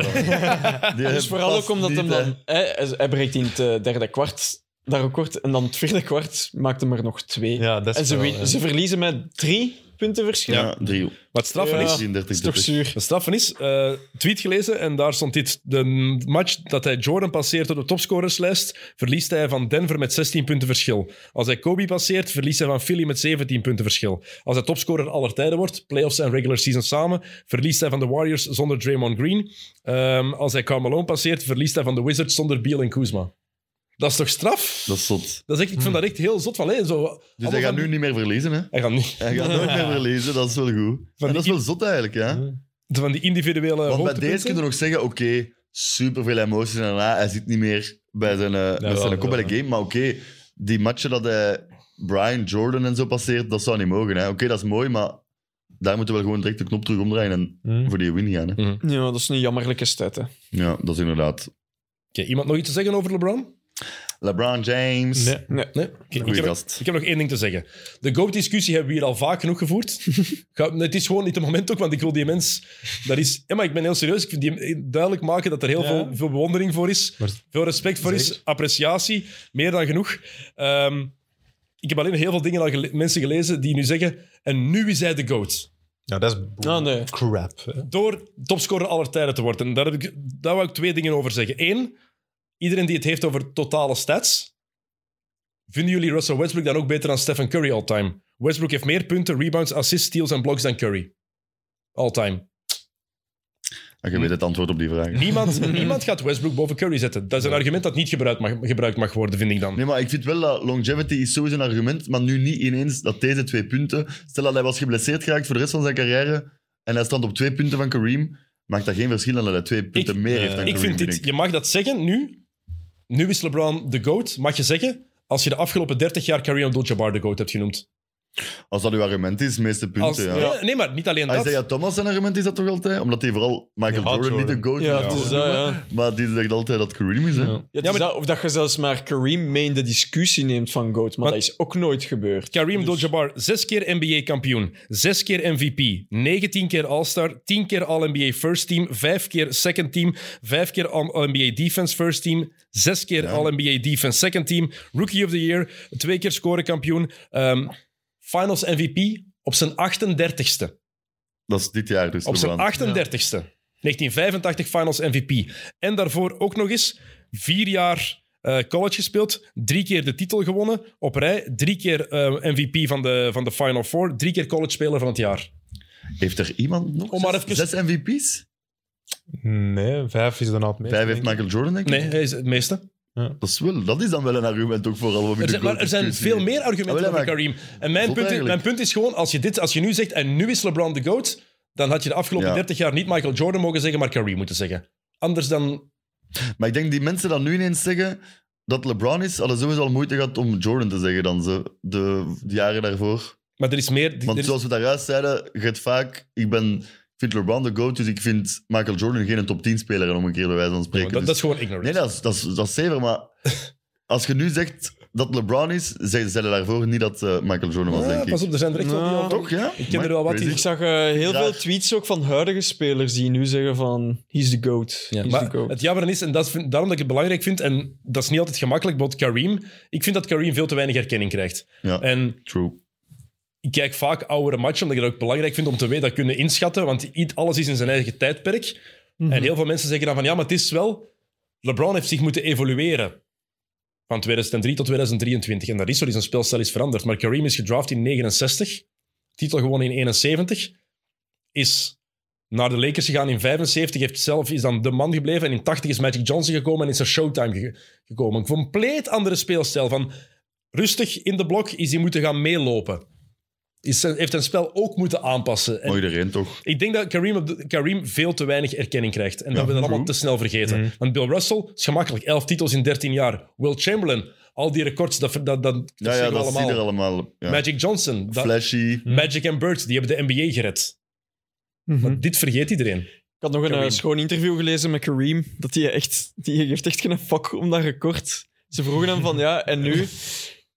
Eh,
Dus vooral ook omdat hem
hem
dan... Hij, hij breekt in het eh, derde kwart dat record. En dan het vierde kwart maakt hem er nog twee.
Ja, dat is
en ze,
wel,
wi-
ja.
ze verliezen met drie punten verschil.
Ja, dus- drie.
Wat straffen
Ja.
is...
33,
Dat is toch
30.
zuur.
Wat straffen is, eh, tweet gelezen en daar stond dit. De match dat hij Jordan passeert op de topscorerslijst, verliest hij van Denver met 16 punten verschil. Als hij Kobe passeert, verliest hij van Philly met 17 punten verschil. Als hij topscorer aller tijden wordt, playoffs en regular season samen, verliest hij van de Warriors zonder Draymond Green. Ehm, als hij Carmelo passeert, verliest hij van de Wizards zonder Beal en Kuzma. Dat is toch straf?
Dat is zot.
Dat is echt, ik
Hmm.
vind dat echt heel zot van. Hé, zo,
Dus
allemaal
hij gaat
van-
nu niet meer verliezen, hè.
Hij gaat niet.
Hij gaat nooit meer verliezen, dat is wel goed. En dat is wel zot eigenlijk, ja.
Van die individuele
Want bij
hoogtepunten.
deze kun je nog zeggen, oké, superveel emoties en daarna, hij zit niet meer bij zijn, eh met
wel,
zijn kop bij
wel,
de game. Maar oké, die matchen dat hij Brian, Jordan en zo passeert, dat zou niet mogen. hè. Oké, dat is mooi, maar daar moeten we wel gewoon direct de knop terug omdraaien en
Mm.
voor die win gaan. Hè.
Ja, dat is een jammerlijke stat, hè.
Ja, dat is inderdaad.
Oké, iemand nog iets te zeggen over LeBron?
LeBron James.
Nee.
Nee? Oké, ik,
Goeie
heb,
gast.
ik heb nog één ding te zeggen. De GOAT-discussie hebben we hier al vaak genoeg gevoerd.
[laughs]
Ga- Het is gewoon niet het moment ook, want ik wil die mens... Dat is, ja, maar ik ben heel serieus. Ik vind die duidelijk maken dat er heel
Ja.
veel, veel bewondering voor is.
Maar-
veel respect voor is.
Zeker.
Appreciatie. Meer dan genoeg. Ehm, ik heb alleen heel veel dingen aan gele- mensen gelezen die nu zeggen... En nu is hij de GOAT.
Ja, dat is
Ah, nee.
crap. hè.
Door topscorer aller tijden te worden. En daar, heb ik, daar wou ik twee dingen over zeggen. Eén, iedereen die het heeft over totale stats. Vinden jullie Russell Westbrook dan ook beter dan Stephen Curry all-time? Westbrook heeft meer punten, rebounds, assists, steals en blocks dan Curry. All-time.
Ah, Je weet het antwoord op die vraag. [laughs]
Niemand, niemand gaat Westbrook boven Curry zetten. Dat is een argument dat niet gebruikt mag, gebruikt mag worden, vind ik dan.
Nee, maar ik vind wel dat longevity is sowieso een argument, maar nu niet ineens dat deze twee punten... Stel dat hij was geblesseerd geraakt voor de rest van zijn carrière en hij stond op twee punten van Kareem, maakt dat geen verschil dan dat hij twee punten meer heeft dan
ik
Kareem,
vind dit,
ik.
je mag dat zeggen nu. Nu is LeBron de GOAT, mag je zeggen. Als je de afgelopen 30 jaar Curry Abdul-Jabbar de GOAT hebt genoemd.
Als dat uw argument is, meeste punten,
Als,
ja.
nee, nee, maar niet alleen dat.
Isaiah Thomas zijn argument is dat toch altijd? Omdat hij vooral Michael
Ja,
Jordan,
Jordan.
niet de GOAT
Ja,
is,
het is dat, ja.
maar die zegt altijd dat Kareem is. Hè?
Ja.
Ja, het
Ja,
is
maar-
dat- of dat je zelfs maar Kareem mee in de discussie neemt van GOAT. Maar
Maar-
dat is ook nooit gebeurd.
Kareem Abdul-Jabbar, zes keer NBA-kampioen, zes keer MVP, 19 keer All-Star, 10 keer All-NBA First Team, vijf keer Second Team, vijf keer All-NBA Defense First Team, zes keer All-NBA Defense Second Team, Rookie of the Year, twee keer scorekampioen, ehm, Finals MVP op zijn 38ste.
Dat is dit jaar dus.
Op zijn
LeBron.
38ste. 1985 Finals MVP. En daarvoor ook nog eens vier jaar eh, college gespeeld. Drie keer de titel gewonnen op rij. Drie keer eh, MVP van de, van de Final Four. Drie keer college speler van het jaar.
Heeft er iemand nog
Om maar
zes,
even-
zes MVP's?
Nee, vijf is dan al het meest.
Vijf heeft
denk ik.
Michael Jordan, denk ik.
Nee, hij is het meeste.
Dat, is wel, dat is dan wel een argument ook vooral.
Er zijn, maar er zijn veel meer argumenten
Ah, wel,
dan
maar-
Kareem. En mijn
Zot
punt, is,
eigenlijk.
mijn punt is gewoon, als je, dit, als je nu zegt, en nu is LeBron de GOAT, dan had je de afgelopen
Ja.
30 jaar niet Michael Jordan mogen zeggen, maar Kareem moeten zeggen. Anders dan...
Maar ik denk die mensen dat nu ineens zeggen dat LeBron is, hadden sowieso al moeite gehad om Jordan te zeggen dan ze, de, de jaren daarvoor.
Maar er is meer...
Want
er is-
zoals we daar juist zeiden, je hebt vaak, ik ben, ik vind LeBron de GOAT, dus ik vind Michael Jordan geen top 10 speler, om een keer de wijze van spreken.
dat,
Dus-
dat is gewoon ignorant. [laughs]
nee, dat is, dat, is, dat is zeker, maar als je nu zegt dat LeBron is, zeiden ze daarvoor niet dat eh, Michael Jordan was, denk
Ah,
ik.
pas op, er zijn er echt wel die
Nou,
al-
Toch, ja?
Ik ken er wel wat
Crazy.
die-
Ik zag eh, heel
Graag.
veel tweets ook van huidige spelers die nu zeggen van he's the goat.
Ja,
he's
maar
the goat.
het jammer is, en dat is, vind- daarom dat ik het belangrijk vind, en dat is niet altijd gemakkelijk, bijvoorbeeld Kareem. Ik vind dat Kareem veel te weinig erkenning krijgt.
Ja.
En
True.
ik kijk vaak oudere matchen, omdat ik dat ook belangrijk vind om te weten, dat kunnen inschatten, want i- alles is in zijn eigen tijdperk. En heel veel mensen zeggen dan van, ja, maar het is wel... LeBron heeft zich moeten evolueren. Van 2003 tot 2023. En dat is zo, die zijn spelstijl is veranderd. Maar Kareem is gedraft in 69. Titel gewonnen in 71. Is naar de Lakers gegaan in 75. Heeft zelf, is dan de man gebleven. En in 80 is Magic Johnson gekomen en is er Showtime ge- gekomen. Een compleet andere speelstijl. Van rustig in de blok is hij moeten gaan meelopen. Is, zijn- heeft zijn spel ook moeten aanpassen. En
Maar iedereen toch?
ik denk dat Kareem, op de- Kareem veel te weinig erkenning krijgt. En dat we dat allemaal te snel vergeten.
Mhm.
Want Bill Russell is gemakkelijk. Elf titels in 13 jaar. Will Chamberlain, al die records, dat, dat, dat, dat
Ja,
zien
ja,
we
dat
allemaal.
zie je er allemaal. Ja. Mhm.
Magic Johnson, dat-
Flashy.
Magic en Bird, die hebben de NBA gered. Maar dit vergeet iedereen.
Ik had nog een eh,
Kareem.
schoon interview gelezen met Kareem. Dat die, echt, die geeft echt geen fuck om dat record. Ze vroegen hem van ja, en nu?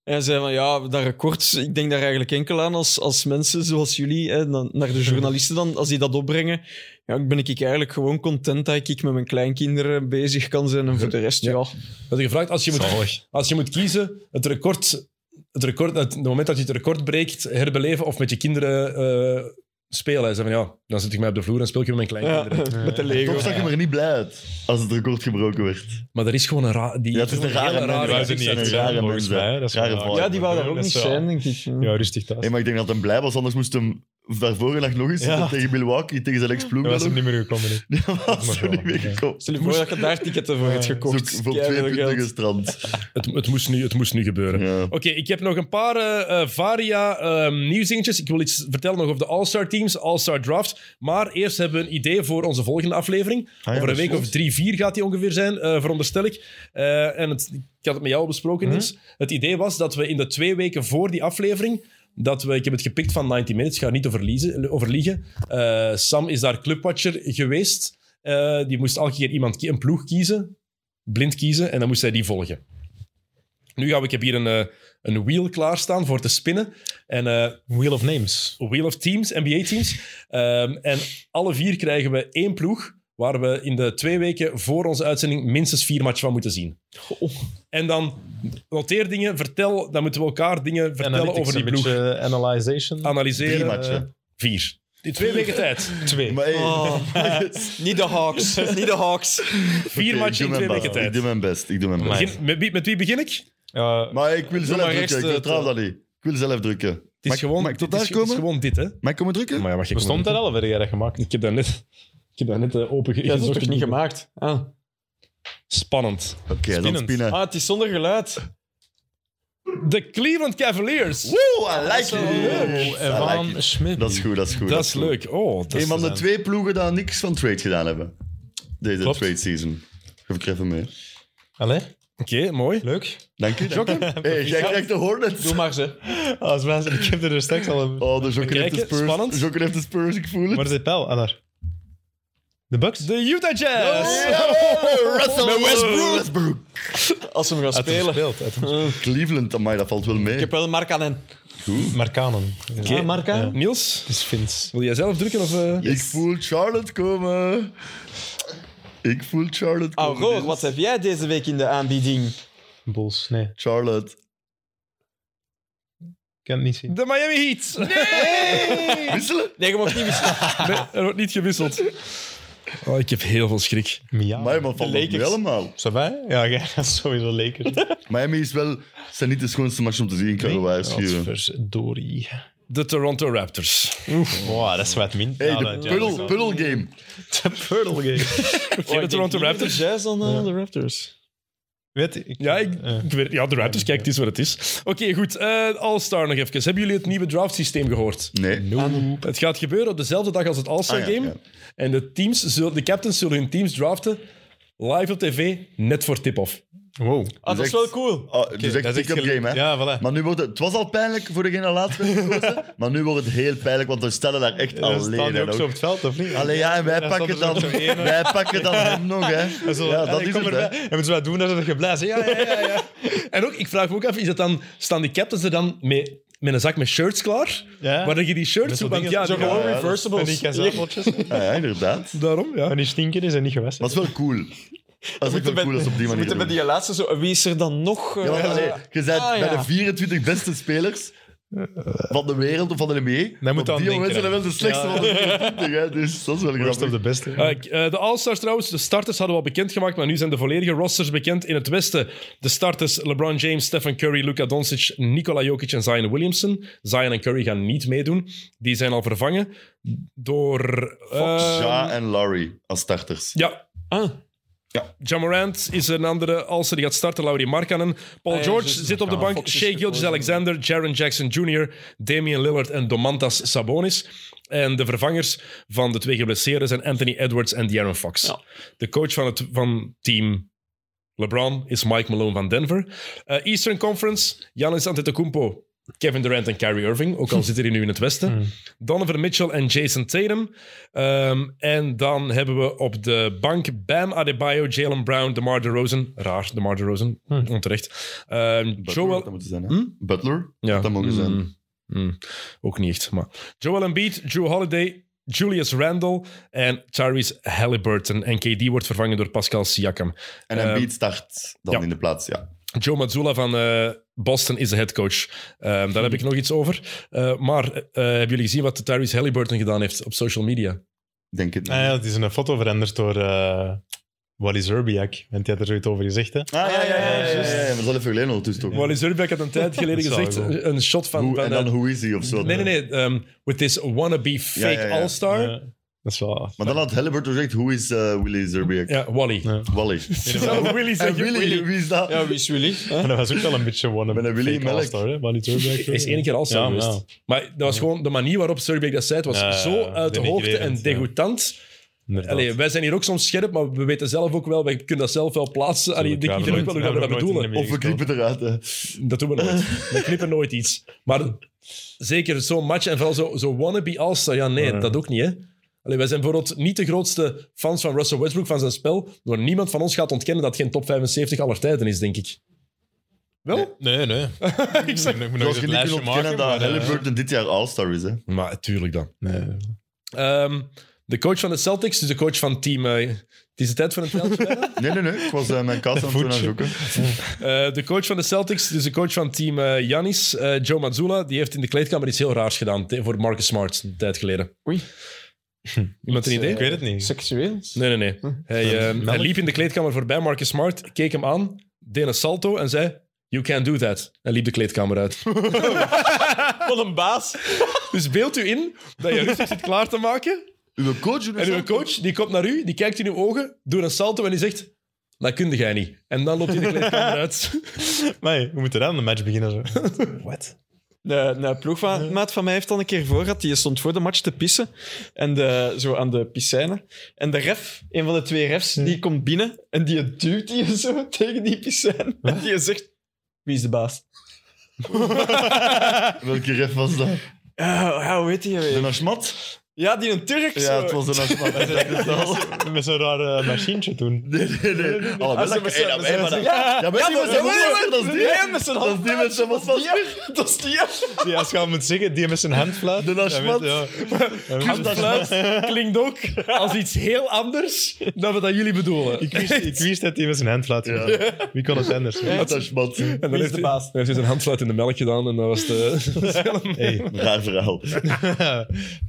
En hij zei van ja, dat record, ik denk daar eigenlijk enkel aan als, als mensen zoals jullie, hè, na- naar de journalisten dan, als die dat opbrengen. Ja, ben ik eigenlijk gewoon content dat ik met mijn kleinkinderen bezig kan zijn en voor de rest, ja.
Dat je gevraagd, als je, moet, als je moet kiezen, het record, het record, het het moment dat je het record breekt, herbeleven of met je kinderen eh, spelen. Hij zei van ja, dan zit ik mij op de vloer en speel ik met mijn
Ja,
kleinkinderen.
met de Lego.
Toch zag je me er niet blij uit als het record gebroken werd.
Maar er is gewoon een raar...
Ja, het is een rare man.
Wij
Ja,
zijn
die
niet
zijn
echt
een rare
zijn, volgens
mensen.
mij. hè. Dat is
Rare
wel waar.
volk.
Ja, die wou daar ook
Dat
niet
is wel-
zijn, denk ik.
Ja, rustig thuis.
Nee, maar ik denk dat hij blij was, anders moest hem daarvoor en nog eens
Ja.
dat tegen Milwaukee, tegen zijn ex-ploeg.
Dat was
wel
hem
ook.
niet meer gekomen. hè.
[laughs] Ja, was
mag
er
wel,
niet meer
ja.
gekomen.
Stel je voor dat je daar ticketten voor hebt gekocht.
Zoek voor twee
Keiveel
punten
geld.
gestrand.
Het, het, moest nu, het moest nu gebeuren.
Ja.
Oké, ik heb nog een paar eh, eh, varia ehm, nieuwsdingetjes. Ik wil iets vertellen nog over de All-Star teams, All-Star draft. Maar eerst hebben we een idee voor onze volgende aflevering.
Ah ja,
over een
dat
week
klopt.
of drie, vier gaat die ongeveer zijn, eh, veronderstel ik. Eh, en het, ik had het met jou besproken,
Mhm.
Niels. Het idee was dat we in de twee weken voor die aflevering... Dat we, ik heb het gepikt van 90 Minutes, ik ga er niet over, liezen, over liegen. Eh, Sam is daar clubwatcher geweest. Eh, die moest elke keer iemand, kie- een ploeg kiezen, blind kiezen, en dan moest hij die volgen. Nu gaan we, ik heb hier een, eh, een wheel klaarstaan voor te spinnen. En eh,
Wheel of Names.
wheel of teams, NBA teams. Ehm, en alle vier krijgen we één ploeg waar we in de twee weken voor onze uitzending minstens vier matchen van moeten zien. En dan noteer dingen, vertel, dan moeten we elkaar dingen vertellen
Analytics,
over die
een
ploeg. eh,
beetje Ah, analyzation.
Drie
Analyseren.
matchen.
Vier. In twee weken [laughs] tijd.
Twee.
Maar hey,
oh.
[laughs]
Ah, niet de Hawks, niet de Hawks.
Vier
oké, ik
matchen
doe
in
mijn
twee
best.
weken tijd.
Ik doe mijn best. Ik doe mijn best.
Maar-
Begin- met, wie- met wie begin ik? Het
Ja,
Maar ik wil zelf
maar
drukken.
eerst,
Ik
eh,
vertrouw dat niet. Ik wil zelf drukken. Het
is, gewoon,
Mag ik tot
het
daar
is, het is
komen?
gewoon dit, hè?
Mag ik komen drukken?
Maar ja, mag je
bestond dat al of heb jij dat gemaakt?
Ik heb dat net, ik heb dat net eh, open
Ja, dat is toch niet gemaakt? Ah.
Spannend.
Oké, dan
Spinnend.
spinnen.
Ah, het is zonder geluid.
De Cleveland Cavaliers.
Woe, I like it. I like it.
Oh, Evan Schmidt.
Dat is goed, dat is goed.
eh, Dat is leuk. Oh, dat
Een
is...
van de
zijn.
twee ploegen die niks van trade gedaan hebben. Deze
Klopt.
trade season. Geef ik er even mee.
Allee,
Oké, mooi.
leuk.
Dank u. dank u. Hey, jij krijgt de Hornets.
Doe maar ze.
[laughs] Als mensen, ik heb er dus straks al een...
Oh, de Joker heeft de
kijken,
Spurs.
spannend.
Joker heeft de Spurs, ik voel
Waar
het.
is de pijl? Ah, daar. De Bucks?
De Utah Jazz.
Russell
Westbrook.
Westbrook.
Als ze hem gaan
Uit hem
spelen.
gespeeld, uit hem gespeeld.
Cleveland, amai, dat valt wel mee.
Ik heb wel een mark aan hen.
Markanen.
Oké.
Ah, mark aan?
Niels,
Dat is Fins.
wil jij zelf drukken? Of, eh?
Ik voel Charlotte komen. Ik voel Charlotte komen.
Aurore, Ah, wat heb jij deze week in de aanbieding?
Bulls, nee. Ik
Charlotte.
kan het niet zien.
De Miami Heat.
Wisselen?
Nee, je mag niet [laughs] wisselen.
Nee, er wordt niet gewisseld. Oh, ik heb heel veel schrik.
Amai,
Miami.
maar valt
De
dat
Lakers.
mee allemaal.
Zo wij? Ja, jij gaat sowieso lekker.
Miami is wel... zijn niet de schoonste match om te zien, ik kan wel waarschuwen.
Dori.
De Toronto Raptors.
Wow, dat is wat min.
Hey,
Ja,
de
dat- ja,
puddle, puddle game.
dat- De Purtle game. [laughs]
Oké, de Toronto Raptors.
De Jazz dan eh, de Raptors.
Weet ik.
Ja, ik,
Eh,
ik weet, ja, de Raptors, kijk, het is wat het is. Oké, goed. eh, All-Star nog even. Hebben jullie het nieuwe draftsysteem gehoord? Ah,
Nee.
Het gaat gebeuren op dezelfde dag als het All-Star
Ah, ja,
Game.
ja.
En de, teams zullen, de captains zullen hun teams draften live op tv, net voor tip-off.
Wow.
Ah, dat is wel cool.
Ah, dus echt pick-up game, hè?
Ja, voilà.
Maar nu wordt het... Het was al pijnlijk voor degene laatst werd gekozen, maar nu wordt het heel pijnlijk, want we stellen daar echt
Dan staan
alleen
die
en
ook zo op
ook.
het veld, of niet?
Allee, ja, en wij
Ja,
pakken
stond
dan...
er zo één, hè.
Wij pakken dan hem nog,
[laughs]
hè.
Zo,
Ja,
en
dat
ik
is
kom
het, hè.
erbij. En moeten ze wat doen, dat ze geblazen. Ja, ja,
[laughs]
ja. ja.
En ook, ik vraag me ook af, is dat dan, staan die captains er dan met, met een zak met shirts klaar?
Ja.
Waar dat je die shirts
Met
zo
zo'n
Want
ding
ja,
dat-
die-
zo gewoon
ja,
dat-
En die
[laughs]
kazaalpotjes.
Ja, ja, inderdaad.
daarom, ja.
En die stinken is en niet gewassen.
Maar het is wel
[laughs]
cool. Dat is echt wel
met-
cool als ze op die
We
manier
moeten bij
doen.
die laatste zo... Wie is er dan nog? eh,
Ja, want allee, je bent
Ah,
bij
ja.
de 24 beste spelers van de wereld of van de NBA.
Dan
Op
moet aan
die
denken,
moment zijn
hè.
er wel de slechtste
Ja.
van de
[laughs]
24, hè. Dus dat is wel
Worst of
grappig.
the best. hè.
Eh, k- eh, de All-Stars trouwens, de starters hadden we al bekendgemaakt, maar nu zijn de volledige rosters bekend. In het Westen de starters LeBron James, Stephen Curry, Luka Doncic, Nikola Jokic en Zion Williamson. Zion en Curry gaan niet meedoen. Die zijn al vervangen door... eh,
Ja en Larry als starters.
ja,
Ah,
Jamorant is een andere. Alster die gaat starten, Laurie Markkanen. Paul
Ah ja,
George
juist.
zit op de
Ja,
bank.
Fox is
Shea
gekozen.
Gilgeous-Alexander, Jaron Jackson Jr., Damian Lillard en Domantas Sabonis. En de vervangers van de twee geblesseerden zijn Anthony Edwards en De'Aaron Fox.
Ja.
De coach van het van team LeBron is Mike Malone van Denver. Eh, Eastern Conference, Giannis Antetokounmpo, Kevin Durant en Kyrie Irving. Ook al zitten die nu in het westen. Donovan Mitchell en Jason Tatum. Ehm, en dan hebben we op de bank Bam Adebayo, Jalen Brown, DeMar DeRozan. Raar, DeMar DeRozan. Onterecht. Ehm,
Butler had dat
Joel...
moeten zijn, hè.
Hm?
Butler?
Ja.
Dat mogen zijn.
Mm, mm. Ook niet echt, maar... Joel Embiid, Drew Holiday, Julius Randle en Tyrese Halliburton. En KD wordt vervangen door Pascal Siakam.
En
Eh,
Embiid start dan
ja.
in de plaats, ja.
Joe Mazzulla van eh, Boston is de headcoach. Ehm daar heb ik nog iets over. Eh, maar eh, hebben jullie gezien wat Tyrese Halliburton gedaan heeft op social media?
Denk het.
Ah, ja, het is een foto veranderd door eh Wally Zerbiak. Want die had er zoiets over gezegd. Hè?
Ah, ja, ja, ja. ja, ja,
juist.
ja. Maar zal even geleden ondertussen toch.
Wally Zurbeck had een tijd geleden
[laughs] Dat zou
gezegd,
wel.
een shot van...
Hoe-
van,
en dan
eh,
hoe is hij of zo?
nee, nee, nee. ehm, with this wannabe fake
Ja, ja, ja.
all-star.
Ja, dat is wel...
Maar dan had Halliburton gezegd, hoe is eh, Willy Zerbiak?
Ja, Wally.
Ja.
Wally.
Zou [laughs] Willy
En
zeggen,
Willy, wie is dat?
ja, wie is Willy? Hè?
Maar [laughs] dat was ook wel een beetje one
ben een Willy Melk.
Wally Zerbiak.
Hij is één keer all-star
Ja,
geweest. Maar dat was gewoon de manier waarop Zurbeck dat zei. Het was
Ja,
zo uit de hoogte en
denigrerend, ja.
degoutant.
inderdaad.
Allee, wij zijn hier ook soms scherp, maar we weten zelf ook wel, wij kunnen dat zelf wel plaatsen. Allee, ik
Tuurlijk, ja,
denk iedereen
we
wel hoe dat we
hebben
dat
nooit in
bedoelen.
Of we
de
knippen eruit, hè.
Dat doen we nooit. We knippen nooit iets. Maar zeker zo'n match en vooral zo, zo wannabe all-star. Ja, nee,
Ja.
dat ook niet, hè. Allee, wij zijn bijvoorbeeld niet de grootste fans van Russell Westbrook, van zijn spel. Maar niemand van ons gaat ontkennen dat het geen top 75 aller tijden is, denk ik. Wel?
Nee, nee.
[laughs]
ik zeg, ik moet
Zoals je
nog eens het
niet kunt
lijstje
ontkennen dat
maken. maar, eh,
Halliburton dit jaar All-Star is, hè.
Maar tuurlijk dan.
nee.
Ehm, de coach van de Celtics, dus de coach van team... eh, het is de tijd voor een veldje.
[laughs]
bijna.
Nee, nee, nee. Ik was eh, mijn kast aan het doen aan het zoeken.
Eh, de coach van de Celtics, dus de coach van team eh Giannis, eh, Joe Mazzulla, die heeft in de kleedkamer iets heel raars gedaan te- voor Marcus Smart een tijd geleden.
Oei.
Iemand een idee?
Ik weet het niet.
Seksueel?
Nee, nee, nee. Hij, eh,
melk?
hij liep in de kleedkamer voorbij Marcus Smart, keek hem aan, deed een salto en zei... You can't do that. En liep de kleedkamer [laughs] uit.
Wat een baas.
Dus beeld u in dat je rustig zit klaar te maken.
Uw coach doet
En uw coach die komt naar u, die kijkt in uw ogen, doet een salto en die zegt... Dat kunde jij niet. En dan loopt hij de kleedkamer [laughs] uit.
Maar hey, we moeten dan de match beginnen. Zo. [laughs] What?
Een, een ploegmaat van mij heeft al een keer voor gehad. Die stond voor de match te pissen. En de, zo aan de piscine. En de ref, een van de twee refs, die komt binnen. En die duwt die zo [laughs] tegen die piscine. En die zegt... Wie is de baas?
Welke ref was dat?
Ja, Eh, ja, hoe heet die
De
weer?
Nashmat?
Ja, die een Turk.
Ja,
zo.
het was de Nashmat. Ik [laughs] dacht het al.
Met zo'n raar eh, machientje toen.
Nee, nee, nee. Oh,
Ah,
dat
zo
is
met zo'n-
hey, dat-
met
hey,
zo'n-
maar dat- [laughs]
Ja,
Ja, maar die
ja,
was-
maar-
dat is die.
Nee, met zijn
Dat is die met zijn
handfluit. Dat is die.
Die als je al moet zeggen, die met zijn hand fluit.
De Nashmat.
Ja, weet- ja.
Handfluit klinkt ook als iets heel anders dan wat dat jullie bedoelen.
Ik wist, ik wist dat hij met zijn hand fluit.
Ja.
Wie kon het anders?
Ja, dat is mat.
En dan
Wie
heeft
is de
hij-
baas?
dan heeft hij zijn handfluit in de melk gedaan en dat was de... dat was helemaal-
Hey.
Raar verhaal.
het,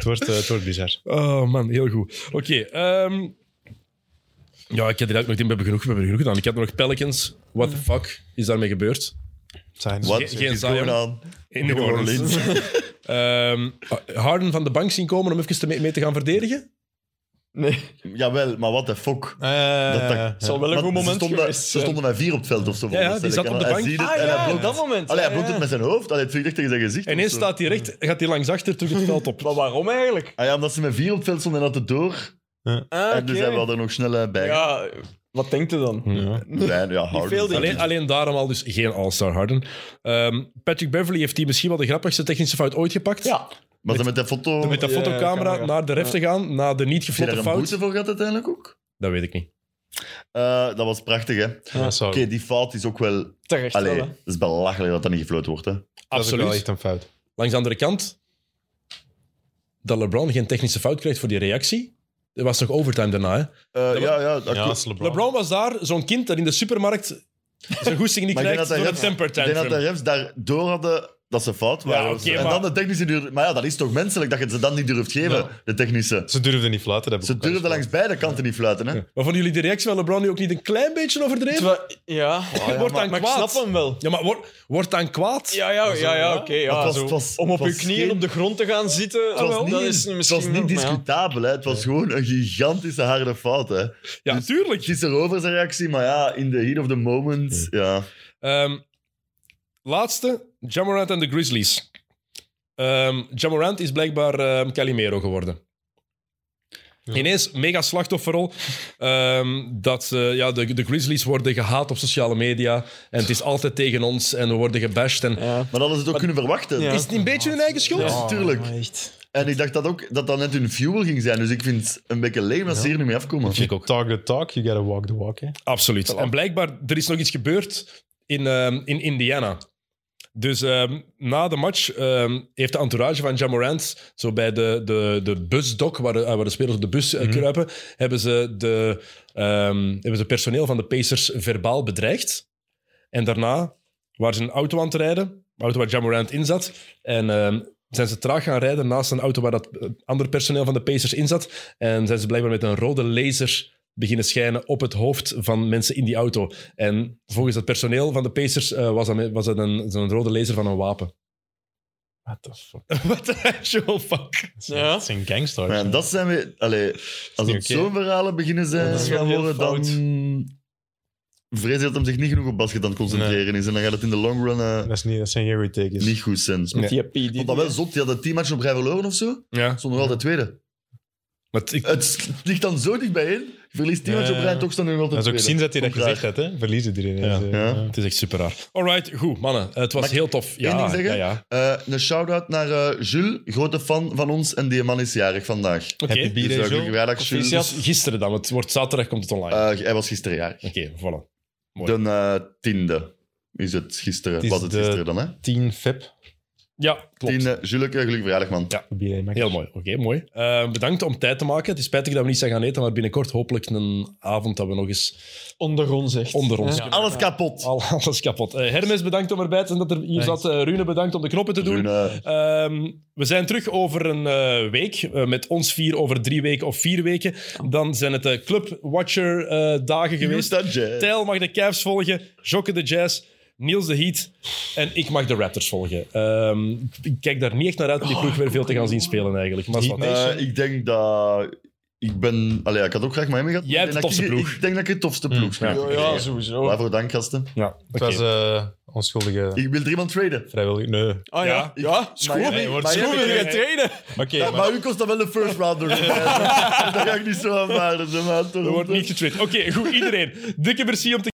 wordt, eh, het wordt bizar.
Oh man, heel goed. Oké. ehm, ja, ik heb er ook nog in. We hebben genoeg, we hebben genoeg gedaan. Ik had nog Pelicans. What the fuck is daarmee gebeurd?
Zijn.
Wat
Ge- geen
is
Zion.
going on?
In
New Orleans.
Ehm, Harden van de bank zien komen om even mee, mee te gaan verdedigen?
Nee,
Jawel, maar what the fuck.
Eh,
Dat- dat-
ja.
zal wel een goed
Want ze
moment
stonden,
geweest
Ze
zijn.
stonden met vier op het veld of zo.
Ja, ja, die zat op de bank.
Hij ziet het
Ah
en hij
ja,
blokt-
op dat moment.
Allee, hij
Ja,
blokt het
ja.
met zijn hoofd. Allee, het vliegt echt tegen zijn gezicht.
En
of
ineens
zo.
staat hij recht, gaat hij langs achter terug het veld op.
[laughs] Maar waarom eigenlijk?
Ah ja, omdat ze met vier op het veld stonden en hadden door.
Ah,
En dus
oké.
hebben we er nog snel eh, bij.
Ja, Wat denkt u dan?
Ja.
Nee, ja, Harden.
veel dingen.
Alleen, alleen daarom al dus geen All-Star Harden. Ehm, Patrick Beverly heeft die misschien wel de grappigste technische fout ooit gepakt.
Ja.
Maar ze met de foto...
Met de
Ja,
fotocamera
camera.
naar de ref te gaan, na de niet
Heb je daar
gefloten
een
fout.
boete voor gehad uiteindelijk ook?
Dat weet ik niet.
Eh, dat was prachtig, hè? Oké,
Ja, sorry.
die fout is ook wel...
Terecht
Allee,
wel, hè.
het is belachelijk dat dat niet gefloten wordt, hè?
Dat is ook wel
Absoluut.
echt een fout.
Langs de andere kant, dat LeBron geen technische fout krijgt voor die reactie. Er was nog overtime daarna. Hè?
Eh,
Dat
ja, ja, dat
Ja,
klopt.
als LeBron.
LeBron was daar, zo'n kind dat in de supermarkt
[laughs]
zijn goesting niet
Maar ik
krijgt
denk dat
door
hij
een
heeft-
temper
Ik denk dat de
tantrum.
refs daardoor hadden dat ze fout waren.
Ja, oké,
en
maar-
dan de technische duur... Maar ja, dat is toch menselijk dat je ze dan niet durft geven,
Ja.
de technische.
Ze durfden niet fluiten. Dat heb
Ze
ik ook
durfden
al
langs beide kanten niet fluiten, hè?
Maar vonden jullie de reactie van LeBron nu ook niet een klein beetje overdreven?
Terwijl- Ja,
Oh,
ja, Wordt dan
maar ik
kwaad.
snap hem wel.
Ja, maar wordt wordt dan kwaad?
Ja, ja, ja, ja oké.
Maar
ja,
het was-
zo.
het was-
om
het
op uw
was
knieën
geen-
op de grond te gaan zitten,
Het was,
ah, wel,
niet,
dat is
het
misschien
was niet
wel, maar ja.
discutabel, hè? het was gewoon een gigantische harde fout. Hè?
Ja,
Dus-
tuurlijk.
Het is erover zijn reactie, maar ja, in the heat of the moment. Ja.
Ehm, laatste, Jamorant en de Grizzlies. Ehm Jamorant is blijkbaar ehm, Calimero geworden. Ineens mega slachtofferrol. Ehm, dat eh, ja, de, de Grizzlies worden gehaat op sociale media. En het is altijd tegen ons en we worden gebashed. En...
Ja.
Maar dat hadden ze het ook kunnen verwachten.
Ja.
Is het een beetje hun eigen schuld?
Ja, natuurlijk.
maar echt.
En ik dacht dat ook dat dat net hun fuel ging zijn. Dus ik vind het een beetje leem als ze hier niet mee afkomen.
Vind ik ook.
Talk the talk, you gotta walk the walk. Hè.
Absoluut. En blijkbaar, er is nog iets gebeurd in, ehm, in Indiana. Dus ehm, na de match ehm, heeft de entourage van Jamorant, zo bij de, de, de busdok, waar de, eh, waar de spelers op de bus eh, kruipen, hebben ze de ehm, hebben ze personeel van de Pacers verbaal bedreigd. En daarna waren ze een auto aan het rijden, een auto waar Jamorant in zat. En ehm, zijn ze traag gaan rijden naast een auto waar dat eh, ander personeel van de Pacers in zat. En zijn ze blijkbaar met een rode laser beginnen schijnen op het hoofd van mensen in die auto. En volgens het personeel van de Pacers eh, was dat, me- was dat een, zo'n rode laser van een wapen.
What the fuck?
What the actual fuck?
Dat zijn-
Ja.
Dat zijn gangsters.
Maar ja, dat zijn we. Allee, als
niet
het
oké. Oh,
zo'n verhalen beginnen zijn,
Ja, dat is
gaan
wel heel
worden, dan vrees ik dat hem zich niet genoeg op basket aan het concentreren is. En dan gaat het in de long run eh,
Dat, is niet, dat zijn geen retakers.
niet goed zijn.
Met die PD.
Want dat wel zot, die hadden tien matchen op rij verloren of zo.
Ja.
Zonder altijd tweede.
Maar het- ik-
Het ligt dan zo dichtbij in. Je verliest tien
Ja,
matchen op rij en
ja.
toch staan er nog altijd
Dat is ook
tweede.
sinds dat hij dat
Komt
gezegd
raar.
had, hè? verliezen die ineens.
Ja.
eh,
Ja.
het is echt super raar. Alright, goed, mannen. Eh, Het was
Mag ik
heel tof. Ja,
één ding zeggen?
ja, ja.
Eh, een shout-out naar eh, Jules, grote fan van ons. En die man is jarig vandaag.
Oké.
Happy
Dus, eh,
B-Day,
gelukkig
Jules.
verjaardag, Jules.
Dus gisteren dan. Het wordt zaterdag, komt het online.
Eh, hij was gisteren jarig.
Oké, voilà.
De eh, tiende is het gisteren.
Het is
was het
de-
gisteren dan, hè?
10 feb.
Ja, klopt.
Tiende, Jules, eh, gelukkig verjaardag, man.
Ja.
B-Day, Max.
Heel mooi. Oké, mooi. Eh, bedankt om tijd te maken. Het is spijtig dat we niet zijn gaan eten, maar binnenkort hopelijk een avond dat we nog eens
onder ons echt.
onder ons
Ja.
Alles kapot.
Al, [laughs] alles kapot. Eh, Hermes, bedankt om erbij te zijn dat er hier
Thanks.
zat. Eh, Rune, bedankt om de knoppen te doen.
Rune,
Ehm, we zijn terug over een eh, week. Eh, met ons vier over drie weken of vier weken. Dan zijn het de Club Watcher eh, dagen geweest.
Utah Jazz.
Tijl mag de Cavs volgen. Jokke de Jazz. Niels de Heat. En ik mag de Raptors volgen. Ehm, ik kijk daar niet echt naar uit om die ploeg weer veel te gaan zien spelen eigenlijk. Maar is wat.
Heat
Eh, ik denk dat... Ik ben... Allee, ik had ook graag Miami gehad.
Jij hebt
Ik denk
de
dat
tofste
ik-
ploeg. Mm,
Ik denk dat ik de tofste ploeg
ja.
heb.
Ja, ja, sowieso.
Waarvoor dank, gasten.
ja,
Het
oké.
was eh, onschuldige
Ik wil er iemand traden.
vrijwillig. Nee.
Ah ja,
Ik-
ja.
Miami-
Nee, wordt
Miami-
schoon.
Wil je gaan trainen?
Oké,
Ja,
maar
maar u kost dan wel de first
[laughs]
rounder. dat ga ik niet zo aanvaarden. zo, maar toch.
Er wordt niet getraind. Oké, goed iedereen. Dikke merci om te